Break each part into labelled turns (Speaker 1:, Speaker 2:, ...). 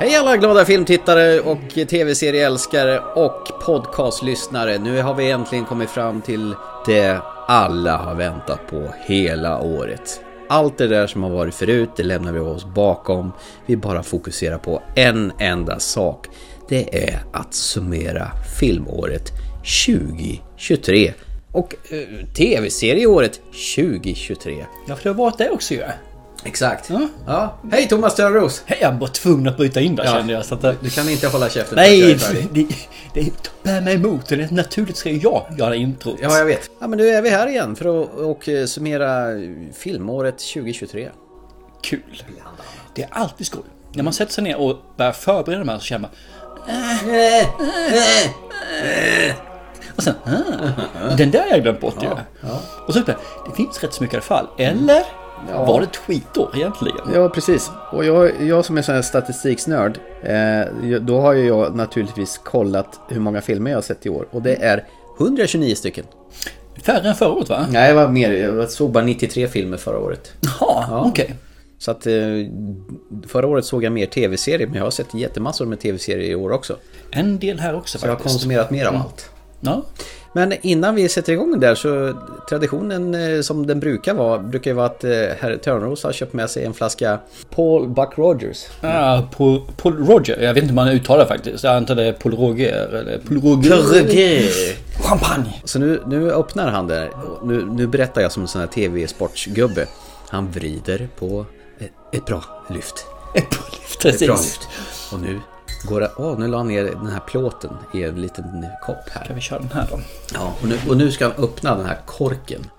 Speaker 1: Hej alla glada filmtittare och tv-serieälskare och podcastlyssnare. Nu har vi äntligen kommit fram till det alla har väntat på hela året. Allt det där som har varit förut, det lämnar vi oss bakom. Vi bara fokuserar på en enda sak. Det är att summera filmåret 2023 och eh, tv-serieåret 2023.
Speaker 2: Ja, för det har varit det också ju.
Speaker 1: Exakt. Ja. Hej Thomas Törnros!
Speaker 2: Hej, Jag var tvungen att bryta in där kände jag. Så att, det-
Speaker 1: Du kan inte hålla käften. Jag
Speaker 2: nej,
Speaker 1: är färdig.
Speaker 2: det, det bär mig emot. Det är naturligt ska ju jag göra introt.
Speaker 1: Ja, jag vet. Ja, men nu är vi här igen för att och eh, summera filmåret 2023.
Speaker 2: Kul. Det är alltid skoj. När man sätter sig ner och börjar förbereda de här så känner man...
Speaker 1: Eh!
Speaker 2: Och sen... "Ah, Den där har jag glömt bort ju. Och så bara, det finns rätt så mycket i alla fall. Eller? Var det ett skitår egentligen?
Speaker 3: Ja, precis. Och jag, jag som är sån här statistiksnörd, eh, då har ju jag naturligtvis kollat hur många filmer jag har sett i år. Och det är...
Speaker 1: 129 stycken.
Speaker 2: Färre än förra året va?
Speaker 3: Nej, det var mer.
Speaker 1: Jag såg bara 93 filmer förra året.
Speaker 2: Jaha, okej.
Speaker 1: Så att eh, förra året såg jag mer tv-serier men jag har sett jättemassor med tv-serier i år också. Mm.
Speaker 2: En del här också
Speaker 1: Jag har
Speaker 2: faktiskt. Mm.
Speaker 1: konsumerat mer av allt.
Speaker 2: Ja.
Speaker 1: Men innan vi sätter igång där så traditionen eh, som den brukar vara brukar ju vara att eh, herr Törnros har köpt med sig en flaska Paul Buck Rogers.
Speaker 2: Ah, Paul, Paul Roger. Jag vet inte hur man uttalar faktiskt. Jag antar det är Paul Roger eller Paul Roger. Champagne.
Speaker 1: Så nu, nu öppnar han där. Nu, nu berättar jag som en sån här tv-sportsgubbe. Han vrider på ett, ett bra lyft. Ett bra
Speaker 2: Precis.
Speaker 1: lyft. Och nu går det... Åh, nu la han ner den här plåten i en liten kopp
Speaker 2: Kan
Speaker 1: här.
Speaker 2: vi köra den här då?
Speaker 1: Ja, och, nu, och nu ska han öppna den här korken.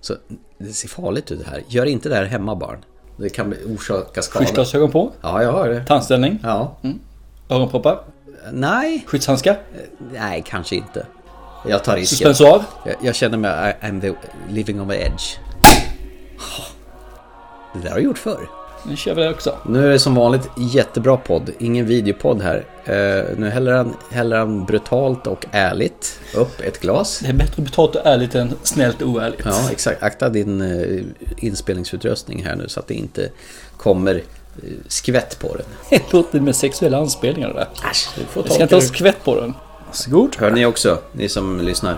Speaker 1: Så det ser farligt ut det här. Gör inte det här hemma barn. Det kan bli- orsaka skador.
Speaker 2: Skyddsglasögon på.
Speaker 1: Ja, jag har det.
Speaker 2: Tandställning.
Speaker 1: Ja.
Speaker 2: Öronproppar.
Speaker 1: Nej,
Speaker 2: Skyddshandskar.
Speaker 1: nej kanske inte. Jag tar risken.
Speaker 2: Suspensoar.
Speaker 1: Jag, jag känner mig, I- I'm the living on the edge. Det där har jag gjort förr.
Speaker 2: Nu kör vi det också.
Speaker 1: Nu är det som vanligt jättebra podd, ingen videopodd här. Eh, nu häller han, häller han brutalt och ärligt upp ett glas.
Speaker 2: Det är bättre betalt och ärligt än snällt och oärligt.
Speaker 1: Ja, exakt. Akta din eh, inspelningsutrustning här nu så att det inte kommer eh, skvätt på den.
Speaker 2: Låt det med sexuella anspelningar det där.
Speaker 1: Äsch, du får
Speaker 2: Jag ska
Speaker 1: ta
Speaker 2: inte ha
Speaker 1: det.
Speaker 2: skvätt på den. Varsågod.
Speaker 1: Hör ni också, ni som lyssnar?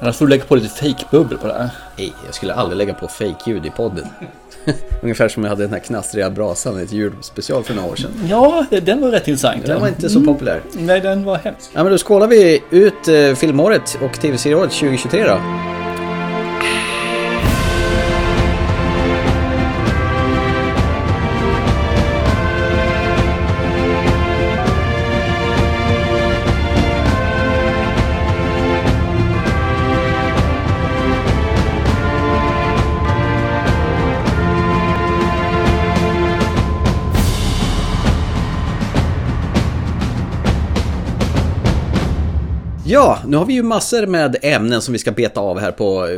Speaker 2: Annars får du lägga på lite fejkbubbel på det här.
Speaker 1: Nej, jag skulle aldrig lägga på fake-ljud i podden. Ungefär som jag hade den här knastriga brasan i ett julspecial för några år sedan.
Speaker 2: Ja, det- den var rätt intressant.
Speaker 1: Den var inte så populär.
Speaker 2: Nej, den var hemsk.
Speaker 1: Ja, men då skålar vi ut eh, filmåret och tv-serieåret 2023 då. Ja, nu har vi ju massor med ämnen som vi ska beta av här på eh,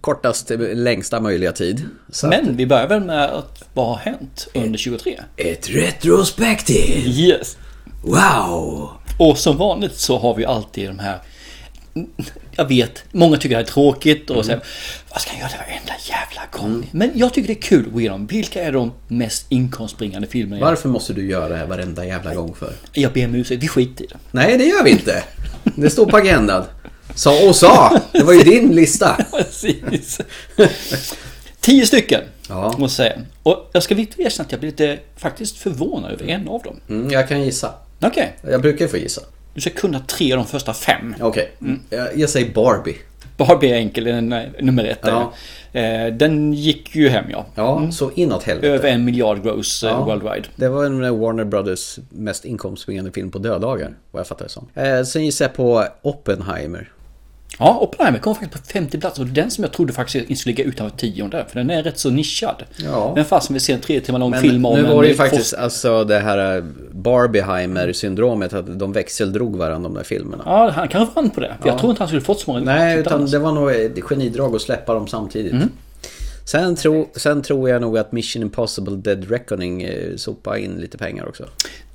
Speaker 1: kortast, eh, längsta möjliga tid. Så
Speaker 2: Men vi börjar väl med att vad har hänt under 23?
Speaker 1: Ett retrospektiv!
Speaker 2: Yes.
Speaker 1: Wow!
Speaker 2: Och som vanligt så har vi alltid de här jag vet, många tycker det här är tråkigt och säger Vad ska jag göra det varenda jävla gång? Men jag tycker det är kul att gå igenom vilka är de mest inkomstbringande filmerna? jag-
Speaker 1: Varför måste du göra det här varenda jävla gång för?
Speaker 2: Jag ber om ursäkt, vi skiter i det.
Speaker 1: Nej, det gör vi inte! Det står på agendan. Sa och sa! Det var ju din lista!
Speaker 2: Precis. Tio stycken,
Speaker 1: Ja.
Speaker 2: måste jag säga. Och jag ska villigt erkänna att jag blir lite faktiskt förvånad över en av dem.
Speaker 1: Mm, jag kan gissa.
Speaker 2: Okej,
Speaker 1: Jag brukar ju få gissa.
Speaker 2: du ska kunna tre av de första fem.
Speaker 1: Okej,
Speaker 2: Mm.
Speaker 1: jag, jag säger Barbie.
Speaker 2: Barbie är enkel, den är nummer ett. där. Eh, Den gick ju hem ja.
Speaker 1: Ja, så inåt helvete.
Speaker 2: Mm. Över en miljard gross eh, worldwide.
Speaker 1: Det var en av Warner Brothers mest inkomstbringande film på döddagar, vad jag fattar det som. Eh, sen gissar jag på Oppenheimer.
Speaker 2: Ja, Oppenheimer kom faktiskt på femte plats och det är den som jag trodde faktiskt inte skulle ligga utanför tionde. För den är rätt så nischad.
Speaker 1: Ja.
Speaker 2: Men fast vi ser en tre timmar lång
Speaker 1: Men
Speaker 2: film om
Speaker 1: nu var det ju
Speaker 2: en
Speaker 1: faktiskt
Speaker 2: forsk-
Speaker 1: alltså det här eh, Barbieheimer-syndromet, att de växeldrog varandra de där filmerna.
Speaker 2: Ja, han kanske vann på det. För jag tror inte han skulle fått så många.
Speaker 1: Nej, utan
Speaker 2: annars.
Speaker 1: det var nog ett genidrag att släppa dem samtidigt.
Speaker 2: Mm.
Speaker 1: Sen, tro, sen tror jag nog att Mission Impossible Dead Reckoning eh, sopade in lite pengar också.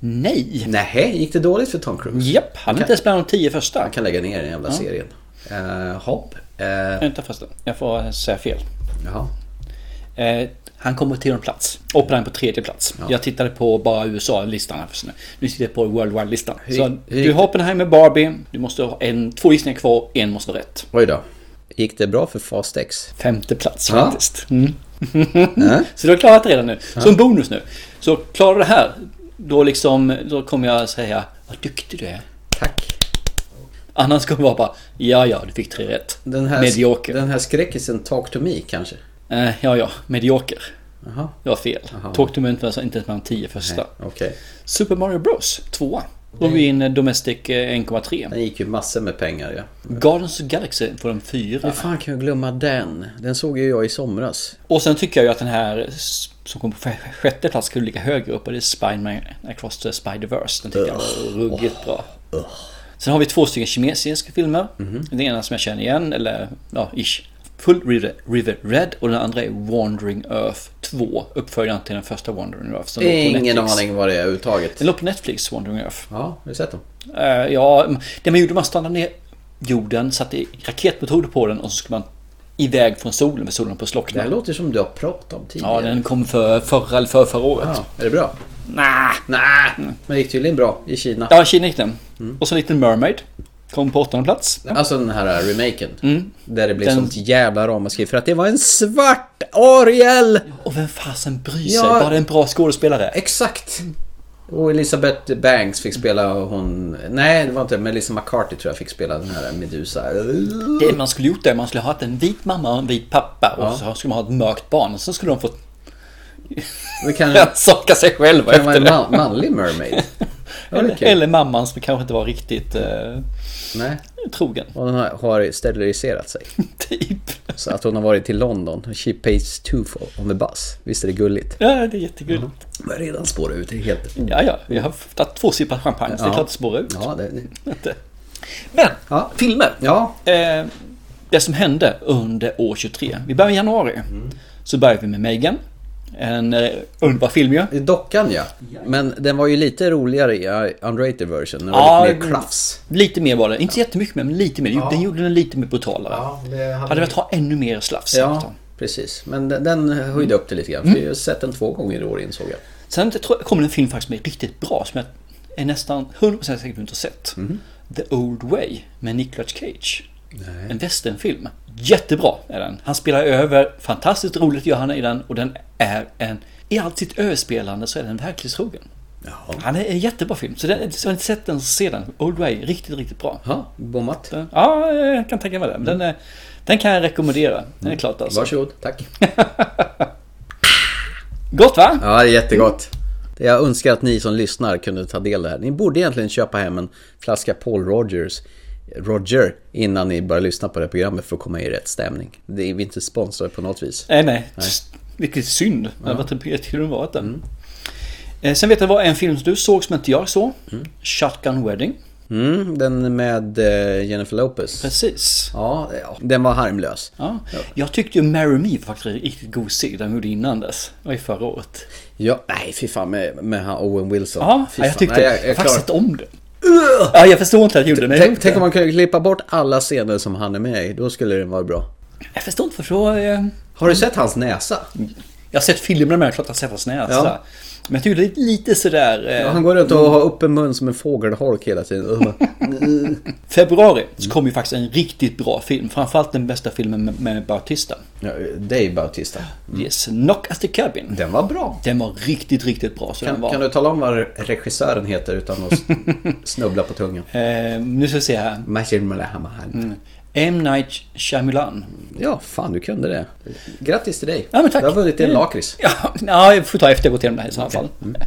Speaker 2: Nej!
Speaker 1: Nej, gick det dåligt för Tom Cruise?
Speaker 2: Japp, han är inte ens bland de tio första.
Speaker 1: Jag kan lägga ner den jävla serien. Uh, hopp. Eh,
Speaker 2: Vänta förresten, jag får säga fel.
Speaker 1: jaha.
Speaker 2: Eh, Han kommer till en plats. Operan på tredje plats. Jag tittade på bara USA-listan här för nu. Nu sitter jag på Worldwide-listan. Så
Speaker 1: hur gick
Speaker 2: du hoppar här med Barbie. Du måste ha en, två gissningar kvar. En måste vara rätt.
Speaker 1: Oj då. Gick det bra för Fast X?
Speaker 2: Femte plats
Speaker 1: Ja.
Speaker 2: faktiskt. Mm.
Speaker 1: Äh?
Speaker 2: Så du har klarat det redan nu. Så en bonus nu. Så klarar du det här. Då liksom, då kommer jag säga vad duktig du är.
Speaker 1: Tack.
Speaker 2: Annars kommer jag bara, ja ja, du fick tre rätt.
Speaker 1: Den här,
Speaker 2: Medioker.
Speaker 1: Den här skräckisen Talk to Me kanske?
Speaker 2: Eh, ja ja, medioker.
Speaker 1: Jaha, Eh,
Speaker 2: Det var fel. Talk to me inte ens- inte ens bland 10 första.
Speaker 1: okej.
Speaker 2: Super Mario Bros 2. Då vi in eh, Domestic eh, 1,3.
Speaker 1: Den gick ju massor med pengar ja.
Speaker 2: Guardians of the Galaxy får en 4.
Speaker 1: Hur fan kan jag glömma den? Den såg ju jag i somras.
Speaker 2: Och sen tycker jag ju att den här s- som kom på f- sjätte plats skulle ligga högre upp och det är Spiderman Across the Spider-Verse. Den tycker jag var ruggigt bra. Sen har vi två stycken kinesiska filmer.
Speaker 1: Mhm.
Speaker 2: Den ena som jag känner igen, eller ja, ish. Full River, River Red och den andra är Wandering Earth 2. Uppföljaren till den första Wandering Earth. som låg på
Speaker 1: Ingen
Speaker 2: Netflix.
Speaker 1: aning vad det är överhuvudtaget.
Speaker 2: Den låg på Netflix, Wandering Earth.
Speaker 1: Ja, har du sett dem?
Speaker 2: Eh, ja, det man gjorde, man stannade ner jorden, satte raketmotorer på den och så skulle man iväg från solen, för solen på
Speaker 1: Det
Speaker 2: slockna.
Speaker 1: här låter som du har pratat om tidigare.
Speaker 2: Ja, den kom för förra eller för förra året.
Speaker 1: Ja, är det bra?
Speaker 2: Nah.
Speaker 1: Nej,
Speaker 2: Mm.
Speaker 1: men det gick tydligen bra i Kina.
Speaker 2: Ja, Kina gick den.
Speaker 1: Mm.
Speaker 2: Och så Little Mermaid. Kom på åttonde plats.
Speaker 1: Alltså den här remaken. Där det blev
Speaker 2: Mm. Den-
Speaker 1: sånt jävla ramaskri för att det var en svart Ariel!
Speaker 2: Och vem fasen bryr sig?
Speaker 1: Ja.
Speaker 2: Bara det är en bra skådespelare.
Speaker 1: Exakt! Och Elisabeth Banks fick spela hon... Nej, det var inte Melissa McCarthy tror jag fick spela den här Medusa.
Speaker 2: Det man skulle gjort är man skulle ha haft en vit mamma och en vit pappa och så skulle man ha ett mörkt barn. Och så skulle de få
Speaker 1: Det kanske
Speaker 2: rannsaka sig själva
Speaker 1: kan vara
Speaker 2: efter
Speaker 1: en
Speaker 2: det.
Speaker 1: man, manlig mermaid. Ja, det är
Speaker 2: Eller,
Speaker 1: kul.
Speaker 2: eller mamman som kanske inte var riktigt eh,
Speaker 1: Nej.
Speaker 2: trogen.
Speaker 1: Och den har, har steriliserat sig.
Speaker 2: Typ.
Speaker 1: Så att hon har varit till London. She pays two for on the bus. Visst är det gulligt?
Speaker 2: Ja, det är jättegulligt.
Speaker 1: Jag har redan spårat ut det helt.
Speaker 2: Ja, ja, vi har tagit två sippar champagne så det är
Speaker 1: Ja.
Speaker 2: klart det spårar ut.
Speaker 1: Ja, det,
Speaker 2: Inte. Men,
Speaker 1: Ja.
Speaker 2: filmer.
Speaker 1: ja.
Speaker 2: Eh, det som hände under år 23. Vi börjar i januari. Så börjar vi med Megan. En eh, underbar film ju.
Speaker 1: Det är Dockan ja. Men den var ju lite roligare i eh, unrated version. Den var
Speaker 2: Ja,
Speaker 1: lite mer
Speaker 2: det-
Speaker 1: klaffs.
Speaker 2: Lite mer var det. Inte så jättemycket mer, men lite mer. Den gjorde den lite mer brutalare. Hade velat ha ännu mer slafs.
Speaker 1: Ja, precis. Men den, den höjde upp det lite grann. För
Speaker 2: Mm.
Speaker 1: jag har ju sett den två gånger i år insåg jag.
Speaker 2: Sen tror jag- kom det en film faktiskt som är riktigt bra som jag är nästan 100% säker på att inte har sett. The Old Way med Nicolas Cage. En westernfilm. Jättebra är den. Han spelar över, fantastiskt roligt gör han i den och den är en, i allt sitt överspelande så är den verklighetstrogen. Han är en jättebra film. Så den, så har ni inte sett den så se den. Old Way, riktigt, riktigt bra.
Speaker 1: Ja, bommat.
Speaker 2: Den, ja, jag kan tänka mig det. Den,
Speaker 1: Mm.
Speaker 2: är, den kan jag rekommendera. Den är klart alltså.
Speaker 1: Varsågod, tack.
Speaker 2: Gott va?
Speaker 1: Ja, det är jättegott. Jag önskar att ni som lyssnar kunde ta del av det här. Ni borde egentligen köpa hem en flaska Paul Rogers Roger innan ni börjar lyssna på det här programmet för att komma i rätt stämning. Det är vi inte sponsrade på något vis.
Speaker 2: Nej, Eh, nej. Vilket synd. Det hade varit en p till varit den.
Speaker 1: Mm.
Speaker 2: Eh, Sen vet jag vad en film som du såg som inte jag såg. Shotgun Wedding.
Speaker 1: Mm, den med eh, Jennifer Lopez.
Speaker 2: Precis.
Speaker 1: Ja, ja, den var harmlös.
Speaker 2: Ja. Jag tyckte ju Marry Me var faktiskt en riktigt god serie den gjorde innan dess. Det var ju förra året.
Speaker 1: Ja, nej fy fan med, med han Owen Wilson.
Speaker 2: Ja,
Speaker 1: Fy
Speaker 2: ja jag
Speaker 1: fan.
Speaker 2: tyckte...
Speaker 1: Nej,
Speaker 2: jag,
Speaker 1: jag- jag
Speaker 2: har faktiskt
Speaker 1: klarar-
Speaker 2: sett om den. Ja, jag förstår inte att jag gjorde det. men jag
Speaker 1: Tänk,
Speaker 2: gjorde
Speaker 1: tänk
Speaker 2: det.
Speaker 1: om man kunde klippa bort alla scener som han är med i, då skulle den vara bra.
Speaker 2: Jag förstår inte varför. då, eh,
Speaker 1: Har du sett hans näsa?
Speaker 2: Jag har sett filmerna med klart att sätta sig ner. sådär. Men jag tyckte det är lite sådär... eh,
Speaker 1: Ja, han går runt och har öppen mun som en fågelholk hela tiden. Och bara,
Speaker 2: Februari
Speaker 1: Mm.
Speaker 2: så kom ju faktiskt en riktigt bra film. Framförallt den bästa filmen med, med Bautista.
Speaker 1: ja, Dave Bautista.
Speaker 2: Yes, Knock at the Cabin.
Speaker 1: Den var bra.
Speaker 2: Den var riktigt, riktigt bra. Så den
Speaker 1: Kan,
Speaker 2: var.
Speaker 1: kan du tala om vad regissören heter utan att snubbla på tungan?
Speaker 2: Eh, nu ska vi se här.
Speaker 1: Masjid Malahamahan.
Speaker 2: Mm. M. Night Shyamalan.
Speaker 1: Ja, fan du kunde det. Grattis till dig.
Speaker 2: Ja, men tack.
Speaker 1: Du har vunnit en
Speaker 2: Mm.
Speaker 1: lakrits.
Speaker 2: Ja, ja, jag får ta efter jag gått igenom det här i så fall.
Speaker 1: Mm.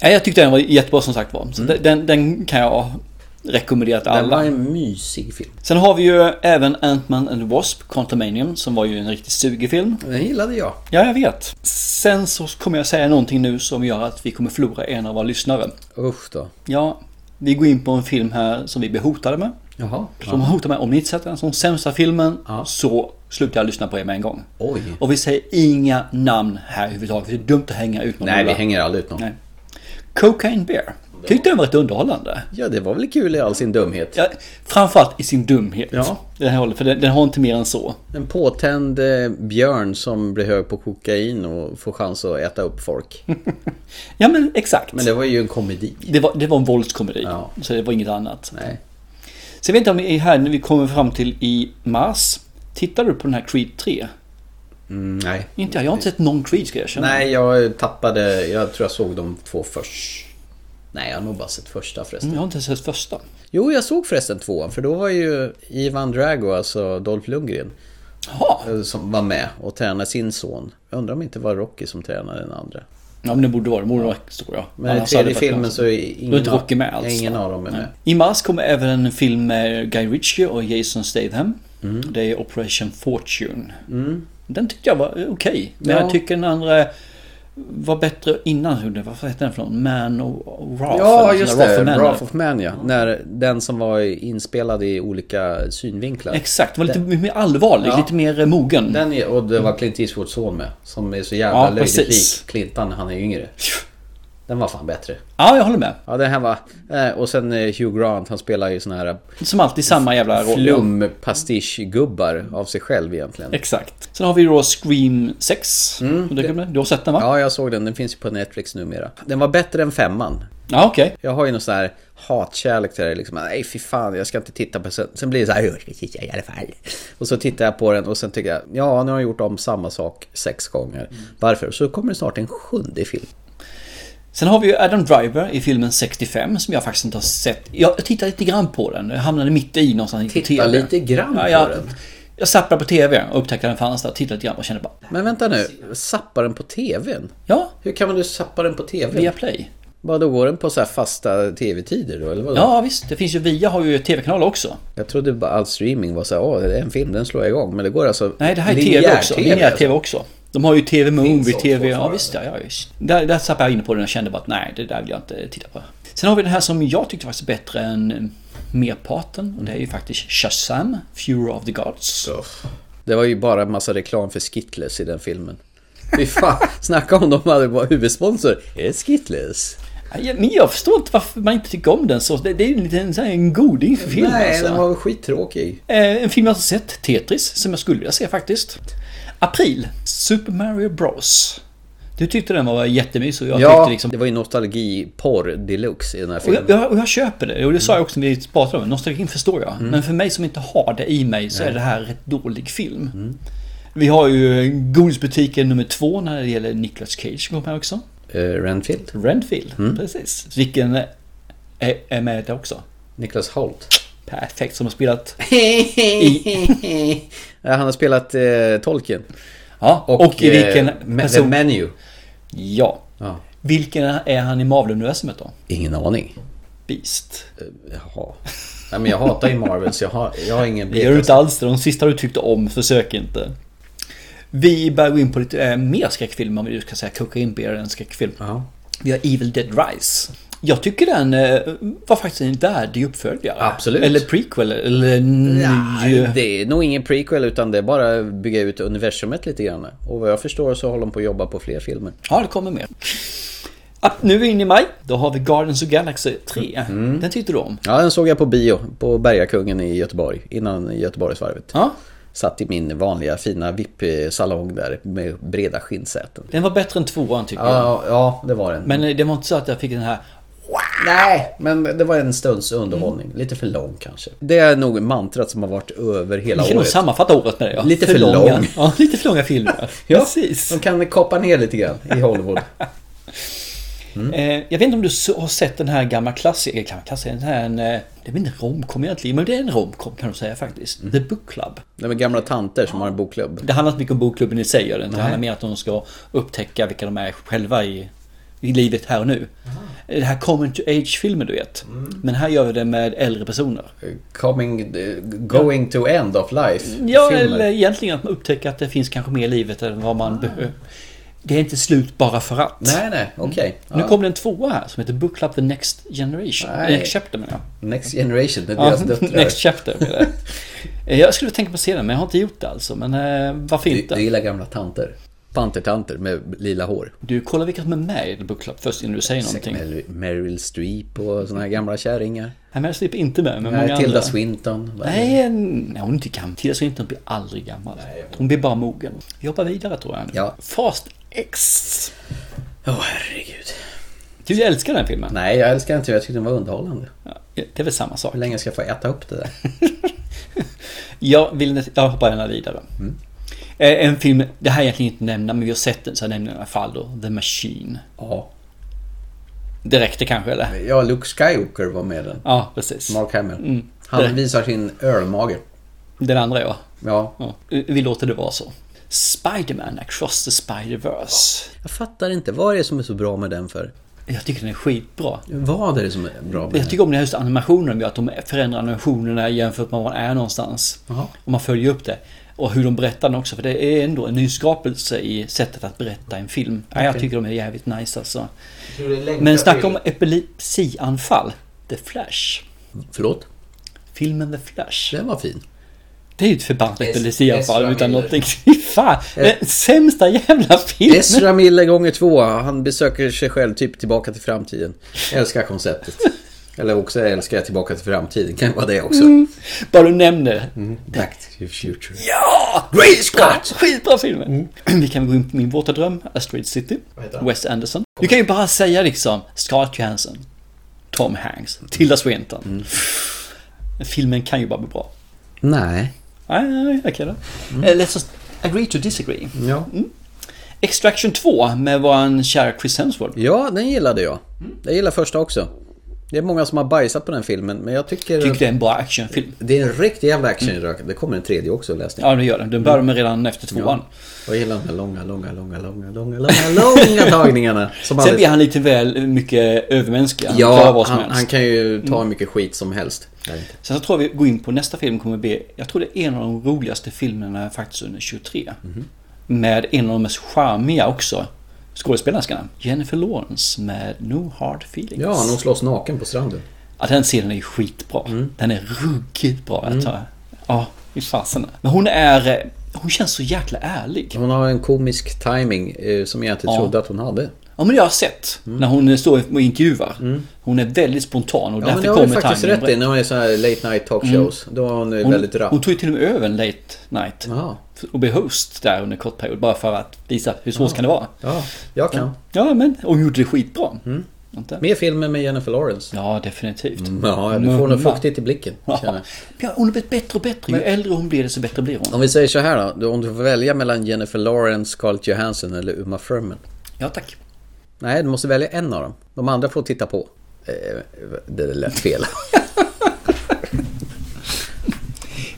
Speaker 2: Ja, jag tyckte den var jättebra som sagt var. Så den, den kan jag rekommendera till
Speaker 1: Den
Speaker 2: alla.
Speaker 1: var en mysig film.
Speaker 2: Sen har vi ju även Ant-Man and the Wasp, Contamanium, som var ju en riktigt sugig film.
Speaker 1: Den gillade jag.
Speaker 2: Ja, jag vet. Sen så kommer jag säga någonting nu som gör att vi kommer förlora en av våra lyssnare.
Speaker 1: Usch då.
Speaker 2: Ja, vi går in på en film här som vi blev hotade med.
Speaker 1: Jaha.
Speaker 2: Som hotar mig om ni inte sett den som sämsta filmen
Speaker 1: Ja.
Speaker 2: så slutar jag lyssna på er med en gång.
Speaker 1: Oj.
Speaker 2: Och vi säger inga namn här överhuvudtaget. för Det är dumt att hänga ut någon.
Speaker 1: Nej, vi
Speaker 2: Ola.
Speaker 1: hänger aldrig ut någon.
Speaker 2: Nej. Cocaine Bear. Tyckte den var rätt underhållande.
Speaker 1: Ja, det var väl kul i all sin dumhet.
Speaker 2: Ja, framförallt i sin dumhet.
Speaker 1: Ja.
Speaker 2: Den här håller, för den, den har inte mer än så.
Speaker 1: En påtänd eh, björn som blir hög på kokain och får chans att äta upp folk.
Speaker 2: Ja men exakt.
Speaker 1: Men det var ju en komedi.
Speaker 2: Det var, det var en våldskomedi.
Speaker 1: Ja.
Speaker 2: Så det var inget annat.
Speaker 1: Nej.
Speaker 2: Sen vet jag om vi är här när vi kommer fram till i mars. Tittar du på den här Creed 3?
Speaker 1: Mm, nej.
Speaker 2: Inte jag. Jag har inte sett någon Creed ska jag erkänna.
Speaker 1: Nej, jag tappade... Jag tror jag såg de två först. Nej, jag har nog bara sett första förresten.
Speaker 2: Jag har inte ens sett första.
Speaker 1: Jo, jag såg förresten tvåan, för då var ju Ivan Drago, alltså Dolph Lundgren,
Speaker 2: Jaha.
Speaker 1: eh, som var med och tränade sin son. Jag undrar om det inte var Rocky som tränade den andra.
Speaker 2: Ja men det borde vara det. Borde vara tror jag.
Speaker 1: Men i
Speaker 2: Annars
Speaker 1: tredje
Speaker 2: hade det varit
Speaker 1: filmen
Speaker 2: konstigt.
Speaker 1: så är ingen,
Speaker 2: Då är inte
Speaker 1: av-
Speaker 2: Rocky med alls.
Speaker 1: ingen av dem är med.
Speaker 2: I mars kommer även en film med Guy Ritchie och Jason Statham.
Speaker 1: Mm.
Speaker 2: Det är Operation Fortune. Den tyckte jag var eh, okej. Men
Speaker 1: Ja.
Speaker 2: jag tycker den andra var bättre innan. hur det- Vad hette den för någon? Man och Wrath. eller
Speaker 1: Ja,
Speaker 2: något
Speaker 1: just
Speaker 2: sånt där, Wrath
Speaker 1: det.
Speaker 2: of Man.
Speaker 1: Wrath of Man, ja. När den som var inspelad i olika synvinklar.
Speaker 2: Exakt, den var lite mer allvarlig,
Speaker 1: Ja.
Speaker 2: lite mer eh, mogen.
Speaker 1: Den är, och det var Clint Eastwoods son med. Som är så jävla
Speaker 2: Ja,
Speaker 1: löjligt
Speaker 2: precis.
Speaker 1: lik Clintan när han är yngre. Den var fan bättre.
Speaker 2: Ja, jag håller med.
Speaker 1: Ja, den här var... eh, Och sen eh, Hugh Grant, han spelar ju sån här eh,
Speaker 2: Som alltid samma jävla roll. ja.
Speaker 1: flumpastischgubbar av sig själv egentligen.
Speaker 2: Exakt. Sen har vi då Scream 6. Och det kommer- Du har sett den va?
Speaker 1: Mm, Ja, jag såg den. Den finns ju på Netflix numera. Den var bättre än femman.
Speaker 2: Ja, okej.
Speaker 1: Jag har ju någon sån här hatkärlek till det. Liksom, nej, fy fan, jag ska inte titta på sen. Sen blir det så här, "Jo, jag ska titta i alla fall. Och så tittar jag på den och sen tycker jag, ja, nu har jag gjort om samma sak sex gånger.
Speaker 2: Mm.
Speaker 1: Varför? Så kommer det snart en sjunde film.
Speaker 2: Sen har vi ju Adam Driver i filmen 65 som jag faktiskt inte har sett. Jag tittade lite grann på den. Jag hamnade mitt i någonstans på
Speaker 1: Titta lite grann på
Speaker 2: jag,
Speaker 1: den.
Speaker 2: Jag zappade på TV och upptäckte att den fanns där. Tittade lite grann och kände bara,
Speaker 1: Men vänta nu, sappa den på tvn?
Speaker 2: ja,
Speaker 1: Hur kan man nu sappa den på tvn?
Speaker 2: via Play.
Speaker 1: Vad då går den på så här fasta tv-tider då, eller vadå?
Speaker 2: Ja, visst. Det finns ju, Via har ju TV-kanal också.
Speaker 1: Jag trodde bara all streaming var så här, åh, det är en film, den slår jag igång. Men det går alltså
Speaker 2: Nej, det här är TV också.
Speaker 1: linjär-TV,
Speaker 2: Linjär TV också. De har ju TV Movie,
Speaker 1: sånt
Speaker 2: TV... Ja,
Speaker 1: alltså. fortfarande.
Speaker 2: visst ja, ja visst. Där, där zappade jag in på den och kände bara att nej, det där vill jag inte titta på. Sen har vi den här som jag tyckte faktiskt är bättre än eh, merparten. Och det är ju faktiskt Shazam, Fury of the Gods.
Speaker 1: Uff. Det var ju bara en massa reklam för Skittles i den filmen. Fy fan, snacka om de hade bara huvudsponsor. Det är Skittles.
Speaker 2: Ja, men jag förstår inte varför man inte tycker om den så. Det, det är ju en liten så här, en goding för film
Speaker 1: Nej,
Speaker 2: alltså.
Speaker 1: den var skittråkig.
Speaker 2: Eh, En film jag har sett, Tetris, som jag skulle vilja se faktiskt. April, Super Mario Bros. Du tyckte den var jättemysig och jag
Speaker 1: Ja,
Speaker 2: tyckte liksom
Speaker 1: det var ju nostalgiporr deluxe i den här
Speaker 2: Och
Speaker 1: filmen.
Speaker 2: jag, jag, och jag köper det. Och det sa jag också när vi pratade om det. Nostalgin förstår jag. Men för mig som inte har det i mig så är det här rätt dålig film. Vi har ju godisbutiken nummer två när det gäller Nicolas Cage som kom här också.
Speaker 1: Eh, Renfield,
Speaker 2: Renfield, precis. Vilken är, är med där också.
Speaker 1: Niklas Holt.
Speaker 2: Perfekt som har spelat.
Speaker 1: Ja, Han har spelat eh, Tolkien.
Speaker 2: Ja, och, i vilken
Speaker 1: eh, Me- The
Speaker 2: person...
Speaker 1: Menu.
Speaker 2: ja.
Speaker 1: Ja.
Speaker 2: Vilken är han i Marvel-universumet då?
Speaker 1: Ingen aning.
Speaker 2: Beast.
Speaker 1: Eh, Jaha. Nej, men jag hatar ju Marvel så jag har, jag har ingen
Speaker 2: Det gör du inte alls det. De sista du tyckte om, försök inte. Vi börjar gå in på lite eh, mer skräckfilmer om vi ska säga Cocaine Bear är en skräckfilm.
Speaker 1: Ja.
Speaker 2: Vi har Evil Dead Rise. Jag tycker den eh, var faktiskt en värdig uppföljare.
Speaker 1: Absolut.
Speaker 2: Eller prequel eller ny...
Speaker 1: Nej, det är nog ingen prequel utan det är bara att bygga ut universumet lite grann. Och vad jag förstår så håller de på att jobba på fler filmer.
Speaker 2: Ja, det kommer mer. Ah, Nu är vi inne i maj. Då har vi Guardians of the Galaxy 3.
Speaker 1: Mm.
Speaker 2: Den tyckte du om.
Speaker 1: Ja, den såg jag på bio på Bergakungen i Göteborg innan Göteborgsvarvet.
Speaker 2: Ja,
Speaker 1: Satt i min vanliga fina VIP-salong där med breda skinnsäten.
Speaker 2: den var bättre än tvåan tycker jag.
Speaker 1: Ja, ja, det var den.
Speaker 2: Men eh, det var inte så att jag fick den här...
Speaker 1: nej, men det var en stunds underhållning.
Speaker 2: Mm.
Speaker 1: Lite för lång kanske. Det är nog mantrat som har varit över hela
Speaker 2: Jag kan nog
Speaker 1: året.
Speaker 2: sammanfatta året med det. Ja.
Speaker 1: Lite för
Speaker 2: långa.
Speaker 1: lång.
Speaker 2: Ja, lite för långa filmer.
Speaker 1: Ja,
Speaker 2: Precis.
Speaker 1: De kan kapa ner lite grann i Hollywood.
Speaker 2: Eh, jag vet inte om du så- har sett den här gamla klassikern, gamla klassikern, den här en, eh, det är väl inte romcom egentligen, men det är en romcom kan du säga faktiskt. The Book Club.
Speaker 1: De är gamla tanter som har en bokklubb.
Speaker 2: Det handlar inte mycket om bokklubben i sig, gör det inte. Det handlar mer om att de ska upptäcka vilka de är själva i, i livet här och nu. Det här Common to Age-filmer du vet. Men här gör vi det med äldre personer.
Speaker 1: Coming, eh, going to end of life
Speaker 2: Ja,
Speaker 1: filmer.
Speaker 2: eller egentligen att man upptäcker att det finns kanske mer i livet än vad man behöver. Det är inte slut bara för att.
Speaker 1: Nej, nej, okej.
Speaker 2: Mm. Nu
Speaker 1: Ja.
Speaker 2: kommer det en tvåa här som heter Book Club The Next Generation.
Speaker 1: Nej.
Speaker 2: Next Chapter menar jag.
Speaker 1: Next generation, det är
Speaker 2: Ja,
Speaker 1: deras döttrar.
Speaker 2: Next chapter blir det. Eh, Jag skulle tänka på att se den men jag har inte gjort det alltså. Men eh, varför
Speaker 1: du,
Speaker 2: inte?
Speaker 1: du gillar gamla tanter. pantertanter med lila hår.
Speaker 2: Du, kolla vilka som är med i The Book Club först innan du säger
Speaker 1: Säkert
Speaker 2: någonting.
Speaker 1: Meryl- Meryl Streep och såna här gamla kärringar.
Speaker 2: Nej, men jag slipper inte med, men många
Speaker 1: Nej, Tilda
Speaker 2: andra.
Speaker 1: Swinton.
Speaker 2: Nej, en- nej, hon är inte gammal. Tilda Swinton blir aldrig gammal. Hon blir bara mogen. Vi hoppar vidare tror jag. nu.
Speaker 1: Ja.
Speaker 2: Fast X.
Speaker 1: Åh herregud.
Speaker 2: Du älskar den här filmen.
Speaker 1: Nej, jag älskar inte Jag tyckte den var underhållande.
Speaker 2: Ja, Det är väl samma sak.
Speaker 1: Hur länge ska jag få äta upp det där?
Speaker 2: Jag, vill, nä- jag hoppar gärna vidare.
Speaker 1: Mm.
Speaker 2: Eh, En film, det här är egentligen inte nämna, men vi har sett den så jag nämner den i alla fall då. The Machine.
Speaker 1: Ja.
Speaker 2: Det räckte kanske eller?
Speaker 1: Ja, Luke Skywalker var med i den.
Speaker 2: Ja, precis.
Speaker 1: Mark Hamill.
Speaker 2: Mm. Det-
Speaker 1: Han visar sin ölmage.
Speaker 2: Den andra ja.
Speaker 1: Ja.
Speaker 2: ja. Vi låter det vara så. Spider-Man across the Spider-Verse.
Speaker 1: Jag fattar inte. Vad är det som är så bra med den för?
Speaker 2: Jag tycker den är skitbra.
Speaker 1: Vad är det som är bra med
Speaker 2: Jag
Speaker 1: den?
Speaker 2: tycker om den här just animationen, att de förändrar animationerna jämfört med var man är någonstans.
Speaker 1: Jaha.
Speaker 2: Och man följer upp det. Och hur de berättar den också, för det är ändå en nyskapelse i sättet att berätta en film. Ja, jag tycker de är jävligt nice alltså. Men snacka om epilepsianfall. The Flash.
Speaker 1: Förlåt?
Speaker 2: Filmen The Flash.
Speaker 1: Den var fin.
Speaker 2: Det är ju ett förbannat
Speaker 1: Es-
Speaker 2: epilepsianfall
Speaker 1: Ezra Miller.
Speaker 2: utan någonting. Fy fan! Den sämsta jävla filmen!
Speaker 1: Ezra Miller gånger två. Han besöker sig själv typ tillbaka till framtiden. Jag älskar konceptet. Eller också älskar jag tillbaka till framtiden. Kan vara det också.
Speaker 2: Bara du nämner
Speaker 1: Back to the future.
Speaker 2: Ja!
Speaker 1: Great Scott!
Speaker 2: Skitbra
Speaker 1: Mm.
Speaker 2: filmen! Vi kan gå in på min våta dröm, Astrid City, Wes Anderson. Du kan ju bara säga liksom Scarlett Johansson, Tom Hanks,
Speaker 1: Mm.
Speaker 2: Tilda Swinton. Filmen kan ju bara bli bra.
Speaker 1: Nej.
Speaker 2: Nej, nej, nej, okej då.
Speaker 1: Mm.
Speaker 2: Eh, Let's just agree to disagree.
Speaker 1: Ja.
Speaker 2: Extraction 2 med våran kära Chris Hemsworth.
Speaker 1: ja, den gillade jag.
Speaker 2: Mm.
Speaker 1: Jag gillar första också. Det är många som har bajsat på den filmen, men jag tycker...
Speaker 2: Tycker det är en bra actionfilm.
Speaker 1: Det är en riktig jävla actionrök.
Speaker 2: Mm.
Speaker 1: Det kommer en tredje också läste jag.
Speaker 2: Ja, det gör den. Den börjar med redan efter tvåan.
Speaker 1: Och jag gillar de här långa, långa, långa, långa, långa, långa, långa tagningarna. Som
Speaker 2: Sen blir
Speaker 1: aldrig...
Speaker 2: han lite väl mycket övermänsklig. Han klarar
Speaker 1: Ja,
Speaker 2: vad som
Speaker 1: han,
Speaker 2: helst. Mm.
Speaker 1: han kan ju ta hur mycket skit som helst.
Speaker 2: Sen så tror jag vi går in på nästa film kommer bli, jag tror det är en av de roligaste filmerna faktiskt under 23.
Speaker 1: Mhm.
Speaker 2: Med en av de mest charmiga också skådespelerskorna. Jennifer Lawrence med No Hard Feelings.
Speaker 1: Ja, han slåss naken på stranden.
Speaker 2: Ja, den scenen är ju skitbra.
Speaker 1: Mm.
Speaker 2: Den är ruggigt bra. Jag tar. Ja, i fasen. Men hon är, eh, hon känns så jäkla ärlig.
Speaker 1: Hon har en komisk timing eh, som jag inte trodde att hon hade.
Speaker 2: Ja men det har jag sett.
Speaker 1: Mm.
Speaker 2: När hon står och intervjuar. Hon är väldigt spontan och
Speaker 1: Ja, men
Speaker 2: därför
Speaker 1: det har du
Speaker 2: kommer
Speaker 1: faktiskt
Speaker 2: timingen Mm.
Speaker 1: rätt i när man är så här late night talk shows. Då var hon, eh,
Speaker 2: Hon,
Speaker 1: väldigt rapp.
Speaker 2: hon tog ju till och med över en late night.
Speaker 1: Jaha.
Speaker 2: Och blev host där under en kort period. Bara för att visa hur svårt kan det vara.
Speaker 1: Ja, Mm. jag kan.
Speaker 2: Ja men, och hon gjorde det skitbra. Inte?
Speaker 1: Mer filmer med Jennifer Lawrence.
Speaker 2: Ja definitivt.
Speaker 1: Mm, Ja, du får nog
Speaker 2: Mumma.
Speaker 1: fuktigt i blicken. känner
Speaker 2: Ja.
Speaker 1: jag.
Speaker 2: Ja, hon har blivit bättre och bättre. Ju äldre hon blir desto bättre blir hon.
Speaker 1: Om vi säger så här då. Om du får välja mellan Jennifer Lawrence, Scarlett Johansson eller Uma Thurman.
Speaker 2: Ja tack.
Speaker 1: Nej, du måste välja en av dem. De andra får titta på. Eh, Det lät fel.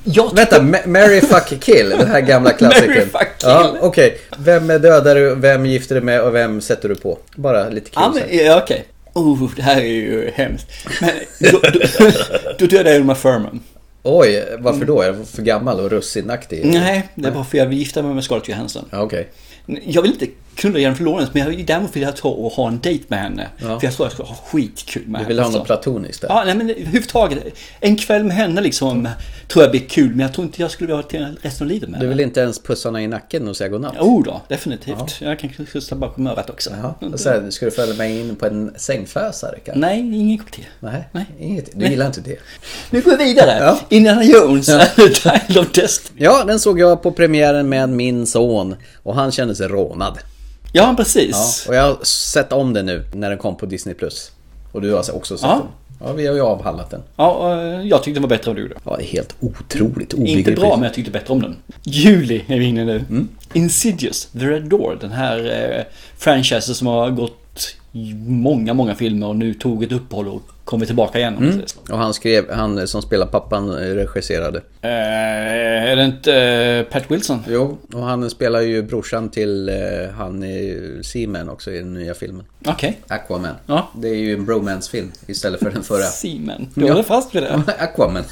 Speaker 2: Jag
Speaker 1: Vänta, Ma- Mary fuck kill, den här gamla klassikern.
Speaker 2: Mary fuck kill.
Speaker 1: Ja, okej. Vem dödar du, vem gifter du med och vem sätter du på? Bara lite kul.
Speaker 2: Ja, men,
Speaker 1: så här.
Speaker 2: ja, okej. Oh, det här är ju hemskt. Men då, då, då dödade jag Uma Thurman.
Speaker 1: Oj, varför då? Är jag för gammal och russinaktig?
Speaker 2: Nej, det är bara för jag vill gifta mig med Scarlett Johansson.
Speaker 1: Ja, okej.
Speaker 2: Jag vill inte knulla Jennifer Lawrence, men jag vill, däremot vill jag ta och ha en dejt med henne.
Speaker 1: Ja.
Speaker 2: För jag tror jag ska ha skitkul med
Speaker 1: Du vill ha
Speaker 2: alltså.
Speaker 1: något platoniskt där?
Speaker 2: Ja, nej men överhuvudtaget. En kväll med henne liksom tror jag blir kul, men jag tror inte jag skulle vilja ha till resten av livet med
Speaker 1: Mm. Du
Speaker 2: henne.
Speaker 1: vill inte ens pussa henne i nacken och säga godnatt?
Speaker 2: Jo då, definitivt. Jag kan kryssa bakom örat också. Mm.
Speaker 1: Ja, och så här, ska du följa med in på en sängfösare kanske?
Speaker 2: Nej, ingen kopp till.
Speaker 1: Nej,
Speaker 2: Nej.
Speaker 1: inget. Du gillar inte det?
Speaker 2: Nu går vi vidare.
Speaker 1: Ja.
Speaker 2: Indiana Jones, Child of Destiny.
Speaker 1: Ja, den såg jag på premiären med min son och han kände sig rånad.
Speaker 2: Ja, precis.
Speaker 1: Och jag har sett om den nu när den kom på Disney+. Plus. Och du har också sett
Speaker 2: Ja.
Speaker 1: den. Ja, vi har ju avhandlat den.
Speaker 2: Ja, eh, jag tyckte den var bättre än du gjorde.
Speaker 1: Ja, det är helt otroligt
Speaker 2: Inte
Speaker 1: obegripligt.
Speaker 2: bra, men jag tyckte bättre om den. Juli är vi inne nu. Insidious, The Red Door, den här eh, franchisen som har gått i många, många filmer och nu tog ett uppehåll och kommer tillbaka igen. om man säger så.
Speaker 1: Och han skrev, han som spelar pappan eh, regisserade.
Speaker 2: Eh, är det inte eh, Pat Wilson?
Speaker 1: Jo, och han spelar ju brorsan till eh, han i Seaman också i den nya filmen.
Speaker 2: Okej.
Speaker 1: Aquaman.
Speaker 2: Ja.
Speaker 1: Det är ju en bromance-film istället för den förra.
Speaker 2: Seaman. Du håller fast vid det.
Speaker 1: Aquaman.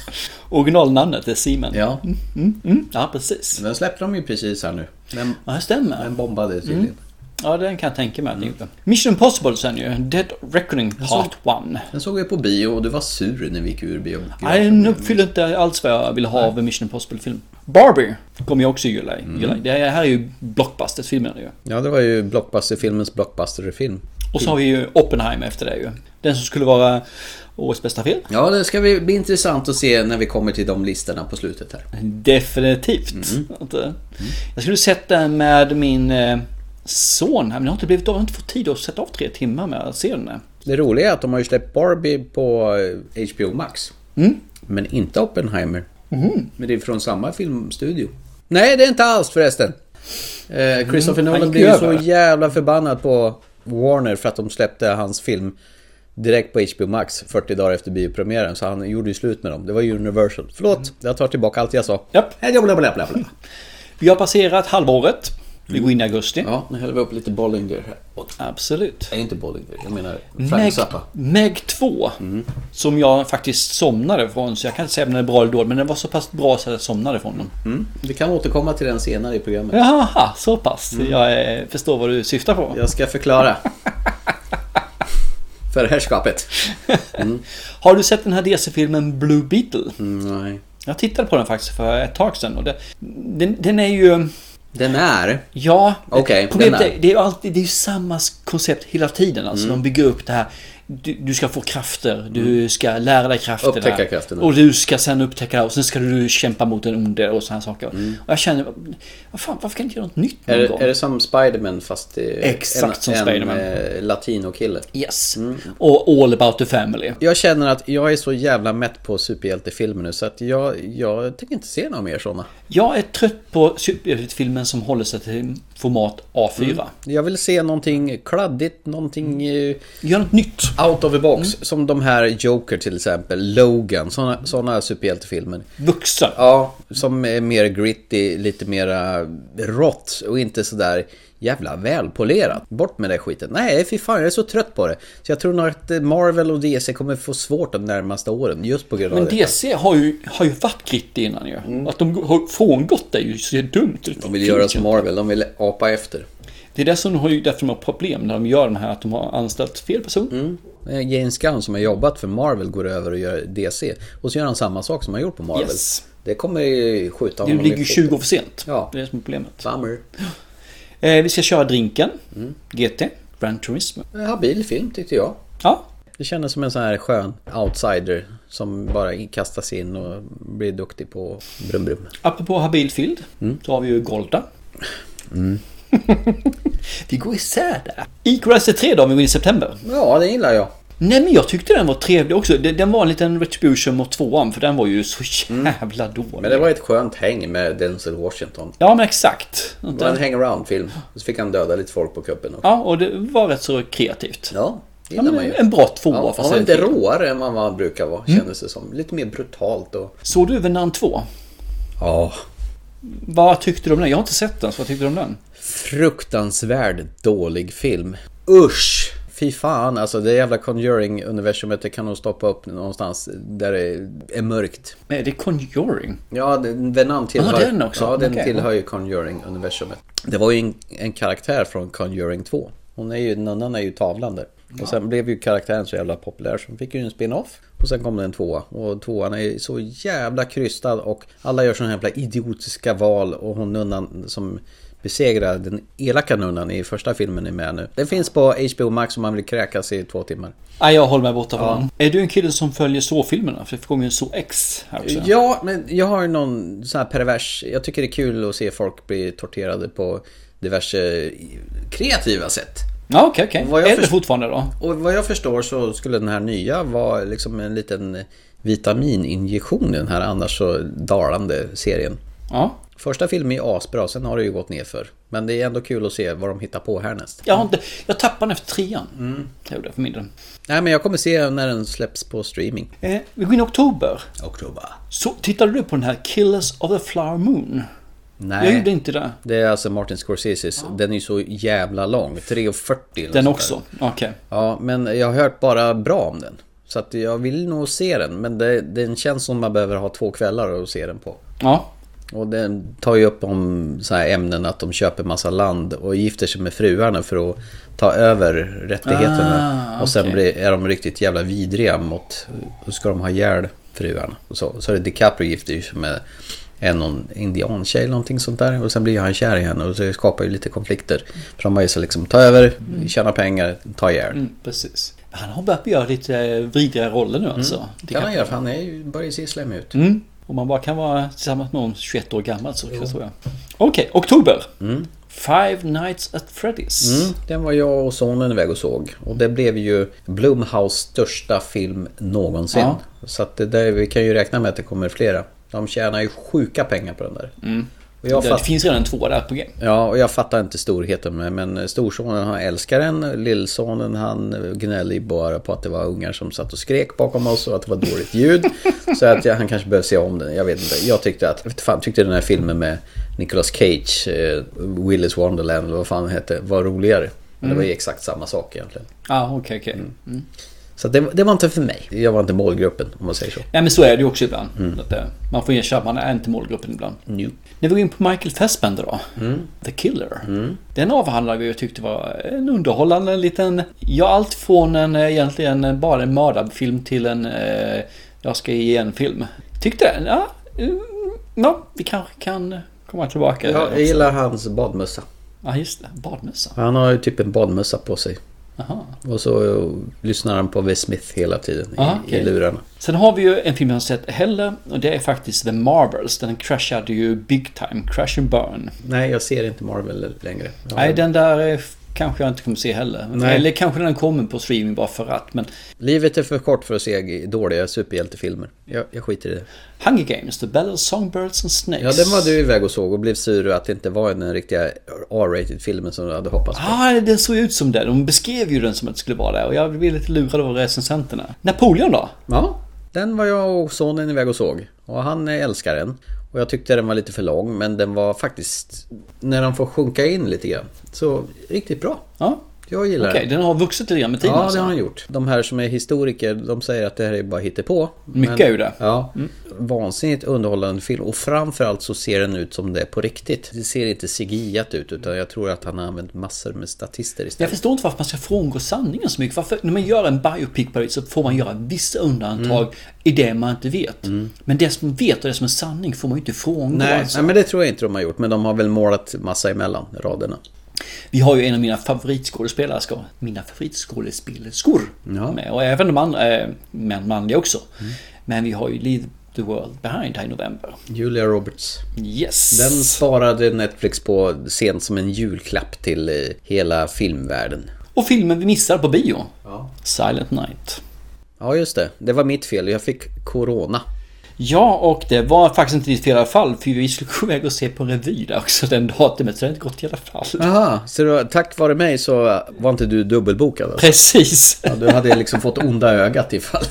Speaker 2: Originalnamnet är Seaman.
Speaker 1: Ja,
Speaker 2: Mm, mm. ja precis.
Speaker 1: den släppte de ju precis här nu. Den,
Speaker 2: Ja, Mm. det stämmer.
Speaker 1: den bombade tydligen.
Speaker 2: Ja, den kan jag tänka mig att ni gjorde. Mission Impossible sen ju. Dead Reckoning Part 1.
Speaker 1: Den såg vi på bio och du var sur när vi gick ur bio.
Speaker 2: Nej, den uppfyller inte alls vad jag vill ha av en Mission Impossible-film. Barbie kommer jag också gilla. gilla. Det här är ju Blockbusters-filmerna ju.
Speaker 1: Ja, det var ju blockbusterfilmens blockbusterfilm.
Speaker 2: Och så har vi ju Oppenheimer efter det ju. Den som skulle vara årets bästa film.
Speaker 1: Ja, det ska bli bli intressant att se när vi kommer till de listorna på slutet här.
Speaker 2: Definitivt. Att, eh, Jag skulle sett den med min eh, son här, men jag har inte, blivit, jag har inte fått tid att sätta av tre timmar med att se den. här.
Speaker 1: Det roliga är att de har ju släppt Barbie på eh, HBO Max. Men inte Oppenheimer. Men det är från samma filmstudio. Nej, det är inte alls förresten. Eh, Christopher Nolan
Speaker 2: gick
Speaker 1: blev ju så
Speaker 2: över.
Speaker 1: jävla förbannad på Warner för att de släppte hans film direkt på HBO Max 40 dagar efter biopremiären. Så han gjorde ju slut med dem. Det var Universal. Förlåt, jag tar tillbaka allt jag sa.
Speaker 2: Japp.
Speaker 1: Hej, Blablabla. Bla, bla, bla.
Speaker 2: Vi har passerat halvåret. Vi går in i augusti.
Speaker 1: Ja, nu häller vi upp lite Bollinger här. Och-
Speaker 2: Absolut.
Speaker 1: Nej, inte Bollinger. Jag menar
Speaker 2: Meg,
Speaker 1: Frank
Speaker 2: Meg 2. Som jag faktiskt somnade från. Så jag kan inte säga om den är bra eller dålig. Men den var så pass bra så jag somnade från den.
Speaker 1: Vi kan återkomma till den senare i programmet.
Speaker 2: Jaha, så pass. Jag eh, förstår vad du syftar på.
Speaker 1: Jag ska förklara. För herrskapet.
Speaker 2: Har du sett den här DC-filmen Blue Beetle?
Speaker 1: Mm. Nej.
Speaker 2: Jag tittade på den faktiskt för ett tag sedan. Och det, den, den är ju...
Speaker 1: Den är...
Speaker 2: Ja,
Speaker 1: Okej,
Speaker 2: problemet
Speaker 1: den
Speaker 2: är,
Speaker 1: är-
Speaker 2: det är ju alltid, det är ju samma koncept hela tiden. Alltså,
Speaker 1: Mm.
Speaker 2: De bygger upp det här. Du, du ska få krafter, du ska lära dig krafterna.
Speaker 1: Upptäcka krafterna.
Speaker 2: Och du ska sen upptäcka och sen ska du kämpa mot den onde och sådana saker. Och jag känner, vad fan, varför kan jag inte göra något nytt någon
Speaker 1: Mm. Är,
Speaker 2: gång?
Speaker 1: är det som Spiderman fast eh,
Speaker 2: Exakt
Speaker 1: en,
Speaker 2: som
Speaker 1: en
Speaker 2: Spiderman.
Speaker 1: eh, latinokille?
Speaker 2: Yes.
Speaker 1: Mm.
Speaker 2: Och All about the family.
Speaker 1: Jag känner att jag är så jävla mätt på superhjältefilmer nu så att jag, jag tänker inte se några mer sådana.
Speaker 2: Jag är trött på filmen som håller sig till format A4.
Speaker 1: Jag vill se någonting kladdigt, någonting eh,
Speaker 2: Gör något nytt.
Speaker 1: out of the box.
Speaker 2: Mm.
Speaker 1: Som de här Joker till exempel, Logan, sådana såna superhjältefilmer.
Speaker 2: Vuxen.
Speaker 1: Ja, som är mer gritty, lite mera rått och inte sådär jävla välpolerat. Bort med den skiten. Nej, fy fan, jag är så trött på det. Så jag tror nog att Marvel och DC kommer få svårt de närmaste åren just på grund av
Speaker 2: Men
Speaker 1: det. Mm.
Speaker 2: DC har ju, har ju varit gritty innan ju. Att de har frångått det är ju så dumt.
Speaker 1: De vill göra som Marvel, de vill apa efter.
Speaker 2: Det är det som de har, ju- därför de har problem när de gör den här, att de har anställt fel person.
Speaker 1: Eh, James Gunn som har jobbat för Marvel går över och gör DC. Och så gör han samma sak som han gjort på Marvel.
Speaker 2: Yes.
Speaker 1: Det kommer ju skjuta
Speaker 2: Det
Speaker 1: honom
Speaker 2: ligger ju
Speaker 1: i foten.
Speaker 2: 20 år för sent.
Speaker 1: Ja.
Speaker 2: Det är det som är problemet.
Speaker 1: Bummer.
Speaker 2: Eh, vi ska köra drinken.
Speaker 1: Mm.
Speaker 2: GT. Gran Turismo.
Speaker 1: En Eh, Habil film tyckte jag.
Speaker 2: Ja.
Speaker 1: Det kändes som en sån här skön outsider som bara kastas in och blir duktig på brum brum.
Speaker 2: Apropå Habilfield.
Speaker 1: Mm.
Speaker 2: Så har vi ju Golda. vi går isär där. Equalizer 3 då om vi går in i september.
Speaker 1: Ja, den gillar jag.
Speaker 2: Nej men jag tyckte den var trevlig också. Den den var en liten retribution mot tvåan för den var ju så jävla dålig.
Speaker 1: Mm. Men det var ett skönt häng med Denzel Washington.
Speaker 2: Ja men exakt.
Speaker 1: Det var en hangaround-film. Och så fick han döda lite folk på kuppen också.
Speaker 2: Ja och det var rätt så kreativt.
Speaker 1: Ja, det
Speaker 2: Ja,
Speaker 1: gillar
Speaker 2: men
Speaker 1: man ju.
Speaker 2: en bra tvåa
Speaker 1: Ja,
Speaker 2: fast
Speaker 1: han var
Speaker 2: lite-
Speaker 1: lite råare än vad man brukar vara, kändes det som. Lite mer brutalt och...
Speaker 2: Såg du Venan 2?
Speaker 1: Ja,
Speaker 2: Vad tyckte du om den? Jag har inte sett den, så vad tyckte du om den?
Speaker 1: fruktansvärd dålig film. Usch! Fy fan, alltså det jävla Conjuring-universumet det kan nog stoppa upp någonstans där det är mörkt.
Speaker 2: Nej, det är Conjuring.
Speaker 1: Ja, den- Venom tillhör,
Speaker 2: Ah, den också?
Speaker 1: Ja, den
Speaker 2: Okej.
Speaker 1: tillhör ju Conjuring-universumet. Det var ju en, en karaktär från Conjuring 2. Hon är ju, nunnan är ju tavlan där. Och sen blev ju karaktären så jävla populär så hon fick ju en spin-off. Och sen kom det en tvåa. Och tvåan är ju så jävla krystad och alla gör sådana jävla idiotiska val. Och hon nunnan som besegrar den elaka nunnan i första filmen är med nu. Den finns på HBO Max om man vill kräkas i två timmar.
Speaker 2: Nej, jag håller mig borta från den. Är du en kille som följer så-filmerna? För det kom ju en så-X här också.
Speaker 1: Ja, men jag har ju någon sån här pervers... Jag tycker det är kul att se folk bli torterade på diverse kreativa sätt.
Speaker 2: Ja, okej, okej.
Speaker 1: Vad jag
Speaker 2: Är det
Speaker 1: först-
Speaker 2: fortfarande då?
Speaker 1: Och vad jag förstår så skulle den här nya vara liksom en liten vitamininjektion i den här annars så dalande serien.
Speaker 2: Ja.
Speaker 1: Första filmen är asbra, sen har det ju gått ner för. Men det är ändå kul att se vad de hittar på härnäst.
Speaker 2: Jag, har inte... jag tappade den efter trean. Mm. Jag gjorde det för min del.
Speaker 1: Nej, men jag kommer se när den släpps på streaming.
Speaker 2: Eh, vi går in i oktober.
Speaker 1: Oktober.
Speaker 2: Så tittade du på den här Killers of the Flower Moon?
Speaker 1: Nej.
Speaker 2: Jag gjorde inte det.
Speaker 1: Det är alltså Martin Scorseses. Den är ju så jävla lång. 3.40 eller
Speaker 2: Den
Speaker 1: sånt där.
Speaker 2: också? Okej.
Speaker 1: Ja, men jag har hört bara bra om den. Så att jag vill nog se den, men det, den känns som man behöver ha två kvällar att se den på.
Speaker 2: Ja.
Speaker 1: Och den tar ju upp om så här ämnen att de köper massa land och gifter sig med fruarna för att ta över rättigheterna.
Speaker 2: Ah,
Speaker 1: och sen
Speaker 2: okej.
Speaker 1: blir, är de riktigt jävla vidriga mot, då ska de ha ihjäl fruarna. Och så, så är det DiCaprio gifter ju sig med är någon indiantjej eller någonting sånt där. Och sen blir han kär i henne och det skapar ju lite konflikter. För de har ju så liksom ta över, tjäna pengar, ta ihjäl.
Speaker 2: Mm, precis. Han har börjat göra lite vridiga roller nu alltså. Det
Speaker 1: kan
Speaker 2: kan-
Speaker 1: han göra för han är ju, börjar ju se slem ut.
Speaker 2: Mm. Om man bara kan vara tillsammans med någon 21 år gammal så tror jag. Okej, oktober. Five Nights at Freddy's.
Speaker 1: Mm, den var jag och sonen iväg och såg. Och det blev ju Blumhouse största film någonsin.
Speaker 2: Ja.
Speaker 1: Så att det där, vi kan ju räkna med att det kommer flera. De tjänar ju sjuka pengar på den där. Och jag
Speaker 2: Mm. det,
Speaker 1: fatt-
Speaker 2: det finns redan två där på G.
Speaker 1: Ja, och jag fattar inte storheten med men storsonen han älskar den, lillsonen han gnäller ju bara på att det var ungar som satt och skrek bakom oss och att det var dåligt ljud. Så att jag, han kanske behöver se om den, jag vet inte. Jag tyckte att, jag vet fan, tyckte den här filmen med Nicolas Cage, eh, Willis Wonderland, eller vad fan den hette, var roligare. Men det var ju exakt samma sak egentligen.
Speaker 2: Ja, ah, okej, okej. Mm.
Speaker 1: Så att det, det var inte för mig. Jag var inte målgruppen om man säger så.
Speaker 2: Ja, men så är det ju också ibland. Att, eh, man får erkänna att man är inte målgruppen ibland.
Speaker 1: Nu.
Speaker 2: När vi går in på Michael Fassbender då.
Speaker 1: Mm.
Speaker 2: The Killer. Den avhandlar vi och tyckte var eh, en underhållande en liten... Ja, allt från en eh, egentligen bara en mördarfilm till en... Eh, jag ska ge en film. Tyckte den, ja. Mm, ja, vi kanske kan komma tillbaka.
Speaker 1: Jag, jag gillar hans badmössa.
Speaker 2: Ja, just det. Badmössa.
Speaker 1: Han har ju typ en badmössa på sig.
Speaker 2: Aha.
Speaker 1: Och så eh, lyssnar han på Will Smith hela tiden i,
Speaker 2: Ah, okej.
Speaker 1: i lurarna.
Speaker 2: Sen har vi ju en film jag inte sett heller och det är faktiskt The Marvels. Den kraschade ju big time, crash and burn.
Speaker 1: Nej, jag ser inte Marvel längre. Jag
Speaker 2: Nej,
Speaker 1: har-
Speaker 2: den där eh, kanske jag inte kommer se heller.
Speaker 1: Nej.
Speaker 2: Eller kanske den kommer på streaming bara för att. Men
Speaker 1: Livet är för kort för att se g- dåliga superhjältefilmer. Jag, jag skiter i det.
Speaker 2: Hunger Games, The Bell of Songbirds and Snakes.
Speaker 1: Ja, den var du iväg och såg och blev sur att det inte var den riktiga R-rated filmen som du hade hoppats på.
Speaker 2: Ja, ah, den såg ut som det. De beskrev ju den som att det skulle vara det och jag blev lite lurad av recensenterna. Napoleon då?
Speaker 1: Ja, den var jag och sonen iväg och såg. Och han eh, älskar den. Och jag tyckte den var lite för lång, men den var faktiskt... När den får sjunka in lite grann. Så riktigt bra.
Speaker 2: Ja,
Speaker 1: Jag gillar
Speaker 2: okej.
Speaker 1: den.
Speaker 2: Den har vuxit lite grann med tiden
Speaker 1: Ja,
Speaker 2: alltså.
Speaker 1: det har han gjort. De här som är historiker, de säger att det här är bara hittepå.
Speaker 2: Mycket
Speaker 1: Men-
Speaker 2: är ju det. Mm.
Speaker 1: Ja. Vansinnigt underhållande film och framförallt så ser den ut som det är på riktigt. Det ser inte CGI-at ut utan jag tror att han har använt massor med statister
Speaker 2: Jag
Speaker 1: istället.
Speaker 2: förstår inte varför man ska frångå sanningen så mycket. Varför, när man gör en biopic på det så får man göra vissa undantag
Speaker 1: Mm.
Speaker 2: i det man inte vet. Men det som man vet och det som är sanning får man ju inte frångå.
Speaker 1: Nej,
Speaker 2: alltså.
Speaker 1: nej, men det tror jag inte de har gjort. Men de har väl målat massa emellan raderna.
Speaker 2: Vi har ju en av mina favoritskådespelare, ska, mina favoritskådespelerskor
Speaker 1: Ja. Mm.
Speaker 2: med. Och även de andra, eh, men manliga också. Men vi har ju Leave the World Behind här i november.
Speaker 1: Julia Roberts.
Speaker 2: Yes!
Speaker 1: Den sparade Netflix på sent som en julklapp till eh, hela filmvärlden.
Speaker 2: Och filmen vi missar på bio.
Speaker 1: Ja.
Speaker 2: Silent Night.
Speaker 1: Ja, just det. Det var mitt fel. Jag fick corona.
Speaker 2: Ja, och det var faktiskt inte ditt fel i alla fall. För vi skulle gå iväg och se på en revy där också den datumet. Så det har inte gått i alla fall.
Speaker 1: Aha, så då, tack vare mig så var inte du dubbelbokad? Alltså.
Speaker 2: Precis.
Speaker 1: Ja, du hade liksom fått onda ögat ifall.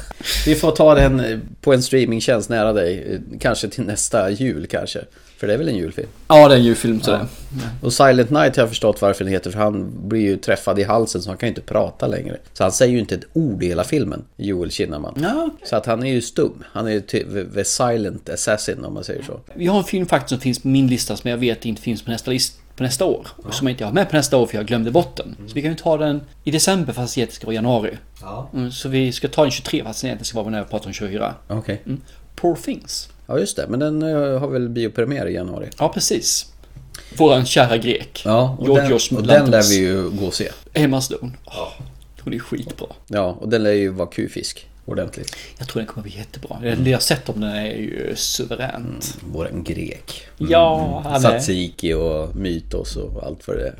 Speaker 1: Vi får ta den eh, på en streamingtjänst nära dig. eh, Kanske till nästa jul kanske. För det är väl en julfilm?
Speaker 2: Ja, det är en julfilm så det.
Speaker 1: Och Silent Night har jag förstått varför den heter. För han blir ju träffad i halsen så han kan ju inte prata längre. Så han säger ju inte ett ord i hela filmen, Joel Kinnaman.
Speaker 2: Ja.
Speaker 1: Så att han är ju stum. Han är ju ty- the silent assassin om man säger så.
Speaker 2: Vi har en film faktiskt som finns på min lista som jag vet inte finns på nästa, list, på nästa år. Och som jag inte har med på nästa år för jag glömde bort den.
Speaker 1: Mm.
Speaker 2: Så vi kan ju ta den i december fast det ska vara i januari. Mm, så vi ska ta den 23 fast den egentligen ska vara när vi pratar om 24.
Speaker 1: Okej.
Speaker 2: Mm. Poor things.
Speaker 1: Ja just det, men den eh, har väl biopremiär i januari.
Speaker 2: Ja, precis. Våran kära grek.
Speaker 1: Ja, och den,
Speaker 2: Georgios
Speaker 1: och den lär
Speaker 2: Moulantos.
Speaker 1: vi ju gå och se.
Speaker 2: Emma Stone. Oh, hon är skitbra.
Speaker 1: Ja, och den lär ju vara kufisk. Ordentligt.
Speaker 2: Jag tror den kommer bli jättebra. Det jag har sett om den är ju
Speaker 1: Mm.
Speaker 2: suveränt. Mm.
Speaker 1: Våran grek. Mm.
Speaker 2: Ja, han är.
Speaker 1: Tzatziki och mytos och allt vad det är.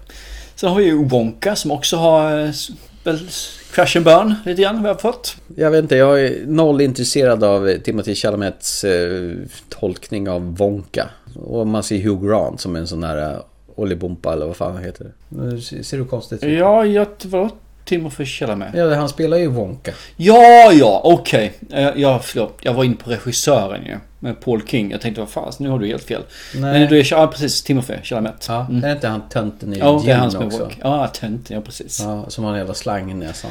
Speaker 2: Sen har vi ju Wonka som också har eh, s- väl, s- crash and burn lite grann vad jag har fått.
Speaker 1: Jag vet inte, jag är noll intresserad av Timothy Chalamets eh, tolkning av Wonka. Och man ser Hugh Grant som en sån här eh, Ollibompa eller vad fan han heter. Nu ser ser du konstigt ut.
Speaker 2: Ja, jag var Timothy Chalamet.
Speaker 1: Ja, han spelar ju Wonka.
Speaker 2: Ja, ja, okej. Eh, Ja, förlåt. Jag var inne på regissören ju. Med Paul King. Jag tänkte, vad fan, nu har du helt fel.
Speaker 1: Nej.
Speaker 2: Men du är, ja, precis, Timothy Chalamet. Mm.
Speaker 1: Ja, är det inte han tönten i
Speaker 2: Ja, det
Speaker 1: Dune
Speaker 2: är han som är
Speaker 1: också?
Speaker 2: Wonka. Ja, tönten, ja precis.
Speaker 1: Ja, Mm. som har en jävla slang i näsan.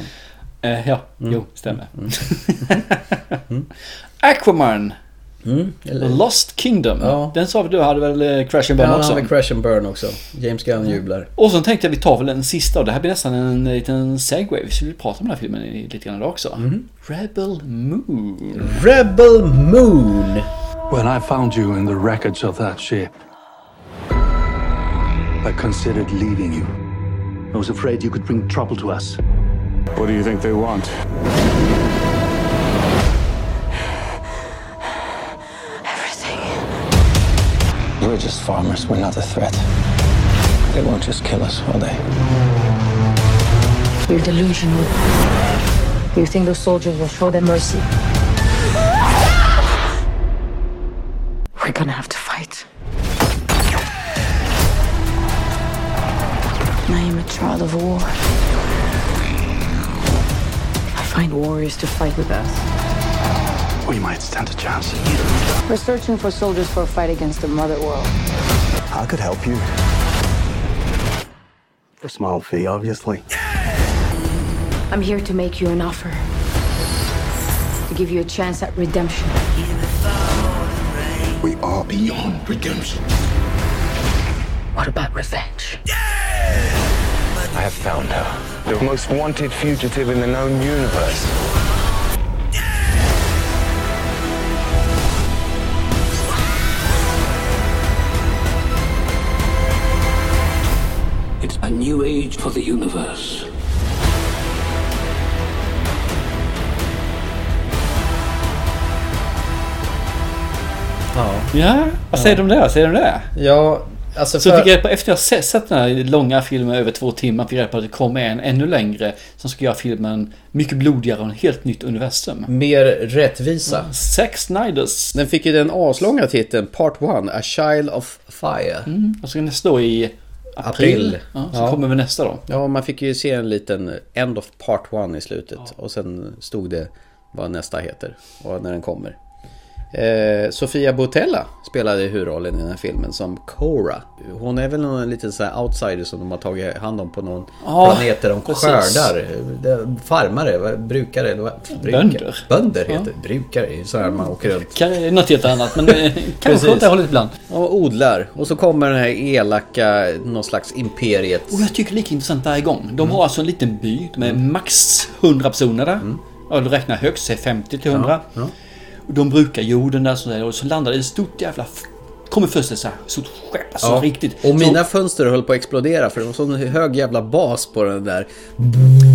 Speaker 2: Eh, ja, jo, stämmer. Mm. Aquaman,
Speaker 1: Mm, eller?
Speaker 2: Lost Kingdom.
Speaker 1: Ja.
Speaker 2: Den sa vi du hade väl eh, Crash and
Speaker 1: Ja,
Speaker 2: Burn
Speaker 1: han
Speaker 2: också?
Speaker 1: har väl Crash and Burn också. James Gunn jublar.
Speaker 2: Och så tänkte jag vi tar väl en sista och det här blir nästan en liten segway. Vi skulle prata om den här filmen
Speaker 1: Mhm.
Speaker 2: i- lite grann idag också. Rebel Moon.
Speaker 1: Rebel Moon!
Speaker 4: When I found you in the wreckage of that ship, I considered leaving you.
Speaker 5: I was afraid you could bring trouble to us.
Speaker 6: What do you think they want?
Speaker 7: everything.
Speaker 8: We're just farmers, we're not a threat. They won't just kill us, will they?
Speaker 9: You're delusional. You think those soldiers will show them mercy? We're gonna have to fight.
Speaker 7: I am a child of war.
Speaker 9: I find warriors to fight with us.
Speaker 4: We might stand a chance.
Speaker 9: We're searching for soldiers for a fight against the mother world.
Speaker 5: I could help you. A small fee, obviously.
Speaker 9: I'm here to make you an offer. To give you a chance at redemption.
Speaker 4: We are beyond redemption.
Speaker 9: What about revenge?
Speaker 8: I have found her.
Speaker 10: the most wanted fugitive in the known universe.
Speaker 11: It's a new age for the universe.
Speaker 2: Ja, vad säger du om det? Säger du om det?
Speaker 1: Ja, alltså
Speaker 2: Så
Speaker 1: för-
Speaker 2: fick jag, reda på- efter jag sett sett den här långa filmen över två timmar fick jag reda på att det kommer en ännu längre som ska göra filmen mycket blodigare och en helt nytt universum.
Speaker 1: mer rättvisa.
Speaker 2: Zack Snyders.
Speaker 1: Mm. Den fick ju den aslånga titeln Part 1, A Child of Fire.
Speaker 2: Och så nästa då i april.
Speaker 1: April.
Speaker 2: Ja, så
Speaker 1: Ja.
Speaker 2: kommer vi nästa då.
Speaker 1: Ja, man fick ju se en liten End of Part 1 i slutet och sen stod det vad nästa heter och när den kommer. Eh, Sofia Botella spelade ju huvudrollen i den här filmen som Cora. Hon är väl någon liten sån här outsider som de har tagit hand om på någon
Speaker 2: Ja,
Speaker 1: planet där de
Speaker 2: precis.
Speaker 1: skördar. Det- Farmare, vad- brukare, eller vad- brukare.
Speaker 2: Bönder.
Speaker 1: Bönder heter det. Brukare, det är ju så här man åker runt.
Speaker 2: Kan- det är Något helt annat men eh,
Speaker 1: Precis.
Speaker 2: kanske åt det hållet ibland.
Speaker 1: Och odlar. Och så kommer den här elaka, någon slags imperiet.
Speaker 2: Och jag tycker det är lika intressant varje gång. De
Speaker 1: Mm.
Speaker 2: har alltså en liten by med max 100 personer där.
Speaker 1: Mm.
Speaker 2: Ja, du räknar högst, säg 50 till 100. Och De brukar jorden där så där, och så landar det ett stort jävla... f- Kommer först ett så här stort skepp, alltså
Speaker 1: Ja.
Speaker 2: riktigt.
Speaker 1: Och mina
Speaker 2: Så,
Speaker 1: fönster höll på att explodera för det var sån hög jävla bas på den där.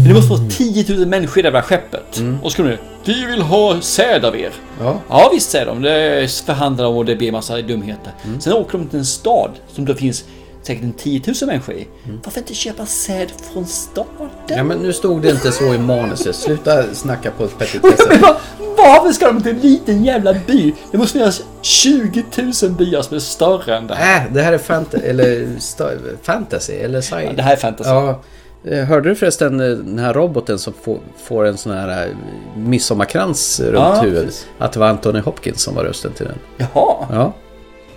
Speaker 2: det måste vara 10 000 människor i det där skeppet. Och så kommer det... Vi vill ha säd av er.
Speaker 1: Mm. Ja.
Speaker 2: Ja visst säger de. Det förhandlar de och det blir massa dumheter.
Speaker 1: Mm.
Speaker 2: Sen åker de till en stad som det finns säkert en 10 000 människor i.
Speaker 1: Mm.
Speaker 2: Varför inte köpa säd från staden?
Speaker 1: Ja men nu stod det inte så i manuset. Sluta snacka på
Speaker 2: Jag
Speaker 1: petitesser.
Speaker 2: menar, Varför ska de till en liten jävla by? Det måste finnas 20 000 byar som är större än det här.
Speaker 1: Äh, det här är fant- eller sta- fantasy eller sci-
Speaker 2: Det här är fantasy.
Speaker 1: Ja. Eh, Hörde du förresten eh, den här roboten som får, får en sån här eh, midsommarkrans runt
Speaker 2: Ja,
Speaker 1: huvudet?
Speaker 2: precis.
Speaker 1: Att det var Anthony Hopkins som var rösten till den.
Speaker 2: Jaha.
Speaker 1: Ja.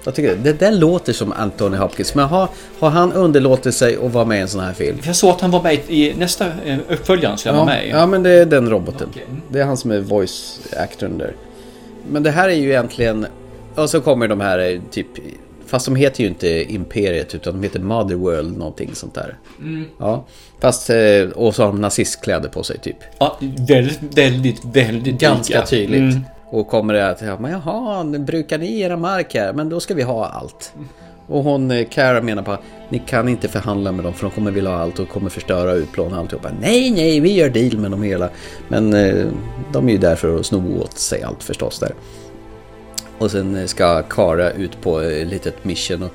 Speaker 1: Jag tycker det, det låter som Anthony Hopkins. Men har, har han underlåtit sig att vara med i en sån här film?
Speaker 2: Jag såg att han var med i nästa eh, uppföljaren som jag var
Speaker 1: Ja,
Speaker 2: med i.
Speaker 1: ja men det är den roboten.
Speaker 2: Okej.
Speaker 1: Det är han som är voice actorn där. Men det här är ju egentligen... Och så kommer de här eh, typ... Fast de heter ju inte Imperiet utan de heter Motherworld någonting sånt där. Ja. Fast... eh, Och så har de nazistkläder på sig typ.
Speaker 2: Ja, väldigt, väldigt, väldigt
Speaker 1: Ganska
Speaker 2: lika.
Speaker 1: tydligt.
Speaker 2: Mm.
Speaker 1: Och kommer det att, ja, men jaha, brukar ni era mark här? Men då ska vi ha allt. Och hon, eh, Cara menar på, ni kan inte förhandla med dem för de kommer vilja ha allt och kommer förstöra och utplåna alltihopa. Nej, nej, vi gör deal med dem hela. Men eh, de är ju där för att sno åt sig allt förstås där. Och sen eh, ska Kara ut på eh, ett litet mission och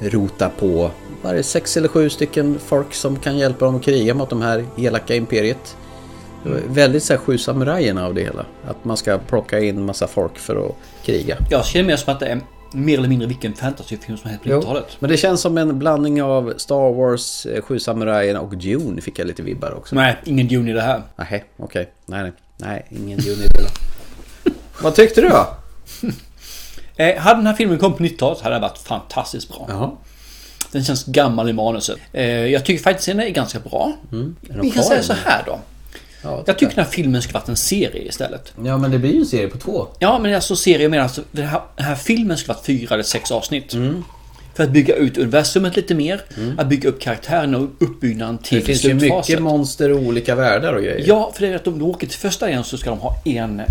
Speaker 1: rota på var det sex eller sju stycken folk som kan hjälpa dem att kriga mot de här elaka imperiet. Det var väldigt så här sju samurajerna av det hela. Att man ska plocka in massa folk för att kriga.
Speaker 2: Jag känner mer som att det är mer eller mindre vilken fantasyfilm som helst på 90-talet.
Speaker 1: Men det känns som en blandning av Star Wars, eh, Sju samurajerna och Dune fick jag lite vibbar också.
Speaker 2: Nej, ingen Dune i det här.
Speaker 1: Nej, okej. Nej, nej. Nej, ingen Dune i det. Vad tyckte du då?
Speaker 2: Eh, hade den här filmen kommit på 90-talet hade den varit fantastiskt bra.
Speaker 1: Jaha.
Speaker 2: Den känns gammal i manuset. Eh, jag tycker faktiskt den är ganska bra. Vi kan
Speaker 1: kvar
Speaker 2: säga
Speaker 1: Mm. den?
Speaker 2: så här då.
Speaker 1: Ja,
Speaker 2: Jag tycker den här filmen skulle varit en serie istället.
Speaker 1: Ja, men det blir ju en serie på två.
Speaker 2: Ja, men alltså serie, jag menar alltså, den, här, den här filmen skulle varit fyra eller sex avsnitt.
Speaker 1: Mm.
Speaker 2: För att bygga ut universumet lite mer, att bygga upp karaktärerna och uppbyggnaden till
Speaker 1: Det finns ju
Speaker 2: slutfaset.
Speaker 1: mycket monster och olika världar och grejer.
Speaker 2: Ja, för det är att om de åker till första igen så ska de ha en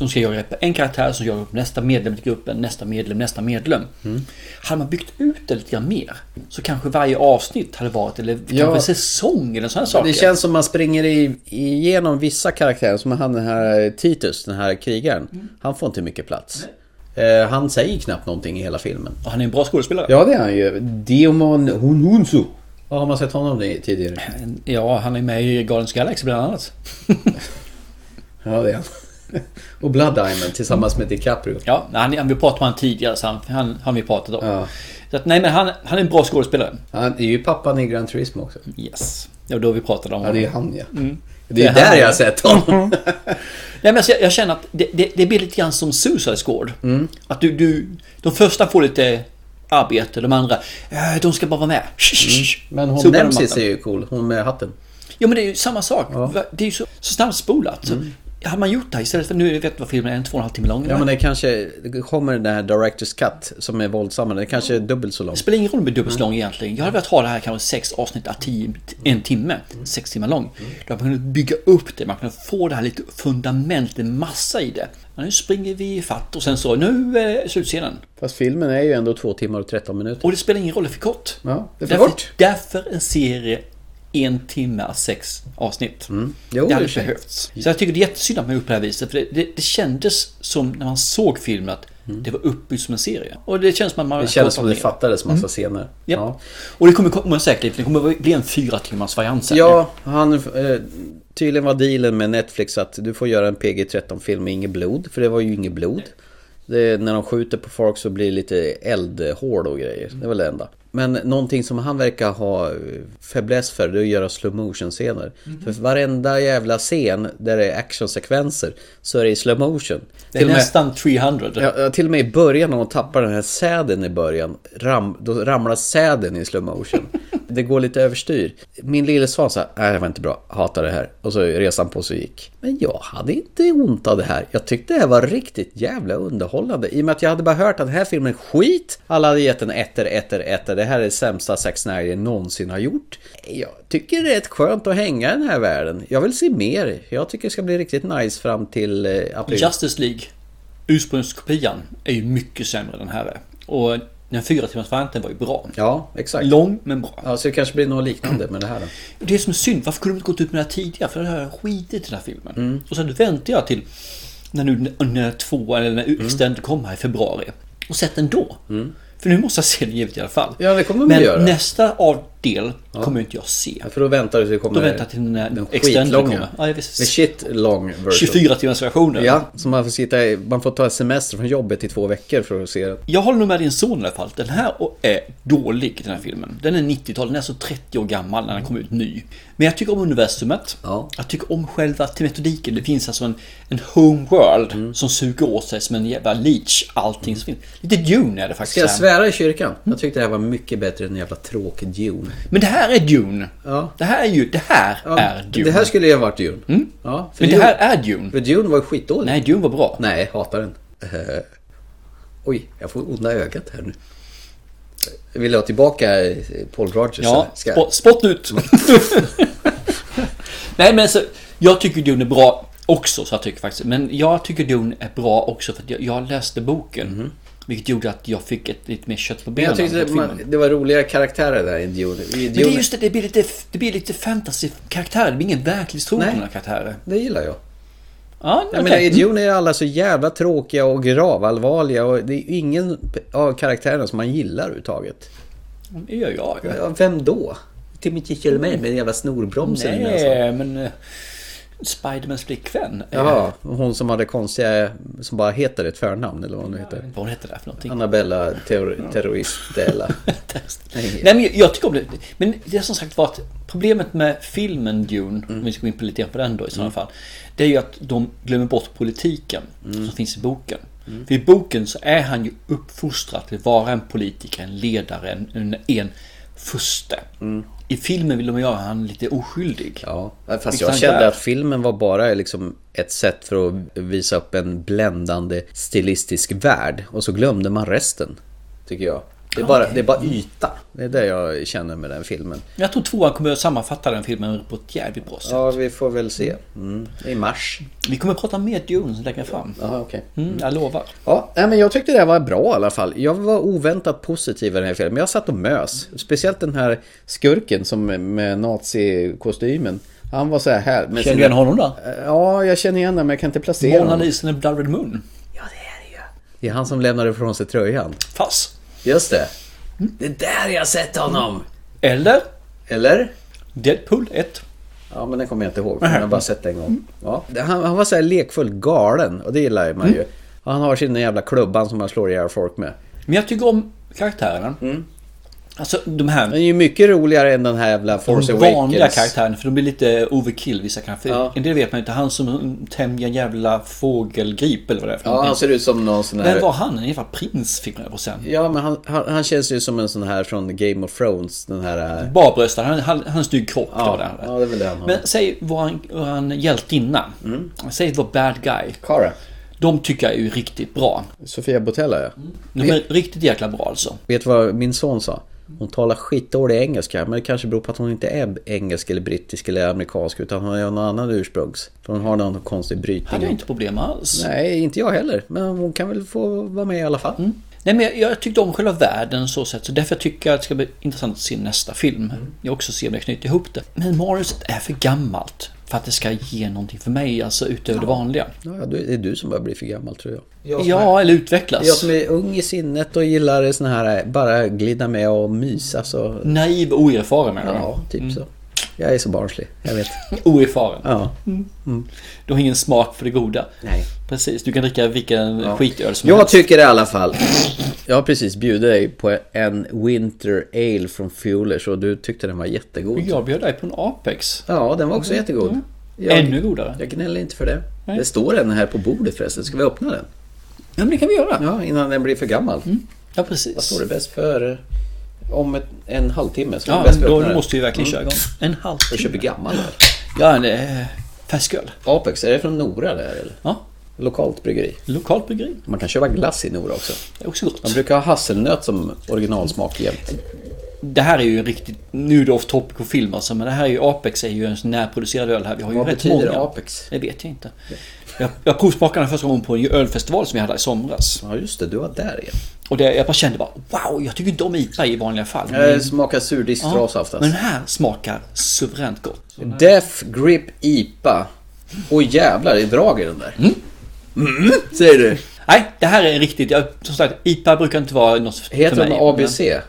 Speaker 2: De ska jaga upp en karaktär som jagar upp nästa medlem i gruppen, nästa medlem, nästa medlem. Mm. Hade man byggt ut det lite grann mer så kanske varje avsnitt hade varit, eller kanske
Speaker 1: Ja.
Speaker 2: en säsong eller sådana saker.
Speaker 1: Det känns som man springer i, igenom vissa karaktärer. Som han den här Titus, den här krigaren. Han får inte mycket plats. Eh, han säger knappt någonting i hela filmen.
Speaker 2: Och han är en bra skådespelare.
Speaker 1: Ja det är han ju. Diomon Honunsu. Vad har man sett honom i tidigare?
Speaker 2: Ja, han är med i Guardians of the Galaxy bland annat.
Speaker 1: Ja det är han. Och Blood Diamond tillsammans med DiCaprio.
Speaker 2: Ja, han, han, vi pratade om han tidigare, så han, han har vi pratat om. Så att, nej, men han, han är en bra skådespelare.
Speaker 1: Han är ju pappan i Gran Turismo också.
Speaker 2: Yes. Det var då vi pratade om
Speaker 1: Ja det är ju
Speaker 2: honom.
Speaker 1: han ja.
Speaker 2: Det
Speaker 1: Det
Speaker 2: är
Speaker 1: är där
Speaker 2: han.
Speaker 1: jag har sett honom.
Speaker 2: Nej, men alltså, jag, jag känner att det, det, det blir lite grann som Suicide Squad.
Speaker 1: Mm.
Speaker 2: Att du, du, de första får lite arbete, de andra, eh, de ska bara vara med.
Speaker 1: Mm. Men hon
Speaker 2: Sopa den
Speaker 1: Nemesis
Speaker 2: mattan.
Speaker 1: är ju cool. Hon med hatten.
Speaker 2: Ja, men det är ju samma sak. Det är ju så, så snabbspolat. Så Hade man gjort det här istället för, nu vet jag vad filmen är, en två och en halv timme lång.
Speaker 1: Mm. Ja men det kanske det kommer den här Directors Cut som är våldsammare. Det kanske är dubbelt så lång.
Speaker 2: Det spelar ingen roll om det är dubbelt
Speaker 1: Mm.
Speaker 2: så lång egentligen. Jag hade velat ha det här kanske sex avsnitt, à tio, en timme, sex timmar lång.
Speaker 1: Mm.
Speaker 2: Då hade man kunnat bygga upp det, man kunde få det här lite fundament, en massa i det. Men nu springer vi i fatt och sen så, nu är slutscenen.
Speaker 1: Fast filmen är ju ändå två timmar och 13 minuter.
Speaker 2: Och det spelar ingen roll, det är för kort.
Speaker 1: Ja, det är för
Speaker 2: därför,
Speaker 1: kort.
Speaker 2: Därför en serie en timme, à sex avsnitt.
Speaker 1: Mm. Jo,
Speaker 2: det hade
Speaker 1: i och för sig.
Speaker 2: behövts. Så jag tycker det är jättesynd att man gjort på det här viset. För det, det, det kändes som när man såg filmen att det var uppbyggt som en serie. Och det känns som att man...
Speaker 1: Mm. Det kändes som det fattades massa scener.
Speaker 2: Mm. Japp.
Speaker 1: Ja.
Speaker 2: Och det kommer komma säkert, det kommer bli en fyra timmars variant sen.
Speaker 1: Ja, han, eh, tydligen var dealen med Netflix att du får göra en PG-13-film med inget blod, för det var ju inget blod. Det, när de skjuter på folk så blir det lite eldhål och grejer, det var det enda. Men någonting som han verkar ha eh, fäbless för, det är att göra slow motion scener
Speaker 2: Mhm.
Speaker 1: För varenda jävla scen där det är actionsekvenser så är det i slow motion.
Speaker 2: det är
Speaker 1: Till och med-
Speaker 2: nästan 300.
Speaker 1: Ja, ja, till och med i början när hon tappar den här säden i början, ram, då ramlar säden i slow motion. Det går lite överstyr. Min lille son sa, nej det var inte bra, hatar det här. Och så resan på sig gick. Men jag hade inte ont av det här. Jag tyckte det här var riktigt jävla underhållande. I och med att jag hade bara hört att den här filmen är skit. Alla hade gett den ettor, ettor, ettor. Det här är det sämsta Zack Snyder någonsin har gjort. Jag tycker det är rätt skönt att hänga i den här världen. Jag vill se mer. Jag tycker det ska bli riktigt nice fram till eh, april.
Speaker 2: Justice League, ursprungskopian, är ju mycket sämre än den här är. Och den fyra timmars varianten var ju bra.
Speaker 1: Ja, exakt.
Speaker 2: Lång men bra.
Speaker 1: Ja, så det kanske blir något liknande med det här då.
Speaker 2: Det är som är synd, varför kunde de inte gått ut med det här tidigare? För det här skitit i den här filmen.
Speaker 1: Mm.
Speaker 2: Och sen väntar jag till när nu när två eller när
Speaker 1: Mm.
Speaker 2: Extended kommer här i februari. Och sett den då. För nu måste jag se den givet i alla fall.
Speaker 1: Ja, det kommer vi
Speaker 2: Men
Speaker 1: göra.
Speaker 2: nästa av del kommer ju inte jag se.
Speaker 1: För då väntar du tills det kommer...
Speaker 2: Då väntar jag till den, här
Speaker 1: den
Speaker 2: Extended
Speaker 1: skitlånga.
Speaker 2: kommer. Ja, jag visst.
Speaker 1: The shit long version.
Speaker 2: 24 timmars versionen.
Speaker 1: Ja, så man får sitta i, Man får ta ett semester från jobbet i två veckor för att se det.
Speaker 2: Jag håller nog med din son i alla fall. Den här är dålig, den här filmen. Den är 90-tal, den är så 30 år gammal när den kom ut ny. Men jag tycker om universumet.
Speaker 1: Ja.
Speaker 2: Jag tycker om själva metodiken. Det finns alltså en, en home world
Speaker 1: Mm.
Speaker 2: som suger åt sig som en jävla leech. Allting som finns. Lite Dune är det
Speaker 1: Ska
Speaker 2: faktiskt.
Speaker 1: jag
Speaker 2: här.
Speaker 1: svära i kyrkan? Jag tyckte det här var mycket bättre än en jävla tråkig Dune.
Speaker 2: Men det här är Dune.
Speaker 1: Ja.
Speaker 2: Det här är ju, det här är Dune.
Speaker 1: Det här skulle ju ha varit Dune. Ja, för
Speaker 2: Men det
Speaker 1: Dune,
Speaker 2: här är Dune.
Speaker 1: För Dune var ju skitdålig.
Speaker 2: Nej, Dune var bra.
Speaker 1: Nej, hatar den. Eh, oj, jag får onda ögat här nu. Vill du ha tillbaka eh, Paul Rogers?
Speaker 2: Ja,
Speaker 1: eller? Ska- Mm.
Speaker 2: spott, spott ut. Nej men alltså, jag tycker Dune är bra också. Så jag tycker faktiskt. Men jag tycker Dune är bra också för att jag, jag läste boken. Vilket gjorde att jag fick ett lite mer kött på
Speaker 1: Mhm. Men
Speaker 2: benen.
Speaker 1: jag tyckte
Speaker 2: mot
Speaker 1: det, man,
Speaker 2: filmen.
Speaker 1: det var roligare karaktärer där i Dune. I
Speaker 2: men det är
Speaker 1: Dune
Speaker 2: just det, det blir lite, det blir lite fantasy-karaktärer. Det blir ingen verklighetstrogen
Speaker 1: Nej.
Speaker 2: några karaktärer.
Speaker 1: det gillar jag.
Speaker 2: Ja,
Speaker 1: Jag
Speaker 2: okej.
Speaker 1: menar, I Dune är alla så jävla tråkiga och gravallvarliga och det är ju ingen av karaktärerna som man gillar överhuvudtaget.
Speaker 2: Mm, det gör jag.
Speaker 1: Ja, Vem då? Timothy Chalamet med en jävla snorbromsen i näsan.
Speaker 2: Nej, men... eh, Spidermans flickvän. eh,
Speaker 1: Jaha, och hon som hade konstiga, som bara heter ett förnamn eller vad hon nu heter.
Speaker 2: Eh, Vad hette det där för någonting?
Speaker 1: Annabella Terror- Terroristella.
Speaker 2: Nej, men jag, jag tycker om det. Men det är som sagt var att problemet med filmen Dune,
Speaker 1: Mm.
Speaker 2: om vi ska gå in på lite grann på den då i sådana fall. Det är ju att de glömmer bort politiken
Speaker 1: Mm.
Speaker 2: som finns i boken. För i boken så är han ju uppfostrad till att vara en politiker, en ledare, en, en, en furste. I filmen vill de göra han lite oskyldig.
Speaker 1: Mm. Ja, Liksom fast
Speaker 2: Vilket han
Speaker 1: jag kände
Speaker 2: gör.
Speaker 1: att filmen var bara liksom ett sätt för att visa upp en bländande stilistisk värld och så glömde man resten, tycker jag. Det är, bara, det är bara yta. Det är det jag känner med den filmen.
Speaker 2: Jag tror tvåan kommer att sammanfatta den filmen på ett jävligt bra sätt.
Speaker 1: Ja, vi får väl se. Mm. I mars.
Speaker 2: Vi kommer att prata mer Dune längre fram.
Speaker 1: Aha, okay.
Speaker 2: Mm, jag lovar.
Speaker 1: Ja, nej, men jag tyckte det var bra i alla fall. Jag var oväntat positiv i den här filmen. Jag satt och mös. Speciellt den här skurken som med nazikostymen. Han var så här... här
Speaker 2: känner sina... du igen honom då?
Speaker 1: Ja, jag känner igen honom men jag kan inte placera
Speaker 2: Mona
Speaker 1: honom.
Speaker 2: Mona Lisa Blood Red Moon.
Speaker 1: Ja, det är det ju. Det är han som lämnade ifrån sig tröjan.
Speaker 2: Fast.
Speaker 1: Just det. Det är där jag har sett honom.
Speaker 2: Eller?
Speaker 1: Eller?
Speaker 2: Deadpool 1.
Speaker 1: Ja, men den kommer jag inte ihåg. Jag har bara sett den en gång. Ja. Han, han var så här lekfullt galen och det gillar man ju. Mm. Han har sin jävla klubban som han slår ihjäl folk med.
Speaker 2: Men jag tycker om karaktärerna. Mm. Alltså de här...
Speaker 1: Den är ju mycket roligare än den här jävla Force
Speaker 2: Awakens. De vanliga karaktärerna, för de blir lite overkill vissa kanske. Ja. En del vet man inte. Han som tämjer en jävla fågelgrip eller vad det är för
Speaker 1: Ja, någonting. han ser ut som någon sån här...
Speaker 2: Vem var han? En jävla prins fick man på sen.
Speaker 1: Ja, men han, han, han, känns ju som en sån här från Game of Thrones. Den här... eh,
Speaker 2: Barbröstad. Han, han, han snygg kropp. Ja,
Speaker 1: det, ja, det är väl det han har.
Speaker 2: Men säg vad han, han hjältinna. Mm. Säg vad bad guy.
Speaker 1: Kara.
Speaker 2: De tycker jag är ju riktigt bra.
Speaker 1: Sofia Botella ja.
Speaker 2: De är vet, riktigt jäkla bra alltså.
Speaker 1: Vet du vad min son sa? Hon talar skitdålig engelska men det kanske beror på att hon inte är engelsk eller brittisk eller amerikansk utan hon är någon annan ursprungs. För hon har någon konstig brytning.
Speaker 2: Hade inte problem alls.
Speaker 1: Nej, inte jag heller. Men hon kan väl få vara med i alla fall. Mm.
Speaker 2: Nej men jag, jag, tyckte om själva världen så sätt så därför tycker jag att det ska bli intressant att se nästa film. Mm. Jag också se om jag knyter ihop det. Men Mariuset är för gammalt för att det ska ge någonting för mig, alltså utöver det vanliga.
Speaker 1: Ja, det är du som börjar bli för gammal tror jag.
Speaker 2: jag ja, är, eller utvecklas.
Speaker 1: Jag som är ung i sinnet och gillar såna här, eh, bara glida med och mysa. Så...
Speaker 2: Naiv och oerfaren menar
Speaker 1: du? Ja, typ mm. så. Jag är så barnslig, jag vet.
Speaker 2: oerfaren?
Speaker 1: Ja.
Speaker 2: Mm. Du har ingen smak för det goda.
Speaker 1: Nej.
Speaker 2: Precis, du kan dricka vilken ja. skitöl som
Speaker 1: Jag helst. tycker i alla fall. Jag har precis bjudit dig på en Winter Ale från Fuelers och du tyckte den var jättegod.
Speaker 2: Jag bjöd dig på en Apex.
Speaker 1: Ja, den var också mm. jättegod. Mm.
Speaker 2: Jag, Ännu godare.
Speaker 1: Jag gnäller inte för det. Nej. Det står en här på bordet förresten. Ska vi öppna den?
Speaker 2: Ja, men det kan vi göra.
Speaker 1: Ja, innan den blir för gammal. Mm.
Speaker 2: Ja, precis.
Speaker 1: Vad står det bäst för? Om ett, en halvtimme så
Speaker 2: ja,
Speaker 1: bäst Mm.
Speaker 2: då måste vi verkligen köra igång. En halvtimme.
Speaker 1: Jag köper gammal här.
Speaker 2: Ja, en äh, färsköl.
Speaker 1: Apex, är det från Nora där eller?
Speaker 2: Ja.
Speaker 1: Lokalt bryggeri.
Speaker 2: Lokalt bryggeri.
Speaker 1: Man kan köpa glass i Nora också.
Speaker 2: Det är också gott.
Speaker 1: Man brukar ha hasselnöt som originalsmak jämt.
Speaker 2: Det här är ju riktigt, nu är det off topic och film alltså, men det här är ju Apex är ju en närproducerad öl här. Vi har ju
Speaker 1: Vad
Speaker 2: rätt många.
Speaker 1: Vad Apex?
Speaker 2: Det vet jag inte. Jag, jag provsmakade den första gången på en ölfestival som jag hade i somras.
Speaker 1: Ja just det, du var där igen.
Speaker 2: Och det, jag bara kände bara wow, jag tycker inte om IPA i vanliga fall.
Speaker 1: Men... Det smakar surdegsdras ja, Eh, oftast.
Speaker 2: Men den här smakar suveränt gott.
Speaker 1: Death Grip IPA. Åh oh, jävlar, det är drag i den där.
Speaker 2: Mm.
Speaker 1: Mm, säger du.
Speaker 2: Nej, det här är riktigt. Jag, som sagt, IPA brukar inte vara något
Speaker 1: heter
Speaker 2: för mig.
Speaker 1: Heter de ABC?
Speaker 2: Men...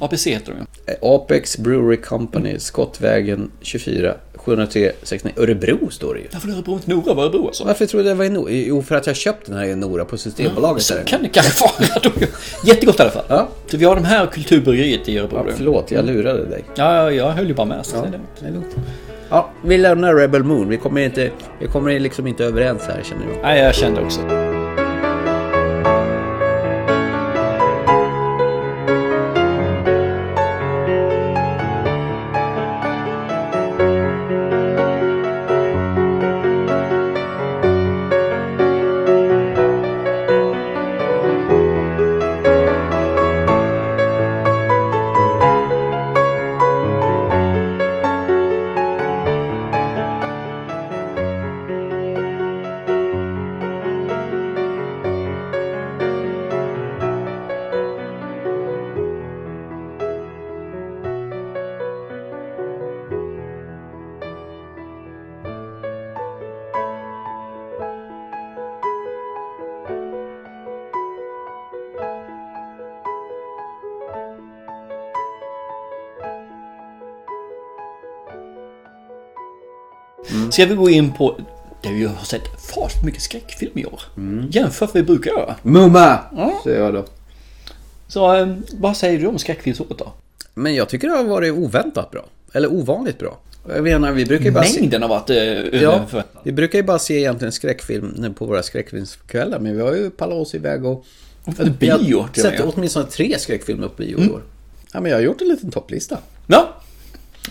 Speaker 2: ABC heter de
Speaker 1: ju. Eh, Apex Brewery Company, Skottvägen 24, 703 69. Örebro står det ju.
Speaker 2: Varför Örebro inte Nora var Örebro alltså?
Speaker 1: Varför trodde jag det var i Nora? Jo, för att jag köpte den här i Nora på Systembolaget.
Speaker 2: så kan det kanske vara. Jättegott i alla fall.
Speaker 1: Ja.
Speaker 2: Så vi har de här kulturbryggeriet i Örebro.
Speaker 1: Ja, förlåt, jag lurade dig.
Speaker 2: Ja, jag höll ju bara med. Så
Speaker 1: ja, det är lugnt. Ja, vi lämnar Rebel Moon. Vi kommer, inte, vi kommer liksom inte överens här känner jag.
Speaker 2: Nej, jag kände också. Ska vi gå in på det vi har sett fast mycket skräckfilm i år. Mm. Jämfört med vi brukar göra.
Speaker 1: Mumma! Ja. Säger jag då.
Speaker 2: Så ehm, vad säger du om skräckfilmsåret då?
Speaker 1: Men jag tycker det har varit oväntat bra. Eller ovanligt bra. Jag menar, vi brukar ju bara
Speaker 2: Mängden
Speaker 1: se...
Speaker 2: har varit eh,
Speaker 1: ja, Vi brukar ju bara se egentligen skräckfilm eh, på våra skräckfilmskvällar. Men vi har ju pallat oss iväg och...
Speaker 2: och bio
Speaker 1: till sett åtminstone tre skräckfilmer på bio mm. år. Ja, men jag har gjort en liten topplista.
Speaker 2: Ja,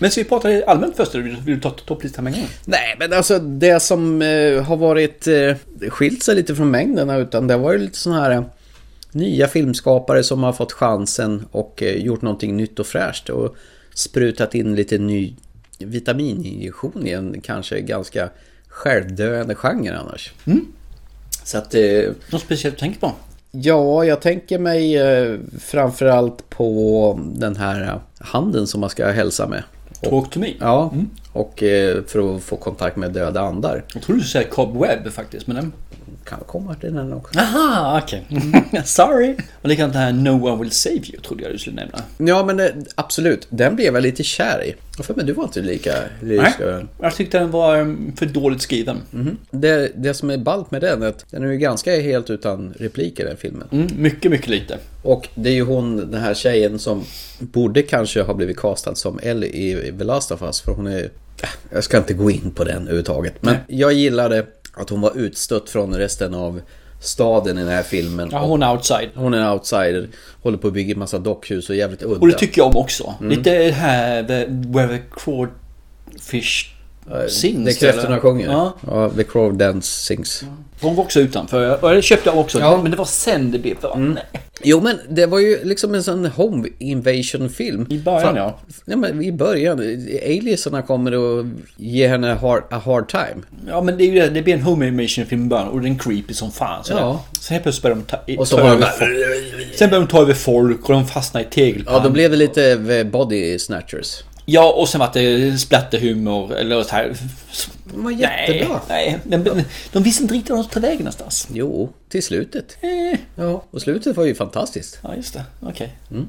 Speaker 2: men ska vi prata allmänt först eller vill du ta topplistan med en gång?
Speaker 1: Nej, men alltså det som eh, har varit eh, skilt sig lite från mängden utan det var ju lite sådana här nya filmskapare som har fått chansen och eh, gjort någonting nytt och fräscht och sprutat in lite ny vitamininjektion i en kanske ganska självdöende genre annars.
Speaker 2: Mm. Så att... Eh, Något speciellt du tänker på?
Speaker 1: Ja, jag tänker mig eh, framförallt på den här eh, handen som man ska hälsa med.
Speaker 2: Talk to me.
Speaker 1: Ja, mm. och eh, för att få kontakt med döda andar.
Speaker 2: Jag tror du skulle säga Cobweb faktiskt, men den...
Speaker 1: Kan komma till den också.
Speaker 2: Aha, okej. Okay. Mm. Sorry. Och likadant det här No one will save you, trodde jag du skulle nämna.
Speaker 1: Ja, men eh, absolut. Den blev jag lite kär i. För, men du var inte lika lyrisk
Speaker 2: Nej, jag tyckte den var ehm, för dåligt skriven.
Speaker 1: Mm. Det, det som är ballt med den är att den är ju ganska helt utan repliker den filmen.
Speaker 2: Mm, mycket, mycket lite.
Speaker 1: Och det är ju hon, den här tjejen som borde kanske ha blivit castad som Ellie i The Last of Us. För hon är äh, Jag ska inte gå in på den överhuvudtaget. Men Nej. jag gillade att hon var utstött från resten av staden i den här filmen.
Speaker 2: Ja, hon är outsider.
Speaker 1: Hon är outsider. Håller på att bygga massa dockhus och jävligt udda.
Speaker 2: Och det tycker jag om också. Mm. Lite det här the, where the crawfish sings.
Speaker 1: Det kräftorna eller? sjunger. Ja. ja, the crow dance sings.
Speaker 2: Hon var också utanför. Och det köpte jag också. Ja. Men det var sen det blev för mm.
Speaker 1: Jo men det var ju liksom en sån home invasion film.
Speaker 2: I början Fan, ja.
Speaker 1: ja men I början. Aliasarna kommer och ger henne hard, a hard time.
Speaker 2: Ja men det, är ju, det blir en home invasion film i början och den är creepy som fan. Så ja. Sen helt plötsligt börjar de ta,
Speaker 1: och så ta över
Speaker 2: folk. Sen börjar de ta över folk och de fastnar i tegelpann.
Speaker 1: Ja då blev det lite eh, body snatchers.
Speaker 2: Ja, och sen var det splatterhumor eller så här.
Speaker 1: De var jättebra.
Speaker 2: Nej, nej. De, de visste inte riktigt vart de skulle ta vägen någonstans.
Speaker 1: Jo, till slutet. Eh. Ja, och slutet var ju fantastiskt.
Speaker 2: Ja, just det. Okej. Okay. Mm.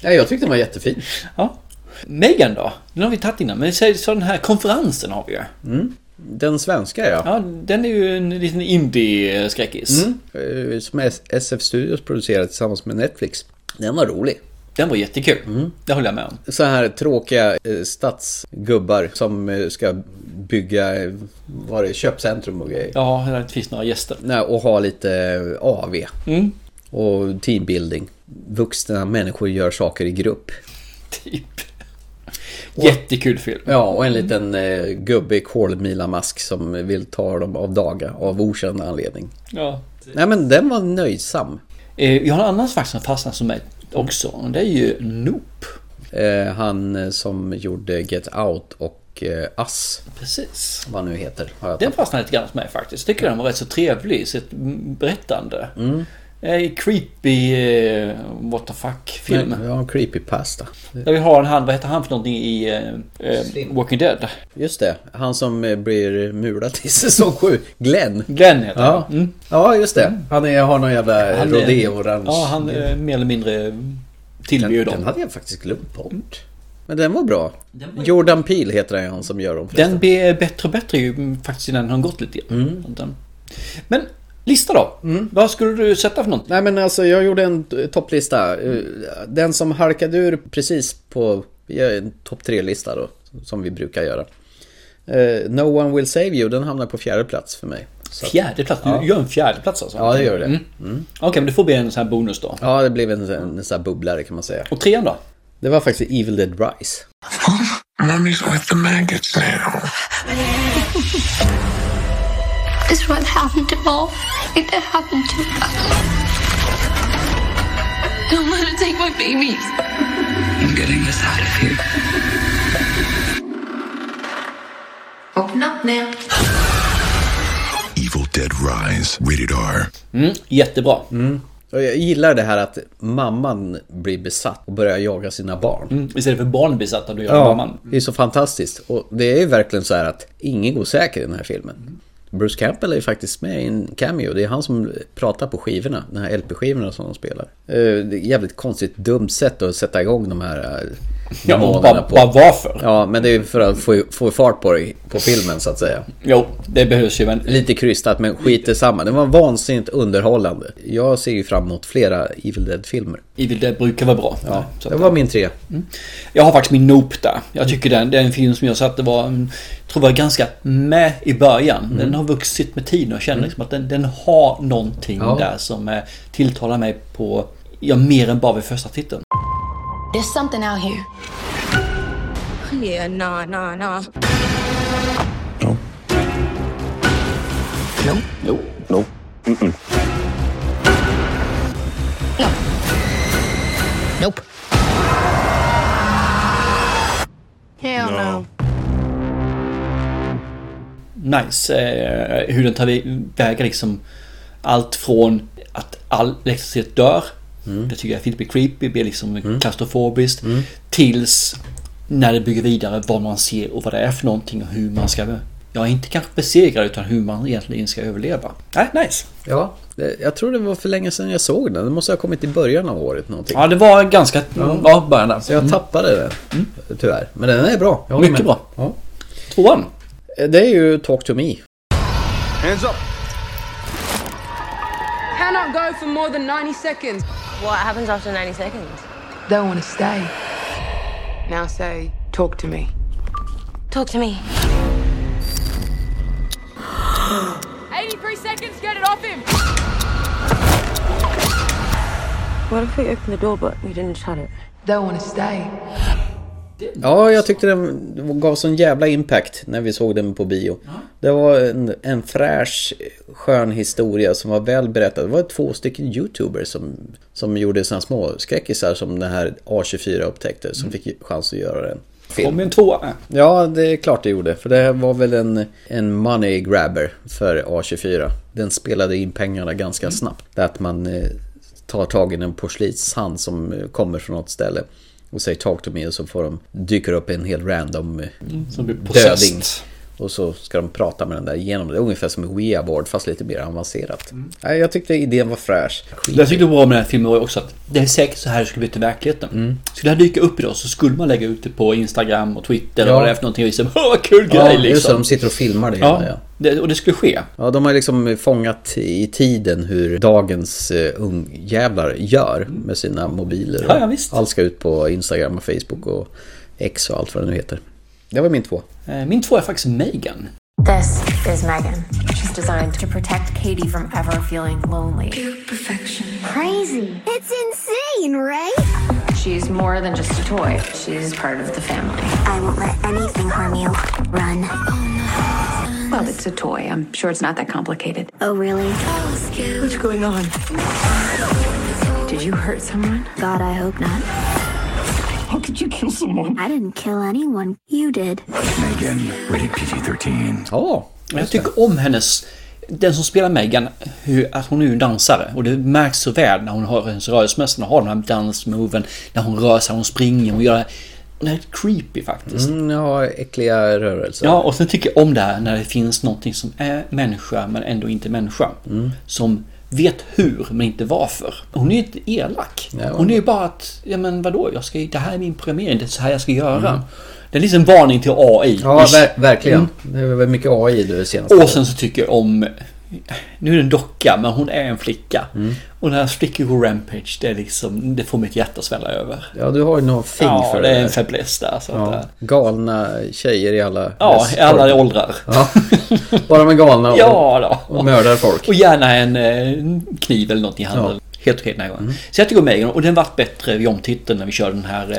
Speaker 1: ja, jag tyckte den var jättefin.
Speaker 2: Ja. Megan då? Den har vi tagit innan, men så, så den här konferensen har vi ju.
Speaker 1: Mm. Den svenska ja.
Speaker 2: ja. Den är ju en liten indie-skräckis.
Speaker 1: Mm. Som SF Studios producerade tillsammans med Netflix. Den var rolig.
Speaker 2: Den var jättekul. Mm. Det håller jag med om.
Speaker 1: Så här tråkiga eh, stadsgubbar som eh, ska bygga vad det, köpcentrum och grejer.
Speaker 2: Ja, där det inte finns några gäster.
Speaker 1: Nej, och ha lite AV.
Speaker 2: Mm.
Speaker 1: Och teambuilding. Vuxna människor gör saker i grupp.
Speaker 2: Typ. Jättekul film.
Speaker 1: Ja, och
Speaker 2: Mm.
Speaker 1: en liten eh, gubbe i kolmilamask som vill ta dem av daga av okänd anledning.
Speaker 2: Ja.
Speaker 1: Nej, men den var nöjsam.
Speaker 2: Eh, jag har en annan faktiskt som fastnat som mig också. Det är ju Nope.
Speaker 1: Eh, han som gjorde Get Out och eh, Us.
Speaker 2: Precis.
Speaker 1: Vad nu heter.
Speaker 2: Den fastnade lite grann hos mig faktiskt. Jag tycker den var rätt så trevlig i sitt berättande. Mm. Eh, creepy eh, what the fuck film.
Speaker 1: Ja, en creepy pasta.
Speaker 2: Där vi har en han, vad heter han för någonting i eh, Walking Dead?
Speaker 1: Just det, han som eh, blir mulad i säsong 7. Glenn.
Speaker 2: Glenn heter
Speaker 1: ja.
Speaker 2: han. Mm.
Speaker 1: Ja, just det. Han är, har någon jävla rodeo-orange.
Speaker 2: Ja, han är mer eller mindre tillbjuden.
Speaker 1: Den, den hade jag faktiskt glömt bort. Men den var bra. Den var Jordan Peele heter han som gör dem.
Speaker 2: Den blir bättre och bättre ju faktiskt innan den har gått lite grann. Mm. Men Lista då? Mm. Vad skulle du sätta för någonting?
Speaker 1: Nej men alltså jag gjorde en topplista. Eh, Den som halkade ur precis på en topp tre-lista då. Som vi brukar göra. Eh, No One Will Save You, den hamnar på fjärde plats för mig.
Speaker 2: Så. Fjärde plats? Du ja. gör en fjärde plats alltså?
Speaker 1: Ja, det gör det. Mm.
Speaker 2: Mm. Okej, okay, men det får bli en sån här bonus då.
Speaker 1: Ja, det blev en, en sån här bubblare kan man säga.
Speaker 2: Och trean då?
Speaker 1: Det var faktiskt Evil Dead Rise.
Speaker 12: Mommy's with the maggots now.
Speaker 13: is what happened to Paul. It happened to us. Don't let it take my babies.
Speaker 12: I'm getting this out of here.
Speaker 13: Open up now.
Speaker 12: Evil Dead Rise, rated R.
Speaker 2: Mm, jättebra.
Speaker 1: Mm. Och jag gillar det här att mamman blir besatt och börjar jaga sina barn.
Speaker 2: Mm, istället för barn besatta, då jagar ja, mamman. Mm.
Speaker 1: det är så fantastiskt. Och det är verkligen så här att ingen går säker i den här
Speaker 2: Mm.
Speaker 1: filmen. Bruce Campbell är faktiskt med i en cameo. Det är han som pratar på skivorna, de här LP-skivorna som de spelar. Eh, Det är jävligt konstigt dumt sätt att sätta igång de här eh,
Speaker 2: Ja, och bara, på. bara varför?
Speaker 1: Ja, men det är för att få, få fart på, det, på filmen så att säga.
Speaker 2: Jo, det behövs ju. Men...
Speaker 1: Lite krystat, men skit i samma. Det var vansinnigt underhållande. Jag ser ju fram emot flera Evil Dead-filmer.
Speaker 2: Evil Dead brukar vara bra.
Speaker 1: Ja, så det var min tre. Mm.
Speaker 2: Jag har faktiskt min Nope där. Jag tycker den, den film som jag satt det var, jag tror var ganska med i början. Den mm. har vuxit med tiden och känner mm. liksom att den, den har någonting ja. där som eh, tilltalar mig på, ja, mer än bara vid första titeln.
Speaker 14: There's something out here.
Speaker 15: Yeah, nah, nah, nah.
Speaker 8: No.
Speaker 15: No.
Speaker 8: No. No. Mm-mm.
Speaker 2: nice. Eh, hur den tar vägen liksom. Allt från att all elektricitet dör. Mm. Det tycker jag är lite creepy. Det blir liksom mm. klaustrofobiskt. Mm. Tills när det bygger vidare vad man ser och vad det är för någonting och hur man ska... Ja, inte kanske besegra utan hur man egentligen ska överleva. Äh, nice!
Speaker 1: Ja, jag tror det var för länge sedan jag såg den. Det måste ha kommit i början av året någonting.
Speaker 2: Ja, det var ganska... Ja, ja början där.
Speaker 1: Så jag mm. tappade den. Mm. Tyvärr. Men den är bra.
Speaker 2: Mycket med. bra. Ja. Tvåan.
Speaker 1: Det är ju Talk to me.
Speaker 16: Hands up!
Speaker 17: Cannot go for more than 90 seconds.
Speaker 18: What happens after 90 seconds?
Speaker 17: Don't want to stay. Now say, talk to me.
Speaker 18: Talk to me.
Speaker 17: 83 seconds, get it off him!
Speaker 18: What if we open the door but we didn't shut it?
Speaker 17: Don't wanna stay.
Speaker 1: Ja, jag tyckte den gav sån jävla impact när vi såg den på bio. Det var en, en fräsch, skön historia som var väl berättad. Det var två stycken YouTubers som, som gjorde såna små skräckisar som den här A24 upptäckte, som fick chans att göra den.
Speaker 2: Film. Kom en tvåa.
Speaker 1: Ja, det är klart det gjorde. För det var väl en, en money grabber för A24. Den spelade in pengarna ganska mm. snabbt. Det att man eh, tar tag i en porslinshand som eh, kommer från något ställe och säger talk to me och så får de, dyker upp en helt random mm,
Speaker 2: som blir döding.
Speaker 1: Och så ska de prata med den där genom det. Ungefär som Ouija board fast lite mer avancerat. Mm. Ja, jag tyckte idén var fräsch.
Speaker 2: Det jag tyckte bra med den här filmen var också att det är säkert så här det skulle bli till verkligheten. Mm. Skulle det här dyka upp idag så skulle man lägga ut det på Instagram och Twitter ja. och vad det är för någonting. Och liksom, vad kul
Speaker 1: ja,
Speaker 2: grej liksom.
Speaker 1: Just det, de sitter och filmar det.
Speaker 2: Ja. ja. Det, och det skulle ske.
Speaker 1: Ja, de har liksom fångat i tiden hur dagens uh, ungjävlar gör med sina mobiler.
Speaker 2: Ja, ja, visst.
Speaker 1: Allt ska ut på Instagram och Facebook och X och allt vad det nu heter. Det var min två.
Speaker 2: Eh, Min två är faktiskt Megan.
Speaker 19: This is Megan. She's designed to protect Katie from ever feeling lonely.
Speaker 20: Pure perfection.
Speaker 19: Crazy.
Speaker 20: It's insane, right?
Speaker 19: She's more than just a toy. She's part of the family.
Speaker 20: I won't let anything harm you. Run.
Speaker 19: Oh, no. Well, it's a toy. I'm sure it's not that complicated.
Speaker 20: Oh, really?
Speaker 19: What's going on? Did you hurt someone?
Speaker 20: God, I hope not.
Speaker 6: How could you kill someone?
Speaker 20: I didn't kill anyone. You did.
Speaker 12: Megan, rated PG-13.
Speaker 2: Oh, jag tycker om hennes... Den som spelar Megan, hur, att hon är ju en dansare. Och det märks så väl när hon har hennes rörelsemönster, när hon har den här dansmoven, när hon rör sig, hon springer, hon gör... Det är creepy faktiskt.
Speaker 1: Mm, ja, äckliga rörelser.
Speaker 2: Ja, och sen tycker jag om det här när det finns någonting som är människa men ändå inte människa. Mm. Som vet hur men inte varför. Hon är ju inte elak. Nej, hon är ju bara att, ja men vadå, jag ska, det här är min programmering, det är så här jag ska göra. Mm. Det är liksom en varning till AI.
Speaker 1: Ja, ver verkligen. Mm. Det var mycket AI du senast.
Speaker 2: Och sen så tycker jag om, nu är det en docka men hon är en flicka. Mm. Och när flickor går rampage, det, är liksom, det får mitt hjärta svälla över.
Speaker 1: Ja, du har ju någon fing
Speaker 2: ja,
Speaker 1: för
Speaker 2: det. Ja, det är en fäbless där. Så ja.
Speaker 1: Galna tjejer i alla...
Speaker 2: Ja, i alla åldrar. Ja.
Speaker 1: Bara med galna och,
Speaker 2: ja,
Speaker 1: då. och mördar folk.
Speaker 2: Och gärna en, en kniv eller något i handen. Helt okej den här gången. Mm. Så jag tycker om Megan och den vart bättre vid omtiteln när vi körde den här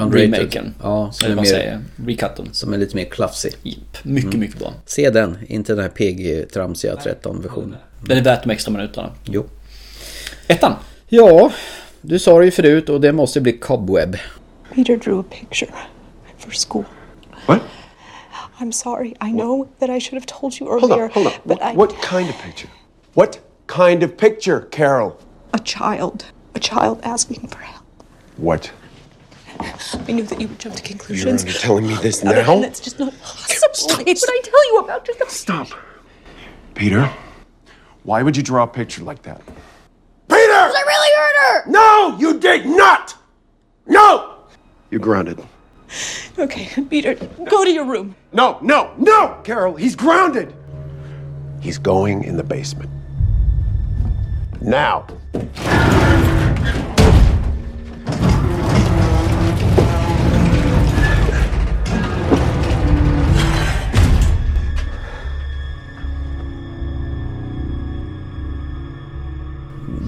Speaker 2: eh, remaken.
Speaker 1: Ja,
Speaker 2: som eller vad man säger, recutten.
Speaker 1: Som är lite mer klafsig.
Speaker 2: Yep. Mycket, mm. mycket bra.
Speaker 1: Se den, inte den här PG-tramsiga 13-versionen.
Speaker 2: Den är värt de extra minuterna.
Speaker 1: Jo.
Speaker 2: Ettan.
Speaker 1: Ja, du sa det ju förut och det måste bli Cobweb.
Speaker 21: Peter drew a picture for school.
Speaker 22: What?
Speaker 21: I'm sorry. I know that I should have told you earlier.
Speaker 22: Hold on, hold on. But what, I... what kind of picture? What kind of picture, Carol?
Speaker 21: A child. A child asking for help.
Speaker 22: What?
Speaker 21: I knew that you would jump to conclusions.
Speaker 22: You're telling me this now?
Speaker 21: And that's just not possible. Stop. It's what I tell you about. Just not...
Speaker 22: Stop. Peter, why would you draw a picture like that?
Speaker 17: I really hurt her!
Speaker 22: No, you did not! No! You're grounded.
Speaker 21: Okay, Peter, go to your room.
Speaker 22: No, no, no! Carol, he's grounded! He's going in the basement. Now.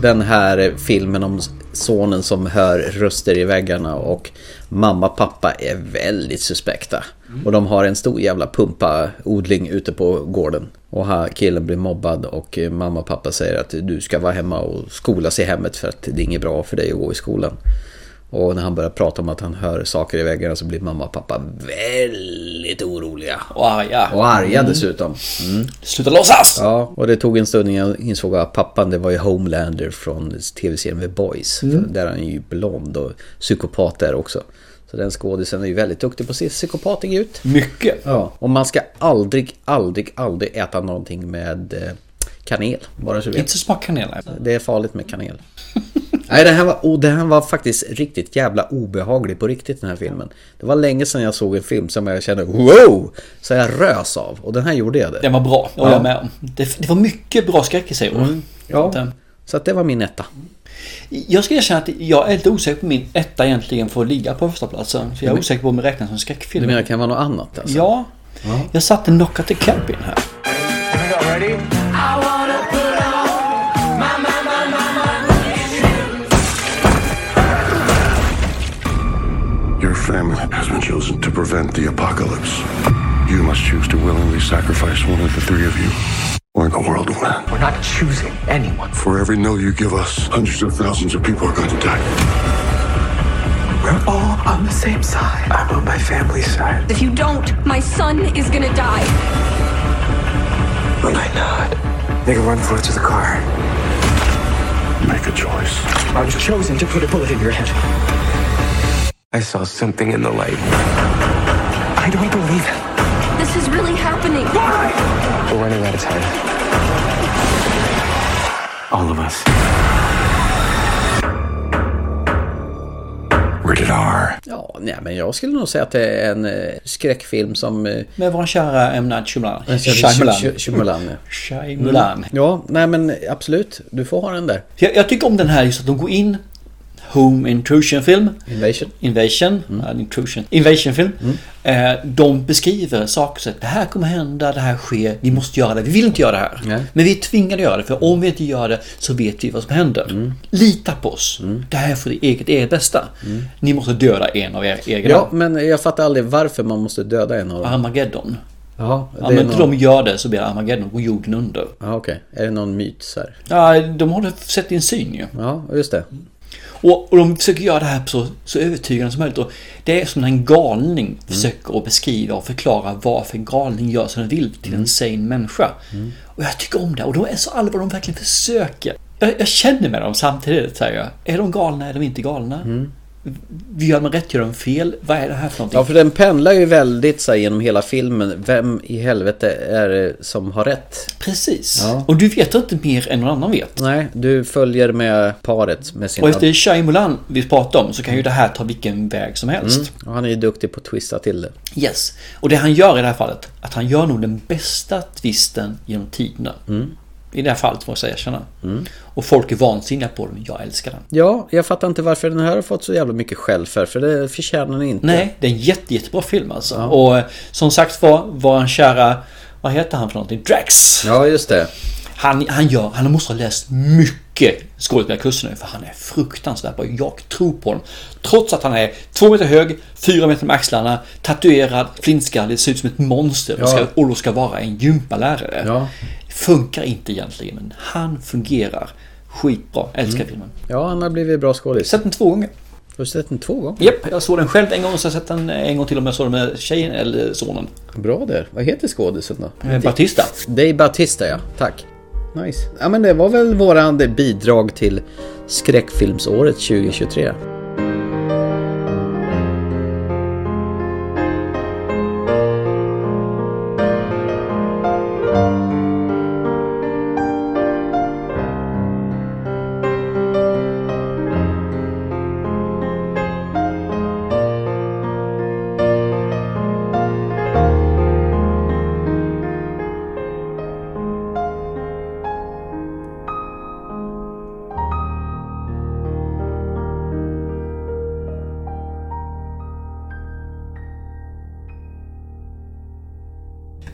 Speaker 1: den här filmen om sonen som hör röster i väggarna och mamma och pappa är väldigt suspekta. Mm. Och de har en stor jävla pumpaodling ute på gården. Och här killen blir mobbad och mamma och pappa säger att du ska vara hemma och skolas i hemmet för att det är inget bra för dig att gå i skolan. Och när han börjar prata om att han hör saker i väggarna så blir mamma och pappa väldigt oroliga.
Speaker 2: Och arga.
Speaker 1: Och arga dessutom. Mm.
Speaker 2: Sluta låtsas!
Speaker 1: Ja, och det tog en stund innan jag insåg att pappan det var ju Homelander från tv-serien The Boys. Mm. Där han är ju blond och psykopat där också. Så den skådisen är ju väldigt duktig på att se psykopatig ut.
Speaker 2: Mycket!
Speaker 1: Ja, och man ska aldrig, aldrig, aldrig äta någonting med eh, kanel. Bara så vet.
Speaker 2: Inte så smak kanel.
Speaker 1: Det är farligt med kanel. Nej, det här, var, oh, det här var faktiskt riktigt jävla obehaglig på riktigt den här filmen. Det var länge sedan jag såg en film som jag kände wow! Så jag rös av. Och den här gjorde jag det.
Speaker 2: Den var bra, jag håller ja. med om. Det, det, var mycket bra skräckisar mm.
Speaker 1: Ja, så att det var min etta.
Speaker 2: Jag ska erkänna att jag är lite osäker på min etta egentligen får ligga på första platsen. För jag är osäker på om det räknas som skräckfilm.
Speaker 1: Du menar det kan vara något annat alltså?
Speaker 2: Ja. ja. Jag satte Knock at the Cabin här.
Speaker 10: Ready?
Speaker 23: Your family has been chosen to prevent the apocalypse. You must choose to willingly sacrifice one of the three of you, or the world will end.
Speaker 16: We're not choosing anyone.
Speaker 23: For every no you give us, hundreds of thousands of people are going to die.
Speaker 16: We're all on the same side.
Speaker 23: I'm on my family's side.
Speaker 24: If you don't, my son is gonna die.
Speaker 16: When I nod, make a run for it to the car.
Speaker 23: Make a choice.
Speaker 16: I've chosen to put a bullet in your head. I saw something in the light. I don't believe it.
Speaker 24: This is really happening.
Speaker 16: Why? We're running out of time. All of us.
Speaker 23: Rated R.
Speaker 1: Ja, nej, men jag skulle nog säga att det är en eh, skräckfilm som... Eh,
Speaker 2: Med vår kära M. Night Shyamalan.
Speaker 1: Shyamalan.
Speaker 2: Shyamalan. Shyamalan.
Speaker 1: Ja, nej men absolut. Du får ha den där.
Speaker 2: Jag, jag tycker om den här just att de går in Home Intrusion film.
Speaker 1: Invasion.
Speaker 2: Invasion. Mm. intrusion. Invasion film. Mm. de beskriver saker som det här kommer hända, det här sker, vi måste göra det. Vi vill inte göra det här. Nej. Men vi är tvingade att göra det för om vi inte gör det så vet vi vad som händer. Mm. Lita på oss. Det här är för eget er bästa. Ni måste döda en av er egna.
Speaker 1: Ja, men jag fattar aldrig varför man måste döda en av dem.
Speaker 2: Armageddon.
Speaker 1: Jaha,
Speaker 2: ja, men inte någon... de gör det så blir Armageddon och jorden under.
Speaker 1: Ja, okej. Okay. Är det någon myt så här?
Speaker 2: Ja, de har sett in syn ju.
Speaker 1: Ja, just det.
Speaker 2: Och, och, de försöker göra det här så, så övertygande som möjligt. Och det är som när en galning mm. försöker att beskriva och förklara varför en galning gör som den vill till mm. en sane människa. Mm. Och jag tycker om det. Och de är så allvarliga, de verkligen försöker. Jag, jag känner med dem samtidigt. Säger jag. Är de galna, är de inte galna? Mm. Gör de rätt, gör de fel? Vad är det här för någonting?
Speaker 1: Ja, för den pendlar ju väldigt så här, genom hela filmen. Vem i helvete är det som har rätt?
Speaker 2: Precis. Ja. Och du vet inte mer än någon annan vet.
Speaker 1: Nej, du följer med paret med sina...
Speaker 2: Och efter Shyamalan vi pratar om så kan ju det här ta vilken väg som helst. Mm.
Speaker 1: Och han är ju duktig på att twista till det.
Speaker 2: Yes. Och det han gör i det här fallet, att han gör nog den bästa twisten genom tiderna. Mm. I det här fallet måste jag erkänna. Mm. Och folk är vansinniga på den. Jag älskar den.
Speaker 1: Ja, jag fattar inte varför den här har fått så jävla mycket skäll för. För det förtjänar den inte.
Speaker 2: Nej, det är en jätte, jättebra film alltså. Ja. Och som sagt var, var en kära... Vad heter han för någonting? Drax!
Speaker 1: Ja, just det.
Speaker 2: Han, han, gör, han måste ha läst mycket skådespelarkurser nu för han är fruktansvärt bra. Jag tror på honom. Trots att han är två meter hög, fyra meter med axlarna, tatuerad, flintskallig, ser ut som ett monster ja. och, ska, och ska vara en gympalärare. Ja. Funkar inte egentligen, men han fungerar skitbra. Älskar mm. filmen.
Speaker 1: Ja, han har blivit bra skådis.
Speaker 2: Sett den två gånger.
Speaker 1: Har du sett den två gånger?
Speaker 2: Japp, jag såg den själv en gång och så har jag sett den en gång till om jag såg den med tjejen eller sonen.
Speaker 1: Bra där. Vad heter skådisen då?
Speaker 2: Eh, Batista.
Speaker 1: Dave Batista ja, tack. Nice. Ja men det var väl våran bidrag till skräckfilmsåret 2023.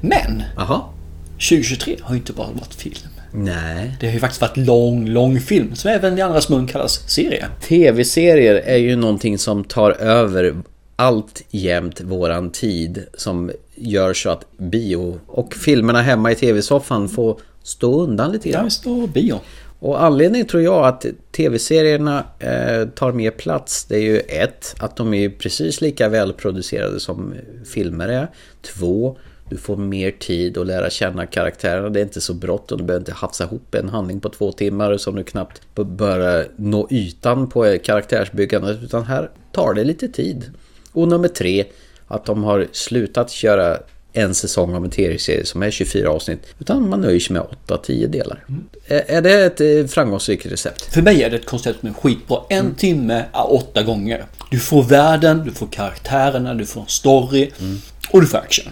Speaker 2: Men
Speaker 1: Aha.
Speaker 2: 2023 har ju inte bara varit film.
Speaker 1: Nej.
Speaker 2: Det har ju faktiskt varit lång, lång film som även i andras mun kallas serie.
Speaker 1: Tv-serier är ju någonting som tar över allt jämt våran tid som gör så att bio och filmerna hemma i tv-soffan får stå undan lite grann.
Speaker 2: Ja, stå bio.
Speaker 1: Och anledningen tror jag att tv-serierna eh, tar mer plats det är ju ett, att de är precis lika välproducerade som filmer är. Två, du får mer tid att lära känna karaktärerna. Det är inte så bråttom, du behöver inte hafsa ihop en handling på två timmar som du knappt börjar nå ytan på karaktärsbyggandet. Utan här tar det lite tid. Och nummer tre, att de har slutat köra en säsong av en tv-serie som är 24 avsnitt. Utan man nöjer sig med 8-10 delar. Mm. Är det ett eh, framgångsrikt recept?
Speaker 2: För mig är det ett koncept som är skitbra. En mm. timme är åtta gånger. Du får världen, du får karaktärerna, du får en story. Mm. Och du får action.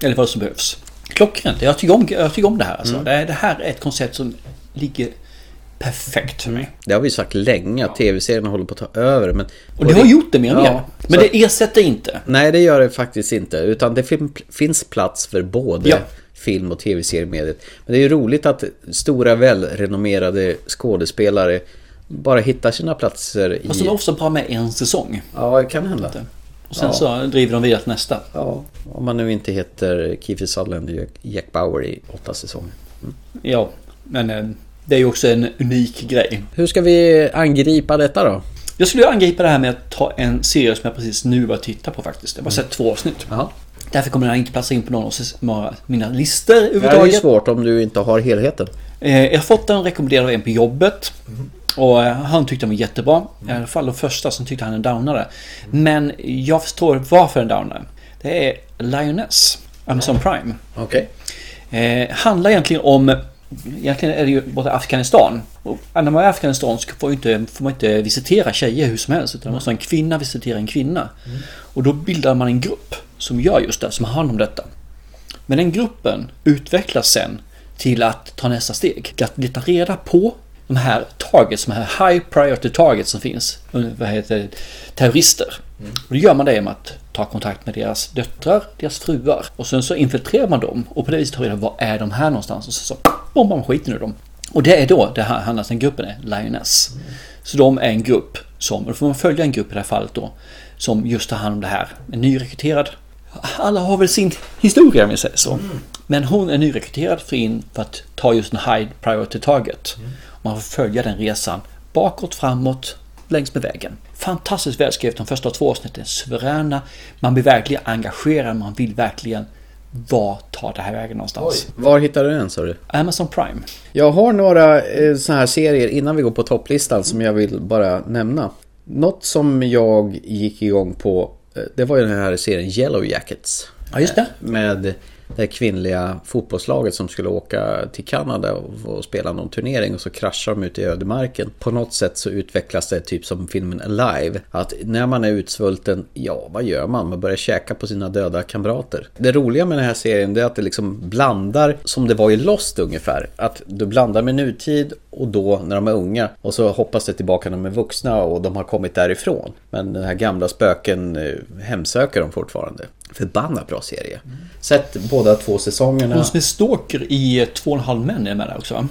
Speaker 2: Eller vad som behövs. Klockrent. Jag tycker om, jag tycker om det här. Alltså. Det, det här är ett koncept som ligger perfekt för mig.
Speaker 1: Det har vi sagt länge, att ja. tv-serien håller på att ta över. Men,
Speaker 2: och det har gjort det mer och ja, mer. Men så, det ersätter inte.
Speaker 1: Nej, det gör det faktiskt inte. Utan det finns plats för både ja. film och tv-seriemediet. Men det är ju roligt att stora välrenommerade skådespelare bara hittar sina platser i...
Speaker 2: Fast de är ofta bara med en säsong.
Speaker 1: Ja, det kan hända.
Speaker 2: Och sen så driver de vidare till nästa.
Speaker 1: Ja, om man nu inte heter Kiefer Sutherland och Jack Bauer i åtta säsonger.
Speaker 2: Mm. Ja, men... eh, Det är ju också en unik grej.
Speaker 1: Hur ska vi angripa detta då?
Speaker 2: Jag skulle angripa det här med att ta en serie som jag precis nu börjar titta på faktiskt. Jag har bara
Speaker 1: Mm.
Speaker 2: sett två avsnitt. Aha. Därför kommer den inte platsa in på någon av mina listor överhuvudtaget. Eh,
Speaker 1: Det är ju svårt om du inte har helheten.
Speaker 2: Jag har fått den rekommenderad av en på jobbet.
Speaker 1: Mm.
Speaker 2: Och eh, han tyckte den var jättebra. I alla fall de första som tyckte han en downare. Men jag förstår varför en downare. Det är Lioness, Amazon Prime.
Speaker 1: Okej.
Speaker 2: Okay. Eh, Handlar egentligen om Egentligen är det ju både Afghanistan. Och när man är i Afghanistan så får, inte, får man inte visitera tjejer hur som helst. Utan man måste en kvinna visitera en kvinna. Mm. Och då bildar man en grupp som gör just det, som har hand om detta. Men den gruppen utvecklas sen till att ta nästa steg. Till att leta reda på de här targets, de här high priority targets som finns. Vad heter det? Terrorister. Mm. Och då gör man det genom att ta kontakt med deras döttrar, deras fruar. Och sen så infiltrerar man dem och på det viset tar reda på var är de här någonstans. Och så, så bombar man skiten ur dem. Och det är då det här handlar om gruppen är, Lioness. Mm. Så de är en grupp som, och då får man följa en grupp i det här fallet då, som just tar hand om det här. En nyrekryterad. Alla har väl sin historia om vi säger så. Mm. Men hon är nyrekryterad för in för att ta just en high priority target. Mm. Man får följa den resan bakåt, framåt, längs med vägen. Fantastiskt välskrivet de första två avsnitten, suveräna. Man blir verkligen engagerad, man vill verkligen var tar det här vägen någonstans?
Speaker 1: Oj. Var hittar du den sa du?
Speaker 2: Amazon Prime.
Speaker 1: Jag har några eh, sådana här serier innan vi går på topplistan som jag vill bara nämna. Något som jag gick igång på, eh, det var ju den här serien Yellow Jackets. Eh,
Speaker 2: Ja, just det.
Speaker 1: Med det kvinnliga fotbollslaget som skulle åka till Kanada och spela någon turnering och så kraschar de ute i ödemarken. På något sätt så utvecklas det typ som filmen Alive. Att när man är utsvulten, ja vad gör man? Man börjar käka på sina döda kamrater. Det roliga med den här serien är att det liksom blandar, som det var i Lost ungefär. Att du blandar med nutid och då när de är unga. Och så hoppas det tillbaka när de är vuxna och de har kommit därifrån. Men den här gamla spöken eh, hemsöker dem fortfarande. Förbannat bra serie. Mm. Sett båda två säsongerna.
Speaker 2: Hon som är stalker i Två och en halv män är med där också.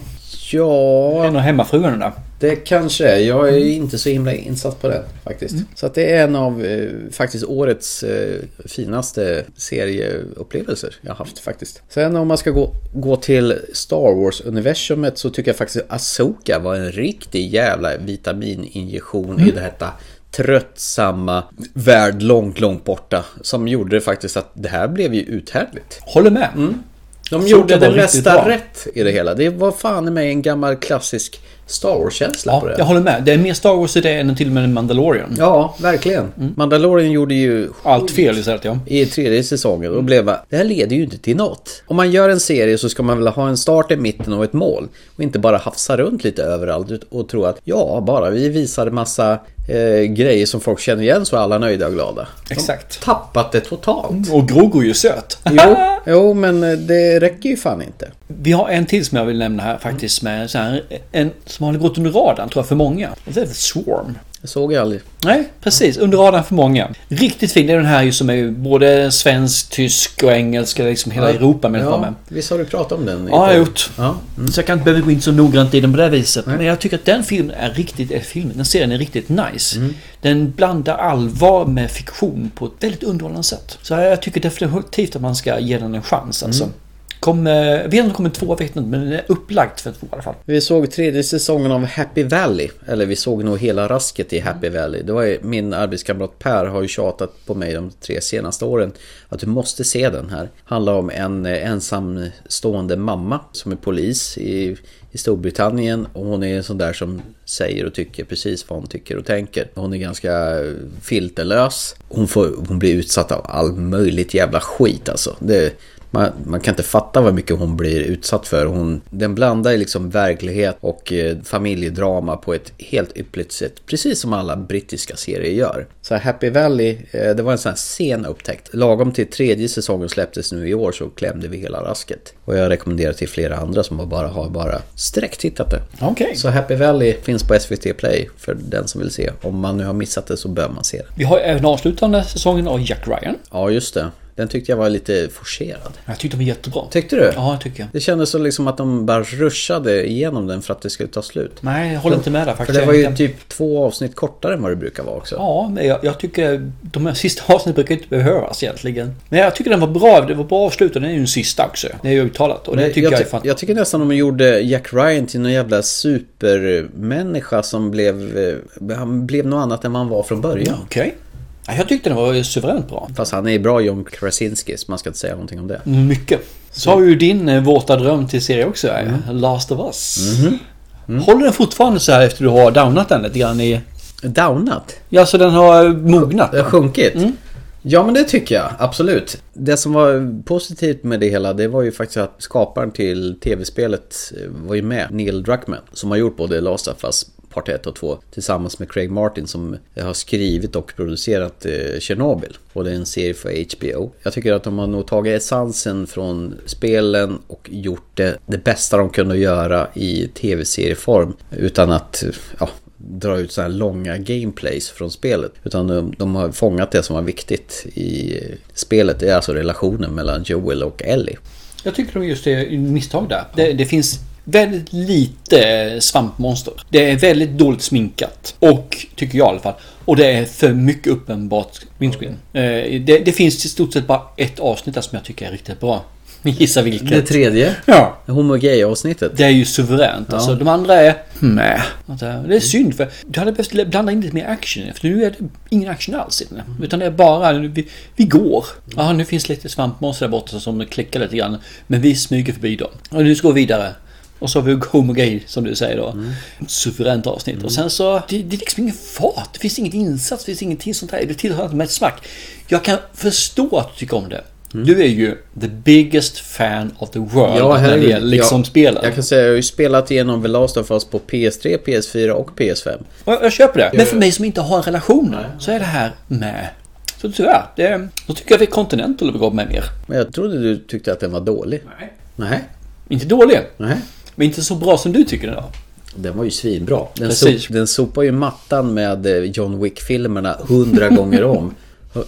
Speaker 1: Ja...
Speaker 2: En av hemmafruarna där.
Speaker 1: Det kanske är. Jag är inte så himla insatt på den faktiskt. Mm. Så att det är en av eh, faktiskt årets eh, finaste serieupplevelser jag haft faktiskt. Sen om man ska gå, gå till Star Wars-universumet så tycker jag faktiskt Asoka var en riktig jävla vitamininjektion mm. i detta tröttsamma värld långt, långt borta. Som gjorde det faktiskt att det här blev ju uthärdligt.
Speaker 2: Håller med. Mm.
Speaker 1: De gjorde det mesta rätt i det hela. Det var fan med en gammal klassisk Star Wars-känsla
Speaker 2: ja,
Speaker 1: på det.
Speaker 2: Jag håller med. Det är mer Star Wars i det än till och med Mandalorian.
Speaker 1: Ja, verkligen. Mm. Mandalorian gjorde ju...
Speaker 2: Allt fel istället ja.
Speaker 1: I tredje säsongen.
Speaker 2: Mm.
Speaker 1: Och blev bara, det här leder ju inte till något. Om man gör en serie så ska man väl ha en start, en mitten och ett mål. Och inte bara hafsa runt lite överallt och tro att ja, bara vi visar massa eh, grejer som folk känner igen så är alla nöjda och glada.
Speaker 2: De Exakt.
Speaker 1: tappat det totalt.
Speaker 2: Mm, och Grogu är ju söt.
Speaker 1: jo, jo, men eh, det räcker ju fan inte.
Speaker 2: Vi har en till som jag vill nämna här faktiskt med så här, en som har gått under radarn tror jag för många. Det är Swarm.
Speaker 1: Det såg jag aldrig.
Speaker 2: Nej, precis. Under radarn för många. Riktigt fin. Det är den här ju som är både svensk, tysk och engelska. Liksom hela ja. Europa med.
Speaker 1: Ja, med. visst har du pratat om den?
Speaker 2: Ja, jag har gjort. Ja. Mm. Så jag kan inte behöva gå in så noggrant i den på det viset. Nej. Men jag tycker att den filmen är riktigt... Är filmen, den serien är riktigt nice. Mm. Den blandar allvar med fiktion på ett väldigt underhållande sätt. Så jag tycker definitivt att man ska ge den en chans alltså. Mm. Kommer, jag vet inte om det kommer två, jag vet inte, men det är upplagt för två i alla fall.
Speaker 1: Vi såg tredje säsongen av Happy Valley. Eller vi såg nog hela rasket i Happy Valley. Det var ju, min arbetskamrat Per har ju tjatat på mig de tre senaste åren att du måste se den här. Handlar om en eh, ensamstående mamma som är polis i, i Storbritannien och hon är en sån där som säger och tycker precis vad hon tycker och tänker. Hon är ganska eh, filterlös. Hon, får, hon blir utsatt av all möjligt jävla skit alltså. Det, man, man, kan inte fatta vad mycket hon blir utsatt för. Hon, den blandar liksom verklighet och eh, familjedrama på ett helt yppligt sätt. Precis som alla brittiska serier gör. Så Happy Valley, eh, det var en sån här sen upptäckt. Lagom till tredje säsongen släpptes nu i år så klämde vi hela rasket. Och jag rekommenderar till flera andra som bara har bara sträcktittat det.
Speaker 2: Okay.
Speaker 1: Så Happy Valley finns på SVT Play för den som vill se. Om man nu har missat det så bör man se det.
Speaker 2: Vi har även avslutande säsongen av Jack Ryan.
Speaker 1: Ja, just det. Den tyckte jag var lite forcerad.
Speaker 2: Jag tyckte den var jättebra.
Speaker 1: Tyckte du?
Speaker 2: Ja, jag tycker jag.
Speaker 1: Det kändes så liksom att de bara rushade igenom den för att det skulle ta slut.
Speaker 2: Nej, jag håller inte med där faktiskt.
Speaker 1: För det var ju typ två avsnitt kortare än vad det brukar vara också.
Speaker 2: Ja, men jag, jag tycker de här sista avsnitten brukar inte behövas egentligen. Men jag tycker den var bra. Det var bra avslut och den är ju den sista också. Det är ju uttalat. Och det tycker jag,
Speaker 1: jag,
Speaker 2: är fan...
Speaker 1: jag tycker nästan de gjorde Jack Ryan till någon jävla supermänniska som blev... eh, Han blev något annat än vad han var från början.
Speaker 2: Okej. Okay. Jag tyckte den var suveränt bra.
Speaker 1: Fast han är bra John Krasinski, så man ska inte säga någonting om
Speaker 2: Mm.
Speaker 1: det.
Speaker 2: Mycket. Så har ju din eh, våta dröm till serie också, mm. Last of Us. Mm. Mm. Håller den fortfarande så här efter du har downat den lite grann i...
Speaker 1: Downat?
Speaker 2: Ja, så den har mognat.
Speaker 1: Den har sjunkit? Ja men det tycker jag, absolut. Det som var positivt med det hela det var ju faktiskt att skaparen till tv-spelet eh, var ju med, Neil Druckmann, som har gjort både Last of Us part 1 och 2 tillsammans med Craig Martin som eh, har skrivit och producerat eh, Chernobyl. Och det är en serie för HBO. Jag tycker att de har nog tagit essensen från spelen och gjort det, det bästa de kunde göra i tv-serieform utan att eh, ja, dra ut så här långa gameplays från spelet. Utan de, de, har fångat det som var viktigt i spelet. Det är alltså relationen mellan Joel och Ellie.
Speaker 2: Jag tycker de just det misstag där. det, det finns väldigt lite svampmonster. Det är väldigt dåligt sminkat. Och, tycker jag i alla fall. Och det är för mycket uppenbart windscreen. Eh, Det, det finns i stort sett bara ett avsnitt där som jag tycker är riktigt bra. Gissa vilket.
Speaker 1: Det tredje?
Speaker 2: Ja.
Speaker 1: Homogay-avsnittet?
Speaker 2: Det är ju suveränt. Ja. Alltså, de andra är... Nej. Det är synd för du hade behövt blanda in lite mer action. För nu är det ingen action alls i den. Utan det är bara... Vi, vi går. Ja, nu finns lite svampmonster där borta som klickar lite grann. Men vi smyger förbi dem. Och nu ska vi vidare. Och så har vi Homo Gay som du säger då. Mm. Suveränt avsnitt. Mm. Och sen så, det, det är liksom ingen fart. Det finns inget insats, det finns ingenting sånt här. Det tillhör inte mitt smack. Jag kan förstå att du tycker om det. Mm. Du är ju the biggest fan of the world ja, när det gäller liksom ja, spelen.
Speaker 1: Jag kan säga jag har ju spelat igenom The Last of Us på PS3, PS4 och PS5.
Speaker 2: Och jag, jag köper det. Men för mig som inte har en relation så är det här med. Så tyvärr, det, då tycker jag att vi Continental går med mer.
Speaker 1: Men jag trodde du tyckte att den var dålig.
Speaker 2: Nej.
Speaker 1: Nej.
Speaker 2: Inte dålig.
Speaker 1: Nej.
Speaker 2: Men inte så bra som du tycker den var.
Speaker 1: Den var ju svinbra. Den, so den sopar ju mattan med eh, John Wick-filmerna hundra gånger om.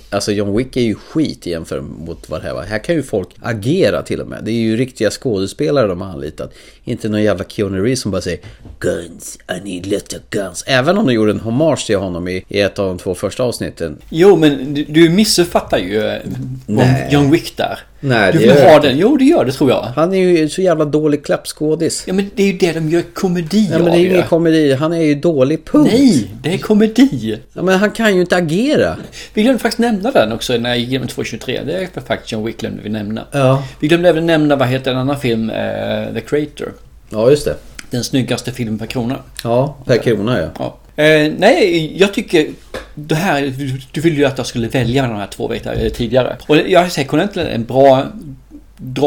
Speaker 1: Alltså John Wick är ju skit jämfört mot vad det här var. Här kan ju folk agera till och med. Det är ju riktiga skådespelare de har anlitat. Inte någon jävla Keanu Reeves som bara säger Guns, I need little guns. Även om de gjorde en hommage till honom i, i ett av de två första avsnitten.
Speaker 2: Jo, men du, du missuppfattar ju Nej. John Wick där.
Speaker 1: Nej,
Speaker 2: du vill det ha den? Jo, det gör det tror jag.
Speaker 1: Han är ju så jävla dålig klappskådis.
Speaker 2: Ja, men det är ju det de gör komedi
Speaker 1: Ja, men det är ju ingen komedi. Han är ju dålig, punkt.
Speaker 2: Nej, det är komedi.
Speaker 1: Ja, men han kan ju inte agera.
Speaker 2: Vi glömde faktiskt nämna den också när jag gick igenom 2.23. Det är faktiskt John Wick glömde vi nämna.
Speaker 1: Ja.
Speaker 2: Vi glömde även nämna, vad heter en annan film? Eh, The Creator.
Speaker 1: Ja, just det.
Speaker 2: Den snyggaste filmen per krona.
Speaker 1: Ja, per krona ja. ja.
Speaker 2: Eh, nej, jag tycker det här, du ville ju att jag skulle välja mellan de här två vet jag, tidigare. Och jag säger Continental är en bra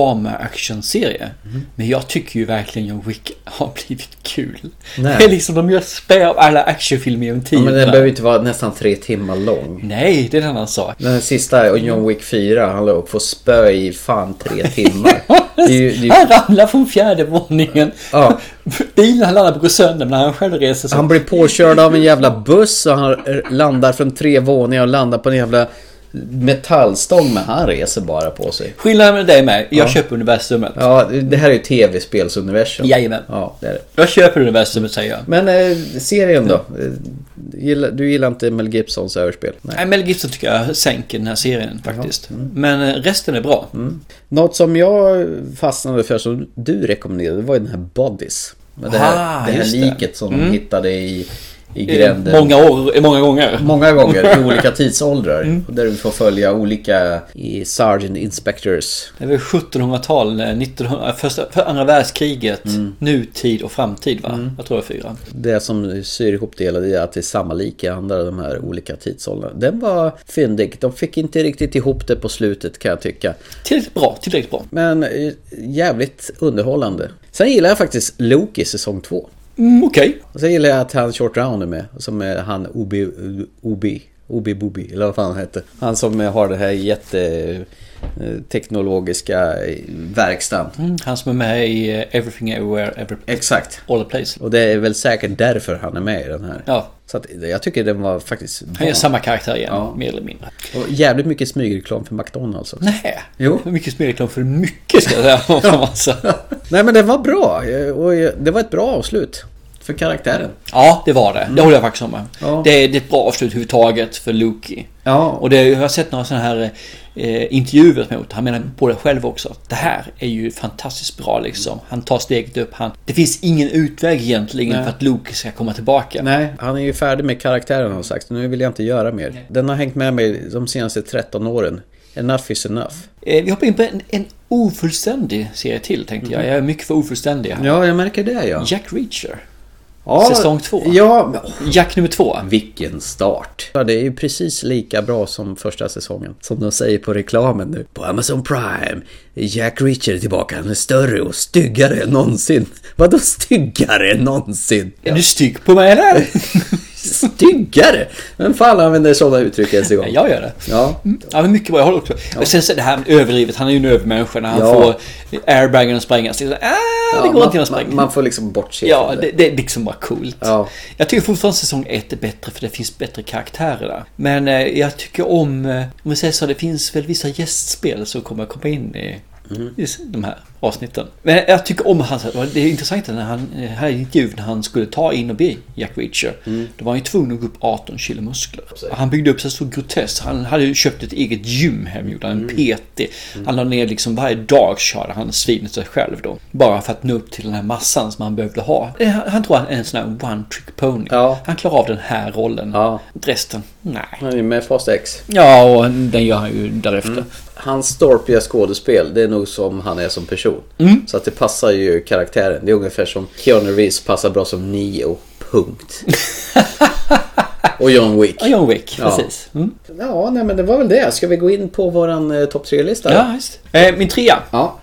Speaker 2: drama-actionserie. Mm. Men jag tycker ju verkligen John Wick har blivit kul. Nej. Det är liksom de gör spä av alla actionfilmer genom tiden.
Speaker 1: Ja, men den behöver inte vara nästan tre timmar lång.
Speaker 2: Nej, det är en annan sak.
Speaker 1: Den sista, och John Wick 4, han låg på spö i fan tre timmar.
Speaker 2: det är ju, det är... Han ramlar från fjärde våningen.
Speaker 1: Ja.
Speaker 2: Bilen han landar går sönder när han själv reser sig.
Speaker 1: Han blir påkörd av en jävla buss och han landar från tre våningar och landar på en jävla metallstång men han reser bara på sig.
Speaker 2: Skillnaden med dig med, jag ja. köper universumet.
Speaker 1: Ja, det här är ju tv-spelsuniversum.
Speaker 2: Jajamän.
Speaker 1: Ja, det är det.
Speaker 2: Jag köper universumet säger jag.
Speaker 1: Men eh, serien då? gillar, du gillar inte Mel Gibsons överspel?
Speaker 2: Nej. Nej, Mel Gibson tycker jag sänker den här serien faktiskt. Mm. Men resten är bra.
Speaker 1: Mm. Något som jag fastnade för som du rekommenderade var ju den här Bodies. Med det här, ah, det här liket det. som mm. de hittade i, i gränden.
Speaker 2: Många, år, många gånger.
Speaker 1: Många gånger, i olika tidsåldrar. Mm. Där du får följa olika i Sergeant Inspectors.
Speaker 2: Det är väl 1700-tal, 1900, eh, första, för andra världskriget, mm. nutid och framtid va? Mm. Jag tror det är fyra.
Speaker 1: Det som syr ihop det hela är att det är samma lik i andra de här olika tidsåldrarna. Den var fyndig. De fick inte riktigt ihop det på slutet kan jag tycka.
Speaker 2: Tillräckligt bra, tillräckligt bra.
Speaker 1: Men eh, jävligt underhållande. Sen gillar jag faktiskt Loki säsong 2.
Speaker 2: Mm, Okej. Okay.
Speaker 1: Och sen gillar jag att han Short Round är med. Som är han Obi... Obi... Obi Bobi, eller vad fan han hette. Han som har det här jätte teknologiska verkstaden.
Speaker 2: Mm, han som är med i eh, Everything Everywhere Every
Speaker 1: Exakt.
Speaker 2: All the Place.
Speaker 1: Och det är väl säkert därför han är med i den här.
Speaker 2: Ja.
Speaker 1: Så att jag tycker den var faktiskt
Speaker 2: bra. Han är samma karaktär igen, ja. mer eller mindre.
Speaker 1: Och jävligt mycket smygreklam för McDonalds också.
Speaker 2: Nej,
Speaker 1: jo.
Speaker 2: mycket smygreklam för mycket ska jag säga.
Speaker 1: Nej men den var bra och det var ett bra avslut för karaktären.
Speaker 2: Ja, det var det. Mm. Det håller jag faktiskt om med. Ja. Det, är, det är ett bra avslut överhuvudtaget för Loki.
Speaker 1: Ja.
Speaker 2: Och det, jag har sett några sådana här eh, intervjuer mot. Han menar på det själv också. Det här är ju fantastiskt bra liksom. Han tar steget upp. Han, det finns ingen utväg egentligen Nej. för att Loki ska komma tillbaka.
Speaker 1: Nej, han är ju färdig med karaktären har sagt. Nu vill jag inte göra mer. Nej. Den har hängt med mig de senaste 13 åren. Enough is enough.
Speaker 2: Eh, vi hoppar in på en, en ofullständig serie till tänkte mm. jag. Jag är mycket för ofullständig här.
Speaker 1: Ja, jag märker det ja.
Speaker 2: Jack Reacher.
Speaker 1: Ja,
Speaker 2: Säsong två.
Speaker 1: Ja,
Speaker 2: Jack nummer två.
Speaker 1: Mm. Vilken start. Ja, det är ju precis lika bra som första säsongen. Som de säger på reklamen nu. På Amazon Prime. Jack Reacher är tillbaka. Han är större och styggare än någonsin. Vadå styggare än någonsin?
Speaker 2: Är du stygg på mig eller?
Speaker 1: styggare? Vem fan använder sådana uttryck ens en gång?
Speaker 2: Jag gör det.
Speaker 1: Ja.
Speaker 2: Ja, men mycket bra. Jag håller också. Ja. Och sen så det här överdrivet. Han är ju en övermänniska när han ja. får airbagen att sprängas. Det, ah, ja, det går
Speaker 1: man,
Speaker 2: inte att spränga.
Speaker 1: Man, man får liksom bortse
Speaker 2: Ja, det, det är liksom bara coolt.
Speaker 1: Ja.
Speaker 2: Jag tycker fortfarande säsong 1 är bättre för det finns bättre karaktärer där. Men eh, jag tycker om, eh, om vi säger så, det finns väl vissa gästspel som kommer komma in i Mm. I de här avsnitten. Men jag tycker om hans... Det är intressant när han... Här intervjun när han skulle ta in och bli Jack Reacher. Mm. Då var han ju tvungen att gå upp 18 kilo muskler. Han byggde upp sig så grotesk. Han hade ju köpt ett eget gym hemgjorde En PT. Mm. Han la ner liksom varje dag körde han svinet sig själv då. Bara för att nå upp till den här massan som han behövde ha. Eh, Han, han tror han är en sån här one trick pony.
Speaker 1: Ja.
Speaker 2: Han klarar av den här rollen.
Speaker 1: Ja.
Speaker 2: Resten, nej. Mm.
Speaker 1: Han är med Fast X.
Speaker 2: Ja, och den gör han ju därefter
Speaker 1: hans storpiga skådespel, det är nog som han är som person.
Speaker 2: Mm.
Speaker 1: Så att det passar ju karaktären. Det är ungefär som Keanu Reeves passar bra som Neo, punkt. Och John Wick.
Speaker 2: Och John Wick, ja. precis. Mm.
Speaker 1: Ja, nej, men det var väl det. Ska vi gå in på våran eh, topp tre-lista?
Speaker 2: Ja, just. Eh, min trea.
Speaker 1: Ja.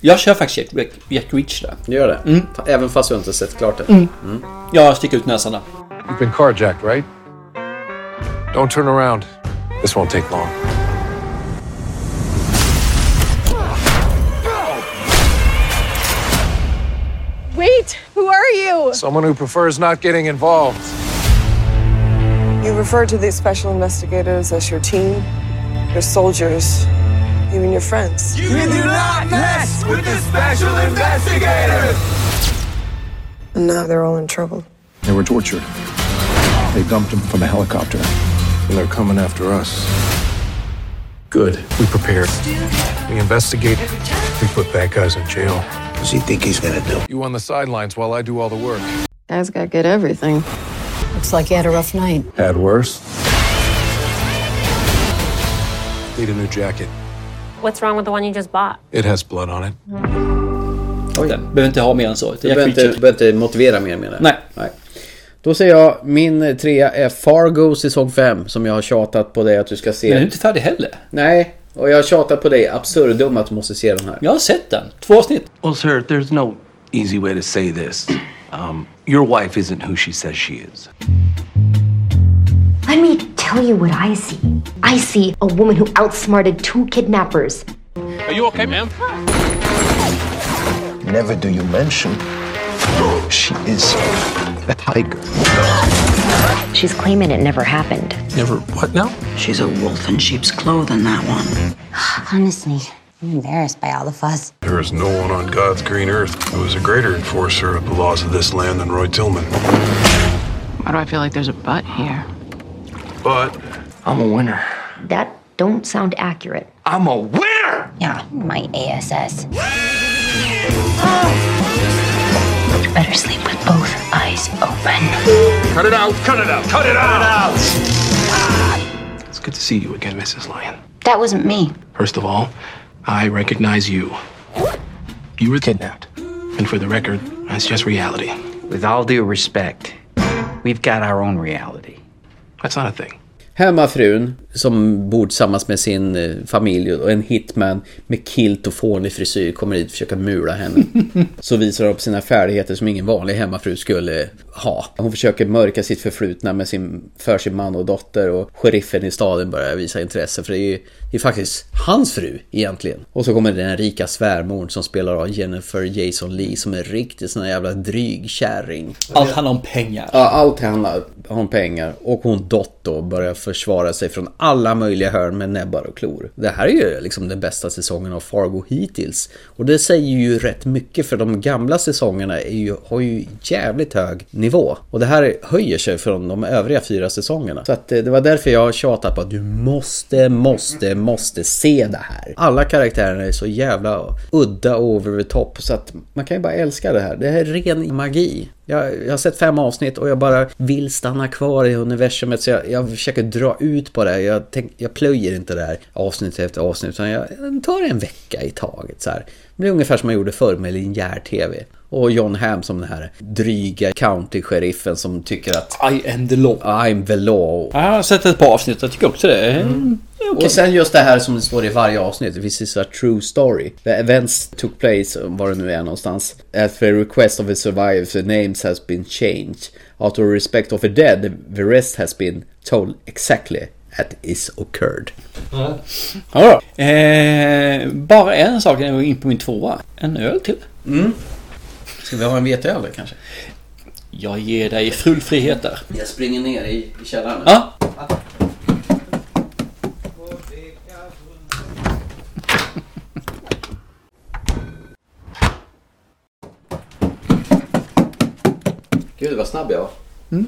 Speaker 2: Jag kör faktiskt Jack, Jack Reach där.
Speaker 1: Du gör det?
Speaker 2: Mm.
Speaker 1: Även fast jag inte sett klart det?
Speaker 2: Mm. Mm. Jag sticker ut näsan där.
Speaker 4: You've been carjacked, right? Don't turn around. This won't take long.
Speaker 5: Wait, who are you?
Speaker 4: Someone who prefers not getting involved.
Speaker 5: You refer to these special investigators as your team, your soldiers, you and your friends.
Speaker 7: You do not mess with the special investigators!
Speaker 5: And now they're all in trouble.
Speaker 4: They were tortured. They dumped them from a helicopter.
Speaker 23: And they're coming after us.
Speaker 4: Good. We prepared. We investigate. We put bad guys in jail.
Speaker 7: What does he think he's gonna do?
Speaker 4: You on the sidelines while I do all the work.
Speaker 5: Guy's got good everything.
Speaker 25: Looks like you had a rough night.
Speaker 4: Had worse. Need a new jacket.
Speaker 25: What's wrong with the one you just bought?
Speaker 4: It has blood on it.
Speaker 2: Oj. Den behöver inte ha mer än så.
Speaker 1: Du behöver inte, behöver inte motivera mer menar jag.
Speaker 2: Nej.
Speaker 1: Nej. Då säger jag min eh, trea är Fargo säsong 5 som jag har tjatat på dig att du ska se.
Speaker 2: Men du är inte färdig heller.
Speaker 1: Nej, och jag tjatar på dig absurdum att du måste se den här.
Speaker 2: Jag har sett den. Två avsnitt.
Speaker 26: Well sir, there's no easy way to say this. Um, your wife isn't who she says she is.
Speaker 27: Let me tell you what I see. I see a woman who outsmarted two kidnappers.
Speaker 26: Are you okay, ma'am?
Speaker 7: Never do you mention she is a tiger.
Speaker 27: She's claiming it never happened.
Speaker 26: Never what now?
Speaker 28: She's a wolf in sheep's clothing, that one.
Speaker 27: Honestly, I'm embarrassed by all the fuss.
Speaker 4: There is no one on God's green earth who is a greater enforcer of the laws of this land than Roy Tillman.
Speaker 17: Why do I feel like there's a butt here?
Speaker 10: But
Speaker 7: I'm a winner.
Speaker 27: That don't sound accurate.
Speaker 7: I'm a winner!
Speaker 27: Yeah, my ASS. Oh. You better sleep with both eyes open.
Speaker 10: Cut it out! Cut it out! Cut it out!
Speaker 26: Ah. It's good to see you again, Mrs. Lyon.
Speaker 27: That wasn't me.
Speaker 26: First of all, I recognize you. You were kidnapped. And for the record, that's just reality.
Speaker 7: With all due respect, we've got our own reality.
Speaker 26: That's not a thing.
Speaker 1: Hemmafrun som bor tillsammans med sin eh, familj och en hitman med kilt och fånig frisyr kommer dit och försöker mula henne. Så visar hon upp sina färdigheter som ingen vanlig hemmafru skulle ha. Hon försöker mörka sitt förflutna med sin, för sin man och dotter och sheriffen i staden börjar visa intresse för det är ju det är faktiskt hans fru egentligen. Och så kommer den rika svärmorn som spelar av Jennifer Jason Lee som är riktigt sån här jävla dryg kärring.
Speaker 2: Allt handlar om pengar.
Speaker 1: Ja, allt handlar om pengar. Och hon Dot då börjar försvara sig från alla möjliga hörn med näbbar och klor. Det här är ju liksom den bästa säsongen av Fargo hittills. Och det säger ju rätt mycket för de gamla säsongerna är ju, har ju jävligt hög nivå. Och det här höjer sig från de övriga fyra säsongerna. Så att eh, det var därför jag tjatat på att du måste, måste, måste se det här. Alla karaktärerna är så jävla udda och over the top så att man kan ju bara älska det här. Det här är ren magi. Jag, jag, har sett fem avsnitt och jag bara vill stanna kvar i universumet så jag, jag försöker dra ut på det. Jag, tänk, jag plöjer inte det här avsnitt efter avsnitt utan jag, jag tar en vecka i taget. Så här. Det blir ungefär som man gjorde förr med linjär-tv. Och John Hamm som den här dryga county-sheriffen som tycker att...
Speaker 2: I am the law.
Speaker 1: I'm the law.
Speaker 2: Jag har sett ett par avsnitt, jag tycker också det. Mm.
Speaker 1: Okay. Och sen just det här som det står i varje avsnitt, this is a true story. The events took place, var det nu är någonstans, at the request of the survivors, the names has been changed. Out of respect of the dead, the rest has been told exactly that is occurred.
Speaker 2: Mm. Ja. Eh, bara en sak när jag går in på min tvåa. En öl till.
Speaker 1: Mm. Ska vi ha en veteöl kanske?
Speaker 2: Jag ger dig full frihet där.
Speaker 1: Jag springer ner i, i källaren.
Speaker 2: Ja.
Speaker 1: Gud vad snabb jag var.
Speaker 2: Mm.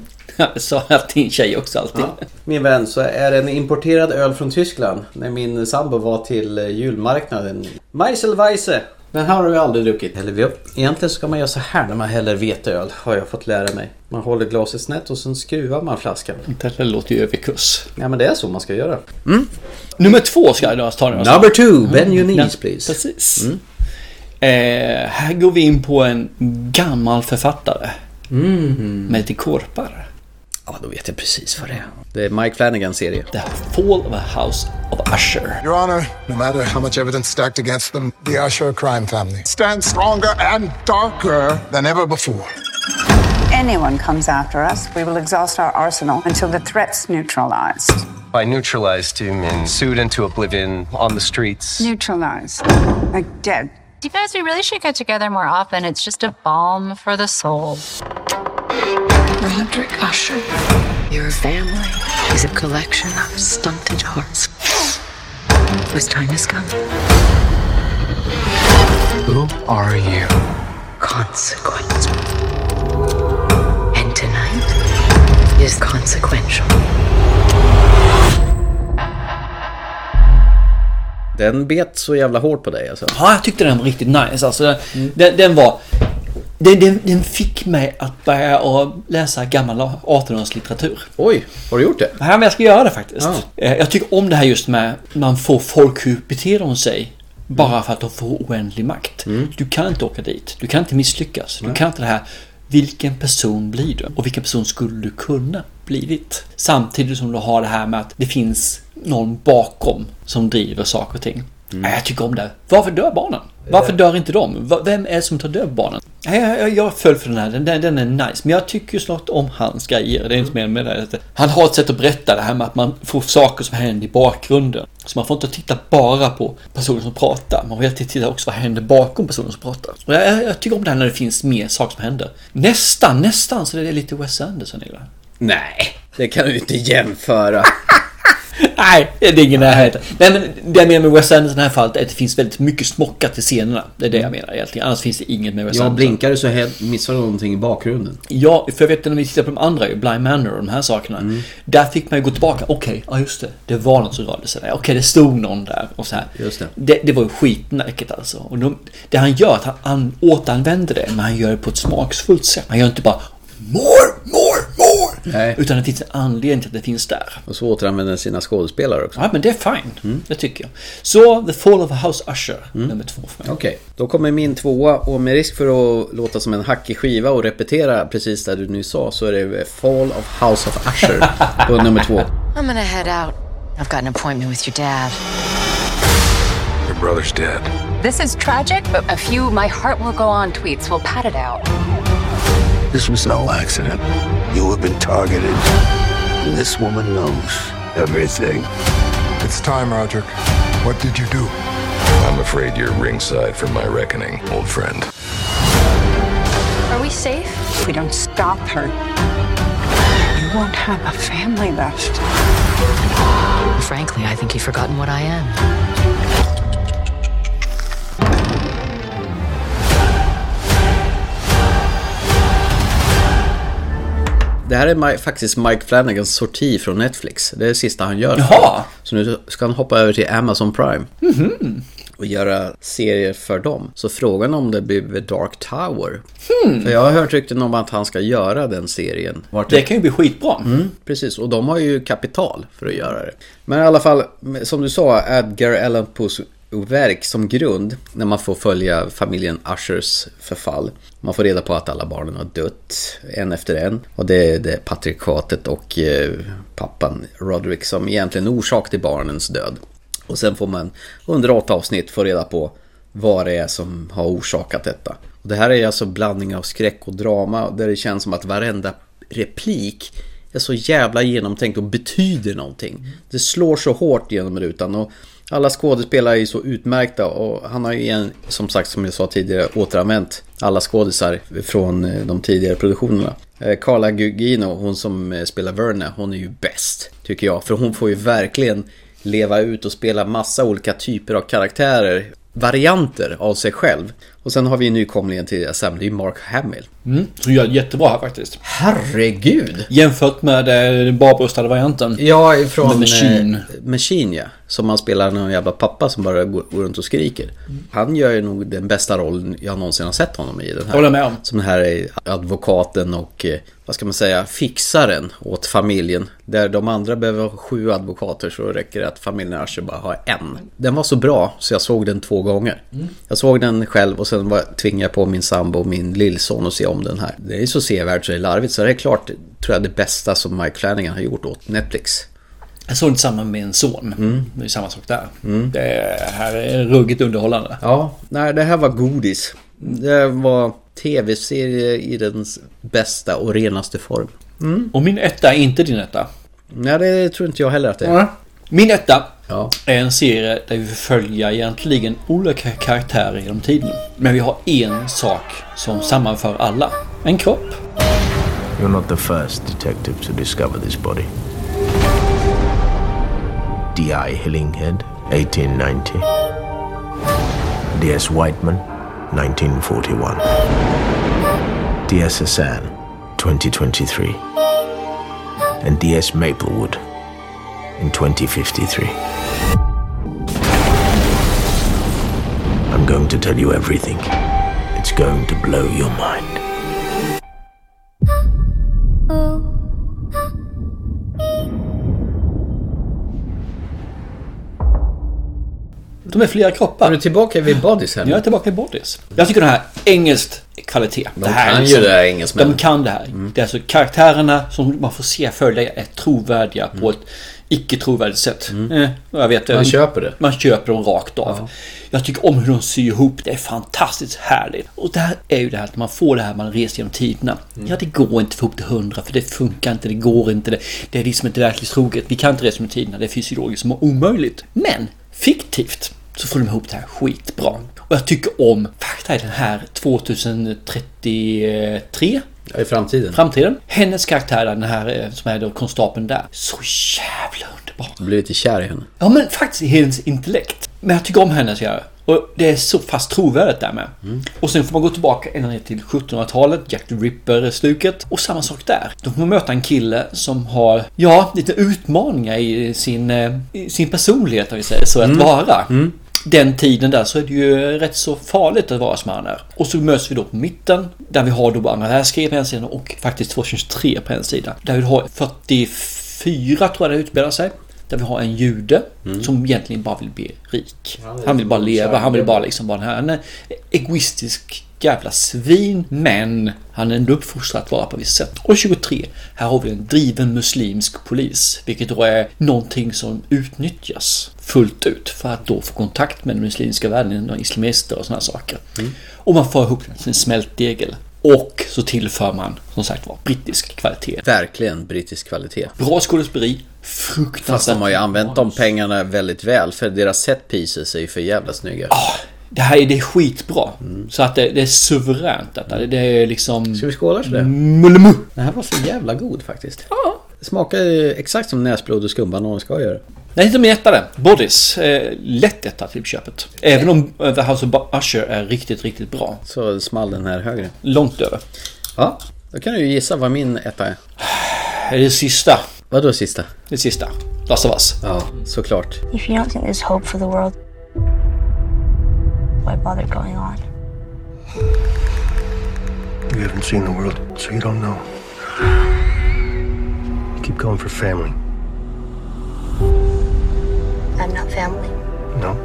Speaker 2: Sa att din tjej också alltid. Ja.
Speaker 1: Min vän, så är det en importerad öl från Tyskland. När min sambo var till julmarknaden. Meiselweisse. Den här har vi aldrig druckit. Häller vi upp. Egentligen ska man göra så här när man häller veteöl. Har jag fått lära mig. Man håller glaset snett och sen skruvar man flaskan.
Speaker 2: Det här låter ju överkurs.
Speaker 1: Ja men Mm. det är så man ska göra.
Speaker 2: Mm. Nummer två ska jag ta nu.
Speaker 1: Number two, bend your knees please.
Speaker 2: Precis. Mm. Eh, här går vi in på en gammal författare. Mm. Med lite korpar.
Speaker 1: Ja, då vet jag precis vad det är. Det är Mike Flanagans serie.
Speaker 2: The Fall of a House of Usher.
Speaker 8: Your Honor, no matter how much evidence stacked against them, the Usher crime family stands stronger and darker than ever before.
Speaker 9: Anyone comes after us, we will exhaust our arsenal until the threat's neutralized.
Speaker 11: I neutralized him and sued into oblivion on the streets.
Speaker 9: Neutralized. Like dead.
Speaker 13: You guys, we really should get together more often. It's just a balm for the soul.
Speaker 14: Roderick Usher, your family is a collection of stunted hearts. Whose time has come.
Speaker 11: Who are you?
Speaker 14: Consequence. And tonight is consequential.
Speaker 1: Den bet så jävla hårt på dig alltså.
Speaker 2: Ja, jag tyckte den var riktigt nice. Alltså, den, mm. den, den var... Den, den, den, fick mig att börja läsa gammal 1800-talslitteratur.
Speaker 1: Oj, har du gjort det?
Speaker 2: Ja, men jag ska göra det faktiskt. Ja. Jag tycker om det här just med man får folk hur beter de sig. Bara för att de får oändlig makt. Mm. Du kan inte åka dit. Du kan inte misslyckas. Nej. Du kan inte det här. Vilken person blir du? Och vilken person skulle du kunna blivit? Samtidigt som du har det här med att det finns någon bakom som driver saker och ting. Mm. Jag tycker om det. Varför dör barnen? Varför dör inte de? Vem är det som tar död barnen? Jag, jag, jag föll för den här. Den, den, den, är nice. Men jag tycker ju snart om hans grejer. Det är inte mer med det. Han har ett sätt att berätta det här med att man får saker som händer i bakgrunden. Så man får inte titta bara på personen som pratar. Man får titta också vad händer bakom personen som pratar. Och jag, jag tycker om det här när det finns mer saker som händer. Nästan, nästan så det är lite Wes Anderson i det.
Speaker 1: Nej, det kan du inte jämföra.
Speaker 2: Nej, det är ingen närhet. Nej, men det jag menar med Wes Anderson i det här fallet är att det finns väldigt mycket smockat i scenerna. Det är det jag menar egentligen. Annars finns det inget med Wes
Speaker 1: Jag
Speaker 2: Anderson.
Speaker 1: blinkade så här- missade jag någonting i bakgrunden.
Speaker 2: Ja, för jag vet när vi tittar på de andra, ju, Blind Manor och de här sakerna.
Speaker 1: Mm.
Speaker 2: Där fick man ju gå tillbaka. Okej, ja just det. Det var något som rörde sig där. Okej, det stod någon där och så här.
Speaker 1: Just det.
Speaker 2: Det, det var ju skitnäcket alltså. Och de, det han gör är att han an, återanvänder det, men han gör det på ett smaksfullt sätt. Han gör inte bara more, more, more. Utan det finns en anledning till att det finns där.
Speaker 1: Och så återanvänder sina skådespelare också.
Speaker 2: Ja, men det är fine.
Speaker 1: Mm.
Speaker 2: Det tycker jag. Så, The Fall of a House Usher, nummer två för mig.
Speaker 1: Okej, då kommer min tvåa och med risk för att låta som en hackig skiva och repetera precis det du nyss sa så är det Fall of House of Usher på nummer två.
Speaker 14: I'm gonna head out. I've got an appointment with your dad.
Speaker 4: Your brother's dead.
Speaker 13: This is tragic, but a few my heart will go on tweets will pat it out.
Speaker 6: This was no accident. You have been targeted. And this woman knows everything.
Speaker 8: It's time, Roderick. What did you do?
Speaker 12: I'm afraid you're ringside for my reckoning, old friend.
Speaker 24: Are we safe?
Speaker 28: If we don't stop her, you won't have a family left.
Speaker 14: Frankly, I think you've forgotten what I am.
Speaker 1: Det här är Mi- faktiskt Mike Flanagans sorti från Netflix. Det är det sista han gör.
Speaker 2: Jaha!
Speaker 1: Så nu ska han hoppa över till Amazon Prime. Och göra serier för dem. Så frågan är om det blir The Dark Tower. För jag har hört rykten om att han ska göra den serien. Vart
Speaker 2: Det kan ju bli skitbra.
Speaker 1: Mm, precis, och de har ju kapital för att göra det. Men i alla fall, som du sa, Edgar Allan Poes verk som grund när man får följa familjen Ushers förfall. Man får reda på att alla barnen har dött, en efter en. Och det är det patriarkatet och eh, pappan Roderick som egentligen är orsak till barnens död. Och sen får man under åtta avsnitt få reda på vad det är som har orsakat detta. Och det här är alltså blandning av skräck och drama där det känns som att varenda replik är så jävla genomtänkt och betyder någonting. Det slår så hårt genom rutan och alla skådespelare är ju så utmärkta och han har ju igen, som sagt som jag sa tidigare återanvänt alla skådisar från eh, de tidigare produktionerna. Eh, Carla Gugino, hon som eh, spelar Verna, hon är ju bäst tycker jag. För hon får ju verkligen leva ut och spela massa olika typer av karaktärer, varianter av sig själv. Och sen har vi nykomlingen till Assembly, det är Mark Hamill.
Speaker 2: Mm, som gör det jättebra här faktiskt.
Speaker 1: Herregud!
Speaker 2: Jämfört med eh, den barbröstade varianten.
Speaker 1: Ja, ifrån...
Speaker 2: Med Machine.
Speaker 1: eh, Machine, ja. Som man spelar någon jävla pappa som bara går går runt och skriker. Han gör ju nog den bästa rollen jag någonsin har sett honom i. Den här.
Speaker 2: Håller med om.
Speaker 1: Som den här eh, advokaten och, eh, vad ska man säga, fixaren åt familjen. Där de andra behöver ha sju advokater så räcker det att familjen Asher bara har en. Den var så bra så jag såg den två gånger.
Speaker 2: Mm.
Speaker 1: Jag såg den själv och sen var, tvingade jag på min sambo och min lillson att se om den här. Det är så sevärd så det är larvigt. Så det är klart, tror jag, det bästa som Mike Flanagan har gjort åt Netflix.
Speaker 2: Jag såg det tillsammans med en son.
Speaker 1: Mm.
Speaker 2: Det är samma sak där. Det är- här är ruggigt underhållande.
Speaker 1: Ja, nej det här var godis. Det var tv-serie i dens bästa och renaste form.
Speaker 2: Och min etta är inte din etta.
Speaker 1: Nej, det tror inte jag heller att det är.
Speaker 2: Min etta
Speaker 1: Ja.
Speaker 2: är en serie där vi följer egentligen olika karaktärer genom tiden. Men vi har en sak som sammanför alla. En kropp.
Speaker 15: You're not the first detective to discover this body. D.I. Hillinghead, 1890. D.S. Whiteman, 1941. D.S. Hassan, 2023. And D.S. Maplewood, in 2053. I'm going to tell you everything. It's going to blow your mind.
Speaker 2: De är flera kroppar.
Speaker 1: Är du tillbaka vid Bodys här nu?
Speaker 2: Jag är tillbaka i Bodies. Jag tycker den här engelskt kvalitet.
Speaker 1: De kan ju det här, engelsmännen.
Speaker 2: liksom- De kan det här.
Speaker 1: Mm.
Speaker 2: Det är alltså karaktärerna som man får se följa är trovärdiga på ett icke trovärdigt sätt. Eh, jag vet,
Speaker 1: Mm. Man köper det.
Speaker 2: Man köper dem rakt av. Jag tycker om hur de syr ihop. Det är fantastiskt härligt. Och det här är ju det här att man får det här man reser genom tiderna.
Speaker 1: Mm.
Speaker 2: Ja, det går inte att få ihop till hundra för det funkar inte. Det går inte. Det, det är liksom inte verklighetstroget. Vi kan inte resa genom tiderna. Det är fysiologiskt omöjligt. Men fiktivt så får de ihop det här
Speaker 1: Mm.
Speaker 2: skitbra. Och jag tycker om fakta i den här 2033
Speaker 1: I framtiden?
Speaker 2: Framtiden. Hennes karaktär, den här eh, som är då konstapeln där. Så jävla underbar.
Speaker 1: Du blir lite kär i henne?
Speaker 2: Ja, men faktiskt i hennes intellekt. Men jag tycker om henne så jag och det är så fast trovärdigt där med. Mm. Och sen får man gå tillbaka ända ner till 1700-talet, Jack the Ripper-stuket. Och samma sak där. Då får man möta en kille som har, ja, lite utmaningar i sin, eh, i sin personlighet, om vi säger så, att mm. vara. Mm. Den tiden där så är det ju rätt så farligt att vara som han är. Och så möts vi då på mitten där vi har då andra världskriget på en sida och faktiskt 2023 på en sida. Där vi har 44 tror jag det utspelar sig. Där vi har en jude mm. som egentligen bara vill bli rik. Han vill bara leva, han vill bara liksom vara den här. Han är egoistisk jävla svin. Men han är ändå uppfostrad att vara på ett visst sätt. Och 23, här har vi en driven muslimsk polis. Vilket då är någonting som utnyttjas fullt ut för att då få kontakt med den muslimska världen, islamister och sådana saker. Mm. Och man får ihop sin smältdegel. Och så tillför man som sagt var brittisk kvalitet.
Speaker 1: Verkligen brittisk kvalitet.
Speaker 2: Bra skådespeleri, fruktansvärt.
Speaker 1: Fast de har ju använt de pengarna väldigt väl för deras set pieces är ju för jävla snygga.
Speaker 2: Ah, det här är, det är skitbra. Mm. Så att det, det är suveränt detta. Det, det är liksom...
Speaker 1: Ska vi skåla för det?
Speaker 2: Mulmu.
Speaker 1: Den här var så jävla god faktiskt. Mm. Ja. Smakar exakt som näsblod och skumbanan ska göra.
Speaker 2: Nej, inte mer lättare. Bodies. Eh, lätt etta till köpet. Även om The House of Usher är riktigt, riktigt bra.
Speaker 1: Så small den här högre.
Speaker 2: Långt över.
Speaker 1: Ja, då kan du ju gissa vad min etta är.
Speaker 2: Det är det sista.
Speaker 1: Vad då sista?
Speaker 2: Det sista. Last of Us.
Speaker 1: Ja, såklart.
Speaker 23: If you don't think there's hope for the world, why bother going on?
Speaker 6: You haven't seen the world, so you don't know. You keep going for family.
Speaker 23: I'm not family.
Speaker 6: No.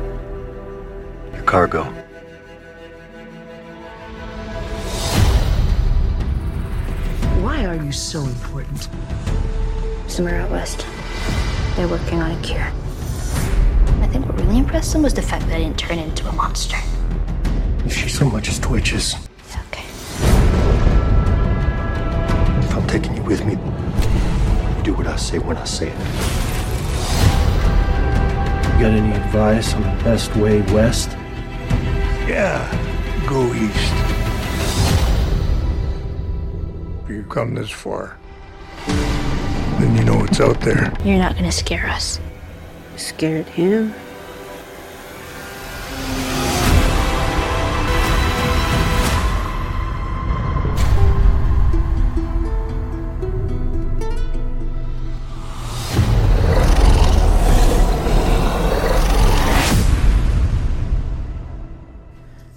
Speaker 6: You're cargo.
Speaker 28: Why are you so important?
Speaker 23: Somewhere out west, they're working on a cure. I think what really impressed them was the fact that I didn't turn into a monster.
Speaker 6: If she so much as twitches.
Speaker 23: It's okay.
Speaker 6: If I'm taking you with me, you do what I say when I say it got any advice on the best way west? Yeah, go east. If you've come this far, then you know what's out there.
Speaker 23: You're not gonna scare us.
Speaker 28: You scared him?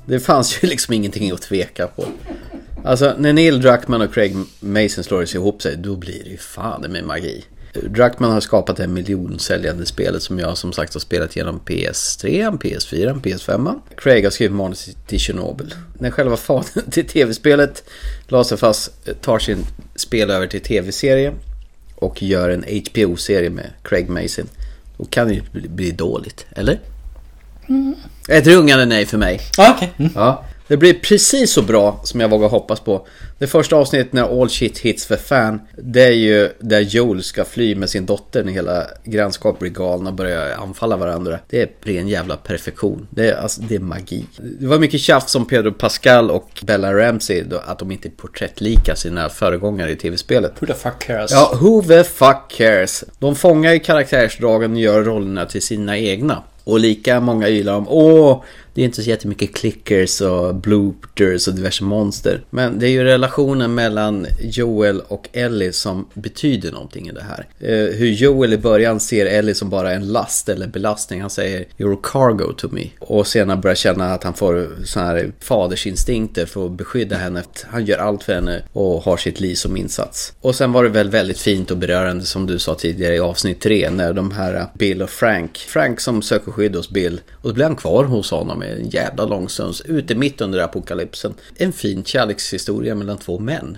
Speaker 1: Det fanns ju liksom ingenting att tveka på. Alltså när Neil Druckmann och Craig Mason slår sig ihop sig, då blir det ju fan med magi. Druckmann har skapat det miljonsäljande spelet som jag som sagt har spelat genom PS3, PS4, PS5. Craig har skrivit manus till Chernobyl. När själva fadern till tv-spelet Laserfass tar sin spel över till tv-serie och gör en HBO-serie med Craig Mason. Då kan det ju bli dåligt, eller? Mm. Ett rungande nej för mig.
Speaker 2: Ah, okay. mm.
Speaker 1: ja, det blir precis så bra som jag vågar hoppas på. Det första avsnittet när All Shit Hits för Fan, det är ju där Joel ska fly med sin dotter när hela grannskapet blir galna och börjar anfalla varandra. Det är ren jävla perfektion. Det är, alltså, det är magi. Det var mycket tjafs om Pedro Pascal och Bella Ramsey, då, att de inte är porträttlika sina föregångare i tv-spelet.
Speaker 2: Who the fuck cares?
Speaker 1: Ja, who the fuck cares? De fångar ju karaktärsdragen och gör rollerna till sina egna. Och lika många gillar dem. Åh, det är inte så jättemycket clickers och bloopers och diverse monster. Men det är ju relationen mellan Joel och Ellie som betyder någonting i det här. Eh, hur Joel i början ser Ellie som bara en last eller belastning. Han säger “You're cargo to me” och senare börjar känna att han får sådana här fadersinstinkter för att beskydda henne. Han gör allt för henne och har sitt liv som insats. Och sen var det väl väldigt fint och berörande som du sa tidigare i avsnitt 3 när de här Bill och Frank, Frank som söker skydd hos Bill och då blir han kvar hos honom en jävla lång stund ute mitt under apokalypsen. En fin kärlekshistoria mellan två män.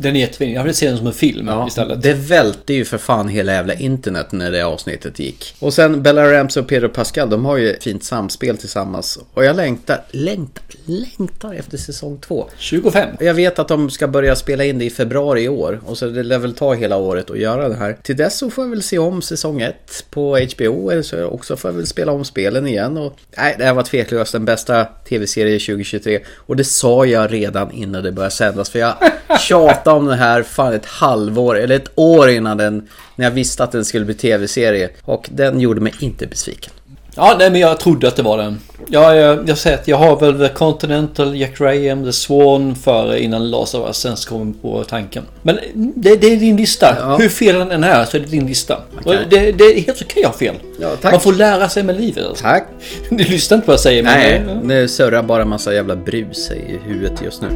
Speaker 2: Den är jättefin. Jag vill se den som en film ja, istället.
Speaker 1: Det välte ju för fan hela jävla internet när det avsnittet gick. Och sen Bella Ramsey och Pedro Pascal, de har ju ett fint samspel tillsammans. Och jag längtar, längtar, längtar efter säsong två.
Speaker 2: 25.
Speaker 1: Jag vet att de ska börja spela in det i februari i år. Och så det lär väl ta hela året att göra det här. Till dess så får jag väl se om säsong ett på HBO. Eller så också får jag väl spela om spelen igen. Och, nej, det här var tveklöst den bästa tv-serien 2023. Och det sa jag redan innan det började sändas. För jag tjatade pratade om den här fan ett halvår eller ett år innan den, när jag visste att den skulle bli tv-serie. Och den gjorde mig inte besviken.
Speaker 2: Ja, nej men jag trodde att det var den. Ja, jag, jag säger att jag har väl The Continental, Jack Graham, The Swan före innan Last of Us. Sen kom på tanken. Men det, det är din lista. Ja. Hur fel den är så är det din lista. Okay. Det, det, är helt okej att ha fel.
Speaker 1: Ja,
Speaker 2: Man får lära sig med livet. Alltså.
Speaker 1: Tack.
Speaker 2: Du lyssnar inte på vad jag säger.
Speaker 1: Nej, men, ja. nu surrar bara massa jävla brus i huvudet just nu.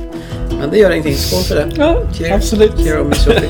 Speaker 1: Men det gör ingenting. Skål för det.
Speaker 2: Ja, Cheers. absolut.
Speaker 1: Cheers.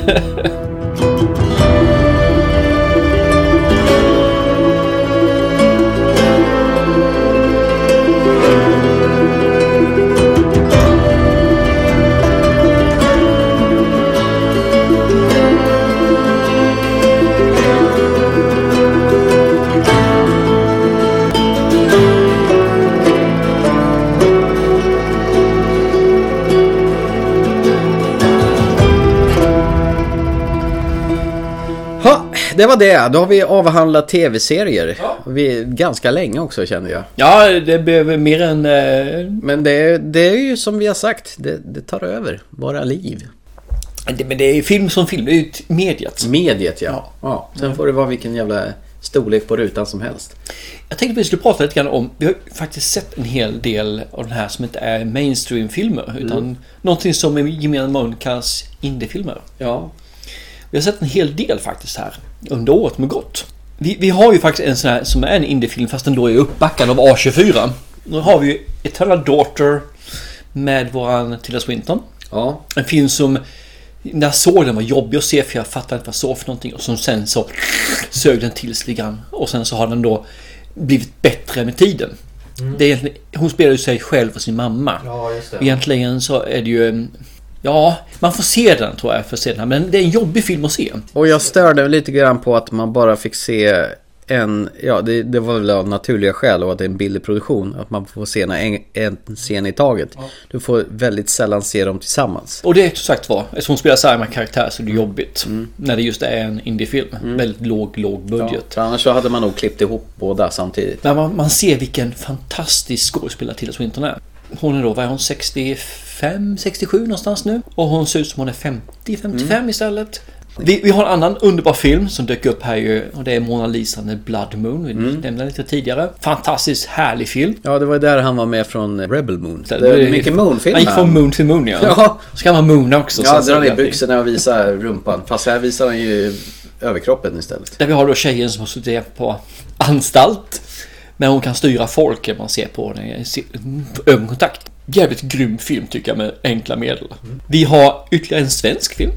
Speaker 1: det var det. Då har vi avhandlat tv-serier. Ja. Vi, ganska länge också kände jag.
Speaker 2: Ja, det blev mer än... Eh...
Speaker 1: Men det, det är ju som vi har sagt, det, det tar över våra liv.
Speaker 2: Det, men det är film som film, det är ju mediet.
Speaker 1: Mediet ja. ja. ja. Sen mm. får det vara vilken jävla storlek på rutan som helst.
Speaker 2: Jag tänkte vi skulle prata lite grann om, vi har faktiskt sett en hel del av den här som inte är mainstream-filmer. Utan mm. någonting som i gemene mun kallas indiefilmer.
Speaker 1: Ja.
Speaker 2: Vi har sett en hel del faktiskt här under året som gått. Vi, vi, har ju faktiskt en sån här som är en indiefilm fast den då är uppbackad av A24. Nu har vi ju Eternal Daughter med våran Tilda Swinton.
Speaker 1: Ja.
Speaker 2: En film som när jag såg den var jobbig att se för jag fattade inte vad jag såg för någonting och som sen så sög den till sig grann. och sen så har den då blivit bättre med tiden. Mm. Det är hon spelar ju sig själv och sin mamma.
Speaker 1: Ja, just det.
Speaker 2: Egentligen så är det ju mm, Ja, man får se den tror jag för sen. Men det är en jobbig film att se.
Speaker 1: Och jag störde lite grann på att man bara fick se en, ja det, det var väl av naturliga skäl och att det är en billig produktion. Att man får se en, en scen i taget. Ja. Du får väldigt sällan se dem tillsammans.
Speaker 2: Och det är som sagt var, eftersom hon spelar samma karaktär så är det jobbigt. Mm. När det just är en indiefilm. Mm. Väldigt låg, låg budget.
Speaker 1: Ja, annars så hade man nog klippt ihop båda samtidigt.
Speaker 2: Men man, man ser vilken fantastisk skådespelare Tilda Swinton är. Hon är då, vad är hon, 65, 67 någonstans nu? Och hon ser ut som hon är 50, 55 mm. istället. Vi, vi, har en annan underbar film som dök upp här ju och det är Mona Lisa med Blood Moon. Vi mm. nämnde lite tidigare. Fantastiskt härlig film.
Speaker 1: Ja, det var där han var med från Rebel Moon. Det, det, det mycket Moon-film.
Speaker 2: Han gick från Moon till Moon ja.
Speaker 1: ja.
Speaker 2: Så kan man Moona också.
Speaker 1: Ja, dra ner byxorna och visa rumpan. Fast här visar han ju överkroppen istället.
Speaker 2: Där vi har då tjejen som har suttit på anstalt. Men hon kan styra folk när man ser på henne. Ögonkontakt. Jävligt grym film tycker jag med enkla medel. Mm. Vi har ytterligare en svensk film.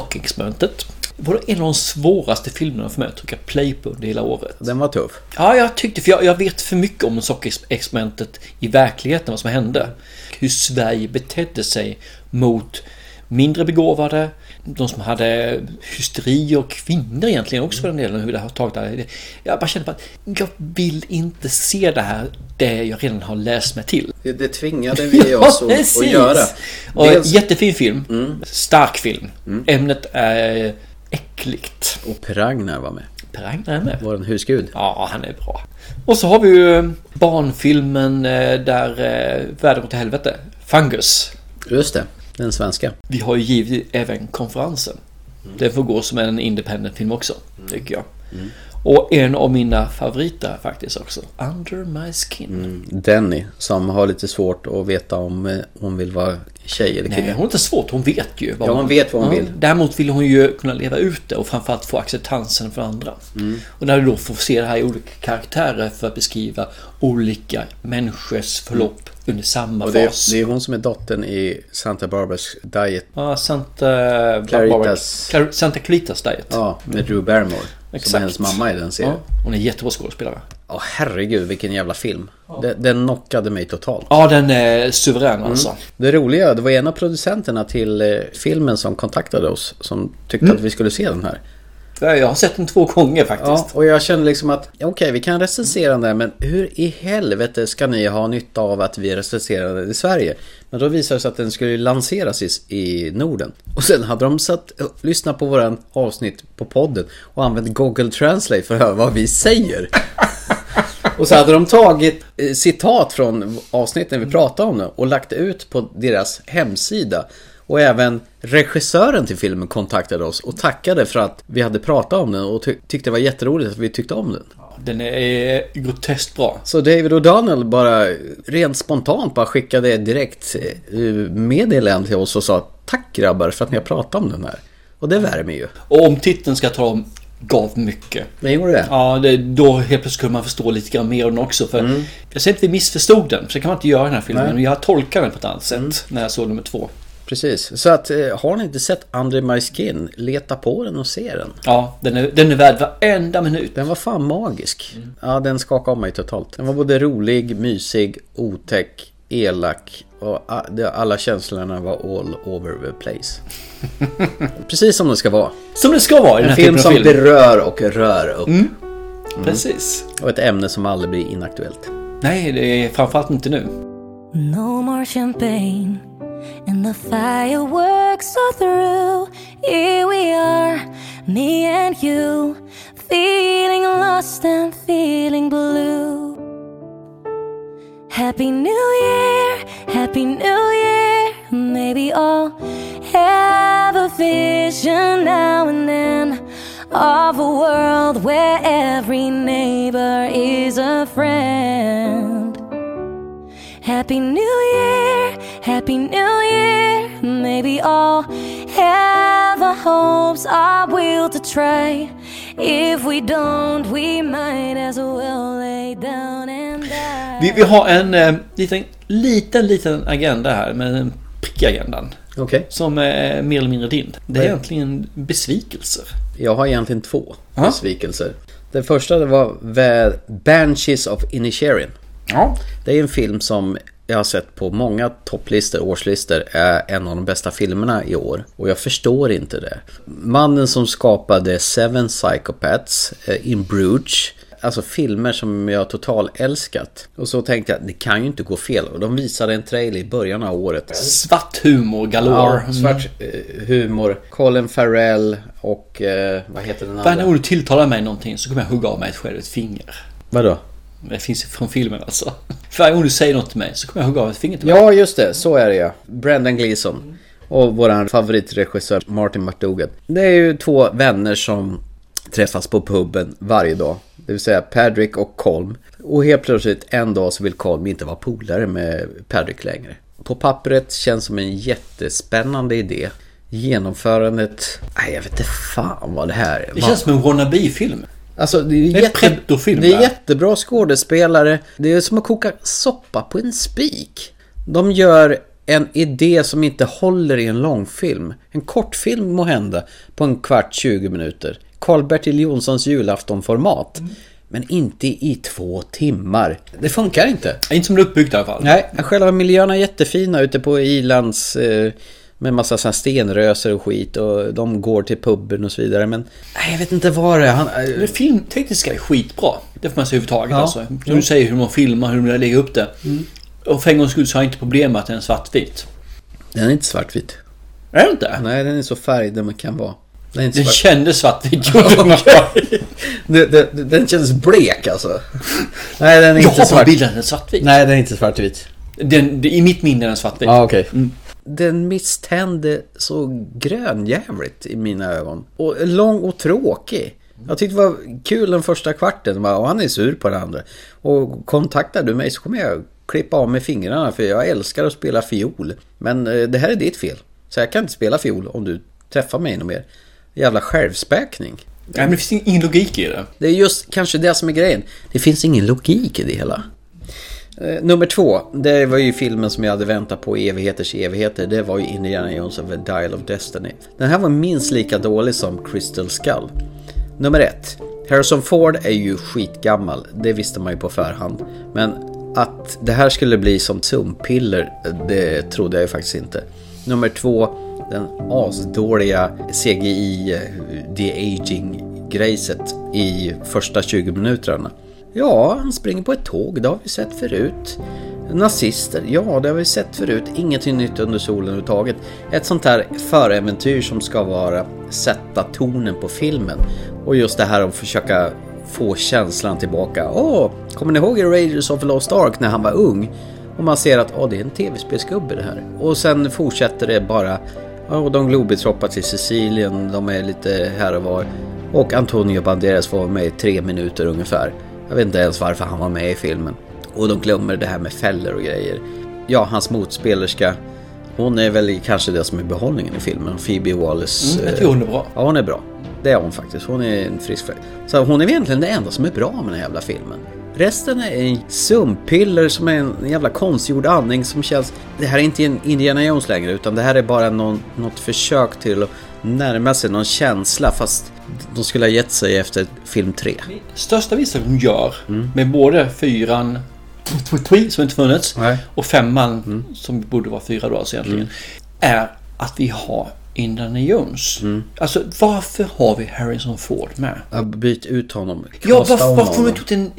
Speaker 2: Sockexmöntet. Det var en av de svåraste filmerna för mig att trycka play på under hela året.
Speaker 1: Den var tuff.
Speaker 2: Ja, jag tyckte för jag, jag vet för mycket om sockexperimentet i verkligheten, vad som hände. Hur Sverige betedde sig mot mindre begåvade, de som hade hysteri och kvinnor egentligen också för den delen, hur det har tagit det. Jag bara kände att jag vill inte se det här, det jag redan har läst mig till.
Speaker 1: Det, det tvingade vi oss ja, att, att göra.
Speaker 2: Och Dels... Jättefin film, mm. stark film. Mm. Ämnet är äckligt.
Speaker 1: Och Pragnar var med.
Speaker 2: Pragnar är med.
Speaker 1: Vår husgud.
Speaker 2: Ja, han är bra. Och så har vi ju eh, barnfilmen eh, där Världen går till helvete. Fungus.
Speaker 1: Just det. Den svenska.
Speaker 2: Vi har ju givit även konferensen. Mm. Den får gå som en independent film också, mm. tycker jag. Mm. Och en av mina favoriter faktiskt också. Under My Skin. Mm.
Speaker 1: Denny, som har lite svårt att veta om hon vill vara tjej eller kille.
Speaker 2: Nej, hon har inte svårt. Hon vet ju.
Speaker 1: Vad ja, hon vet vad hon vill.
Speaker 2: Däremot vill hon ju kunna leva ut det och framförallt få acceptansen från andra.
Speaker 1: Mm.
Speaker 2: Och när du då får se det här i olika karaktärer för att beskriva olika människors förlopp under samma
Speaker 1: Mm. och det,
Speaker 2: fas.
Speaker 1: Det är hon som är dottern i Santa Barbaras Diet.
Speaker 2: Ja, ah, Santa...
Speaker 1: Claritas.
Speaker 2: Bar Bar Santa Claritas Diet.
Speaker 1: Ja, med Drew Barrymore. Exakt. Som är hennes mamma i den serien. Ja,
Speaker 2: hon är jättebra skådespelare.
Speaker 1: Ja, oh, herregud vilken jävla film. Ja. Den, den knockade mig totalt.
Speaker 2: Ja, den är suverän alltså. Mm.
Speaker 1: Det roliga, det var en av producenterna till eh, filmen som kontaktade oss. Som tyckte mm. att vi skulle se den här.
Speaker 2: Jag har sett den två gånger faktiskt. Ja,
Speaker 1: och jag kände liksom att okej, okay, vi kan recensera den där men hur i helvete ska ni ha nytta av att vi recenserar den i Sverige? Men då visade det sig att den skulle lanseras i, i Norden. Och sen hade de satt lyssnat på våran avsnitt på podden och använt Google Translate för att höra vad vi säger. Och så hade de tagit eh, citat från avsnitten vi pratade om nu och lagt ut på deras hemsida. Och även regissören till filmen kontaktade oss och tackade för att vi hade pratat om den och ty- tyckte det var jätteroligt att vi tyckte om den.
Speaker 2: Den är groteskt bra.
Speaker 1: Så David O'Donnell bara rent spontant bara skickade direkt eh, meddelande till oss och sa Tack grabbar för att ni har pratat om den här. Och det värmer ju.
Speaker 2: Och om titeln ska ta om gav mycket.
Speaker 1: Men gjorde det?
Speaker 2: Ja, det, då helt plötsligt kunde man förstå lite grann mer om den också. För mm. Jag säger inte att vi missförstod den, för det kan man inte göra i den här filmen. Nej. Men jag tolkar den på ett annat sätt mm. när jag såg nummer två.
Speaker 1: Precis, så att eh, har ni inte sett Under My Skin, leta på den och se den.
Speaker 2: Ja, den är, den är värd varenda minut.
Speaker 1: Den var fan magisk. Mm. Ja, den skakade om mig totalt. Den var både rolig, mysig, otäck, elak och alla känslorna var all over the place. Precis som det ska vara.
Speaker 2: Som det ska vara
Speaker 1: en
Speaker 2: i
Speaker 1: den här film som film. berör och rör upp. Mm.
Speaker 2: Mm. Precis.
Speaker 1: Och ett ämne som aldrig blir inaktuellt.
Speaker 2: Nej, det är framförallt inte nu.
Speaker 5: No more champagne and the fireworks are through Here we are, me and you Feeling lost and feeling blue Happy New Year, Happy New Year. Maybe I'll have a vision now and then of a world where every neighbor is a friend. Happy New Year, Happy New Year. Maybe I'll have the hopes I will to try. If we don't we might as well lay down and die.
Speaker 2: Vi, vi har en eh, liten, liten, liten agenda här med prickagendan.
Speaker 1: Okay.
Speaker 2: Som är mer eller mindre din. Det är egentligen besvikelser.
Speaker 1: Jag har egentligen två Aha. besvikelser. Den första det var The Banshees of Inisherin.
Speaker 2: Ja.
Speaker 1: Det är en film som jag har sett på många topplistor, årslistor, är en av de bästa filmerna i år. Och jag förstår inte det. Mannen som skapade Seven Psychopaths, eh, In Bruges, alltså filmer som jag total älskat. Och så tänkte jag, det kan ju inte gå fel. Och de visade en trailer i början av året.
Speaker 2: Svart humor galore.
Speaker 1: Ja, svart eh, humor. Colin Farrell och eh, vad heter den andra?
Speaker 2: Varje gång du tilltalar mig någonting så kommer jag hugga av mig själv ett finger.
Speaker 1: Vadå?
Speaker 2: Det finns ju från filmen alltså. För varje gång du säger något till mig så kommer jag hugga av ett finger till
Speaker 1: mig. Ja, just det. Så är det ja. Brendan Gleeson. Och vår favoritregissör Martin McDougall. Det är ju två vänner som träffas på puben varje dag. Det vill säga Patrick och Colm. Och helt plötsligt en dag så vill Colm inte vara polare med Patrick längre. På pappret känns som en jättespännande idé. Genomförandet... Nej, jag vet inte fan vad det här är.
Speaker 2: Det känns som en wannabe-film.
Speaker 1: Alltså, det är,
Speaker 2: det är, jätte...
Speaker 1: det är jättebra skådespelare. Det är som att koka soppa på en spik. De gör en idé som inte håller i en långfilm. En kortfilm må hända på en kvart, 20 minuter. Karl-Bertil Jonssons julaftonformat. Mm. Men inte i två timmar. Det funkar inte.
Speaker 2: Inte som det är uppbyggt i alla fall.
Speaker 1: Nej, själva miljöerna är jättefina ute på Ilands... Eh, med massa sån stenröser och skit och de går till puben och så vidare. Men nej, jag vet inte vad det är. Han... eh,
Speaker 2: Det filmtekniska är skitbra. Det får man säga överhuvudtaget. Ja. Alltså. Som du säger hur man filmar, hur man lägger upp det. Mm. Och för en gångs skull så har jag inte problem med att den är svartvit.
Speaker 1: Den är inte svartvit.
Speaker 2: Är den inte?
Speaker 1: Nej, den är så färg den kan vara.
Speaker 2: Den, är inte den svart... kändes svartvit.
Speaker 1: den, den, den kändes blek alltså. Nej, den är
Speaker 2: jag
Speaker 1: inte svart.
Speaker 2: Jag har den svartvit.
Speaker 1: Nej, den är inte svartvit.
Speaker 2: Den, I mitt minne är den svartvit.
Speaker 1: Ja, ah, okej. Okay. Mm den misstände så grönjävligt i mina ögon. Och lång och tråkig. Jag tyckte det var kul den första kvarten och han är sur på den andra. Och kontaktar du mig så kommer jag klippa av med fingrarna för jag älskar att spela fiol. Men eh, det här är ditt fel. Så jag kan inte spela fiol om du träffar mig något mer. Jävla självspäkning.
Speaker 2: Nej men det finns ingen logik i det.
Speaker 1: Det är just kanske det som är grejen. Det finns ingen logik i det hela. Eh, Nummer två, det var ju filmen som jag hade väntat på i evigheters evigheter. Det var ju Indiana Jones of the Dial of Destiny. Den här var minst lika dålig som Crystal Skull. Nummer ett, Harrison Ford är ju skitgammal. Det visste man ju på förhand. Men att det här skulle bli som sumpiller, det trodde jag ju faktiskt inte. Nummer två, den asdåliga CGI, The Aging-grejset i första 20 minuterna. Ja, han springer på ett tåg, det har vi sett förut. Nazister, ja det har vi sett förut. Ingenting nytt under solen överhuvudtaget. Ett sånt här föräventyr som ska vara sätta tonen på filmen. Och just det här att försöka få känslan tillbaka. Åh, kommer ni ihåg i Raiders of the Lost Ark när han var ung? Och man ser att åh, det är en tv-spelsgubbe det här. Och sen fortsätter det bara. Och de Globits hoppar till Sicilien, de är lite här och var. Och Antonio Banderas var med i tre minuter ungefär. Jag vet inte ens varför han var med i filmen. Och de glömmer det här med fällor och grejer. Ja, hans motspelerska, hon är väl kanske det som är behållningen i filmen. Phoebe Wallace.
Speaker 2: Mm, jag tycker hon är bra.
Speaker 1: Ja, hon är bra. Det är hon faktiskt. Hon är en frisk fläkt. Så hon är egentligen det enda som är bra med den här jävla filmen. Resten är en sumpiller som är en jävla konstgjord andning som känns... Det här är inte en Indiana Jones längre utan det här är bara någon, något försök till att närma sig någon känsla fast de skulle ha gett sig efter film 3.
Speaker 2: Största viset de gör mm. med både fyran som inte funnits Nej. och femman mm. som borde vara fyra då alltså egentligen. Mm. Är att vi har Indiana Jones. Mm. Alltså varför har vi Harrison Ford med?
Speaker 1: Ja, byt ut honom.
Speaker 2: Ja, varför, varför har vi inte gjort en...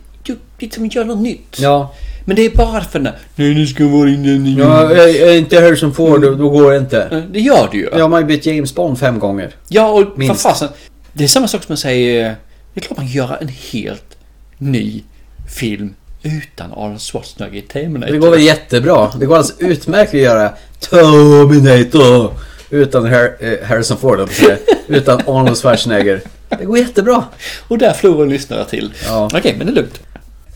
Speaker 2: Liksom gör något nytt.
Speaker 1: Ja.
Speaker 2: Men det är bara för den Nej, nu ska vara Indiana
Speaker 1: Jones. Ja, är, är inte Harrison Ford, mm. då går det inte.
Speaker 2: Det gör det ju.
Speaker 1: Ja, man har ju bytt James Bond fem gånger.
Speaker 2: Ja, och Minst. vad fasen. Det är samma sak som man säger... Det är klart man kan göra en helt ny film utan Arnold Schwarzenegger i Terminator.
Speaker 1: Det går väl jättebra. Det går alldeles utmärkt att göra Terminator utan eh, Harrison Ford, utan Arnold Schwarzenegger. Det går jättebra.
Speaker 2: Och där förlorar lyssnare till. Ja. Okej, men det är lugnt.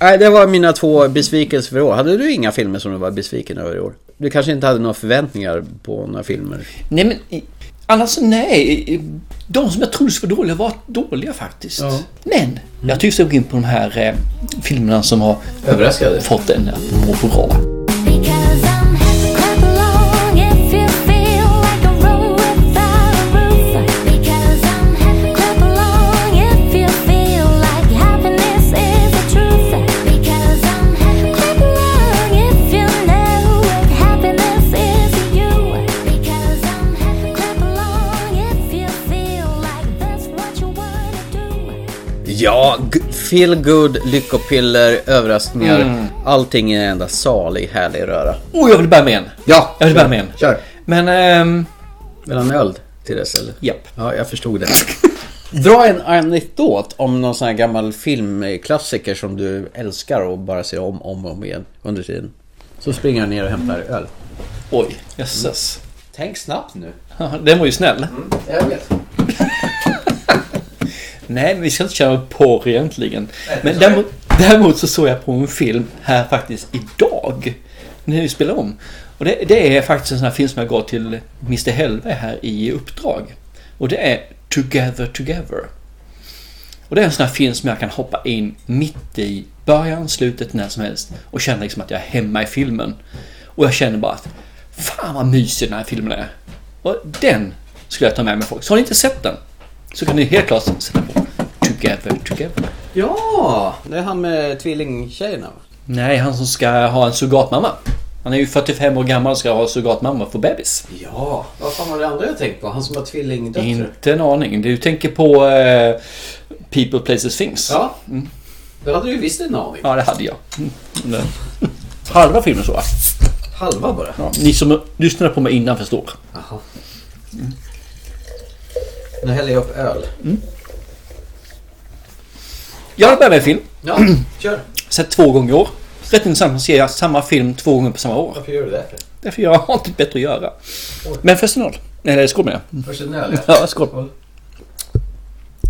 Speaker 1: Nej, det var mina två besvikelser för i år. Hade du inga filmer som du var besviken över i år? Du kanske inte hade några förväntningar på några filmer?
Speaker 2: Nej, men annars nej. De som jag trodde skulle vara dåliga var dåliga faktiskt. Ja. Men mm. jag tycks gå in på de här eh, filmerna som har
Speaker 1: Överraskade.
Speaker 2: fått en eh, att må bra.
Speaker 1: Ja, feel good, lyckopiller, överraskningar. Mm. Allting i en enda salig, härlig röra.
Speaker 2: Oh, jag vill bära med en!
Speaker 1: Ja!
Speaker 2: Jag vill bära med en.
Speaker 1: Kör!
Speaker 2: Men... Ehm...
Speaker 1: Vill han öl till dess eller?
Speaker 2: Japp.
Speaker 1: Ja, jag förstod det. Dra en anekdot om någon sån här gammal filmklassiker som du älskar och bara ser om och om, om igen under tiden. Så springer jag ner och hämtar öl.
Speaker 2: Oj, jösses. Mm.
Speaker 1: Tänk snabbt nu.
Speaker 2: Den var ju snäll.
Speaker 1: Mm, jag vet.
Speaker 2: Nej, men vi ska inte köra porr egentligen. Nej, men däremot, däremot, så såg jag på en film här faktiskt idag. När vi spelade om. Och det, det, är faktiskt en sån här film som jag gav till Mr Helve här i uppdrag. Och det är Together Together. Och det är en sån här film som jag kan hoppa in mitt i, början, slutet, när som helst. Och känna liksom att jag är hemma i filmen. Och jag känner bara att fan vad mysig den här filmen är. Och den skulle jag ta med mig folk. Så har ni inte sett den? så kan ni helt klart sätta på Together Together.
Speaker 1: Ja, det är han med tvillingtjejerna
Speaker 2: Nej, han som ska ha en surrogatmamma. Han är ju 45 år gammal och ska ha surrogatmamma för bebis.
Speaker 1: Ja, vad fan var det andra jag tänkte på? Han som har tvillingdöttrar?
Speaker 2: Inte en aning. Du tänker på eh, People Places Things.
Speaker 1: Ja, mm. det hade du visst en aning.
Speaker 2: Ja, det hade jag. Mm. Halva filmen så va?
Speaker 1: Halva bara?
Speaker 2: Ja, ni som lyssnade på mig innan förstår.
Speaker 1: Jaha. Mm. Nu häller jag upp öl. Mm.
Speaker 2: Jag har börjat med film.
Speaker 1: Ja, kör.
Speaker 2: Sett två gånger i år. Rätt intressant att se samma film två gånger på samma år.
Speaker 1: Varför gör du det?
Speaker 2: Därför jag har inte bättre att göra. Oj. Men först en öl. Eller skål menar
Speaker 1: jag. Först en öl?
Speaker 2: Ja, skål.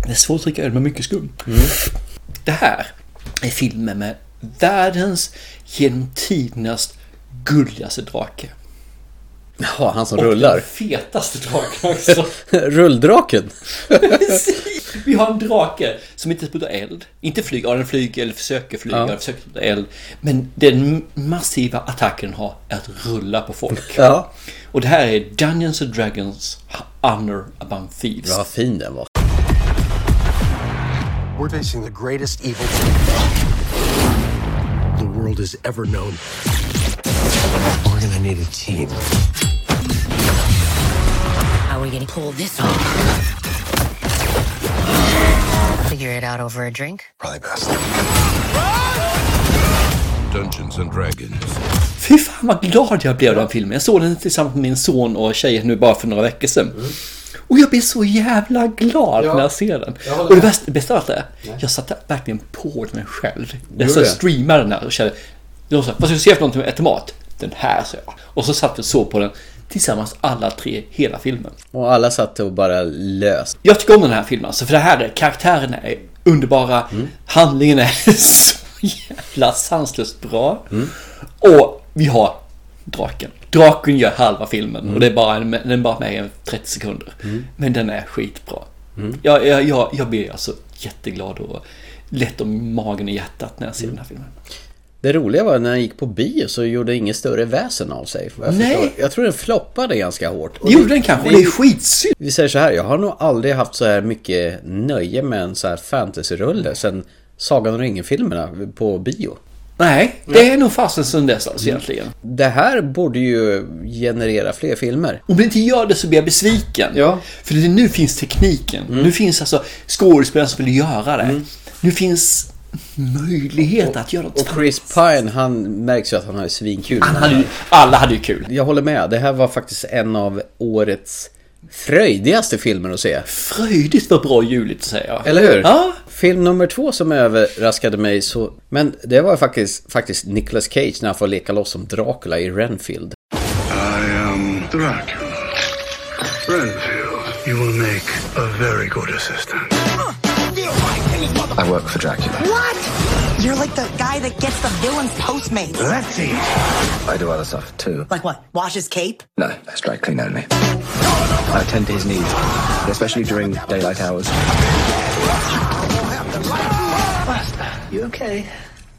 Speaker 2: Det är svårt att dricka öl med mycket skum. Mm. Det här är filmen med världens genom tidernas gulligaste drake.
Speaker 1: Ja, han som och rullar. den
Speaker 2: fetaste draken också.
Speaker 1: Rulldraken.
Speaker 2: Vi har en drake som inte sprutar eld. Inte flyger, ja, den flyger eller försöker flyga, ja. försöker spruta eld. Men den massiva attacken har är att rulla på folk.
Speaker 1: Ja.
Speaker 2: Och det här är Dungeons and Dragons Honor Among Thieves.
Speaker 1: Ja, vad fin den var.
Speaker 16: We're facing the greatest evil the world has ever known. We're gonna need a team.
Speaker 18: How are we gonna pull this off? Figure it out over a drink?
Speaker 16: Probably best.
Speaker 12: Dungeons and Dragons.
Speaker 2: Fy fan vad glad jag blev av den filmen. Jag såg den tillsammans med min son och tjejen nu bara för några veckor sedan. Mm. Och jag blir så jävla glad ja. när jag ser den. Jag och det bästa, bästa av allt är, jag satte verkligen på den själv. Jag streamade den här och kände, de sa, vad ska jag se för någonting att äta mat? den här så jag. Och så satt vi så på den tillsammans alla tre hela filmen.
Speaker 1: Och alla satt och bara lös.
Speaker 2: Jag tycker om den här filmen alltså, för det här är, karaktärerna är underbara, mm. handlingen är så jävla sanslöst bra. Mm. Och vi har draken. Draken gör halva filmen mm. och det är bara, den är bara med i 30 sekunder. Men den är skitbra. Mm. Jag, jag, jag, jag blir alltså jätteglad och lätt om magen och hjärtat när jag ser den här filmen.
Speaker 1: Det roliga var när den gick på bio så gjorde inget större väsen av sig. Jag,
Speaker 2: Nej.
Speaker 1: Förstår. jag tror den floppade ganska hårt.
Speaker 2: Och gjorde den kanske? Det är skitsynd.
Speaker 1: Vi säger så här, jag har nog aldrig haft så här mycket nöje med en så här fantasyrulle sen Sagan om ringen-filmerna på bio.
Speaker 2: Nej, det är ja. nog fasen sen dess alltså egentligen.
Speaker 1: Det här borde ju generera fler filmer.
Speaker 2: Om det inte gör det så blir jag besviken.
Speaker 1: Ja.
Speaker 2: För nu finns tekniken. Mm. Nu finns alltså skådespelare som vill göra det. Mm. Nu finns möjlighet
Speaker 1: och,
Speaker 2: att göra något
Speaker 1: Och Chris Pine, han märks ju att han har svinkul.
Speaker 2: Han hade, alla hade ju kul.
Speaker 1: Jag håller med. Det här var faktiskt en av årets fröjdigaste filmer att se.
Speaker 2: Fröjdigt vad bra juligt säger jag.
Speaker 1: Eller hur?
Speaker 2: Ja.
Speaker 1: Film nummer två som överraskade mig så... Men det var faktiskt, faktiskt Nicolas Cage när han får leka loss som Dracula i Renfield.
Speaker 10: I am Dracula. Renfield. You will make a very good assistant.
Speaker 11: I work for Dracula.
Speaker 10: What?
Speaker 17: You're like the guy that gets the villain's postmates.
Speaker 10: Let's eat.
Speaker 11: I do other stuff too.
Speaker 17: Like what? Wash his cape?
Speaker 11: No, that's dry clean only. I tend to his needs, especially during daylight hours.
Speaker 10: Buster, you okay?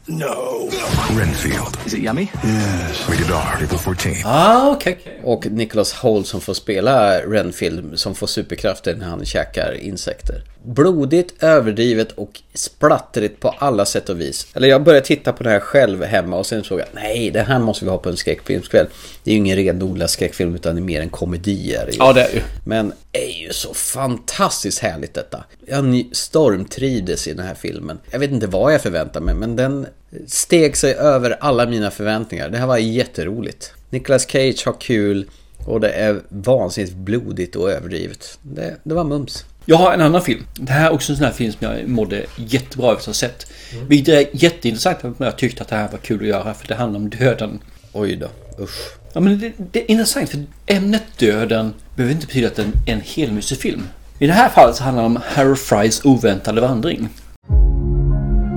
Speaker 10: No. Renfield.
Speaker 11: Is it yummy?
Speaker 10: Yes.
Speaker 11: Rated
Speaker 10: R, April 14.
Speaker 2: Ah, okej. Okay.
Speaker 1: Och Nicholas Holt som får spela Renfield som får superkrafter när han käkar insekter. Blodigt, överdrivet och splattrigt på alla sätt och vis. Eller jag började titta på det här själv hemma och sen såg jag nej, det här måste vi ha på en skräckfilmskväll. Det är ju ingen renodlad skräckfilm utan det är mer en komedi. Är
Speaker 2: Ja, det är ju.
Speaker 1: Men det är ju så fantastiskt härligt detta. Jag stormtrivdes i den här filmen. Jag vet inte vad jag förväntade mig men den steg sig över alla mina förväntningar. Det här var jätteroligt. Nicolas Cage har kul och det är vansinnigt blodigt och överdrivet. Det, det var mums.
Speaker 2: Jag har en annan film. Det här är också en sån här film som jag mådde jättebra över att ha sett. Mm. Vilket är jätteintressant men jag tyckte att det här var kul att göra för det handlar om döden.
Speaker 1: Oj då, usch.
Speaker 2: Ja men det, det är intressant för ämnet döden behöver inte betyda att det är en, en helmusefilm. I det här fallet så handlar det om Harry Frys oväntade vandring.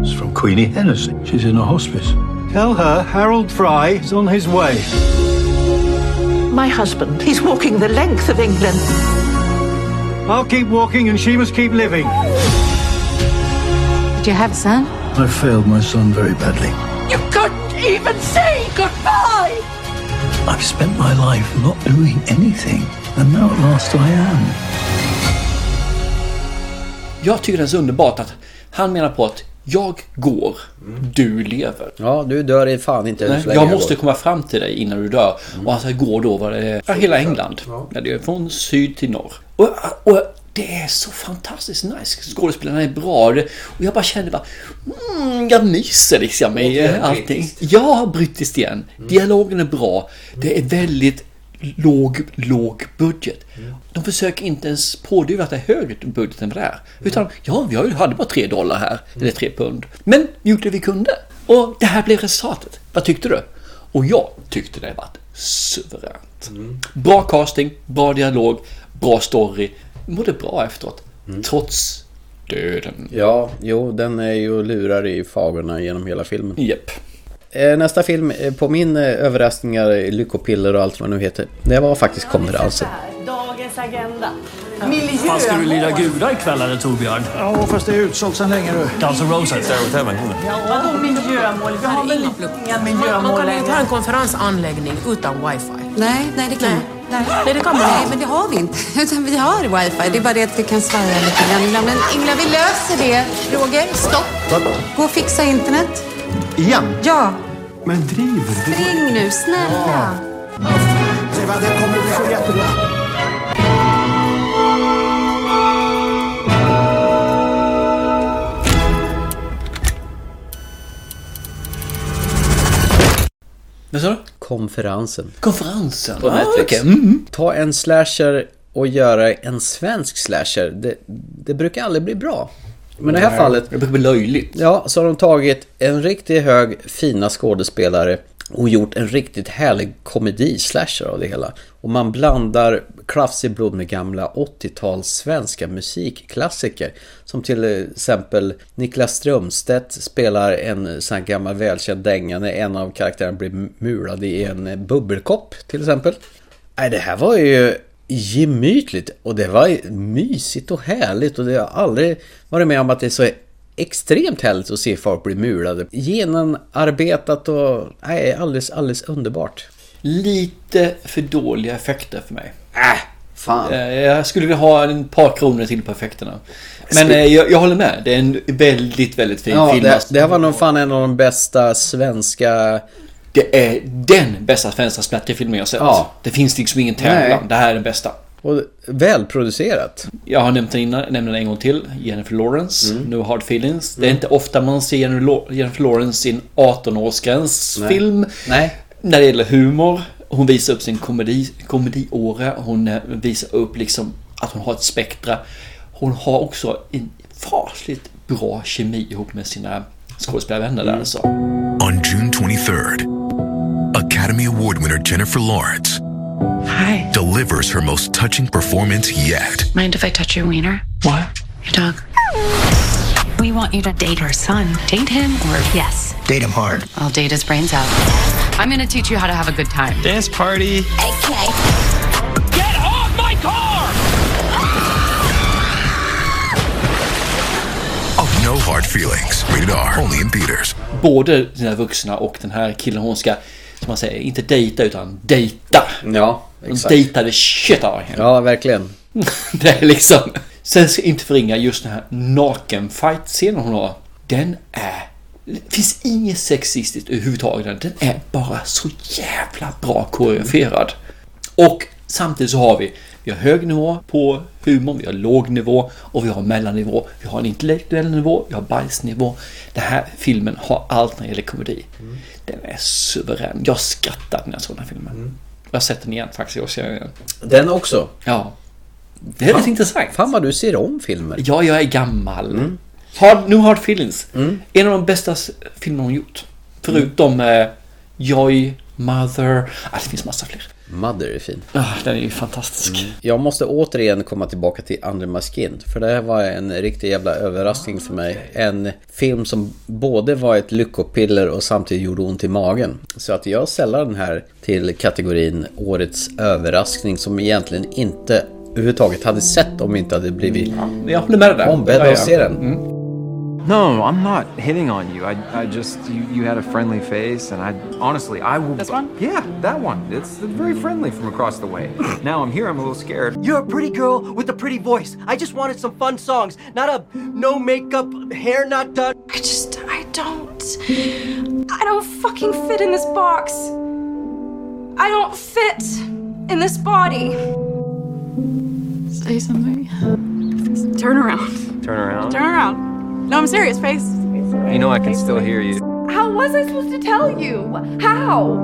Speaker 10: It's from Queenie Hennessy. She's in a hospice.
Speaker 19: Tell her Harold Fry is on his way.
Speaker 20: My husband, he's walking the length of England.
Speaker 19: I'll keep walking and she must keep living.
Speaker 20: Did you have a son?
Speaker 10: I failed my son very badly.
Speaker 20: You couldn't even say goodbye!
Speaker 10: I've spent my life not doing anything, and now at last I am.
Speaker 2: Jag tycker det är så underbart att han menar på att Jag går, du lever.
Speaker 1: Ja, du dör i fan inte
Speaker 2: Nej, Jag måste jag komma fram till dig innan du dör. Mm. Och han går då var det, ja, hela England. Ja. Ja, det är från syd till norr. Och, och det är så fantastiskt nice. Skådespelarna är bra. Och jag bara känner bara, mm, jag myser liksom i allting. Jag har brittiskt Mm. igen. Dialogen är bra. Det är väldigt låg, låg budget. Mm. De försöker inte ens pådyvla att det är högre budget än vad det är. Utan ja, vi hade bara tre dollar här, mm. eller tre pund. Men vi gjorde det vi kunde. Och det här blev resultatet. Vad tyckte du? Och jag tyckte det var suveränt. Mm. Bra casting, bra dialog, bra story. Mådde bra efteråt. Trots döden.
Speaker 1: Ja, jo, den är ju lurar i fagorna genom hela filmen. Eh,
Speaker 2: Japp.
Speaker 1: Nästa film på min eh, överraskningar, eh, lyckopiller och allt vad det nu heter. Det var faktiskt konferensen.
Speaker 21: Dagens agenda.
Speaker 22: Miljömål. Fan, ska du lira gula ikväll eller Torbjörn?
Speaker 21: Ja,
Speaker 22: fast
Speaker 21: det är utsålt sedan länge nu.
Speaker 22: Guns N' Roses.
Speaker 25: Sarah Tevin.
Speaker 21: Ja, vadå miljömål? Vi har väl inga miljömål
Speaker 25: Man kan inte ha en konferensanläggning utan wifi.
Speaker 29: Nej, nej det kan nej.
Speaker 25: Nej. nej, det kan man
Speaker 29: Nej, men det har vi inte. Utan vi har wifi. Det är bara det att vi kan svaja lite grann ibland. Men Ingla, vi löser det. Roger, stopp. Gå och fixa internet.
Speaker 21: Igen?
Speaker 29: Ja.
Speaker 21: Men driver
Speaker 29: du? Spring nu, snälla. Ja.
Speaker 21: Det kommer bli så jättebra.
Speaker 2: Vad sa du?
Speaker 1: Konferensen.
Speaker 2: Konferensen?
Speaker 1: På ah, Netflix. Okay. Mm. Ta en slasher och göra en svensk slasher. Det, det brukar aldrig bli bra. Men i det här fallet...
Speaker 2: Det brukar bli löjligt.
Speaker 1: Ja, så har de tagit en riktig hög fina skådespelare och gjort en riktigt härlig komedi-slasher av det hela. Och man blandar krafsig blod med gamla 80-tals svenska musikklassiker. Som till exempel Niklas Strömstedt spelar en sån här gammal välkänd dänga när en av karaktärerna blir mulad i en bubbelkopp till exempel. Nej, det här var ju gemytligt och det var mysigt och härligt och det har aldrig varit med om att det är så extremt härligt att se folk bli mulade. Genomarbetat och nej, alldeles, alldeles underbart.
Speaker 2: Lite för dåliga effekter för mig.
Speaker 1: Äh, fan.
Speaker 2: Eh, Jag skulle vilja ha en par kronor till på effekterna. Men Sp jag, jag, håller med, det är en väldigt, väldigt fin
Speaker 1: ja,
Speaker 2: film.
Speaker 1: Det, det här var nog fan en av de bästa svenska
Speaker 2: det är den bästa svenska splatterfilmen jag sett. Ja. Det finns liksom ingen tävlan. Nej. Det här är den bästa.
Speaker 1: Och välproducerat.
Speaker 2: Jag har nämnt den innan, nämner den en gång till. Jennifer Lawrence, mm. No Hard Feelings. Mm. Det är inte ofta man ser Jennifer Lawrence i en 18-årsgränsfilm.
Speaker 1: Nej.
Speaker 2: När det gäller humor. Hon visar upp sin komedi, komediåra. Hon eh, visar upp liksom att hon har ett spektra. Hon har också en fasligt bra kemi ihop med sina skådespelarvänner där alltså.
Speaker 4: On June 23rd, Academy Award winner Jennifer Lawrence
Speaker 14: Hi.
Speaker 4: delivers her most touching performance yet.
Speaker 14: Mind if I touch your wiener?
Speaker 4: What?
Speaker 14: Your dog. We want you to date our son. Date him or yes.
Speaker 4: Date him hard.
Speaker 14: I'll date his brains out. I'm gonna teach you how to have a good time.
Speaker 7: Dance party.
Speaker 14: Okay.
Speaker 7: Get off my car!
Speaker 4: Oh, no hard feelings. Rated R. Only in theaters.
Speaker 2: Både den här vuxna och den här killen hon ska som man säger, inte dejta utan dejta.
Speaker 1: Ja, exakt.
Speaker 2: De dejtade shit av henne.
Speaker 1: Ja, verkligen.
Speaker 2: det är liksom... Sen ska jag inte förringa just den här nakenfight-scenen hon har. Den är... Det finns inget sexistiskt överhuvudtaget. Den är bara så jävla bra koreograferad. Och samtidigt så har vi vi har hög nivå på humor, vi har låg nivå och vi har mellannivå. Vi har en intellektuell nivå, vi har bajsnivå. Den här filmen har allt när det gäller komedi. Mm. Den är suverän. Jag skrattade när jag såg den här filmen. Mm. Jag har sett den igen faktiskt. Jag ser den, igen.
Speaker 1: den också?
Speaker 2: Ja. Det är fan, lite intressant.
Speaker 1: Fan vad du ser om filmer.
Speaker 2: Ja, jag är gammal. Mm. Hard, no Hard Feelings. Mm. En av de bästa filmer hon gjort. Förutom eh, Joy, Mother. Ah, det finns massa fler.
Speaker 1: Mother är fin.
Speaker 2: Ah, den är ju fantastisk. Mm.
Speaker 1: Jag måste återigen komma tillbaka till Under Maskind. För det här var en riktig jävla överraskning för mig. En film som både var ett lyckopiller och samtidigt gjorde ont i magen. Så att jag sällar den här till kategorin Årets överraskning som egentligen inte överhuvudtaget hade sett om vi inte hade blivit mm.
Speaker 2: jag håller med där.
Speaker 1: ombedda att se den. Mm.
Speaker 8: No, I'm not hitting on you. I, I just, you, you had a friendly face, and I honestly, I will.
Speaker 9: This one?
Speaker 8: Yeah, that one. It's very friendly from across the way. now I'm here, I'm a little scared.
Speaker 9: You're a pretty girl with a pretty voice. I just wanted some fun songs, not a no makeup, hair not done.
Speaker 13: I just, I don't. I don't fucking fit in this box. I don't fit in this body.
Speaker 9: Say something.
Speaker 13: Turn around.
Speaker 8: Turn around?
Speaker 13: Turn around. No, I'm serious, Face.
Speaker 8: You know I can still hear you.
Speaker 13: How was I supposed to tell you? How?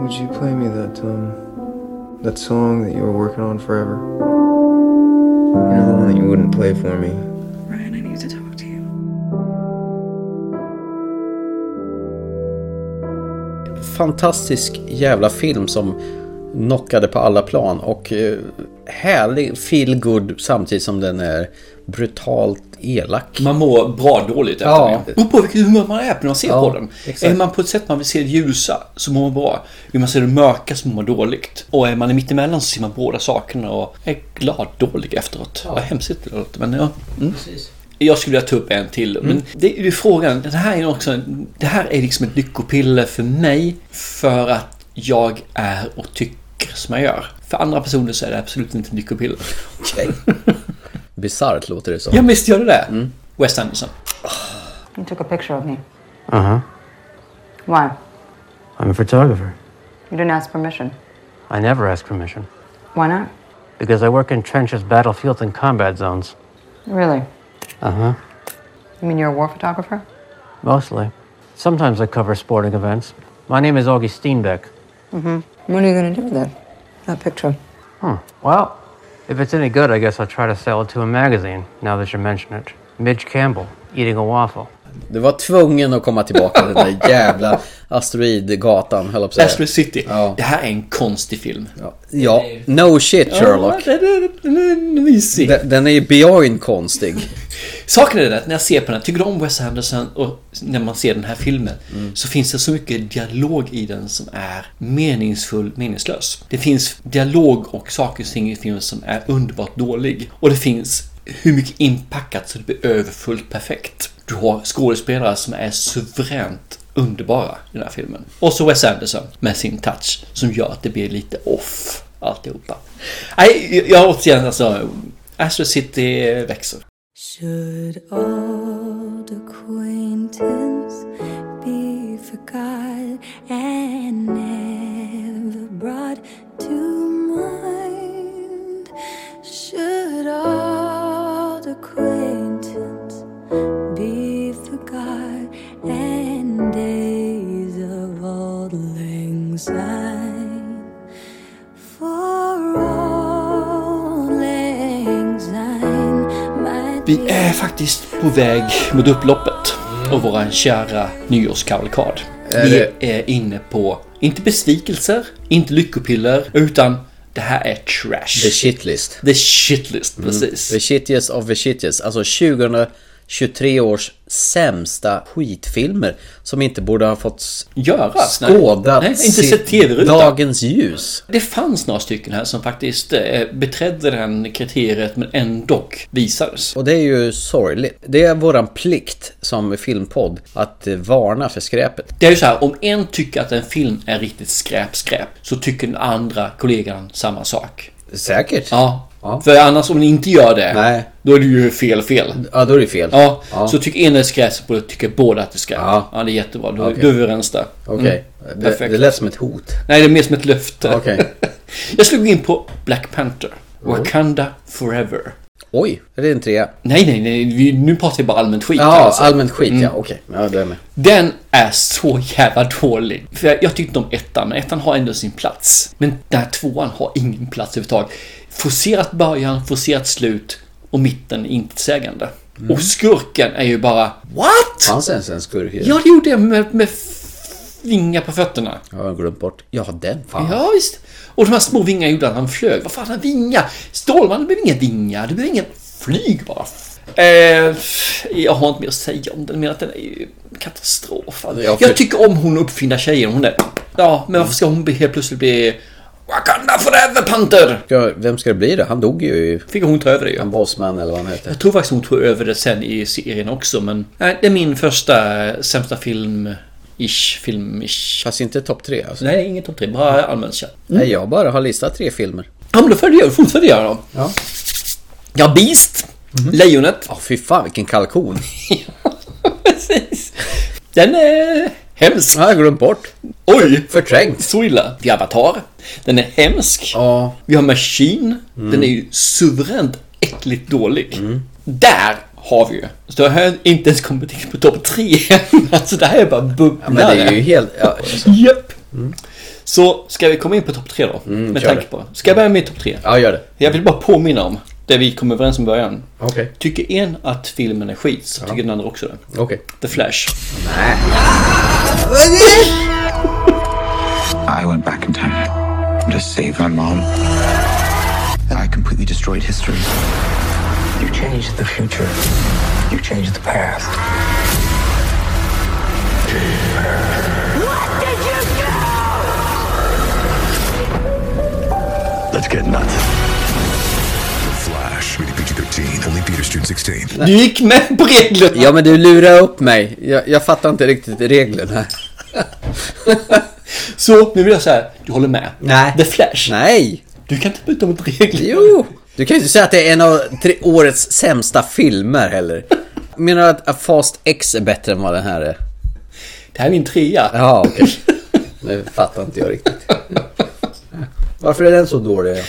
Speaker 8: Would you play me that um that song that you were working on forever? You know the one that you wouldn't play for me.
Speaker 13: Ryan, I need to talk to you.
Speaker 1: Fantastisk jävla film som knockade på alla plan och eh, härlig feel good samtidigt som den är brutalt elak.
Speaker 2: Man mår bra dåligt efter ja. det. på vilket humör man är när man ser ja, på den. Exakt. Är man på ett sätt man vill se det ljusa så mår man bra. Vill man se det mörka så mår man dåligt. Och är man i mittemellan så ser man båda sakerna och är glad dålig efteråt. Ja. Vad hemskt det låter men ja. Mm. Jag skulle vilja ta upp en till. Mm. Men det är ju frågan. Det här är, också, det här är liksom ett lyckopiller för mig. För att jag är och tycker som jag gör. För andra personer så är det absolut inte lyckopiller.
Speaker 1: Okej. Okay. Bisarrt låter det som.
Speaker 2: Ja, visst gör det det. Mm. Wes Anderson.
Speaker 24: You took a picture of me.
Speaker 26: Uh-huh.
Speaker 24: Why?
Speaker 26: I'm a photographer.
Speaker 24: You didn't ask permission.
Speaker 26: I never ask permission.
Speaker 24: Why not?
Speaker 26: Because I work in trenches, battlefields, and combat zones.
Speaker 24: Really?
Speaker 26: Uh-huh.
Speaker 24: You mean you're a war photographer?
Speaker 26: Mostly. Sometimes I cover sporting events. My name is Augie Steenbeck.
Speaker 24: Mm-hmm. What are you going to do with that? That picture?
Speaker 26: Hmm. Well, if it's any good, I guess I'll try to sell it to a magazine, now that you mention it. Midge Campbell, eating a waffle.
Speaker 1: Du var tvungen att komma tillbaka till den där jävla asteroidgatan, höll jag på att säga.
Speaker 2: Asteroid City. Det här är en konstig film.
Speaker 1: Eh, Ja, no shit Sherlock.
Speaker 2: Ja, den är- den är mysig.
Speaker 1: Den, den är ju beyond konstig.
Speaker 2: Saken är det att när jag ser på den, tycker du om Wes Anderson och när man ser den här filmen så finns det så mycket dialog i den som är meningsfull, meningslös. Det finns dialog och saker och ting i filmen som är underbart dålig. Och det finns hur mycket inpackat så det blir överfullt perfekt. Du har skådespelare som är suveränt underbara i den här filmen. Och så Wes Anderson med sin touch som gör att det blir lite off alltihopa. Nej, jag- jag återigen alltså, Astro City växer.
Speaker 23: Should old acquaintance be forgot and never brought to mind? Should old acquaintance be forgot and days of old lang syne? For old lang syne might
Speaker 2: Vi är faktiskt på väg mot upploppet och våran kära nyårskavalkad.
Speaker 1: Är
Speaker 2: Vi
Speaker 1: det-
Speaker 2: är inne på, inte besvikelser, inte lyckopiller, utan det här är trash.
Speaker 1: The shitlist.
Speaker 2: The shitlist,
Speaker 1: Mm.
Speaker 2: precis.
Speaker 1: The shittiest of the shittiest. Alltså 2023 års sämsta skitfilmer som inte borde ha fått
Speaker 2: Göras, Ah, nej.
Speaker 1: skådat
Speaker 2: Nej, inte sett TV-rutan.
Speaker 1: dagens ljus.
Speaker 2: Det fanns några stycken här som faktiskt eh, beträdde den kriteriet men ändå visades.
Speaker 1: Och det är ju sorgligt. Det är våran plikt som filmpodd att eh, varna för skräpet.
Speaker 2: Det är ju så här, om en tycker att en film är riktigt skräp-skräp så tycker den andra kollegan samma sak.
Speaker 1: Säkert.
Speaker 2: Ja. För annars om ni inte gör det, då är det ju fel-fel.
Speaker 1: Ja, då är det fel.
Speaker 2: Ja,
Speaker 1: Ja.
Speaker 2: så tycker en är skräp så tycker båda att det är skräp. Ja. det är jättebra. Då,
Speaker 1: Okej.
Speaker 2: då är vi överens där. Mm.
Speaker 1: Okej. Det- det lät som ett hot.
Speaker 2: Nej, det är mer som ett löfte.
Speaker 1: Okej. Oh.
Speaker 2: Jag slog in på Black Panther. Wakanda Forever.
Speaker 1: Oj, är det en trea?
Speaker 2: Nej, nej, nej. Vi, nu pratar vi bara allmänt skit.
Speaker 1: Ja,
Speaker 2: här, alltså.
Speaker 1: allmänt skit
Speaker 2: Mm.
Speaker 1: ja. Okej, ja det är med.
Speaker 2: Den är så jävla dålig. För jag, jag tyckte om ettan, men ettan har ändå sin plats. Men den här tvåan har ingen plats överhuvudtaget. Forcerat början, forcerat slut och mitten är intetsägande.
Speaker 1: Mm.
Speaker 2: Och skurken är ju bara What?
Speaker 1: Fanns det ens en skurk i
Speaker 2: Ja, det gjorde jag med, med vingar på fötterna.
Speaker 1: Jag har glömt bort. Ja, den fan.
Speaker 2: Ja, visst. Och de här små vingarna gjorde han, han flög. Vad fan, han vingar? Stålmannen behöver inga vingar, det behöver inga flyg bara. Eh, jag har inte mer att säga om den, men att den är ju katastrof. Alltså.
Speaker 1: Jag
Speaker 2: Jag,
Speaker 1: för-
Speaker 2: tycker om hon uppfinna tjejen, hon är... Ja, men varför ska hon bli- helt plötsligt bli... Wakanda forever panter!
Speaker 1: Ska- Vem ska det bli då? Han dog ju i...
Speaker 2: Fick hon ta över det ju.
Speaker 1: Han bossman eller vad han heter.
Speaker 2: Jag tror faktiskt hon tog över det sen i serien också, men... Nej, det är min första eh, sämsta film-ish, film-ish.
Speaker 1: Fast inte topp tre alltså?
Speaker 2: Nej, ingen topp tre, bara allmänt känd.
Speaker 1: Nej, jag bara har listat tre filmer.
Speaker 2: Ja, men då följer jag, fortsätter jag då.
Speaker 1: Ja.
Speaker 2: Ja, Beast. Lejonet.
Speaker 1: Mhm. Ja, fy fan vilken kalkon.
Speaker 2: Den är hemsk.
Speaker 1: Ja, jag glömt bort.
Speaker 2: Oj!
Speaker 1: Förträngt.
Speaker 2: Så illa. Vi har Avatar. Den är hemsk.
Speaker 1: Ja. Mm.
Speaker 2: Vi har Machine. Den är ju suveränt äckligt dålig. Där har vi ju. Så jag har inte ens kommit in på topp tre än. Alltså det här är bara bubblare.
Speaker 1: Men det är ju helt... Ja,
Speaker 2: Japp. Så ska vi komma in på topp tre då? med
Speaker 1: Mm, kör
Speaker 2: tanke
Speaker 1: det.
Speaker 2: på. Ska jag börja med topp tre?
Speaker 1: ja gör det.
Speaker 2: Jag vill bara påminna om det vi kom överens om i början.
Speaker 1: Okej.
Speaker 2: Tycker en att filmen är skit så tycker den andra också det.
Speaker 1: Okej.
Speaker 2: The Flash.
Speaker 11: I went back in time to save my mom. And I completely destroyed history. You changed the future. You changed the past.
Speaker 4: Let's get nuts. Flash, rated PG-13, only theater students 16.
Speaker 2: Du gick med på reglerna!
Speaker 1: Ja, men du lurar upp mig. Jag, jag fattar inte riktigt reglerna.
Speaker 2: Så, nu vill jag säga, du håller med.
Speaker 1: Nej.
Speaker 2: The Flash.
Speaker 1: Nej!
Speaker 2: Du kan inte byta mot regler.
Speaker 1: Jo! Du kan ju inte säga att det är en av tre, årets sämsta filmer heller. Menar du att Fast X är bättre än vad den här är?
Speaker 2: Det här är min trea.
Speaker 1: Ja, okej. Nu fattar inte jag riktigt. Varför är den så dålig?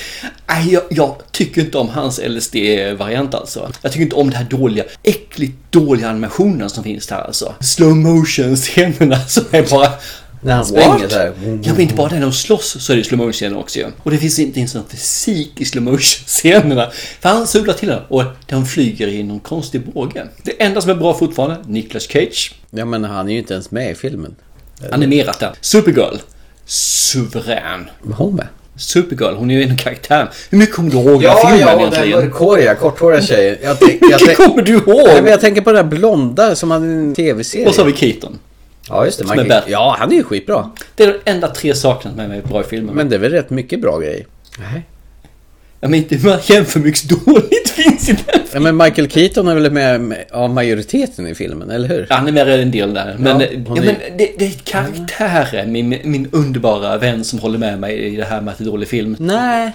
Speaker 2: Nej, jag, jag tycker inte om hans LSD-variant alltså. Jag tycker inte om det här dåliga, äckligt dåliga animationen som finns där alltså. Slow motion-scenerna som är bara...
Speaker 1: När han springer
Speaker 2: What?
Speaker 1: så här.
Speaker 2: Ja, men inte bara det. När de slåss så är det slow motion också ju. Och det finns inte ens någon fysik i slow motion scenerna För han sular till den och den flyger i någon konstig båge. Det enda som är bra fortfarande, Nicolas Cage.
Speaker 1: Ja, men han är ju inte ens med i filmen.
Speaker 2: Animerat den. Supergirl. Suverän.
Speaker 1: Var hon med?
Speaker 2: Supergirl, hon är ju en karaktär. Hur mycket kommer du ihåg den
Speaker 1: Ja,
Speaker 2: filmen
Speaker 1: ja, och den
Speaker 2: egentligen?
Speaker 1: mörkhåriga, korthåriga tjejen. Jag tänk- jag
Speaker 2: Vilken
Speaker 1: tänk-
Speaker 2: kommer du ihåg?
Speaker 1: Nej, men jag tänker på den där blonda som hade en tv-serie.
Speaker 2: Och så har vi Keaton.
Speaker 1: Ja, just det.
Speaker 2: Som
Speaker 1: Man
Speaker 2: är
Speaker 1: kan-
Speaker 2: Bat-
Speaker 1: Ja, han är ju skitbra.
Speaker 2: Det är de enda tre sakerna som är bra i filmen.
Speaker 1: Men det är väl rätt mycket bra grejer. Nej.
Speaker 2: Ja, men inte man jämför mycket dåligt finns i den.
Speaker 1: Ja, men Michael Keaton är väl med med- av majoriteten i filmen, eller hur?
Speaker 2: Han är med i en del där. Men,
Speaker 1: Ja,
Speaker 2: ja,
Speaker 1: hon är-
Speaker 2: men det, det är karaktären, min, min underbara vän som håller med mig i det här med att det är dålig film.
Speaker 1: Nej.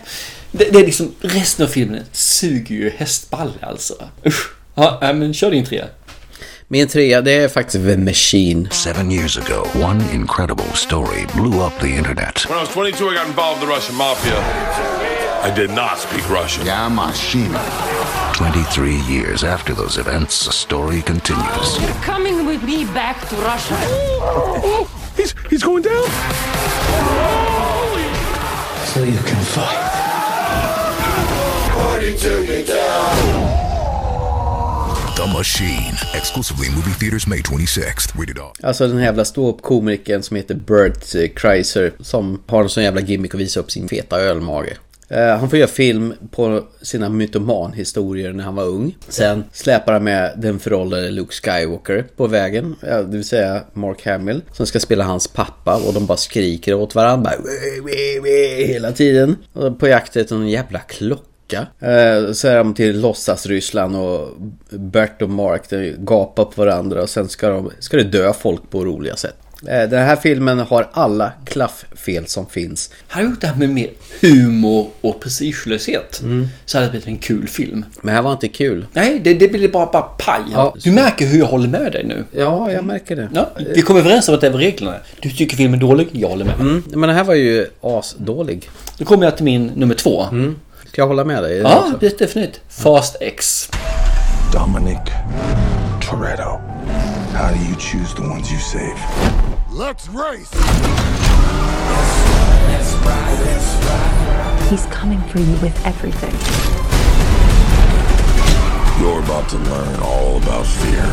Speaker 2: Det, det är liksom, resten av filmen suger ju hästballe alltså. Usch. Ja, nej, men kör din trea.
Speaker 1: Min trea, det är faktiskt The Machine.
Speaker 4: Seven years ago, one incredible story blew up the internet.
Speaker 5: When I was 22, I got involved in the Russian mafia. I did not speak Russian. Yamashina.
Speaker 4: 23 years after those events, the story continues.
Speaker 6: You're coming with me back to Russia.
Speaker 5: He's, he's going down.
Speaker 11: So you can fight.
Speaker 4: The Machine. Exclusively in movie theaters May 26th. Rated R.
Speaker 1: Alltså den här jävla ståuppkomikern som heter Bert Kreischer som har en sån jävla gimmick att visa upp sin feta ölmage. Eh, Han får göra film på sina mytomanhistorier när han var ung. Sen släpar han med den föråldrade Luke Skywalker på vägen, eh, det vill säga Mark Hamill, som ska spela hans pappa och de bara skriker åt varandra bara, "Wee, wee, wee", hela tiden. Och På jakt efter en jävla klocka vecka. Eh, Så är de till låtsas-Ryssland och Bert och Mark de gapar på varandra och sen ska, de, ska det dö folk på roliga sätt. Eh, Den här filmen har alla klafffel som finns.
Speaker 2: Hade jag gjort det här med mer humor och prestigelöshet så hade det blivit en kul film.
Speaker 1: Men det här var inte kul.
Speaker 2: Mm. Nej, det, det blir bara, bara paj.
Speaker 1: Ja.
Speaker 2: Du märker hur jag håller med dig nu.
Speaker 1: Ja, jag märker det.
Speaker 2: Ja, vi kom överens om att det var reglerna. Du tycker filmen är dålig, jag håller med.
Speaker 1: Mm, men den här var ju asdålig.
Speaker 2: Då kommer jag till min nummer två.
Speaker 1: Ska jag hålla med dig? i det
Speaker 2: Ja,
Speaker 1: också?
Speaker 2: det är definitivt. Fast X.
Speaker 29: Dominic Toretto. How do you choose the ones you save?
Speaker 5: Let's race.
Speaker 12: He's coming for you with everything.
Speaker 29: You're about to learn all about fear.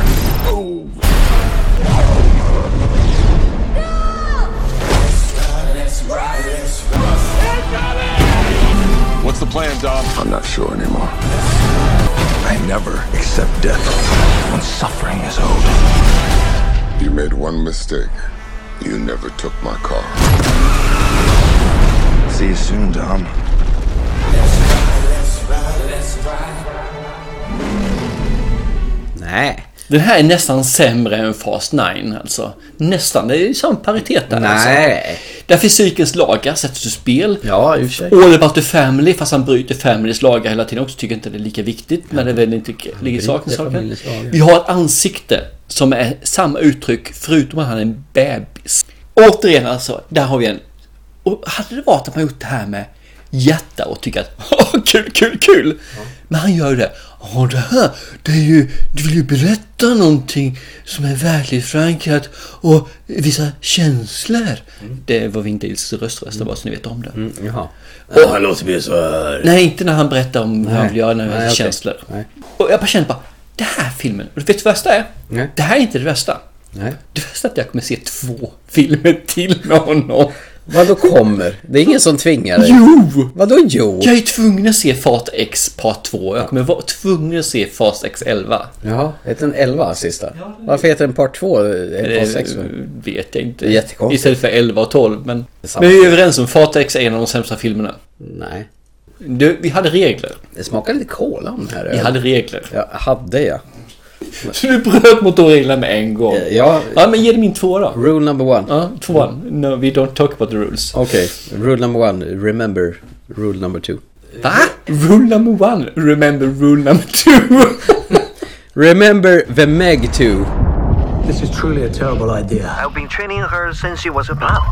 Speaker 5: What's the plan, Dom?
Speaker 29: I'm not sure anymore. I never accept death when suffering is owed.
Speaker 15: You made one mistake. You never took my car.
Speaker 29: See you soon, Dom.
Speaker 1: Nej.
Speaker 2: Den här är nästan sämre än Fast 9 alltså. Nästan. Det är ju sån paritet där alltså.
Speaker 1: Nej.
Speaker 2: Där fysikens lagar sätts ur spel.
Speaker 1: Ja, i och för sig.
Speaker 2: All about the family, fast han bryter family's lagar hela tiden också. Tycker inte det är lika viktigt, men det är väl inte ligger i sakens
Speaker 1: bryter
Speaker 2: saken.
Speaker 1: familjens lagar.
Speaker 2: Vi har ett ansikte som är samma uttryck, förutom att han är en bebis. Återigen alltså, där har vi en... Och hade det varit att man gjort det här med hjärta och tycka att "Åh, kul, kul, kul. Men han gör ju det. Åh, det här, det är ju, du vill ju berätta någonting som är verkligt förankrat och visa känslor.
Speaker 1: Mm.
Speaker 2: Det var Vin Diesels röströst, bara så ni vet om det.
Speaker 1: Jaha.
Speaker 2: Och-
Speaker 1: han låter mer så här.
Speaker 2: Nej, inte när han berättar om hur han vill göra när
Speaker 1: Nej,
Speaker 2: han har
Speaker 1: okej.
Speaker 2: känslor.
Speaker 1: Nej.
Speaker 2: Och jag bara känner bara, det här filmen, och vet du vad det värsta är?
Speaker 1: Nej.
Speaker 2: Det här är inte det värsta.
Speaker 1: Nej.
Speaker 2: Det värsta är att jag kommer se två filmer till med honom.
Speaker 1: Vadå kommer? Det är ingen som tvingar dig.
Speaker 2: Jo!
Speaker 1: Vadå jo?
Speaker 2: Jag är tvungen att se Fart X part 2. Jag kommer vara tvungen att se Fast X 11.
Speaker 1: Jaha, heter den 11 sista? Varför heter den part 2?
Speaker 2: Det
Speaker 1: Part 6?
Speaker 2: Eh, vet jag inte.
Speaker 1: Det är jättekonstigt.
Speaker 2: Istället för 11 och 12. Men,
Speaker 1: är samma
Speaker 2: men vi är
Speaker 1: film.
Speaker 2: överens om Fart X är en av de sämsta filmerna.
Speaker 1: Nej.
Speaker 2: Du, vi hade regler.
Speaker 1: Det smakar lite cola om den här
Speaker 2: Vi
Speaker 1: ölen.
Speaker 2: hade regler.
Speaker 1: Ja, hade jag.
Speaker 2: Så du bröt mot de reglerna med en gång.
Speaker 1: Ja,
Speaker 2: Ja, men ge dig min tvåa då.
Speaker 1: rule number one.
Speaker 2: Ja, tvåan. No, we don't talk about the rules.
Speaker 1: Okej, rule number one. Remember rule number two.
Speaker 2: Va? Rule number one. Remember rule number two.
Speaker 1: Remember the Meg 2.
Speaker 11: This is truly a terrible idea. I've been training her since she was a pup.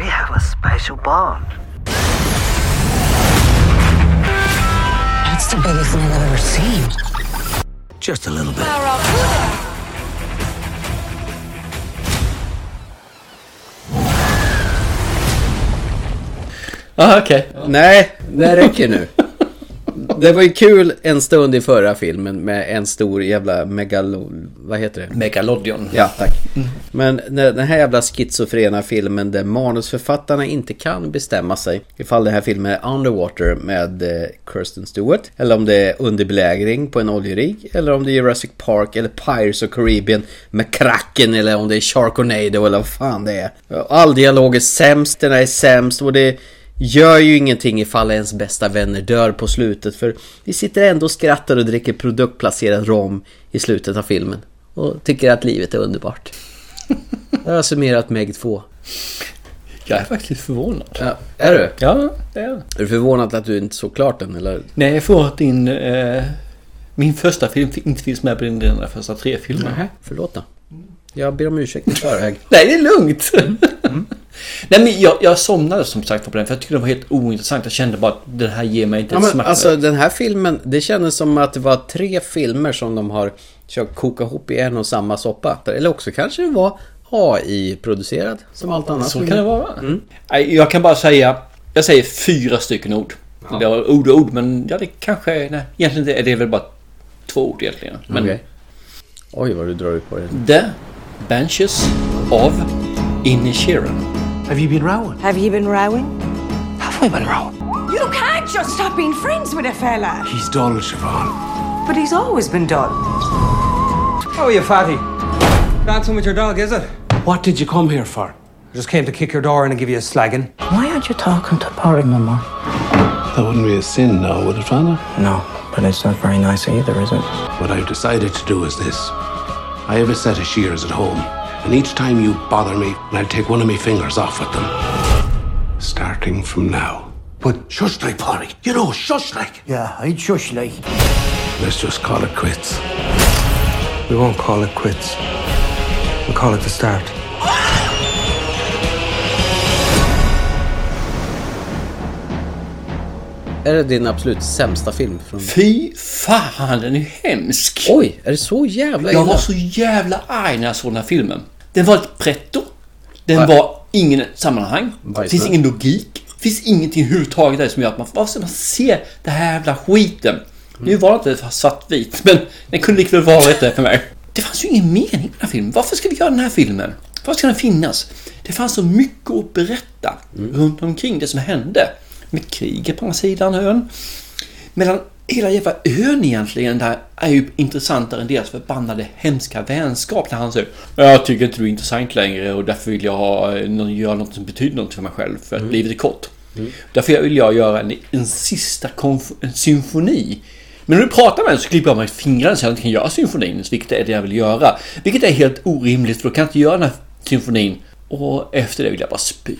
Speaker 11: We have a special bond.
Speaker 14: That's the biggest thing I've ever seen.
Speaker 11: Just a little bit.
Speaker 2: Ah, okej.
Speaker 1: Nej, det räcker nu. Det var ju kul en stund i förra filmen med en stor jävla megalo... Vad heter det?
Speaker 2: Megalodion.
Speaker 1: Ja, tack. Men när den här jävla schizofrena filmen där manusförfattarna inte kan bestämma sig ifall den här filmen är Underwater med eh, Kirsten Stewart eller om det är underbelägring på en oljerigg eller om det är Jurassic Park eller Pirates of Caribbean med kraken eller om det är Sharknado eller vad fan det är. All dialog är sämst, den här är sämst och det gör ju ingenting ifall ens bästa vänner dör på slutet för vi sitter ändå och skrattar och dricker produktplacerad rom i slutet av filmen och tycker att livet är underbart. Jag har summerat Meg 2.
Speaker 2: Jag är faktiskt förvånad.
Speaker 1: Ja, är du?
Speaker 2: Ja, det är jag.
Speaker 1: Är du förvånad att du inte såg klart den eller?
Speaker 2: Nej, jag får att din... Eh, min första film inte finns med på dina första tre filmer.
Speaker 1: Nej, förlåt då.
Speaker 2: Mm.
Speaker 1: Jag ber om ursäkt i förväg.
Speaker 2: Nej, det är lugnt.
Speaker 1: Mm,
Speaker 2: Nej, men jag, jag somnade som sagt på den för jag tyckte det var helt ointressant. Jag kände bara att den här ger mig inte
Speaker 1: Ja,
Speaker 2: ett
Speaker 1: men,
Speaker 2: smack.
Speaker 1: alltså den här filmen, det kändes som att det var tre filmer som de har försökt koka ihop i en och samma soppa. Eller också kanske det var AI-producerad som allt annat.
Speaker 2: Så kan det vara. Nej, Jag kan bara säga, jag säger fyra stycken ord. Det var ord och ord, men ja, det kanske, nej, egentligen inte, det är väl bara två ord egentligen. Men
Speaker 1: Okej. Oj, vad du drar ut på det.
Speaker 2: The Benches of Inisheran.
Speaker 10: Have you been rowing?
Speaker 16: Have you been rowing?
Speaker 10: Have we been rowing?
Speaker 16: You can't just stop being friends with a fella.
Speaker 10: He's dull, Siobhan.
Speaker 16: But he's always been dull.
Speaker 10: Oh, you fatty. Dancing with your dog, is it? What did you come here for? I just came to kick your door in and give you a slagging.
Speaker 29: Why aren't you talking to Barry, Mama?
Speaker 17: That wouldn't be a sin now, would it, Father?
Speaker 29: No, but it's not very nice either, is it?
Speaker 17: What I've decided to do is this. I have a set of shears at home, and each time you bother me, I'll take one of my fingers off with them. Starting from now. But shush like, Polly. You know, shush like.
Speaker 10: Yeah, I'd shush like.
Speaker 17: Let's just call it quits.
Speaker 10: We won't call it quits. We'll call it the start.
Speaker 1: Är det din absolut sämsta film? Från...
Speaker 2: Fy fan, den är hemsk!
Speaker 1: Oj, är det så jävla
Speaker 2: Jag
Speaker 1: illa?
Speaker 2: var så jävla arg när jag såg den här filmen. Den var ett pretto. Den var ingen sammanhang. Det finns ingen logik. Det finns ingenting överhuvudtaget där som gör att man... Varför ska man se den här jävla skiten? Nu var det inte svartvit, men den kunde lika väl varit det för mig. Det fanns ju ingen mening med den här filmen. Varför ska vi göra den här filmen? Varför ska den finnas? Det fanns så mycket att berätta runt omkring det som hände. Med kriget på andra sidan ön. Medan hela jävla ön egentligen där är ju intressantare än deras förbannade hemska vänskap. Där han säger Jag tycker inte du är intressant längre och därför vill jag ha, eh, nå- göra något som betyder något för mig själv. För att
Speaker 18: Mm.
Speaker 2: livet är kort. Därför vill jag göra en, en sista konf- en symfoni. Men när du pratar med mig så klipper jag mig i fingrarna så jag inte kan göra symfonin. Vilket är det jag vill göra. Vilket är helt orimligt för då kan jag inte göra den här symfonin. Och efter det vill jag bara spy.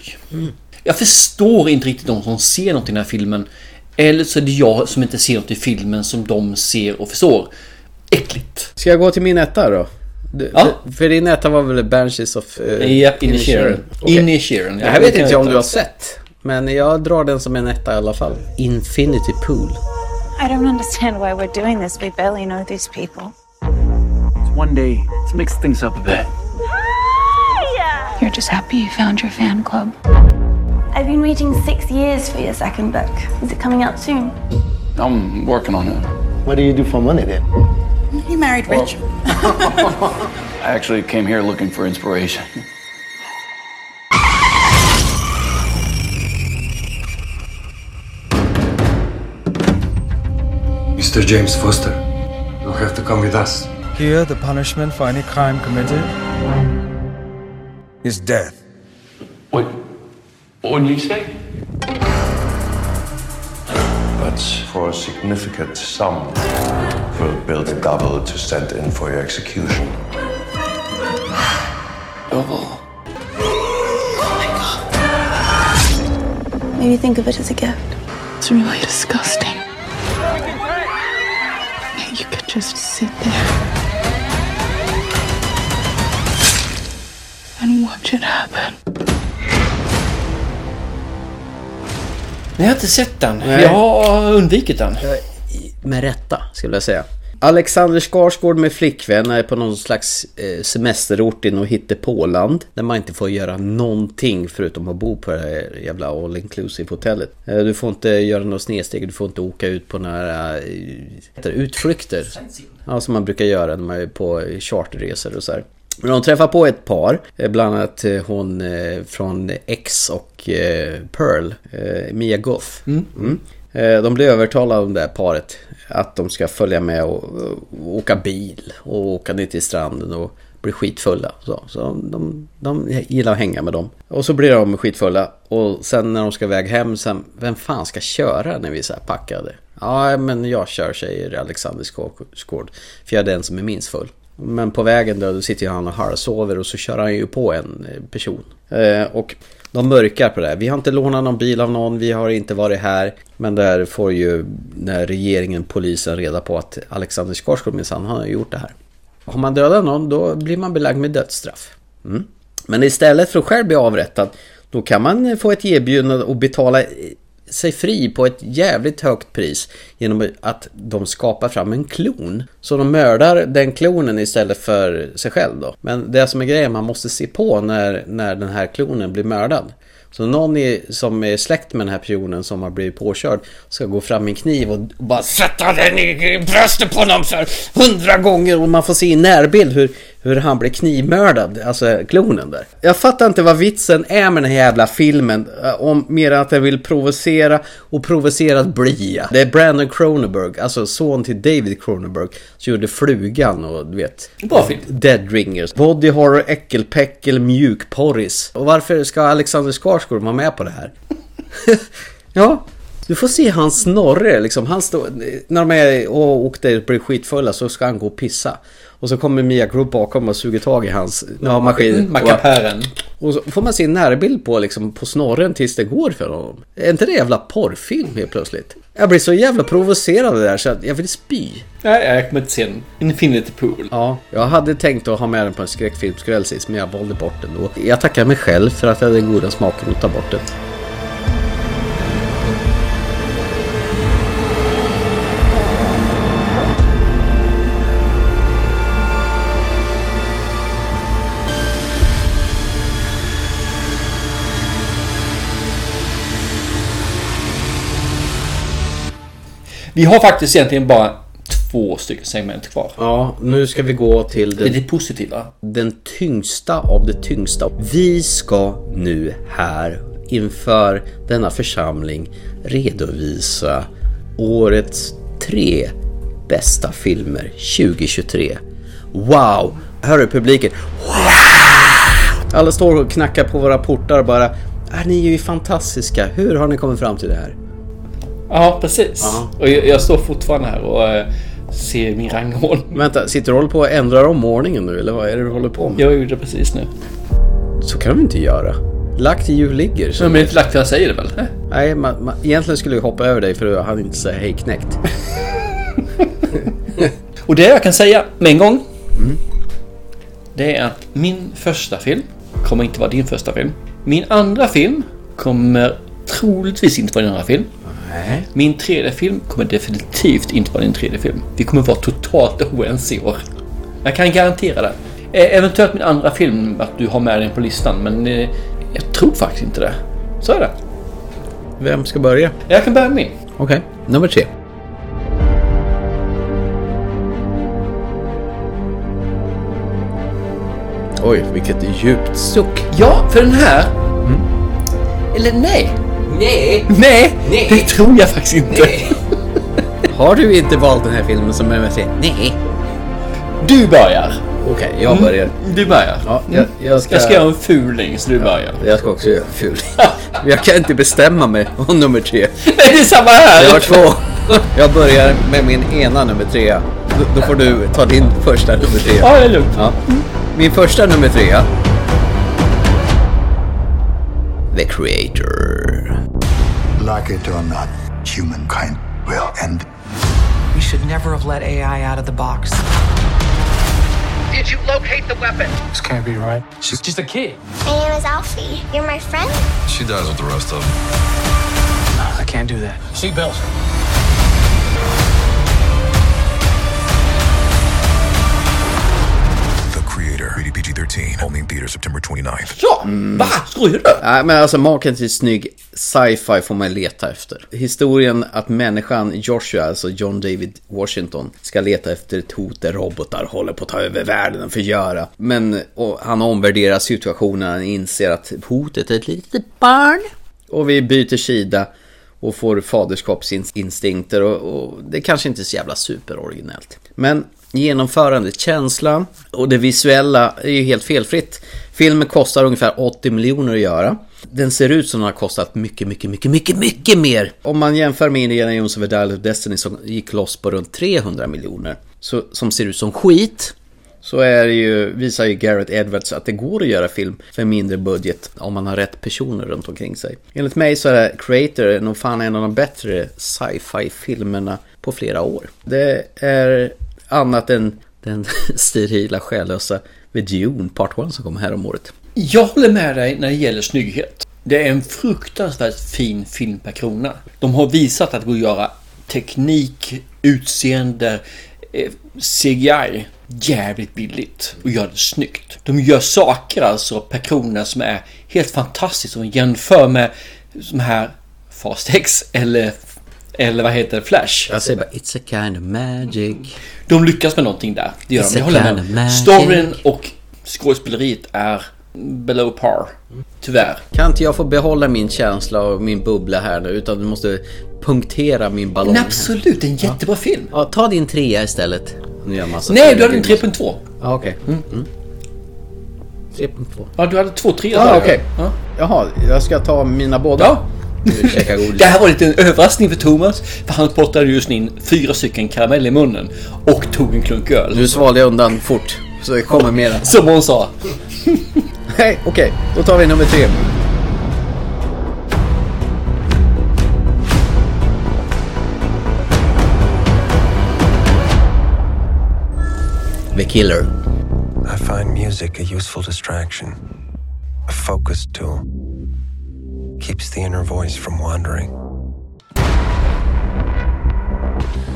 Speaker 2: Jag förstår inte riktigt de som ser något i den här filmen. Eller så är det jag som inte ser något i filmen som de ser och förstår. Äckligt.
Speaker 1: Ska jag gå till min etta då? Du, för, för din etta var väl Banshees of... Uh,
Speaker 2: Japp, Inisherin. Inisherin, ja.
Speaker 1: Det här vet
Speaker 2: Det
Speaker 1: inte
Speaker 2: kan
Speaker 1: jag om
Speaker 2: jag
Speaker 1: du har
Speaker 2: ta.
Speaker 1: sett. Men jag drar den som en etta i alla fall. Infinity Pool.
Speaker 18: I don't understand why we're doing this. We barely know these people.
Speaker 19: One day, let's mix things up a bit.
Speaker 18: You're just happy you found your fan club.
Speaker 20: I've been waiting six years for your second book. Is it coming out soon?
Speaker 19: I'm working on it.
Speaker 27: What do you do for money then?
Speaker 20: You married Rich.
Speaker 19: I actually came here looking for inspiration.
Speaker 10: Mr. James Foster, you have to come with us.
Speaker 28: Here, the punishment for any crime committed is death.
Speaker 19: What did you say?
Speaker 27: That's for a significant sum. We'll build a double to send in for your execution.
Speaker 19: Double.
Speaker 20: Maybe think of it as a gift.
Speaker 18: It's really disgusting. You could just sit there and watch it happen.
Speaker 2: Nej, jag har inte sett den.
Speaker 1: Nej.
Speaker 2: Jag har undvikit den.
Speaker 1: Med rätta, skulle jag säga. Alexander Skarsgård med flickvän är på någon slags eh, semesterort i något hittepåland. Där man inte får göra någonting förutom att bo på det här jävla all inclusive hotellet. Eh, du får inte göra något snedsteg, du får inte åka ut på några eh, heter det, utflykter. Ja, som man brukar göra när man är på charterresor och så här. Men de träffar på ett par, eh, bland annat eh, hon eh, från X och eh, Pearl, eh, Mia Goth. Mm. Eh, De blir övertalade om det här paret att de ska följa med och, och åka bil och åka ner till stranden och bli skitfulla. Så, så de, de, de gillar att hänga med dem. Och så blir de skitfulla och sen när de ska iväg hem, sen, vem fan ska köra när vi är så här packade? Ja, men jag kör, säger Alexander Skarsgård, för jag är den som är minst full. Men på vägen då, då sitter ju han och halvsover och så kör han ju på en eh, person. Eh, och de mörkar på det här. Vi har inte lånat någon bil av någon, vi har inte varit här. Men där får ju när regeringen, polisen reda på att Alexander Skarsgård minsann har gjort det här. Har man dödat någon då blir man belagd med dödsstraff. Mm. Men istället för att själv bli avrättad då kan man få ett erbjudande och betala sig fri på ett jävligt högt pris genom att de skapar fram en klon. Så de mördar den klonen istället för sig själv då. Men det som är grejen, man måste se på när, när den här klonen blir mördad. Så någon är, som är släkt med den här personen som har blivit påkörd ska gå fram med en kniv och bara sätta den i bröstet på honom för hundra gånger och man får se i närbild hur, hur han blir knivmördad, alltså klonen där. Jag fattar inte vad vitsen är med den här jävla filmen, eh, om mer än att den vill provocera och provocera att bli. Det är Brandon Cronenberg, alltså son till David Cronenberg, som gjorde Flugan och du vet...
Speaker 2: Bra film.
Speaker 1: Dead Ringers. Body horror, äckelpäckel, mjukporris. Och varför ska Alexander Skarsgård vara med på det här? ja, du får se hans snorre liksom. Han står, när de är och åkte och blir skitfulla så ska han gå och pissa. Och så kommer Mia Group bakom och suger tag i hans ja,
Speaker 2: mm,
Speaker 1: maskin.
Speaker 2: Mackapären.
Speaker 1: Och så får man se en närbild på, liksom, på snorren tills det går för honom. Är inte det jävla porrfilm helt plötsligt? Jag blir så jävla provocerad av det där så att jag vill spy.
Speaker 2: Nej, jag kommer inte se den. Infinity Pool.
Speaker 1: Ja, jag hade tänkt att ha med den på en skräckfilmskväll sist men jag valde bort den då. Jag tackar mig själv för att jag hade den goda smaken att ta bort den.
Speaker 2: Vi har faktiskt egentligen bara två stycken segment kvar.
Speaker 1: Ja, nu ska vi gå till
Speaker 2: Det är det positiva.
Speaker 1: den tyngsta av det tyngsta. Vi ska nu här inför denna församling redovisa årets tre bästa filmer 2023. Wow! Hör du publiken? Wow! Alla står och knackar på våra portar och bara "Ah, ni är ju fantastiska. Hur har ni kommit fram till det här?
Speaker 2: Ja, precis. Och jag, jag står fortfarande här och eh, ser min rangordning.
Speaker 1: Vänta, sitter du och håller på att ändra om ordningen nu eller vad är det du håller på med?
Speaker 2: Jag gjorde det precis nu.
Speaker 1: Så kan de inte göra. Lagt i jul ligger. så-
Speaker 2: Men det är inte lagt för jag säger det väl?
Speaker 1: Nej, man, man, egentligen skulle jag hoppa över dig för jag hann inte säga hej knäckt.
Speaker 2: Och det jag kan säga med en gång. Det är att min första film kommer inte vara din första film. Min andra film kommer troligtvis inte vara din andra film.
Speaker 1: Nej.
Speaker 2: Min tredje film kommer definitivt inte vara din tredje film. Vi kommer vara totalt oense i år. Jag kan garantera det. Eh, Eventuellt min andra film att du har med den på listan men eh, jag tror faktiskt inte det. Så är det.
Speaker 1: Vem ska börja?
Speaker 2: Jag kan börja med min.
Speaker 1: Okej, nummer tre. Oj, vilket djupt suck.
Speaker 2: Ja, för den här... Eller nej.
Speaker 1: Mm. Nej!
Speaker 2: Nej, det tror jag faktiskt inte.
Speaker 1: Har du inte valt den här filmen som är med sig? Nej.
Speaker 2: Du börjar.
Speaker 1: Okej, jag börjar.
Speaker 2: Du börjar.
Speaker 1: Ja, jag, jag, ska,
Speaker 2: Mm. Jag ska göra en fuling så du börjar.
Speaker 1: jag ska också göra ful. jag kan inte bestämma mig om nummer tre.
Speaker 2: Nej, det är samma här!
Speaker 1: Jag har två. Jag börjar med min ena nummer trea. Då- Då får du ta din första nummer trea.
Speaker 2: Ja, det är lugnt.
Speaker 1: Ja. Min första nummer trea. The Creator.
Speaker 7: Like it or not, humankind will end.
Speaker 16: We should never have let AI out of the box.
Speaker 8: Did you locate the weapon?
Speaker 7: This can't be right.
Speaker 9: She's just a kid.
Speaker 8: My name is Alfie. You're my friend?
Speaker 9: She dies with the rest of them. I can't do that. Seatbelt.
Speaker 4: 29th.
Speaker 2: Ja, mm. va? Skojar du?
Speaker 1: Nej, men alltså maken till snygg sci-fi får man leta efter. Historien att människan Joshua, alltså John David Washington, ska leta efter ett hot där robotar håller på att ta över världen och förgöra. Men och han omvärderar situationen, han inser att hotet är ett litet barn. Och vi byter sida och får faderskapsinstinkter och, och det kanske inte är så jävla superoriginellt. Men genomförandet, känslan och det visuella är ju helt felfritt. Filmen kostar ungefär 80 miljoner att göra. Den ser ut som den har kostat mycket, mycket, mycket, mycket, mycket mer. Om man jämför med Indiana Jones och Dial of Destiny som gick loss på runt 300 miljoner, så, som ser ut som skit, så är det ju, visar ju Garrett Edwards att det går att göra film för mindre budget om man har rätt personer runt omkring sig. Enligt mig så är Creator nog fan en av de bättre sci-fi filmerna på flera år. Det är annat än den sterila, själlösa vid Dune Part 1 som kom här om året.
Speaker 2: Jag håller med dig när det gäller snygghet. Det är en fruktansvärt fin film per krona. De har visat att det går att göra teknik, utseende, eh, CGI jävligt billigt och gör det snyggt. De gör saker alltså per krona som är helt fantastiskt om man jämför med som här Fast X eller eller vad heter det? Flash?
Speaker 1: Jag säger bara It's a kind of magic.
Speaker 2: De lyckas med någonting där. Det gör
Speaker 1: It's
Speaker 2: de.
Speaker 1: a
Speaker 2: Jag håller
Speaker 1: kind
Speaker 2: med.
Speaker 1: of magic.
Speaker 2: Storyn och skådespeleriet är below par. Tyvärr.
Speaker 1: Kan inte jag få behålla min känsla och min bubbla här nu utan du måste punktera min ballong.
Speaker 2: Men
Speaker 1: här.
Speaker 2: absolut, det är en jättebra film.
Speaker 1: Ja, ta din trea istället. Nu gör jag massa
Speaker 2: Nej, du
Speaker 1: fel.
Speaker 2: hade en 3.2.
Speaker 1: Ja, okej. Mm. Mm. 3.2.
Speaker 2: Ja, du hade 2.3.
Speaker 1: Ja, okej. Jaha, jag ska ta mina båda.
Speaker 2: Ja.
Speaker 1: Nu käkar godis.
Speaker 2: Det här var lite en överraskning för Thomas. För han plottade just in fyra stycken karamell i munnen och tog en klunk öl.
Speaker 1: Nu svalde jag undan fort. Så det kommer mera.
Speaker 2: Som hon sa.
Speaker 1: Nej, okej. Då tar vi nummer tre. The Killer.
Speaker 23: I find music a useful distraction, a focus tool. Keeps the inner voice from wandering.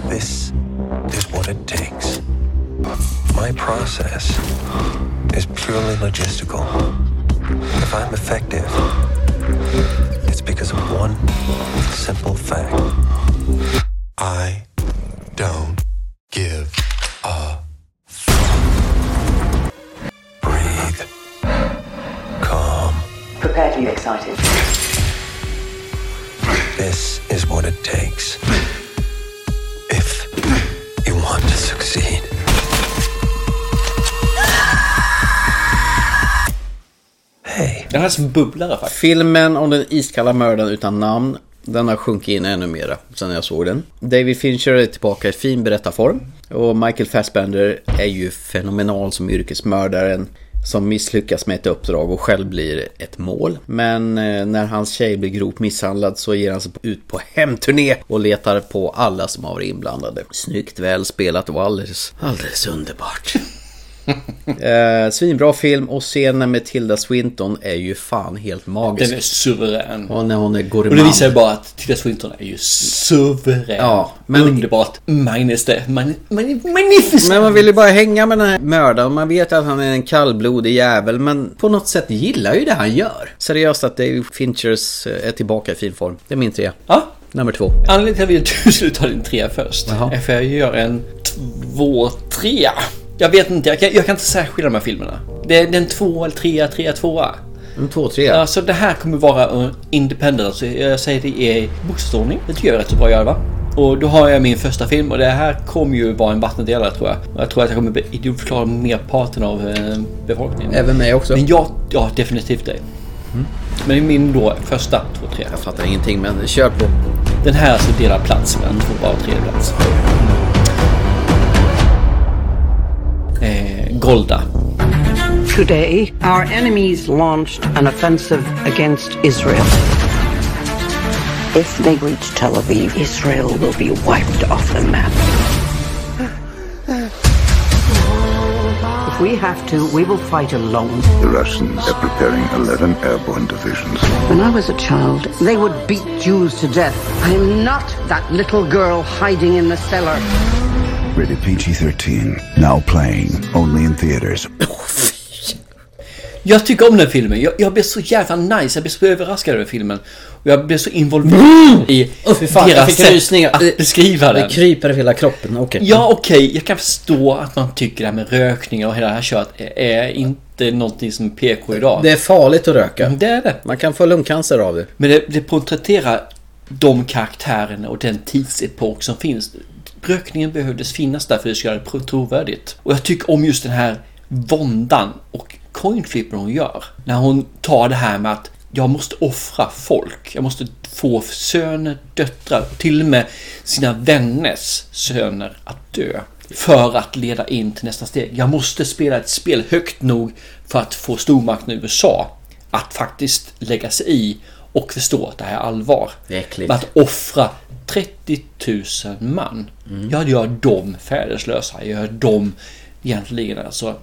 Speaker 23: This is what it takes. My process is purely logistical. If I'm effective, it's because of one simple fact I don't give a Breathe. Calm.
Speaker 6: Prepare to be excited.
Speaker 23: This is what it takes. If you want to succeed.
Speaker 2: Den här är som bubblare faktiskt.
Speaker 1: Filmen om den iskalla mördaren utan namn. Den har sjunkit in ännu mera sen jag såg den. David Fincher är tillbaka i fin berättarform. Och Michael Fassbender är ju fenomenal som yrkesmördaren som misslyckas med ett uppdrag och själv blir ett mål. Men eh, när hans tjej blir grovt misshandlad så ger han sig ut på hemturné och letar på alla som har varit inblandade. Snyggt väl spelat och alldeles, alldeles underbart. Eh, svinbra film och scenen med Tilda Swinton är ju fan helt magisk.
Speaker 2: Den är suverän.
Speaker 1: Och när hon är gourmand.
Speaker 2: Och det visar ju bara att Tilda Swinton är ju suverän.
Speaker 1: Ja,
Speaker 2: Underbart. Magneste. Magn... magn- Magnifisk.
Speaker 1: Men man vill ju bara hänga med den här mördaren. Man vet att han är en kallblodig jävel. Men på något sätt gillar ju det han gör. Seriöst att David Finchers eh, är tillbaka i fin form. Det är min trea.
Speaker 2: Ja.
Speaker 1: Nummer två.
Speaker 2: Anledningen till att jag vill att du skulle ta din trea först är för att jag gör en två, trea. Jag vet inte, jag kan, jag kan inte särskilja de här filmerna. Det är det är en två eller trea, trea, tvåa.
Speaker 1: En två, trea.
Speaker 2: Ja, så det här kommer vara en independent. Alltså jag säger det i bokstavsordning. Det tycker jag är rätt så bra gör va? Och då har jag min första film och det här kommer ju vara en vattendelare tror jag. Och jag tror att jag kommer bli idiotförklarad av merparten av eh, befolkningen.
Speaker 1: Även mig också. Mm.
Speaker 2: Men jag, ja definitivt dig. Men det är min då första två, tre.
Speaker 1: Jag fattar ingenting men kör på.
Speaker 2: Den här alltså delar plats med en tvåa och tredje plats. Eh, Golda.
Speaker 13: Today, our enemies launched an offensive against Israel. If they reach Tel Aviv, Israel will be wiped off the map. If we have to, we will fight alone.
Speaker 7: The Russians are preparing 11 airborne divisions.
Speaker 13: When I was a child, they would beat Jews to death. I am not that little girl hiding in the cellar.
Speaker 7: Rated PG 13. Now playing. Only in theaters.
Speaker 2: Jag tycker om den här filmen. Jag, jag blev så jävla nice. Jag blev så överraskad över filmen. Och jag blev så involverad i
Speaker 1: Mm! Fy fan, jag
Speaker 2: deras
Speaker 1: fick
Speaker 2: sätt
Speaker 1: rysningar.
Speaker 2: att beskriva
Speaker 1: Det
Speaker 2: den.
Speaker 1: kryper över hela kroppen, okej.
Speaker 2: Ja, okej. Jag kan förstå att man tycker det här med rökning och hela det här köret är, är inte någonting som är PK idag.
Speaker 1: Det är farligt att röka.
Speaker 2: Det är det.
Speaker 1: Mm. Man kan få lungcancer av det.
Speaker 2: Men det, det porträtterar de karaktärerna och den tidsepok som finns. Rökningen behövdes finnas där för att göra det trovärdigt. Och jag tycker om just den här våndan och coinflippen hon gör. När hon tar det här med att jag måste offra folk. Jag måste få söner, döttrar, till och med sina vänners söner att dö. För att leda in till nästa steg. Jag måste spela ett spel högt nog för att få stormakten USA att faktiskt lägga sig i och förstå att det här är allvar.
Speaker 1: Det är äckligt.
Speaker 2: Men att offra 30 000 man.
Speaker 1: Mm.
Speaker 2: Jag gör dem fäderslösa. Jag gör dem egentligen alltså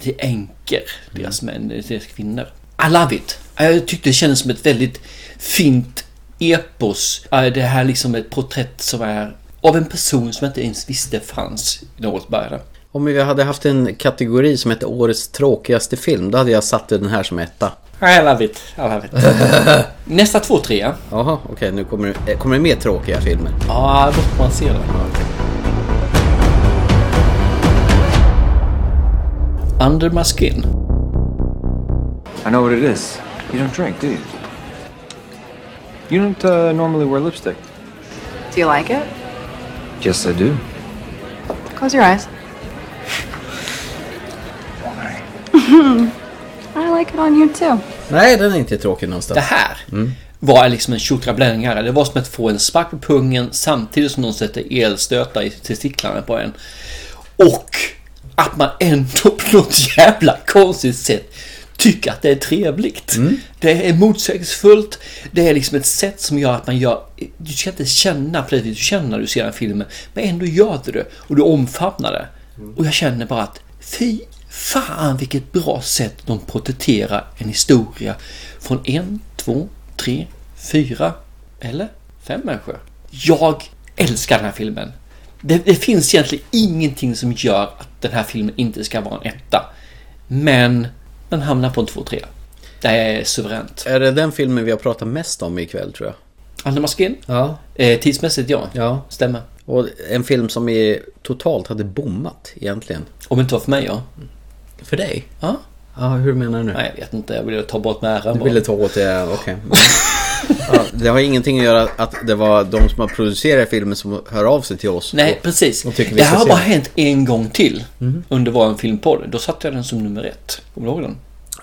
Speaker 2: till änkor.
Speaker 1: Mm.
Speaker 2: Deras män, deras kvinnor. I love it. Jag tyckte det kändes som ett väldigt fint epos. Eh, Det här liksom ett porträtt som är av en person som jag inte ens visste fanns i något början.
Speaker 1: Om vi hade haft en kategori som hette Årets tråkigaste film, då hade jag satt den här som etta.
Speaker 2: I love it. I love it. Nästa två trea.
Speaker 1: Jaha, okej, nu kommer, det- eh, kommer det mer tråkiga filmer.
Speaker 2: Ja, låt man se det. Under my skin.
Speaker 5: I know what it is. You don't drink, do you? You don't uh, normally wear lipstick.
Speaker 14: Do you like it?
Speaker 5: Yes, I do.
Speaker 14: Close your eyes.
Speaker 20: I like it on you too.
Speaker 1: Nej, den är inte tråkig någonstans.
Speaker 2: Det här var liksom en tjottrablängare. Det var som att få en spark på pungen samtidigt som någon sätter elstötar i testiklarna på en. Och att man ändå på något jävla konstigt sätt tycker att det är trevligt. Det är motsägelsefullt. Det är liksom ett sätt som gör att man gör... Du ska inte känna precis du känner när du ser den här filmen. Men ändå gör du det. Och du omfamnar det. Och jag känner bara att fy fan vilket bra sätt de porträtterar en historia från en, två, tre, fyra eller fem människor. Jag älskar den här filmen. Det, det finns egentligen ingenting som gör att den här filmen inte ska vara en etta. Men den hamnar på en 2-3. Det är suveränt.
Speaker 1: Är det den filmen vi har pratat mest om ikväll, tror jag?
Speaker 2: Under masken?
Speaker 1: Ja.
Speaker 2: Eh, tidsmässigt ja.
Speaker 1: Ja.
Speaker 2: Stämmer.
Speaker 1: Och en film som är totalt hade bommat, egentligen.
Speaker 2: Om inte var för mig ja.
Speaker 1: För dig?
Speaker 2: Ja.
Speaker 1: Ja, hur menar du nu?
Speaker 2: Nej, jag vet inte. Jag ville ta bort med äran
Speaker 1: Du ville ta åt det, okej. ja, det har ingenting att göra att det var de som har producerat filmen som hör av sig till oss.
Speaker 2: Nej,
Speaker 1: och-
Speaker 2: precis.
Speaker 1: och tycker vi
Speaker 2: Det
Speaker 1: ska
Speaker 2: här har
Speaker 1: se
Speaker 2: bara
Speaker 1: den.
Speaker 2: hänt en gång till
Speaker 1: Mhm.
Speaker 2: under vår filmpodd. Då satte jag den som nummer ett. Kommer du ihåg den?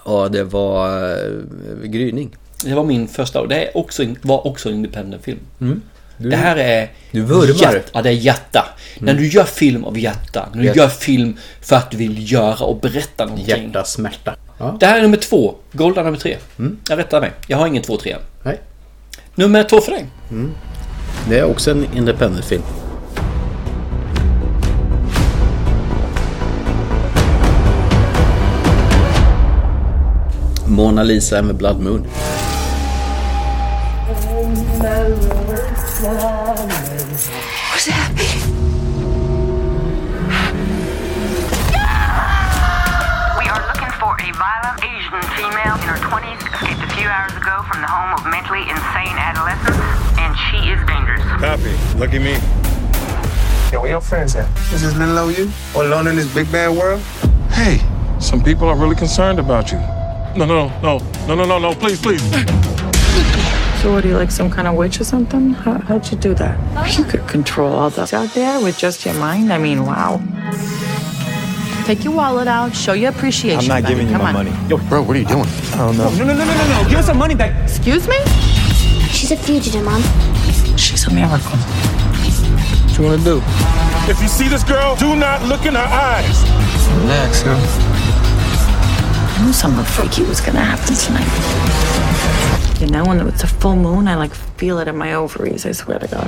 Speaker 1: Ja, det var eh, Gryning.
Speaker 2: Det var min första och det är också, var också en independent film.
Speaker 1: Mm. Du-
Speaker 2: det här är...
Speaker 1: Du vurmar. Mm.
Speaker 2: Hjärt, ja, det är hjärta. När du gör film av hjärta. När du
Speaker 1: Hjärt-
Speaker 2: gör film för att du vill göra och berätta någonting.
Speaker 1: Hjärta, Mm. smärta.
Speaker 2: Det här är nummer två. Golda nummer tre. Jag rättar mig. Jag har ingen två, tre.
Speaker 1: Nej.
Speaker 2: Nummer två för dig.
Speaker 1: Det är också en independent-film. Mona Lisa med Blood Moon.
Speaker 18: What's happening?
Speaker 6: We are looking for a violent Asian female in her 20s, escaped a few hours ago from the home of mentally insane adolescents, and she is dangerous.
Speaker 12: Copy. Lucky me. Yeah, where your friends at? Is this little old you? All alone in this big bad world? Hey, some people are really concerned about you. No, no, no, no, no, no, no, please, please.
Speaker 16: So, what are you like, some kind of witch or something? How, how'd you do that? You could control all that's out there with just your mind. I mean, wow.
Speaker 29: Take your wallet out, show your appreciation. buddy. Come on.
Speaker 12: Yo, bro, what are you doing? I don't know.
Speaker 6: no, no, no, no. Give us our money back.
Speaker 29: Excuse me?
Speaker 6: She's a fugitive, Mom.
Speaker 16: She's a miracle.
Speaker 12: What you wanna do? If you see this girl, do not look in her eyes. Relax, huh?
Speaker 16: I knew something freaky was gonna happen tonight. You know, when it's a full moon, I like feel it in my ovaries, I swear to God.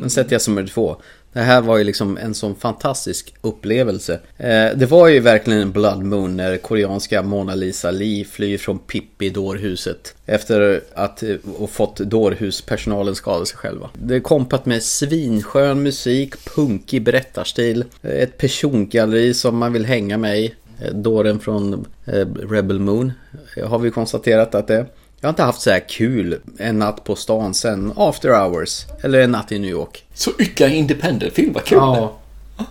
Speaker 1: Den sätter jag som nummer två. Det här var ju liksom en sån fantastisk upplevelse. Eh, det var ju verkligen en blood moon när koreanska Mona Lisa Lee flyr från Pippi dårhuset. Efter att eh, ha fått dårhuspersonalen skada sig själva. Det är kompat med svinskön musik, punkig berättarstil, eh, ett persongalleri som man vill hänga med i. Eh, Dåren från eh, Rebel Moon eh, har vi konstaterat att det är. Jag har inte haft så här kul en natt på stan sen After Hours. Eller en natt i New York.
Speaker 2: Så ytterligare en independent-film, vad kul!
Speaker 1: Ja.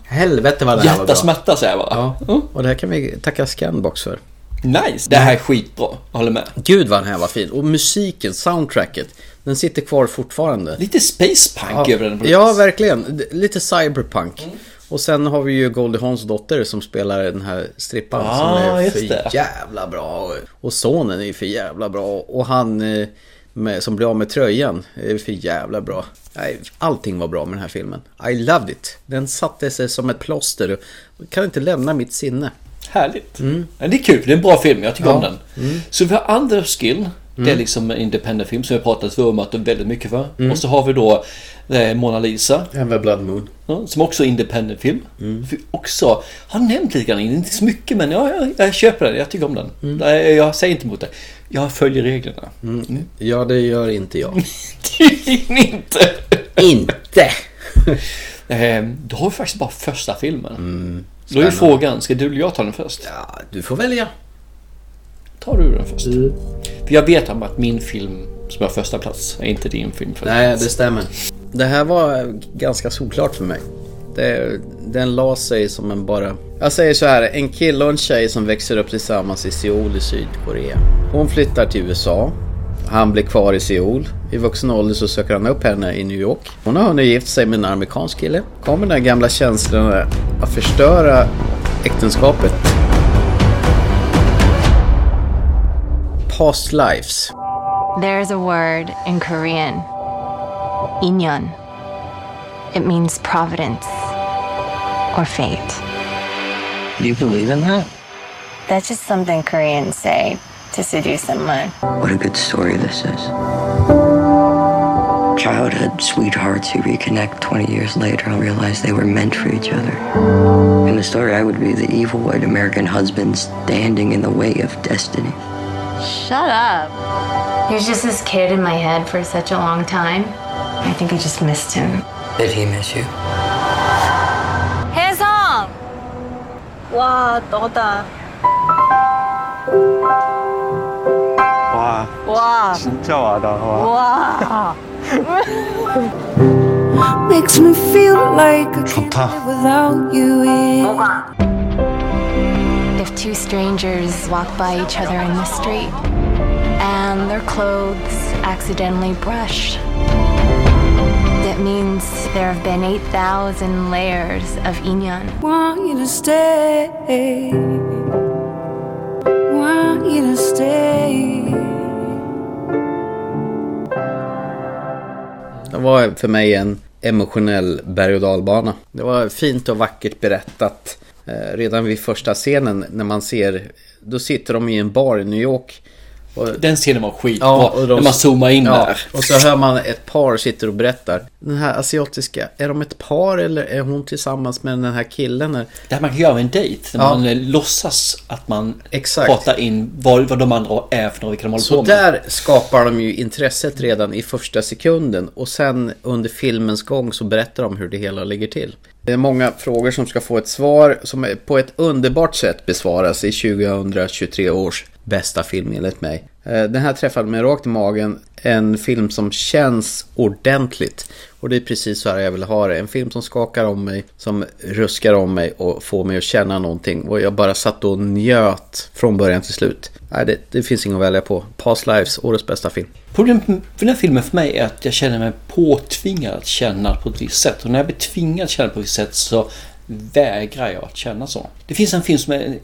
Speaker 1: Helvete vad det här var bra.
Speaker 2: Hjärtasmärta säger jag bara. Mm.
Speaker 1: Och det här kan vi tacka Scanbox för.
Speaker 2: Nice! Det här är skitbra, jag håller med.
Speaker 1: Gud vad den här var fin. Och musiken, soundtracket. Den sitter kvar fortfarande.
Speaker 2: Lite space punk över den på något
Speaker 1: Ja,
Speaker 2: vis. Mm.
Speaker 1: verkligen. D- Lite cyberpunk. Och sen har vi ju Goldie Hawns dotter som spelar den här strippan som
Speaker 2: Ah,
Speaker 1: är
Speaker 2: just
Speaker 1: för
Speaker 2: det.
Speaker 1: jävla bra. Och sonen är ju för jävla bra. Och han eh, med, som blir av med tröjan är för jävla bra. Nej, allting var bra med den här filmen. I loved it. Den satte sig som ett plåster. Jag kan inte lämna mitt sinne.
Speaker 2: Härligt. Ja, Det är kul, det är en bra film, jag tycker
Speaker 1: Mm. Ja. Mm.
Speaker 2: om den. Så vi har Underskin, det är liksom en independent film som vi har pratat vurmat väldigt mycket för.
Speaker 1: Mm.
Speaker 2: Och så har vi då eh, Mona Lisa,
Speaker 1: Även Blood Moon.
Speaker 2: ja, som också är independent film.
Speaker 1: Mm.
Speaker 2: Vi också har nämnt lite grann, inte så mycket men ja, jag, jag köper den, jag tycker om den.
Speaker 1: Mm.
Speaker 2: Nej, Jag säger inte emot det. Jag följer reglerna. Mm.
Speaker 1: Ja, det gör inte jag.
Speaker 2: Tydligen inte!
Speaker 1: Inte!
Speaker 2: Eh, Då har vi faktiskt bara första filmen. Då är ju
Speaker 1: Mm. Spännande.
Speaker 2: frågan, ska du eller jag ta den först?
Speaker 1: Ja, du får välja.
Speaker 2: Tar du den först? För jag vet om att min film som har första plats är inte din film. Första
Speaker 1: Nej,
Speaker 2: plats.
Speaker 1: det stämmer. Det här var ganska solklart för mig. Det, den la sig som en bara... Jag säger så här, en kille och en tjej som växer upp tillsammans i Seoul i Sydkorea. Hon flyttar till USA. Han blir kvar i Seoul. I vuxen ålder så söker han upp henne i New York. Hon har hunnit gift sig med en amerikansk kille. Kommer den här gamla känslan att förstöra äktenskapet? Past lives.
Speaker 11: There's a word in Korean, inyon. It means providence or fate.
Speaker 15: Do you believe in that?
Speaker 11: That's just something Koreans say to seduce someone.
Speaker 15: What a good story this is. Childhood sweethearts who reconnect 20 years later and realize they were meant for each other. In the story, I would be the evil white American husband standing in the way of destiny.
Speaker 11: Shut up. He was just this kid in my head for such a long time. I think I just missed him.
Speaker 15: Did he miss you?
Speaker 11: 혜성!
Speaker 21: Ah,
Speaker 11: 와, 너다.
Speaker 17: 와,
Speaker 11: 와,
Speaker 17: 진짜 와다. 와.
Speaker 11: 와.
Speaker 21: Makes me feel like I can't
Speaker 17: 좋다.
Speaker 21: live without you here.
Speaker 11: If two strangers walk by each other in the street and their clothes accidentally brush, that means there have been 8,000 layers of inyon.
Speaker 21: Want you to stay. Want you to stay.
Speaker 1: Det var för mig en emotionell berg och dalbana. Det var fint och vackert berättat. Eh, Redan vid första scenen när man ser, då sitter de i en bar i New York.
Speaker 2: Den scenen var skitbra, när man zoomar in där.
Speaker 1: Och så hör man ett par sitter och berättar. Den här asiatiska, är de ett par eller är hon tillsammans med den här killen?
Speaker 2: Där man kan göra en dejt, när man eh, låtsas att man pratar in vad, vad de andra är för några, vilka de håller
Speaker 1: Så
Speaker 2: på med.
Speaker 1: där skapar de ju intresset redan i första sekunden och sen under filmens gång så berättar de hur det hela ligger till. Det är många frågor som ska få ett svar som är på ett underbart sätt besvaras i 2023 års bästa film enligt mig. Eh, Den här träffade mig rakt i magen. En film som känns ordentligt. Och det är precis så här jag vill ha det. En film som skakar om mig, som ruskar om mig och får mig att känna någonting. Och jag bara satt och njöt från början till slut. Nej, det, det finns inget att välja på. Past Lives, årets bästa film.
Speaker 2: Problemet med den här filmen för mig är att jag känner mig påtvingad att känna på ett visst sätt. Och när jag blir tvingad att känna på ett visst sätt så vägrar jag att känna så. Det finns en film som är...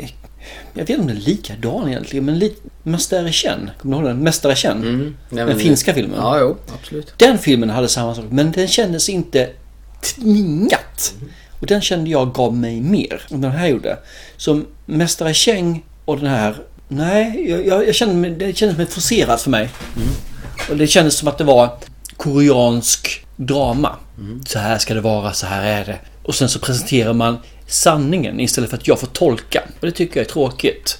Speaker 2: Jag vet inte om den är likadan egentligen, men lite... Mästare Chen. Kommer du ihåg den? Mästare Chen.
Speaker 1: Nej, men-
Speaker 2: den finska filmen.
Speaker 1: Mm, Ja, jo, absolut.
Speaker 2: Den filmen hade samma sak, men den kändes inte tvingat. Och den kände jag gav mig mer än den här gjorde. Som Mästare Cheng och den här... Nej, jag, jag, jag kände mig, det kändes som ett forcerat för mig. Och det kändes som att det var koreansk drama. Så här ska det vara, så här är det. Och sen så presenterar man sanningen istället för att jag får tolka. Och det tycker jag är tråkigt.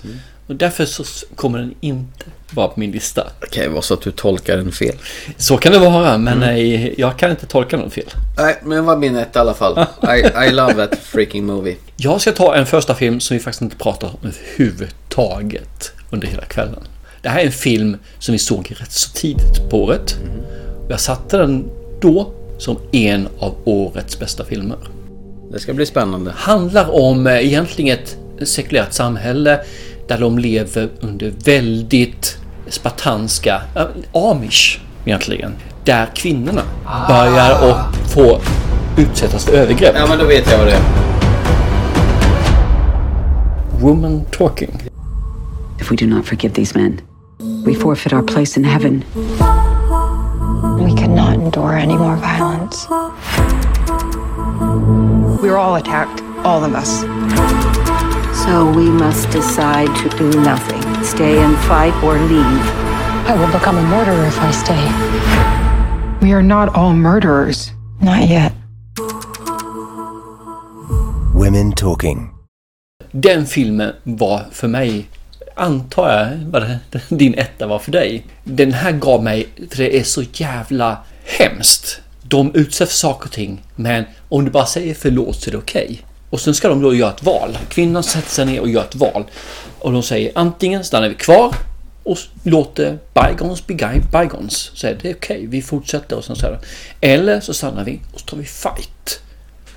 Speaker 2: Och därför så s- kommer den inte vara på min lista.
Speaker 1: Det kan ju vara så att du tolkar den fel.
Speaker 2: Så kan det vara, men nej, jag kan inte tolka någon fel.
Speaker 1: Nej, men det var min ett i alla fall. I, I love that freaking movie.
Speaker 2: Jag ska ta en första film som vi faktiskt inte pratar om överhuvudtaget under hela kvällen. Det här är en film som vi såg rätt så tidigt på året. Och Jag satte den då som en av årets bästa filmer.
Speaker 1: Det ska bli spännande.
Speaker 2: Handlar om eh, egentligen ett sekulärt samhälle där de lever under väldigt spartanska, äh, amish egentligen. Där kvinnorna börjar och få utsättas för övergrepp.
Speaker 1: Ja, men då vet jag vad det är.
Speaker 2: Woman talking.
Speaker 10: If we do not forgive these men, we forfeit our place in heaven.
Speaker 17: We could not endure any more violence. We were all attacked, all of us.
Speaker 22: So we must decide to do nothing. Stay and fight or leave.
Speaker 17: I will become a murderer if I stay. We are not all murderers. Not yet.
Speaker 24: Women Talking.
Speaker 2: Den filmen var för mig, antar jag, vad det- din etta var för dig. Den här gav mig, för det är så jävla hemskt. De utsätts för saker och ting, men om du bara säger förlåt så är det okej. Och sen ska de då göra ett val. Kvinnan sätter sig ner och gör ett val. Och de säger antingen stannar vi kvar och s- låter bygons bli guy- bygons. Så är det okej, vi fortsätter och sen så här. Eller så stannar vi och så tar vi fight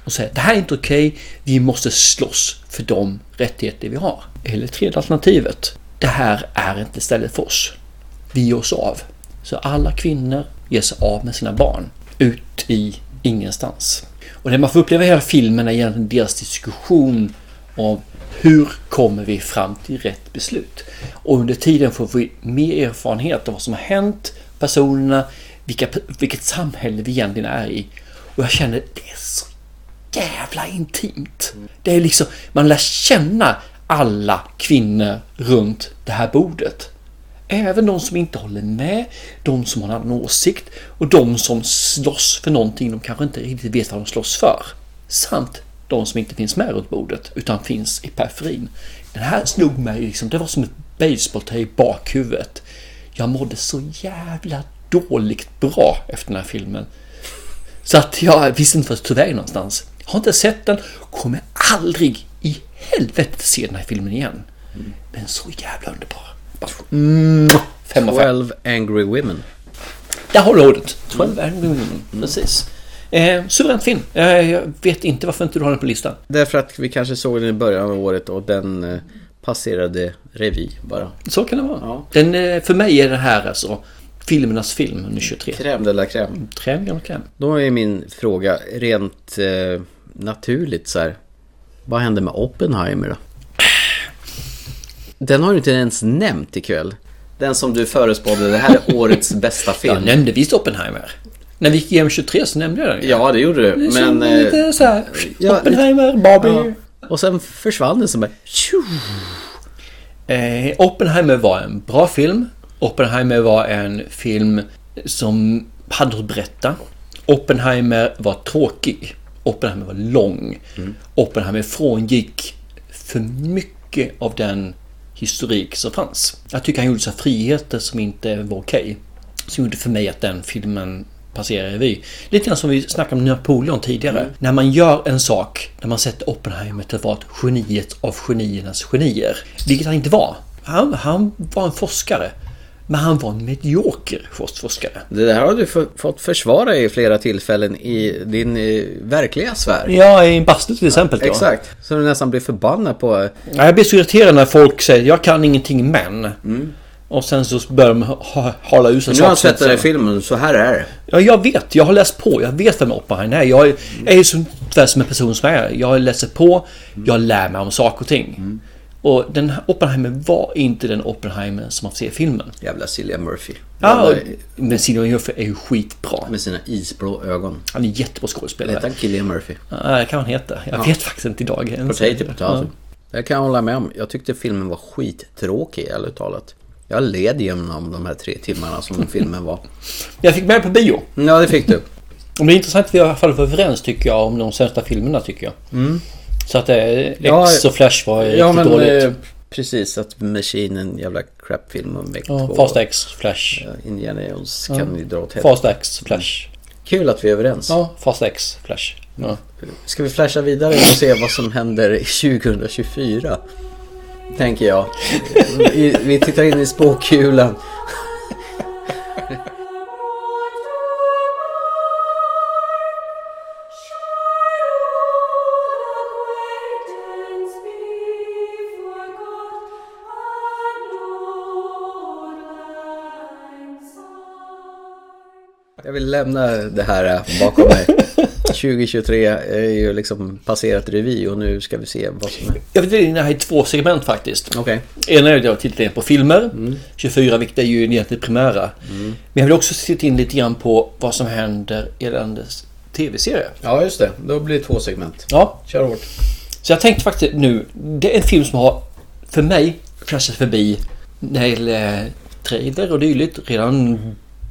Speaker 2: och säga det här är inte okej, vi måste slåss för de rättigheter vi har. Eller tredje alternativet, det här är inte stället för oss. Vi gör oss av. Så alla kvinnor ger sig av med sina barn ut i ingenstans. Och det man får uppleva i hela filmen är egentligen deras diskussion om hur kommer vi fram till rätt beslut? Och under tiden får vi mer erfarenhet av vad som har hänt, personerna, vilka, vilket samhälle vi egentligen är i. Och jag känner det är så jävla intimt. Det är liksom, man lär känna alla kvinnor runt det här bordet. Även de som inte håller med, de som har en annan åsikt och de som slåss för någonting de kanske inte riktigt vet vad de slåss för. Samt de som inte finns med runt bordet utan finns i periferin. Den här slog mig liksom, det var som ett basebollträ i bakhuvudet. Jag mådde så jävla dåligt bra efter den här filmen. Så att jag visste inte vart jag tog vägen någonstans. Har inte sett den, kommer aldrig i helvete se den här filmen igen. Men så jävla underbar. Bara- Mm, Fem av fem.
Speaker 1: 12 Angry Women.
Speaker 2: Där har du ordet. Mm. 12 Angry Women. Precis. Eh, suverän film. Eh, jag vet inte varför inte du har den på listan.
Speaker 1: Därför att vi kanske såg den i början av året och den eh, passerade revy bara.
Speaker 2: Så kan det vara. Den, eh, för mig är det här alltså filmernas film under 23.
Speaker 1: Crème de la crème.
Speaker 2: Crème de la crème.
Speaker 1: Då är min fråga rent eh, naturligt så här. Vad hände med Oppenheimer då? Den har du inte ens nämnt ikväll. Den som du förespådde, det här är årets bästa film.
Speaker 2: Jag nämnde visst Oppenheimer. När vi gick igenom 23 så nämnde jag den.
Speaker 1: Ja, det gjorde du.
Speaker 2: Det
Speaker 1: Men...
Speaker 2: kändes
Speaker 1: eh,
Speaker 2: lite så här,
Speaker 1: ja,
Speaker 2: Oppenheimer, Barbie.
Speaker 1: Ja. Och sen försvann den som bara... tjo.
Speaker 2: Eh, Oppenheimer var en bra film. Oppenheimer var en film som hade något att berätta. Oppenheimer var tråkig. Oppenheimer var lång. Oppenheimer frångick för mycket av den historik som fanns. Jag tycker han gjorde så här friheter som inte var okej. Som gjorde för mig att den filmen passerar revy. Lite grann som vi snackade om Napoleon tidigare. När man gör en sak, när man sätter Oppenheimer till att vara ett geniet av geniernas genier. Vilket han inte var. Han, han var en forskare. Men han var en medioker forskare.
Speaker 1: Det här har du f- fått försvara i flera tillfällen i din eh, verkliga sfär.
Speaker 2: Ja, i en bastu till exempel. då.
Speaker 1: Exakt. Så du nästan blir förbannad på... eh,
Speaker 2: Ja, jag blir så irriterad när folk säger jag kan ingenting men. Och sen så börjar de ha- ha- hala ur sig
Speaker 1: Mm. Nu har han
Speaker 2: saker
Speaker 1: sett den här
Speaker 2: som-
Speaker 1: filmen, så här är det.
Speaker 2: Ja, jag vet. Jag har läst på. Jag vet vem Oppenheimer är. Jag är, jag är så tyvärr som en person som jag är. Jag läser på. Jag lär mig om saker och ting. Och den här Oppenheimer var inte den Oppenheimer som man ser i filmen.
Speaker 1: Jävla Cillian Murphy.
Speaker 2: Ja,
Speaker 1: Jävla-
Speaker 2: men Cillian Murphy är ju skitbra.
Speaker 1: Med sina isblå ögon.
Speaker 2: Han är jättebra skådespelare.
Speaker 1: Hette han Cillian Murphy? typ
Speaker 2: Ja, det kan han heta. Jag
Speaker 1: Ja.
Speaker 2: vet faktiskt inte idag. ens.
Speaker 1: Potato, potato.
Speaker 2: Ja.
Speaker 1: Det kan jag hålla med om. Jag tyckte filmen var skittråkig, ärligt talat. Jag led genom de här tre timmarna som filmen var.
Speaker 2: Jag fick med på bio.
Speaker 1: Ja, det fick du.
Speaker 2: Och det är intressant att vi i alla fall var överens tycker jag om de sämsta filmerna tycker jag.
Speaker 1: Mm.
Speaker 2: Så att eh, X
Speaker 1: Ja,
Speaker 2: och Flash var riktigt
Speaker 1: ja, men
Speaker 2: dåligt.
Speaker 1: eh, precis. Att Machine är en jävla crapfilm. och Meg
Speaker 2: Ja,
Speaker 1: två.
Speaker 2: Fast X, Flash.
Speaker 1: Ja, Indiana Jones
Speaker 2: Ja.
Speaker 1: kan ju dra åt
Speaker 2: Fast X, Flash.
Speaker 1: Kul att vi är överens.
Speaker 2: Ja, Fast X, Flash. Ja.
Speaker 1: Ska vi flasha vidare och se vad som händer 2024? Tänker jag. Vi, vi tittar in i spåkulan. Jag vill lämna det här eh, bakom mig. 2023 är ju liksom passerat revy och nu ska vi se vad som händer.
Speaker 2: Jag vill dela in det här i två segment faktiskt.
Speaker 1: Okej.
Speaker 2: Ena är att jag tittar in på filmer. 24 vilket är ju egentligen det primära. Men jag vill också titta in lite grann på vad som händer gällande tv-serier.
Speaker 1: Ja, just det. Då blir det två segment.
Speaker 2: Ja.
Speaker 1: Kör hårt.
Speaker 2: Så jag tänkte faktiskt nu, det är en film som har för mig kraschat förbi när det gäller eh, trailer och dylikt redan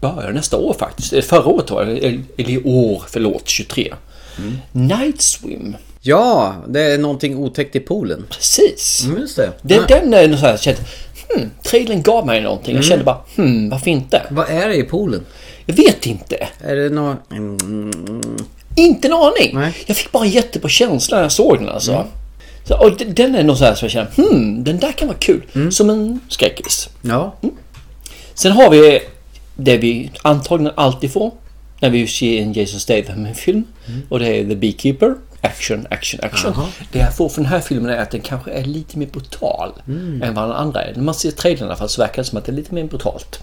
Speaker 2: början nästa år faktiskt. Eller Förra året var det, eller eller i år, förlåt, 23. Mm. Night Swim.
Speaker 1: Ja, det är någonting otäckt i poolen.
Speaker 2: Precis.
Speaker 1: Mm, just det.
Speaker 2: Det,
Speaker 1: Nej.
Speaker 2: Den är nog så här, jag kände, hmm, trailern gav mig någonting. Jag kände bara, hmm, varför inte?
Speaker 1: Vad är det i poolen?
Speaker 2: Jag vet inte.
Speaker 1: Är det någon... Mm.
Speaker 2: Inte en aning. Jag fick bara en jättebra känsla när jag såg den alltså. Så, och d- den är nog så här som jag känner, hmm, den där kan vara kul. Som en skräckis.
Speaker 1: Ja.
Speaker 2: Sen har vi det vi antagligen alltid får när vi ser en Jason Statham-film. Och det är The Beekeeper. Action, action, action.
Speaker 1: Jaha.
Speaker 2: Det jag får från den här filmen är att den kanske är lite mer brutal än vad den andra är. När man ser trailern i alla fall så verkar det som att det är lite mer brutalt.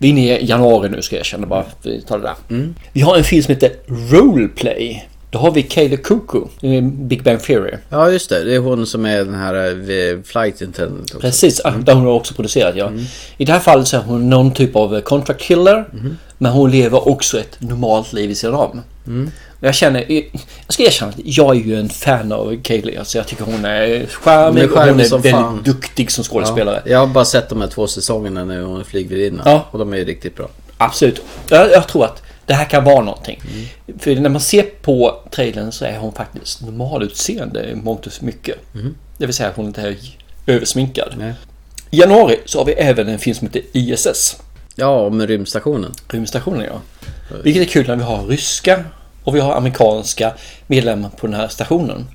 Speaker 2: Vi är inne i januari nu ska jag känna bara. Vi tar det där. Vi har en film som heter Roleplay. Då har vi Kayla Cuckoo i Big Bang Theory.
Speaker 1: Ja, just det. Det är hon som är den här eh, flight intendant. också.
Speaker 2: Precis, ah, där hon har också producerat ja. I det här fallet så är hon någon typ av eh, contract killer. Men hon lever också ett normalt liv i sin ram. Och Jag känner, jag ska erkänna att jag är ju en fan av Kaeli. Alltså jag tycker hon är
Speaker 1: Hon är
Speaker 2: charmig och
Speaker 1: charmig
Speaker 2: hon är
Speaker 1: som
Speaker 2: väldigt
Speaker 1: fan.
Speaker 2: duktig som skådespelare.
Speaker 1: Ja, jag har bara sett de här två säsongerna nu hon är flygvärdinna.
Speaker 2: Ja.
Speaker 1: Och de är ju riktigt bra.
Speaker 2: Absolut. Jag, jag tror att det här kan vara någonting. För när man ser på trailern så är hon faktiskt normalutseende i mångt och mycket. Det vill säga att hon inte är översminkad. I januari så har vi även en film som heter ISS.
Speaker 1: Ja, om rymdstationen.
Speaker 2: Rymdstationen ja. Vilket är kul när vi har ryska och vi har amerikanska medlemmar på den här stationen.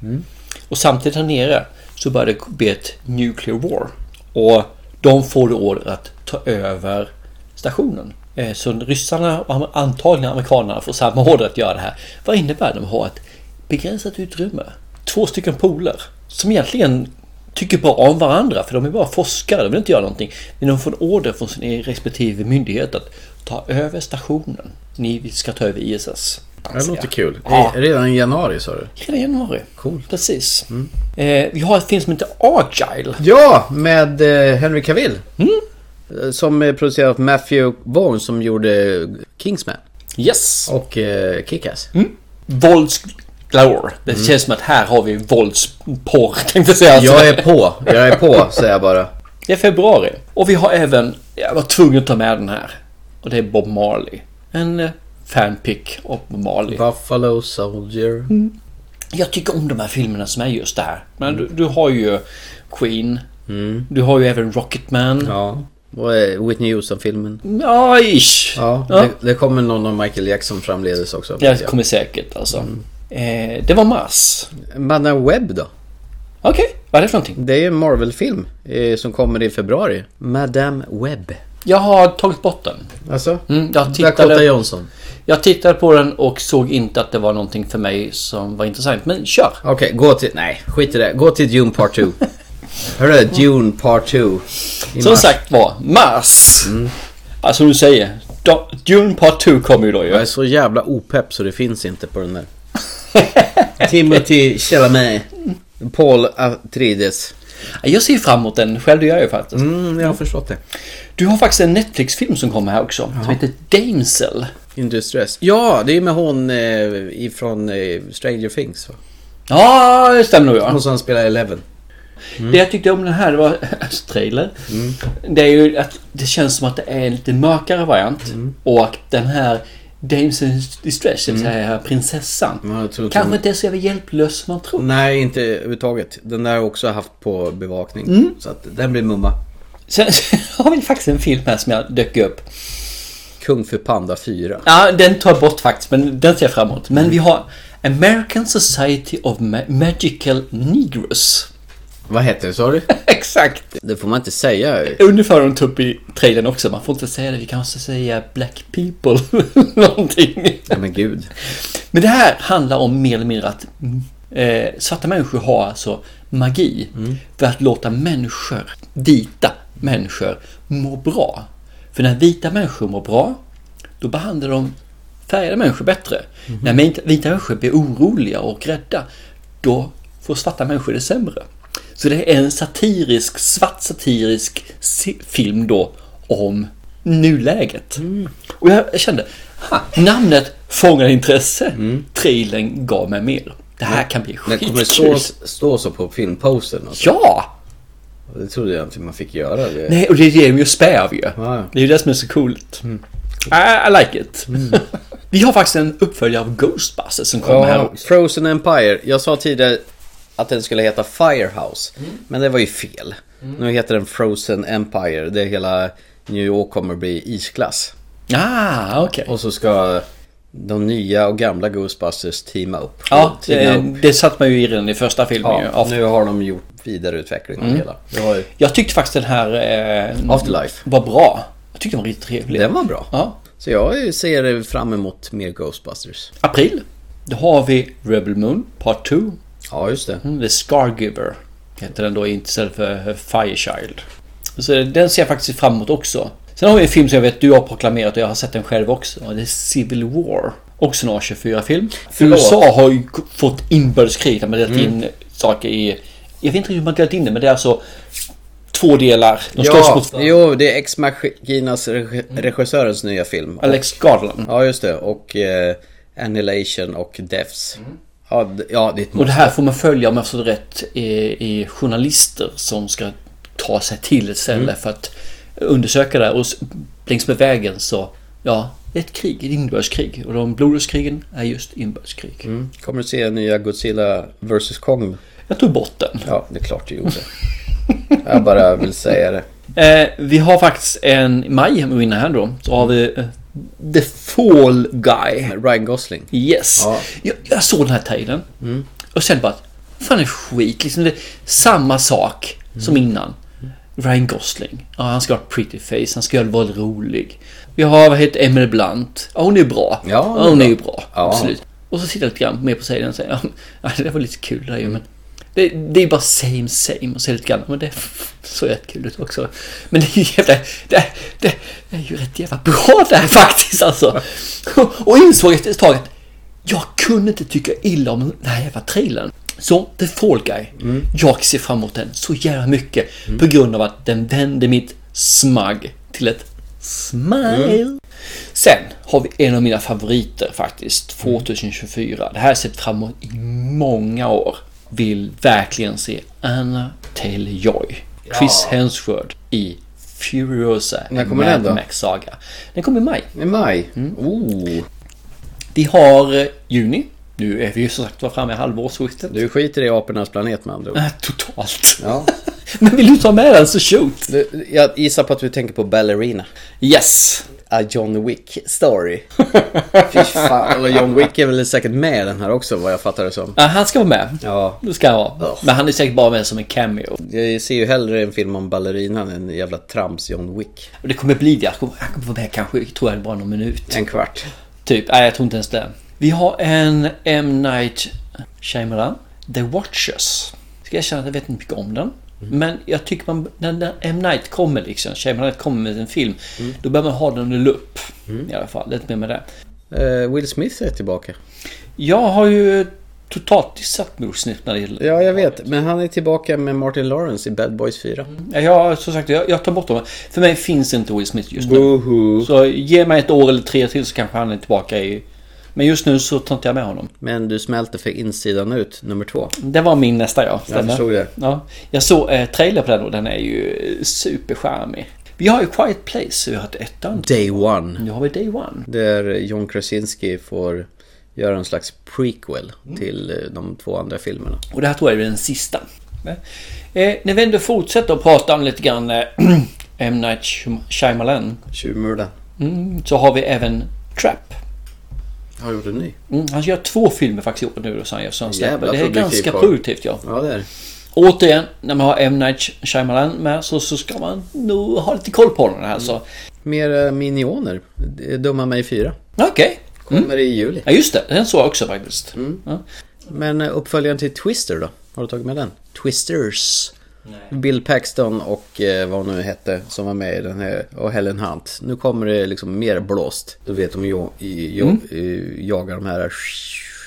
Speaker 2: Och samtidigt här nere så börjar det bli ett nuclear war. Och de får då order att ta över stationen. Eh, Så ryssarna och am- antagligen amerikanerna får samma order att göra det här. Vad innebär det att ha ett begränsat utrymme? Två stycken poler som egentligen tycker bra om varandra för de är bara forskare, de vill inte göra någonting. Men de får en order från sin e- respektive myndighet att ta över stationen. Ni ska ta över ISS.
Speaker 1: Det låter kul.
Speaker 2: Ja.
Speaker 1: I- Redan i januari sa du?
Speaker 2: Hela januari. Cool. Precis.
Speaker 1: Mm.
Speaker 2: Eh, vi har ett film som heter Argyle.
Speaker 1: Ja, med eh, Henry Cavill. Eh, Som är producerad av Matthew Vaughn som gjorde Kingsman.
Speaker 2: Yes.
Speaker 1: Och eh, Kick-Ass.
Speaker 2: Vålds galore. Det
Speaker 1: Mm.
Speaker 2: känns som att här har vi våldsporr tänkte jag säga.
Speaker 1: Alltså, Jag är på. Jag är på, säger jag bara.
Speaker 2: Det är februari. Och vi har även, jag var tvungen att ta med den här. Och det är Bob Marley. En eh, fanpick av Bob Marley.
Speaker 1: Buffalo Soldier.
Speaker 2: Jag tycker om de här filmerna som är just det här. Men
Speaker 1: Mm.
Speaker 2: du, du har ju Queen. Du har ju även Rocketman.
Speaker 1: Ja. Och eh, Whitney Houston-filmen.
Speaker 2: Ja, ish.
Speaker 1: Ja,
Speaker 2: Ja.
Speaker 1: Det, det kommer någon av Michael Jackson framledes också.
Speaker 2: Det kommer säkert alltså.
Speaker 1: Mm.
Speaker 2: Eh, det var mars.
Speaker 1: Manna Webb då?
Speaker 2: Okej, vad är det för någonting?
Speaker 1: Det är ju en Marvel-film eh, som kommer i februari. Madame Webb.
Speaker 2: Jag har tagit bort den.
Speaker 1: Alltså?
Speaker 2: Mm, jag,
Speaker 1: Dakota
Speaker 2: tittade,
Speaker 1: Johnson.
Speaker 2: jag tittade på den och såg inte att det var någonting för mig som var intressant. Men kör!
Speaker 1: Okej, gå till... Nej, skit i det. Gå till Dune Part 2. Hörru, Dune Part 2. i
Speaker 2: Som
Speaker 1: mars. Mm.
Speaker 2: sagt var, mars! Alltså som du säger, Do- Dune Part 2 kommer ju då
Speaker 1: Jag
Speaker 2: ju.
Speaker 1: är så jävla opepp så det finns inte på den där. Timothy Chalamet. Paul Atreides.
Speaker 2: Jag ser fram emot den själv, det gör jag ju faktiskt.
Speaker 1: Mm, jag har förstått det.
Speaker 2: Du har faktiskt en Netflix-film som kommer här också. Som heter Damsel.
Speaker 1: Industress. Ja, det är ju med hon eh, ifrån eh, Stranger Things va?
Speaker 2: Ja, det stämmer nog ja.
Speaker 1: Hon som spelar Eleven.
Speaker 2: Det jag tyckte om den här det var trailer. Det är ju att det känns som att det är en lite mörkare variant. Och den här Dames in Distress, det vill säga prinsessan.
Speaker 1: tror inte hon-
Speaker 2: Kanske inte är så jävla hjälplös som man tror.
Speaker 1: Nej, inte överhuvudtaget. Den där har jag också haft på bevakning.
Speaker 2: Mm.
Speaker 1: Så att den blir mumma.
Speaker 2: Sen har vi faktiskt en film här som jag dök upp.
Speaker 1: Kung för Panda 4.
Speaker 2: Ja, den tar jag bort faktiskt, men den ser jag fram emot. Men vi har American Society of Ma- Magical Negroes.
Speaker 1: Vad heter det, sa du?
Speaker 2: Exakt!
Speaker 1: Det får man inte säga.
Speaker 2: Ungefär de tog upp i trailern också. Man får inte säga det. Vi kan också säga Black People. Någonting.
Speaker 1: Ja, men gud.
Speaker 2: Men det här handlar om mer eller mindre att eh, svarta människor har alltså magi. För att låta människor, vita människor, må bra. För när vita människor mår bra, då behandlar de färgade människor bättre. När vita- vita människor blir oroliga och rädda, då får svarta människor det sämre. Så det är en satirisk, svart satirisk si- film då om nuläget.
Speaker 1: Mm.
Speaker 2: Och jag kände, ha, namnet fångade intresse. Trailern gav mig mer. Det här kan bli
Speaker 1: Den
Speaker 2: skitkul.
Speaker 1: Mm. kommer stå, stå så på filmpostern. Alltså.
Speaker 2: Ja!
Speaker 1: Det trodde jag inte man fick göra. Det.
Speaker 2: Nej, och det är det de ju spär av ju.
Speaker 1: Ja. Mm.
Speaker 2: Det är ju det som är så coolt. I, I like it. Vi har faktiskt en uppföljare av Ghostbusters som kommer här
Speaker 1: Ja,
Speaker 2: också.
Speaker 1: Frozen Empire. Jag sa tidigare att den skulle heta Firehouse. Men det var ju fel. Nu heter den Frozen Empire. Det är hela New York kommer bli isglass.
Speaker 2: Ah, okej.
Speaker 1: Och så ska de nya och gamla Ghostbusters teama upp.
Speaker 2: Ja,
Speaker 1: Teama upp.
Speaker 2: det, det satt man ju i redan i första filmen ju.
Speaker 1: ja, nu har de gjort vidareutveckling av
Speaker 2: Mm.
Speaker 1: hela. Det var ju...
Speaker 2: Jag tyckte faktiskt den här eh,
Speaker 1: Afterlife.
Speaker 2: var bra. Jag tyckte den var riktigt trevlig.
Speaker 1: Den var bra.
Speaker 2: Ja.
Speaker 1: Så jag ser fram emot mer Ghostbusters.
Speaker 2: April, då har vi Rebel Moon Part 2.
Speaker 1: Ja, just det.
Speaker 2: Mm, The Scargiver heter den då istället för eh, Firechild. Så den ser jag faktiskt fram emot också. Sen har vi en film som jag vet du har proklamerat och jag har sett den själv också. Och det är Civil War. Också en A24-film.
Speaker 1: Förlåt.
Speaker 2: USA har ju k- fått inbördeskrig. De har delat
Speaker 1: Mm.
Speaker 2: in saker i... Jag vet inte hur man delat in det, men det är alltså två delar. De slåss
Speaker 1: Ja,
Speaker 2: mot...
Speaker 1: jo, det är Ex-Machinas reg- regissörens nya film.
Speaker 2: Alex Garland.
Speaker 1: Ja, just det. Och eh, Annihilation och Deaths. Ja, d- ja, det är ett
Speaker 2: Och det
Speaker 1: måste.
Speaker 2: här får man följa om jag förstår rätt i, i journalister som ska ta sig till ett ställe
Speaker 1: Mm.
Speaker 2: för att undersöka det. Och s- längs med vägen så, ja, det är ett krig, ett inbördeskrig. Och de blodskrigen är just inbördeskrig.
Speaker 1: Kommer du se nya Godzilla vs Kong?
Speaker 2: Jag tog bort den.
Speaker 1: Ja, det är klart du gjorde. jag bara vill säga det.
Speaker 2: Eh, vi har faktiskt en i maj om vi vinner här då. Så har vi eh, The Fall Guy.
Speaker 1: Ryan Gosling.
Speaker 2: Yes.
Speaker 1: Ja.
Speaker 2: Jag, jag såg den här trailern.
Speaker 1: Mm.
Speaker 2: Och sen bara, att, fan är skit. Liksom det är samma sak som
Speaker 1: Mm.
Speaker 2: innan. Ryan Gosling. Ja, han ska ha ett pretty face. Han ska vara rolig. Vi har, vad heter Emily Blunt. Ja, hon är bra.
Speaker 1: Ja, hon är
Speaker 2: hon är
Speaker 1: bra.
Speaker 2: ju bra.
Speaker 1: Ja.
Speaker 2: Absolut. Och så sitter jag lite grann med på sidan och säger, ja, det där var lite kul där ju, men det, det är bara same same och så lite grann, men det såg rätt kul ut också. Men det är ju jävla, det, det är ju rätt jävla bra det här faktiskt alltså. Och insåg efter ett tag att jag kunde inte tycka illa om den här jävla trailern. Så The Fall Guy. Jag ser fram emot den så jävla mycket på grund av att den vände mitt smug till ett smile. Sen har vi en av mina favoriter
Speaker 1: Mm.
Speaker 2: faktiskt, 2024. Det här har jag sett fram emot i många år. Vill verkligen se Anna Taylor-Joy. Chris Hemsworth i Furiosa
Speaker 1: När kommer den
Speaker 2: Mad
Speaker 1: då?
Speaker 2: Max-saga. Den kommer i maj.
Speaker 1: I maj? Oh.
Speaker 2: Vi har eh, juni. Nu är vi ju som sagt var framme i halvårsskiftet.
Speaker 1: Du skiter i apornas planet med andra ord.
Speaker 2: Äh, totalt.
Speaker 1: Ja.
Speaker 2: Men vill du ta med den så shoot.
Speaker 1: Du, jag gissar på att du tänker på Ballerina.
Speaker 2: Yes.
Speaker 1: A John Wick story. Fy fan. Eller John Wick är väl säkert med i den här också vad jag fattar det som.
Speaker 2: Ja, han ska vara med.
Speaker 1: Ja.
Speaker 2: Det ska han vara. Men han är säkert bara med som en cameo.
Speaker 1: Jag ser ju hellre en film om ballerinan än en jävla trams John Wick.
Speaker 2: Och det kommer bli det. Han kommer, han kommer vara med kanske, tror jag, bara någon minut.
Speaker 1: En kvart.
Speaker 2: Typ. Nej, jag tror inte ens det. Vi har en M. Night Shyamalan. The Watchers. Ska jag känna att jag vet inte mycket om den.
Speaker 1: Mm.
Speaker 2: Men jag tycker man, när, när M. Night kommer liksom, Shyamalan kommer med en film.
Speaker 1: Mm.
Speaker 2: Då bör man ha den under lupp. I alla fall, lite mer med det.
Speaker 1: Eh, Will Smith är tillbaka.
Speaker 2: Jag har ju totalt dissat Moosnip när det gäller...
Speaker 1: Ja, jag vet. Men han är tillbaka med Martin Lawrence i Bad Boys 4.
Speaker 2: Jag, som sagt, jag, jag tar bort honom. För mig finns inte Will Smith just nu.
Speaker 1: Boohoo.
Speaker 2: Så ge mig ett år eller tre till så kanske han är tillbaka i Men just nu så tar inte jag med honom.
Speaker 1: Men du smälter för insidan ut, nummer två.
Speaker 2: Det var min nästa ja.
Speaker 1: Jag förstod det.
Speaker 2: Ja. Jag såg eh, trailer på den och den är ju supercharmig. Vi har ju Quiet Place, vi har ett ettan.
Speaker 1: Day One.
Speaker 2: Nu har vi Day One.
Speaker 1: Där John Krasinski får göra en slags prequel till eh, de två andra filmerna.
Speaker 2: Och det här tror jag är den sista. Eh, när vi ändå fortsätter att prata om lite grann eh, M. Night Shyam- Shyamalan.
Speaker 1: Tjuvmurda.
Speaker 2: Mm, så har vi även Trap.
Speaker 1: Har gjort en ny.
Speaker 2: Mm, han gör två filmer faktiskt i år nu då, som han gör, som han släpper.
Speaker 1: Jävla
Speaker 2: Det är
Speaker 1: produktiv
Speaker 2: ganska
Speaker 1: karl.
Speaker 2: produktivt ja.
Speaker 1: Ja, det är det.
Speaker 2: Återigen, när man har M. Night Shyamalan med så, så ska man nog ha lite koll på den här. Så.
Speaker 1: Mer eh, Minioner. D- Dumma mig fyra.
Speaker 2: Okej.
Speaker 1: Kommer
Speaker 2: Mm.
Speaker 1: i juli.
Speaker 2: Ja just det, den såg jag också faktiskt.
Speaker 1: Mm.
Speaker 2: Ja.
Speaker 1: Men eh, uppföljaren till Twister då? Har du tagit med den? Twisters. Bill Paxton och eh, vad hon nu hette som var med i den här och Helen Hunt. Nu kommer det liksom mer blåst. Då vet de jo, i, jo,
Speaker 2: Mm.
Speaker 1: eh, jagar de här,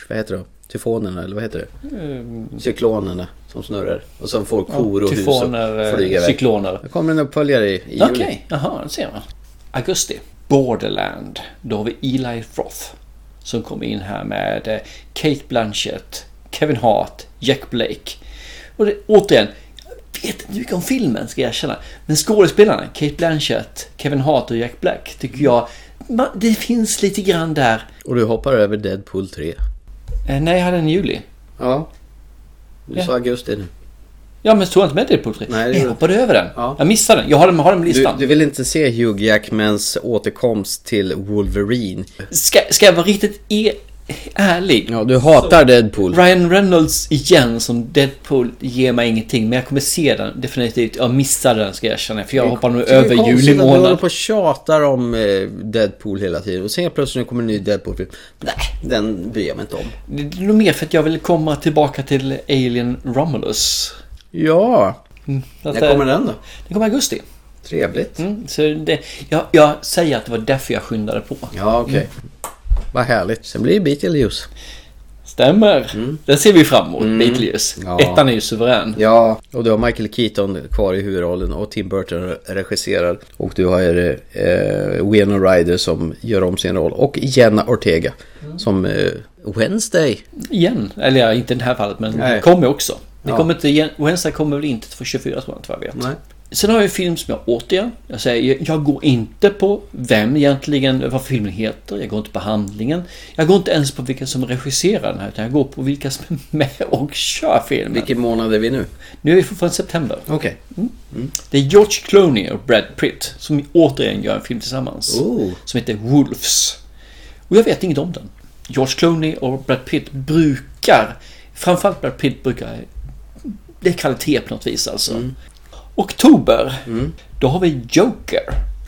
Speaker 1: vad heter de? Tyfonerna eller vad heter det?
Speaker 2: Ehm.
Speaker 1: Cyklonerna som snurrar. Och som får
Speaker 2: Ja,
Speaker 1: kor och hus
Speaker 2: tyfoner,
Speaker 1: att flyga
Speaker 2: eh,
Speaker 1: iväg.
Speaker 2: cykloner.
Speaker 1: Då kommer en uppföljare i, i juli.
Speaker 2: Okej, jaha, det ser man. Augusti. Borderland. Då har vi Eli Roth. Som kom in här med eh, Kate Blanchett, Kevin Hart, Jack Blake. Och det, återigen, jag vet inte mycket om filmen ska jag erkänna. Men skådespelarna, Kate Blanchett, Kevin Hart och Jack Black tycker jag, man, det finns lite grann där.
Speaker 1: Och du hoppar över Deadpool 3.
Speaker 2: Eh, nej, jag hade en i juli.
Speaker 1: Ja. Du
Speaker 2: Ja.
Speaker 1: sa augusti nu.
Speaker 2: Ja, men stod jag inte med Deadpool 3?
Speaker 1: Nej, det
Speaker 2: jag
Speaker 1: gjorde-
Speaker 2: hoppade över den. Jag missade den. Jag har den, har den på
Speaker 1: Du,
Speaker 2: listan.
Speaker 1: du vill inte se Hugh Jackmans återkomst till Wolverine?
Speaker 2: Ska, ska jag vara riktigt e- ärlig?
Speaker 1: Ja, du hatar Deadpool.
Speaker 2: Ryan Reynolds igen som Deadpool ger mig ingenting. Men jag kommer se den definitivt. Jag missade den ska jag erkänna. För jag hoppar nu
Speaker 1: Det är
Speaker 2: över
Speaker 1: konstigt
Speaker 2: juli
Speaker 1: att Du håller
Speaker 2: månad.
Speaker 1: på och tjatar om eh, Deadpool hela tiden och sen helt plötsligt nu kommer en ny Deadpool-film. Nej, den bryr jag mig inte om.
Speaker 2: Det är nog mer för att jag vill komma tillbaka till Alien Romulus.
Speaker 1: Ja.
Speaker 2: Så att,
Speaker 1: När kommer
Speaker 2: eh,
Speaker 1: den då?
Speaker 2: Den kommer i augusti.
Speaker 1: Trevligt.
Speaker 2: Mm, så det, jag, jag säger att det var därför jag skyndade på.
Speaker 1: Ja, okej. Vad härligt. Sen blir det Beetlejuice.
Speaker 2: Stämmer. Det ser vi fram emot. Beetlejuice.
Speaker 1: Mm. Ja.
Speaker 2: Ettan är ju suverän.
Speaker 1: Ja, och du har Michael Keaton kvar i huvudrollen och Tim Burton regisserar. Och du har eh, Winona Ryder som gör om sin roll och Jenna Ortega
Speaker 2: Mm.
Speaker 1: som eh, Wednesday.
Speaker 2: Igen. Eller ja, inte i det här fallet men
Speaker 1: Nej.
Speaker 2: det kommer också. Det
Speaker 1: Ja.
Speaker 2: kommer inte igen. Wednesday kommer väl inte för 24 tror jag inte vad jag vet.
Speaker 1: Nej.
Speaker 2: Sen har jag en film som jag återigen, jag säger, jag- jag går inte på vem egentligen, vad filmen heter, jag går inte på handlingen. Jag går inte ens på vilka som regisserar den här, utan jag går på vilka som är med och kör filmen.
Speaker 1: Vilken månad är vi nu?
Speaker 2: Nu är vi fortfarande i september.
Speaker 1: Okej.
Speaker 2: Det är George Clooney och Brad Pitt som återigen gör en film tillsammans.
Speaker 1: Oh.
Speaker 2: Som heter Wolves. Och jag vet inget om den. George Clooney och Brad Pitt brukar, framförallt Brad Pitt brukar, det är kvalitet på något vis alltså.
Speaker 1: Mm.
Speaker 2: Oktober, då har vi Joker.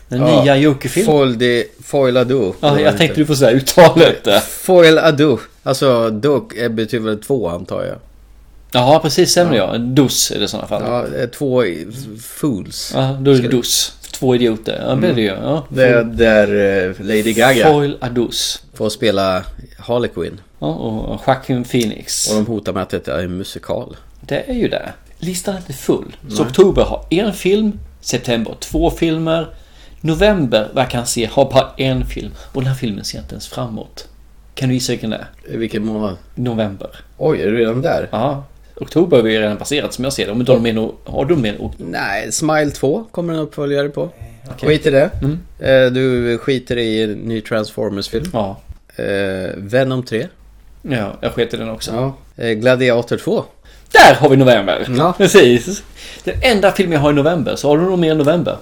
Speaker 2: Den
Speaker 1: Ja.
Speaker 2: nya Joker-filmen.
Speaker 1: Foil, de, foil ado.
Speaker 2: ja, jag tänkte du får säga uttalet där.
Speaker 1: Foil ado. Alltså dok eh, betyder väl två antar jag.
Speaker 2: Ja, precis. Sämre ja. En dos är det i sådana fall.
Speaker 1: Ja, eh, två i- fools.
Speaker 2: Ja, då är det
Speaker 1: Ska-
Speaker 2: dos. Två idioter. Ja, det är det ju. Ja.
Speaker 1: Det är där eh, Lady Gaga
Speaker 2: Foil Adus.
Speaker 1: får spela Harley Quinn.
Speaker 2: Ja, och Joaquin Phoenix.
Speaker 1: Och de hotar med att det är en musikal.
Speaker 2: Det är ju det. Listan är inte full. Så oktober har en film, september två filmer, november vad jag kan se har bara en film och den här filmen ser inte ens framåt. Kan du gissa vilken det är?
Speaker 1: Vilken månad?
Speaker 2: November.
Speaker 1: Oj, är du redan där?
Speaker 2: Ja. Oktober har vi ju redan passerat som jag ser det. Om inte de är no- har de med no-
Speaker 1: Nej, Smile 2 kommer en uppföljare på. Skit i det.
Speaker 2: Mm.
Speaker 1: Eh, Du skiter i en ny Transformers-film.
Speaker 2: Ja.
Speaker 1: Eh, Venom 3.
Speaker 2: Ja, jag sket i den också.
Speaker 1: Ja. Eh, Gladiator 2.
Speaker 2: Där har vi november!
Speaker 1: Ja.
Speaker 2: Precis. Den enda film jag har i november, så har du någon mer i november?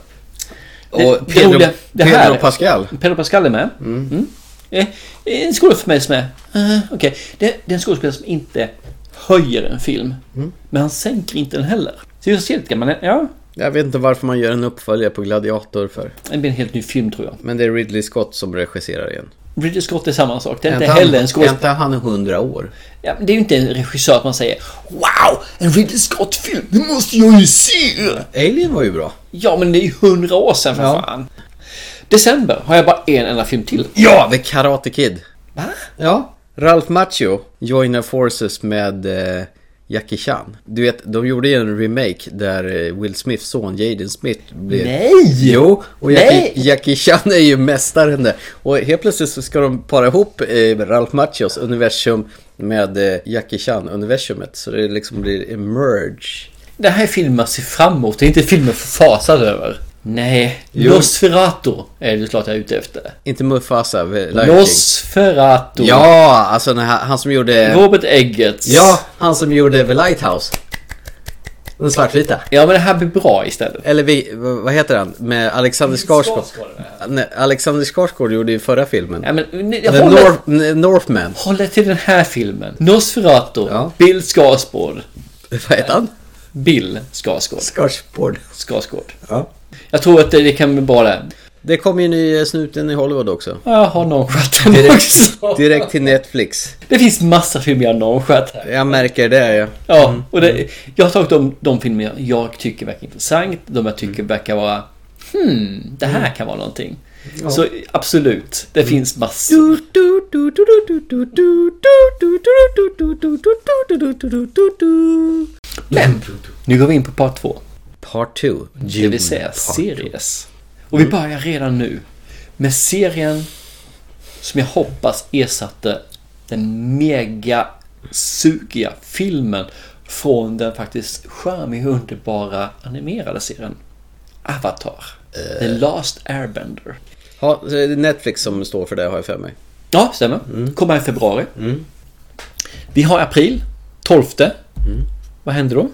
Speaker 1: Och
Speaker 2: det
Speaker 1: Pedro,
Speaker 2: roliga- det här-
Speaker 1: Pedro Pascal.
Speaker 2: Pedro Pascal är med. Mm. Eh, En skådespelare för mig som är... eh, Okej, det, det är en skådespelare som inte höjer en film.
Speaker 1: Mm.
Speaker 2: Men han sänker inte den heller. Så jag ser lite grann, men ja.
Speaker 1: Jag vet inte varför man gör en uppföljare på Gladiator för.
Speaker 2: Det blir en helt ny film tror jag.
Speaker 1: Men det är Ridley Scott som regisserar igen.
Speaker 2: Ridley Scott är samma sak. Det är
Speaker 1: Är
Speaker 2: inte
Speaker 1: han-
Speaker 2: heller en
Speaker 1: är inte
Speaker 2: skådespelare.
Speaker 1: han 100 år?
Speaker 2: Ja, men det är ju inte en regissör att man säger Wow! En Ridley Scott-film! Det måste jag ju se!
Speaker 1: Alien var ju bra.
Speaker 2: Ja, men det är ju hundra år sedan för
Speaker 1: Ja.
Speaker 2: fan. December har jag bara en enda film till.
Speaker 1: Ja, The Karate Kid. Va? Ja. Ralph Macchio joinar forces med eh, Jackie Chan. Du vet, de gjorde ju en remake där eh, Will Smiths son Jaden Smith blev...
Speaker 2: Nej!
Speaker 1: Jo! Och Jackie,
Speaker 2: Nej!
Speaker 1: Jackie Chan är ju mästaren där. Och helt plötsligt så ska de para ihop eh, Ralph Macchios universum med eh, Jackie Chan-universumet. Så det liksom blir en merge.
Speaker 2: Det här är filmer att se fram emot, det är inte filmer förfasad över. Nej,
Speaker 1: Jo.
Speaker 2: Nosferatu är det klart jag är ute efter.
Speaker 1: Inte Mufasa, eh, Lion King.
Speaker 2: Nosferatu.
Speaker 1: Ja, alltså den här, han som gjorde...
Speaker 2: Robert Eggers.
Speaker 1: Ja, han som gjorde The Lighthouse. Den svartvita.
Speaker 2: Ja, men det här blir bra istället.
Speaker 1: Eller vi, v- vad heter han? Med Alexander Skarsgård. Nej, Alexander Skarsgård gjorde ju förra filmen.
Speaker 2: Ja, men, ni,
Speaker 1: The
Speaker 2: håller,
Speaker 1: North, N- Northman.
Speaker 2: håller till den här filmen. Nosferatu. Bill Skarsgård.
Speaker 1: Vad heter han?
Speaker 2: Bill Skarsgård.
Speaker 1: Skarsgård.
Speaker 2: Skarsgård. Jag tror att det, det kan bli bra det.
Speaker 1: Det kom ju en ny eh, snuten i Hollywood också.
Speaker 2: Jag har nonchatt den
Speaker 1: Direkt,
Speaker 2: också.
Speaker 1: direkt till Netflix.
Speaker 2: Det finns massa filmer jag nonchatt här.
Speaker 1: Jag märker det ja.
Speaker 2: Ja, och det, jag har tagit de, de filmer jag tycker verkar intressant, de jag tycker verkar vara Hmm, det här kan vara någonting.
Speaker 1: Ja.
Speaker 2: Så absolut, det finns massor. Men, nu går vi in på part två.
Speaker 1: Part 2.
Speaker 2: Det vill säga series. Och vi börjar redan nu med serien som jag hoppas ersatte den mega sugiga filmen från den faktiskt charmiga, underbara animerade serien Avatar. The Last Airbender.
Speaker 1: Ja, så är det Netflix som står för det har jag för mig.
Speaker 2: Ja, stämmer. Kommer i februari. Vi har april, 12. Vad händer då?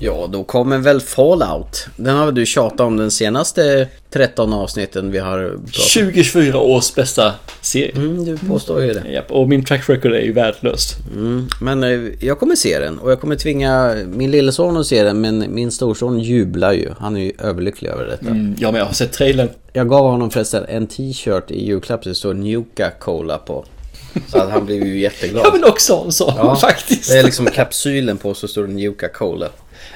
Speaker 1: Ja, då kommer väl Fallout. Den har väl du tjatat om den senaste 13 avsnitten vi har pratat
Speaker 2: 2024 års bästa serie.
Speaker 1: Mm, du påstår ju det.
Speaker 2: Japp, och min track record är ju värdelöst.
Speaker 1: Mm, men eh, jag kommer se den och jag kommer tvinga min lilleson att se den men min storson jublar ju. Han är ju överlycklig över detta.
Speaker 2: Mm, ja, men jag har sett trailern.
Speaker 1: Jag gav honom förresten en t-shirt i julklapp där det står Nuka Cola på. Så att han blev ju jätteglad.
Speaker 2: Ja, men också en sån faktiskt.
Speaker 1: Det är liksom kapsylen på så står det Nuka Cola.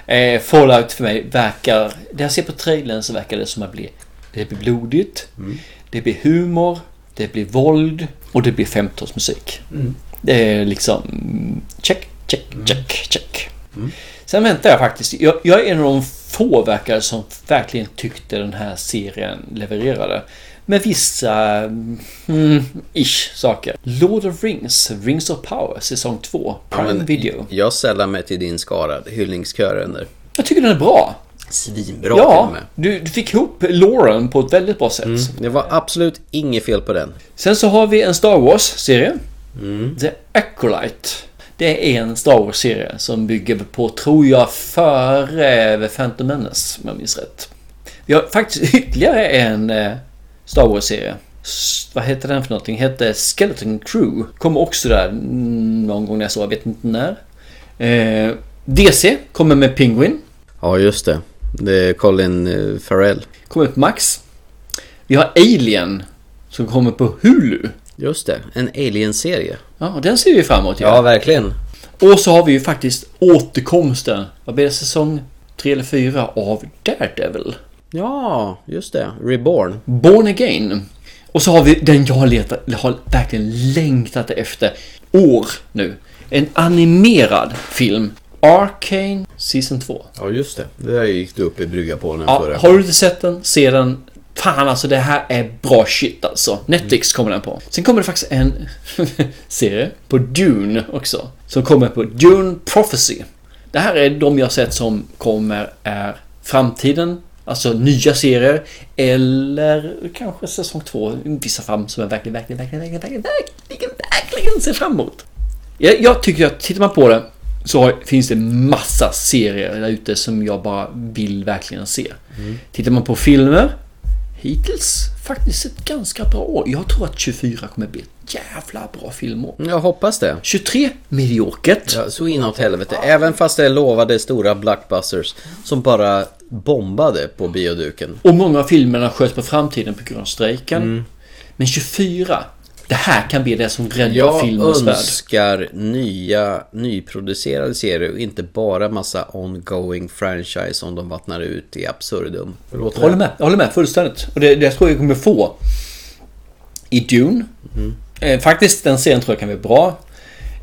Speaker 2: Eh, Fallout för mig verkar... Det jag ser på trailern så verkar det som att bli... Det blir blodigt.
Speaker 1: Mm.
Speaker 2: Det blir humor. Det blir våld. Och det blir 15-musik.
Speaker 1: Mm.
Speaker 2: Det är liksom... mm, Check, check, check, check.
Speaker 1: Mm.
Speaker 2: Sen väntar jag faktiskt. Jag, jag är en av de få verkar det som verkligen tyckte den här serien levererade. Med vissa... Mm, ish saker. Lord of Rings, Rings of Power, säsong 2. Prime
Speaker 1: men-
Speaker 2: Video.
Speaker 1: Jag sällar mig till din skara, hyllningskören där.
Speaker 2: Jag tycker den är bra.
Speaker 1: Svinbra till och
Speaker 2: ja,
Speaker 1: med.
Speaker 2: du, du fick ihop Lauren på ett väldigt bra sätt.
Speaker 1: Det var absolut inget fel på den.
Speaker 2: Sen så har vi en Star Wars-serie. The Acolyte. Det är en Star Wars-serie som bygger på, tror jag, före The Phantom Menace, om jag minns rätt. Vi har faktiskt ytterligare en eh, Star Wars-serie. S- Vad heter den för någonting? Hette Skeleton Crew. Kommer också där mm, någon gång nästa år, jag vet inte när. Eh, DC kommer med Penguin.
Speaker 1: Ja, just det. Det är Colin eh, Farrell.
Speaker 2: Kommer på Max. Vi har Alien som kommer på Hulu.
Speaker 1: Just det, en Alien-serie.
Speaker 2: Ja, och den ser vi fram emot.
Speaker 1: Ja, verkligen.
Speaker 2: Och så har vi ju faktiskt återkomsten. Vad blir det? Säsong 3 eller 4 av Daredevil.
Speaker 1: Ja, just det. Reborn.
Speaker 2: Born Again. Och så har vi den jag letar, har verkligen längtat efter år nu. En animerad film. Arcane Season 2.
Speaker 1: Ja, just det. Det där gick du upp i brygga på nu
Speaker 2: Ja, har du inte sett den, se den. Fan alltså, det här är bra shit alltså. Netflix kommer den på. Sen kommer det faktiskt en serie på Dune också. Som kommer på Dune Prophecy. Det här är de jag sett som kommer är framtiden. Alltså nya serier. Eller kanske säsong två. Vissa fram som jag verkligen, verkligen, verkligen, verkligen, verkligen, verkligen, verkligen ser fram emot. Jag, jag tycker att tittar man på det så har, finns det massa serier där ute som jag bara vill verkligen se.
Speaker 1: Mm.
Speaker 2: Tittar man på filmer hittills faktiskt ett ganska bra år. Jag tror att 24 kommer bli ett jävla bra filmår.
Speaker 1: Jag hoppas det.
Speaker 2: 23 mediokert.
Speaker 1: Ja, så inåt helvete. Även fast det lovade stora blockbusters som bara bombade på bioduken.
Speaker 2: Och många av filmerna sköts på framtiden på grund av strejken.
Speaker 1: Mm.
Speaker 2: Men 24, det här kan bli det som räddar
Speaker 1: Jag
Speaker 2: filmens värld.
Speaker 1: önskar nya, nyproducerade serier och inte bara massa ongoing franchise som de vattnar ut i absurdum. Hur låter
Speaker 2: Jag håller
Speaker 1: det?
Speaker 2: med, jag håller med fullständigt. Och det, det tror jag kommer
Speaker 1: Mm.
Speaker 2: få i Dune. Eh, faktiskt den serien tror jag kan bli bra.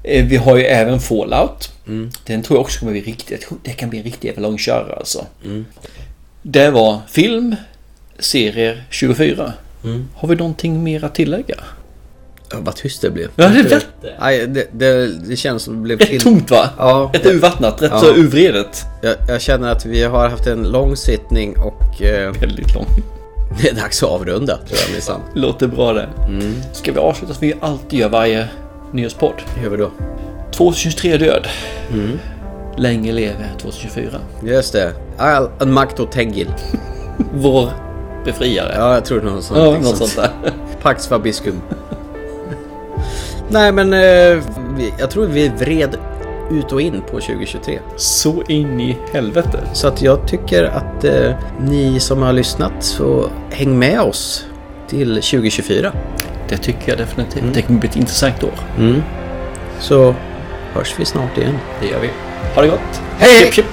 Speaker 2: Eh, Vi har ju även Fallout.
Speaker 1: Mm.
Speaker 2: Den tror jag också kommer bli riktigt... Det kan bli en riktig jävla långkörare alltså.
Speaker 1: Mm.
Speaker 2: Det var film, serier 24.
Speaker 1: Mm.
Speaker 2: Har vi någonting mer att tillägga?
Speaker 1: Ja, vad tyst det blev.
Speaker 2: Ja, det blev-
Speaker 1: Nej, det, det, det känns som det blev...
Speaker 2: Rätt tomt, va?
Speaker 1: Ja.
Speaker 2: Rätt urvattnat, rätt så urvredet.
Speaker 1: Jag, jag känner att vi har haft en lång sittning och... Eh...
Speaker 2: Väldigt lång.
Speaker 1: Det är dags att avrunda, tror jag minsann.
Speaker 2: Låter bra det.
Speaker 1: Mm.
Speaker 2: Ska vi avsluta som vi alltid gör varje nyhetspodd?
Speaker 1: gör vi då.
Speaker 2: 2023 är död.
Speaker 1: Mm.
Speaker 2: Länge leve 2024.
Speaker 1: Just det. Ah, Al Makto Tegil.
Speaker 2: Vår befriare.
Speaker 1: Ja, jag tror någon sånt.
Speaker 2: Ja, något sånt där.
Speaker 1: Pax Fabiscum. Nej, men eh, vi, jag tror vi vred ut och in på 2023.
Speaker 2: Så in i helvete.
Speaker 1: Så att jag tycker att eh, ni som har lyssnat så häng med oss till 2024.
Speaker 2: Det tycker jag definitivt. Det kommer bli ett intressant år.
Speaker 1: Mm. Så hörs vi snart igen.
Speaker 2: Det gör vi. Ha det gott!
Speaker 1: Hej!
Speaker 2: Chip, chip.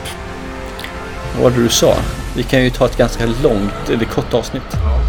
Speaker 2: Vad var det du sa? Vi kan ju ta ett ganska långt eller kort avsnitt.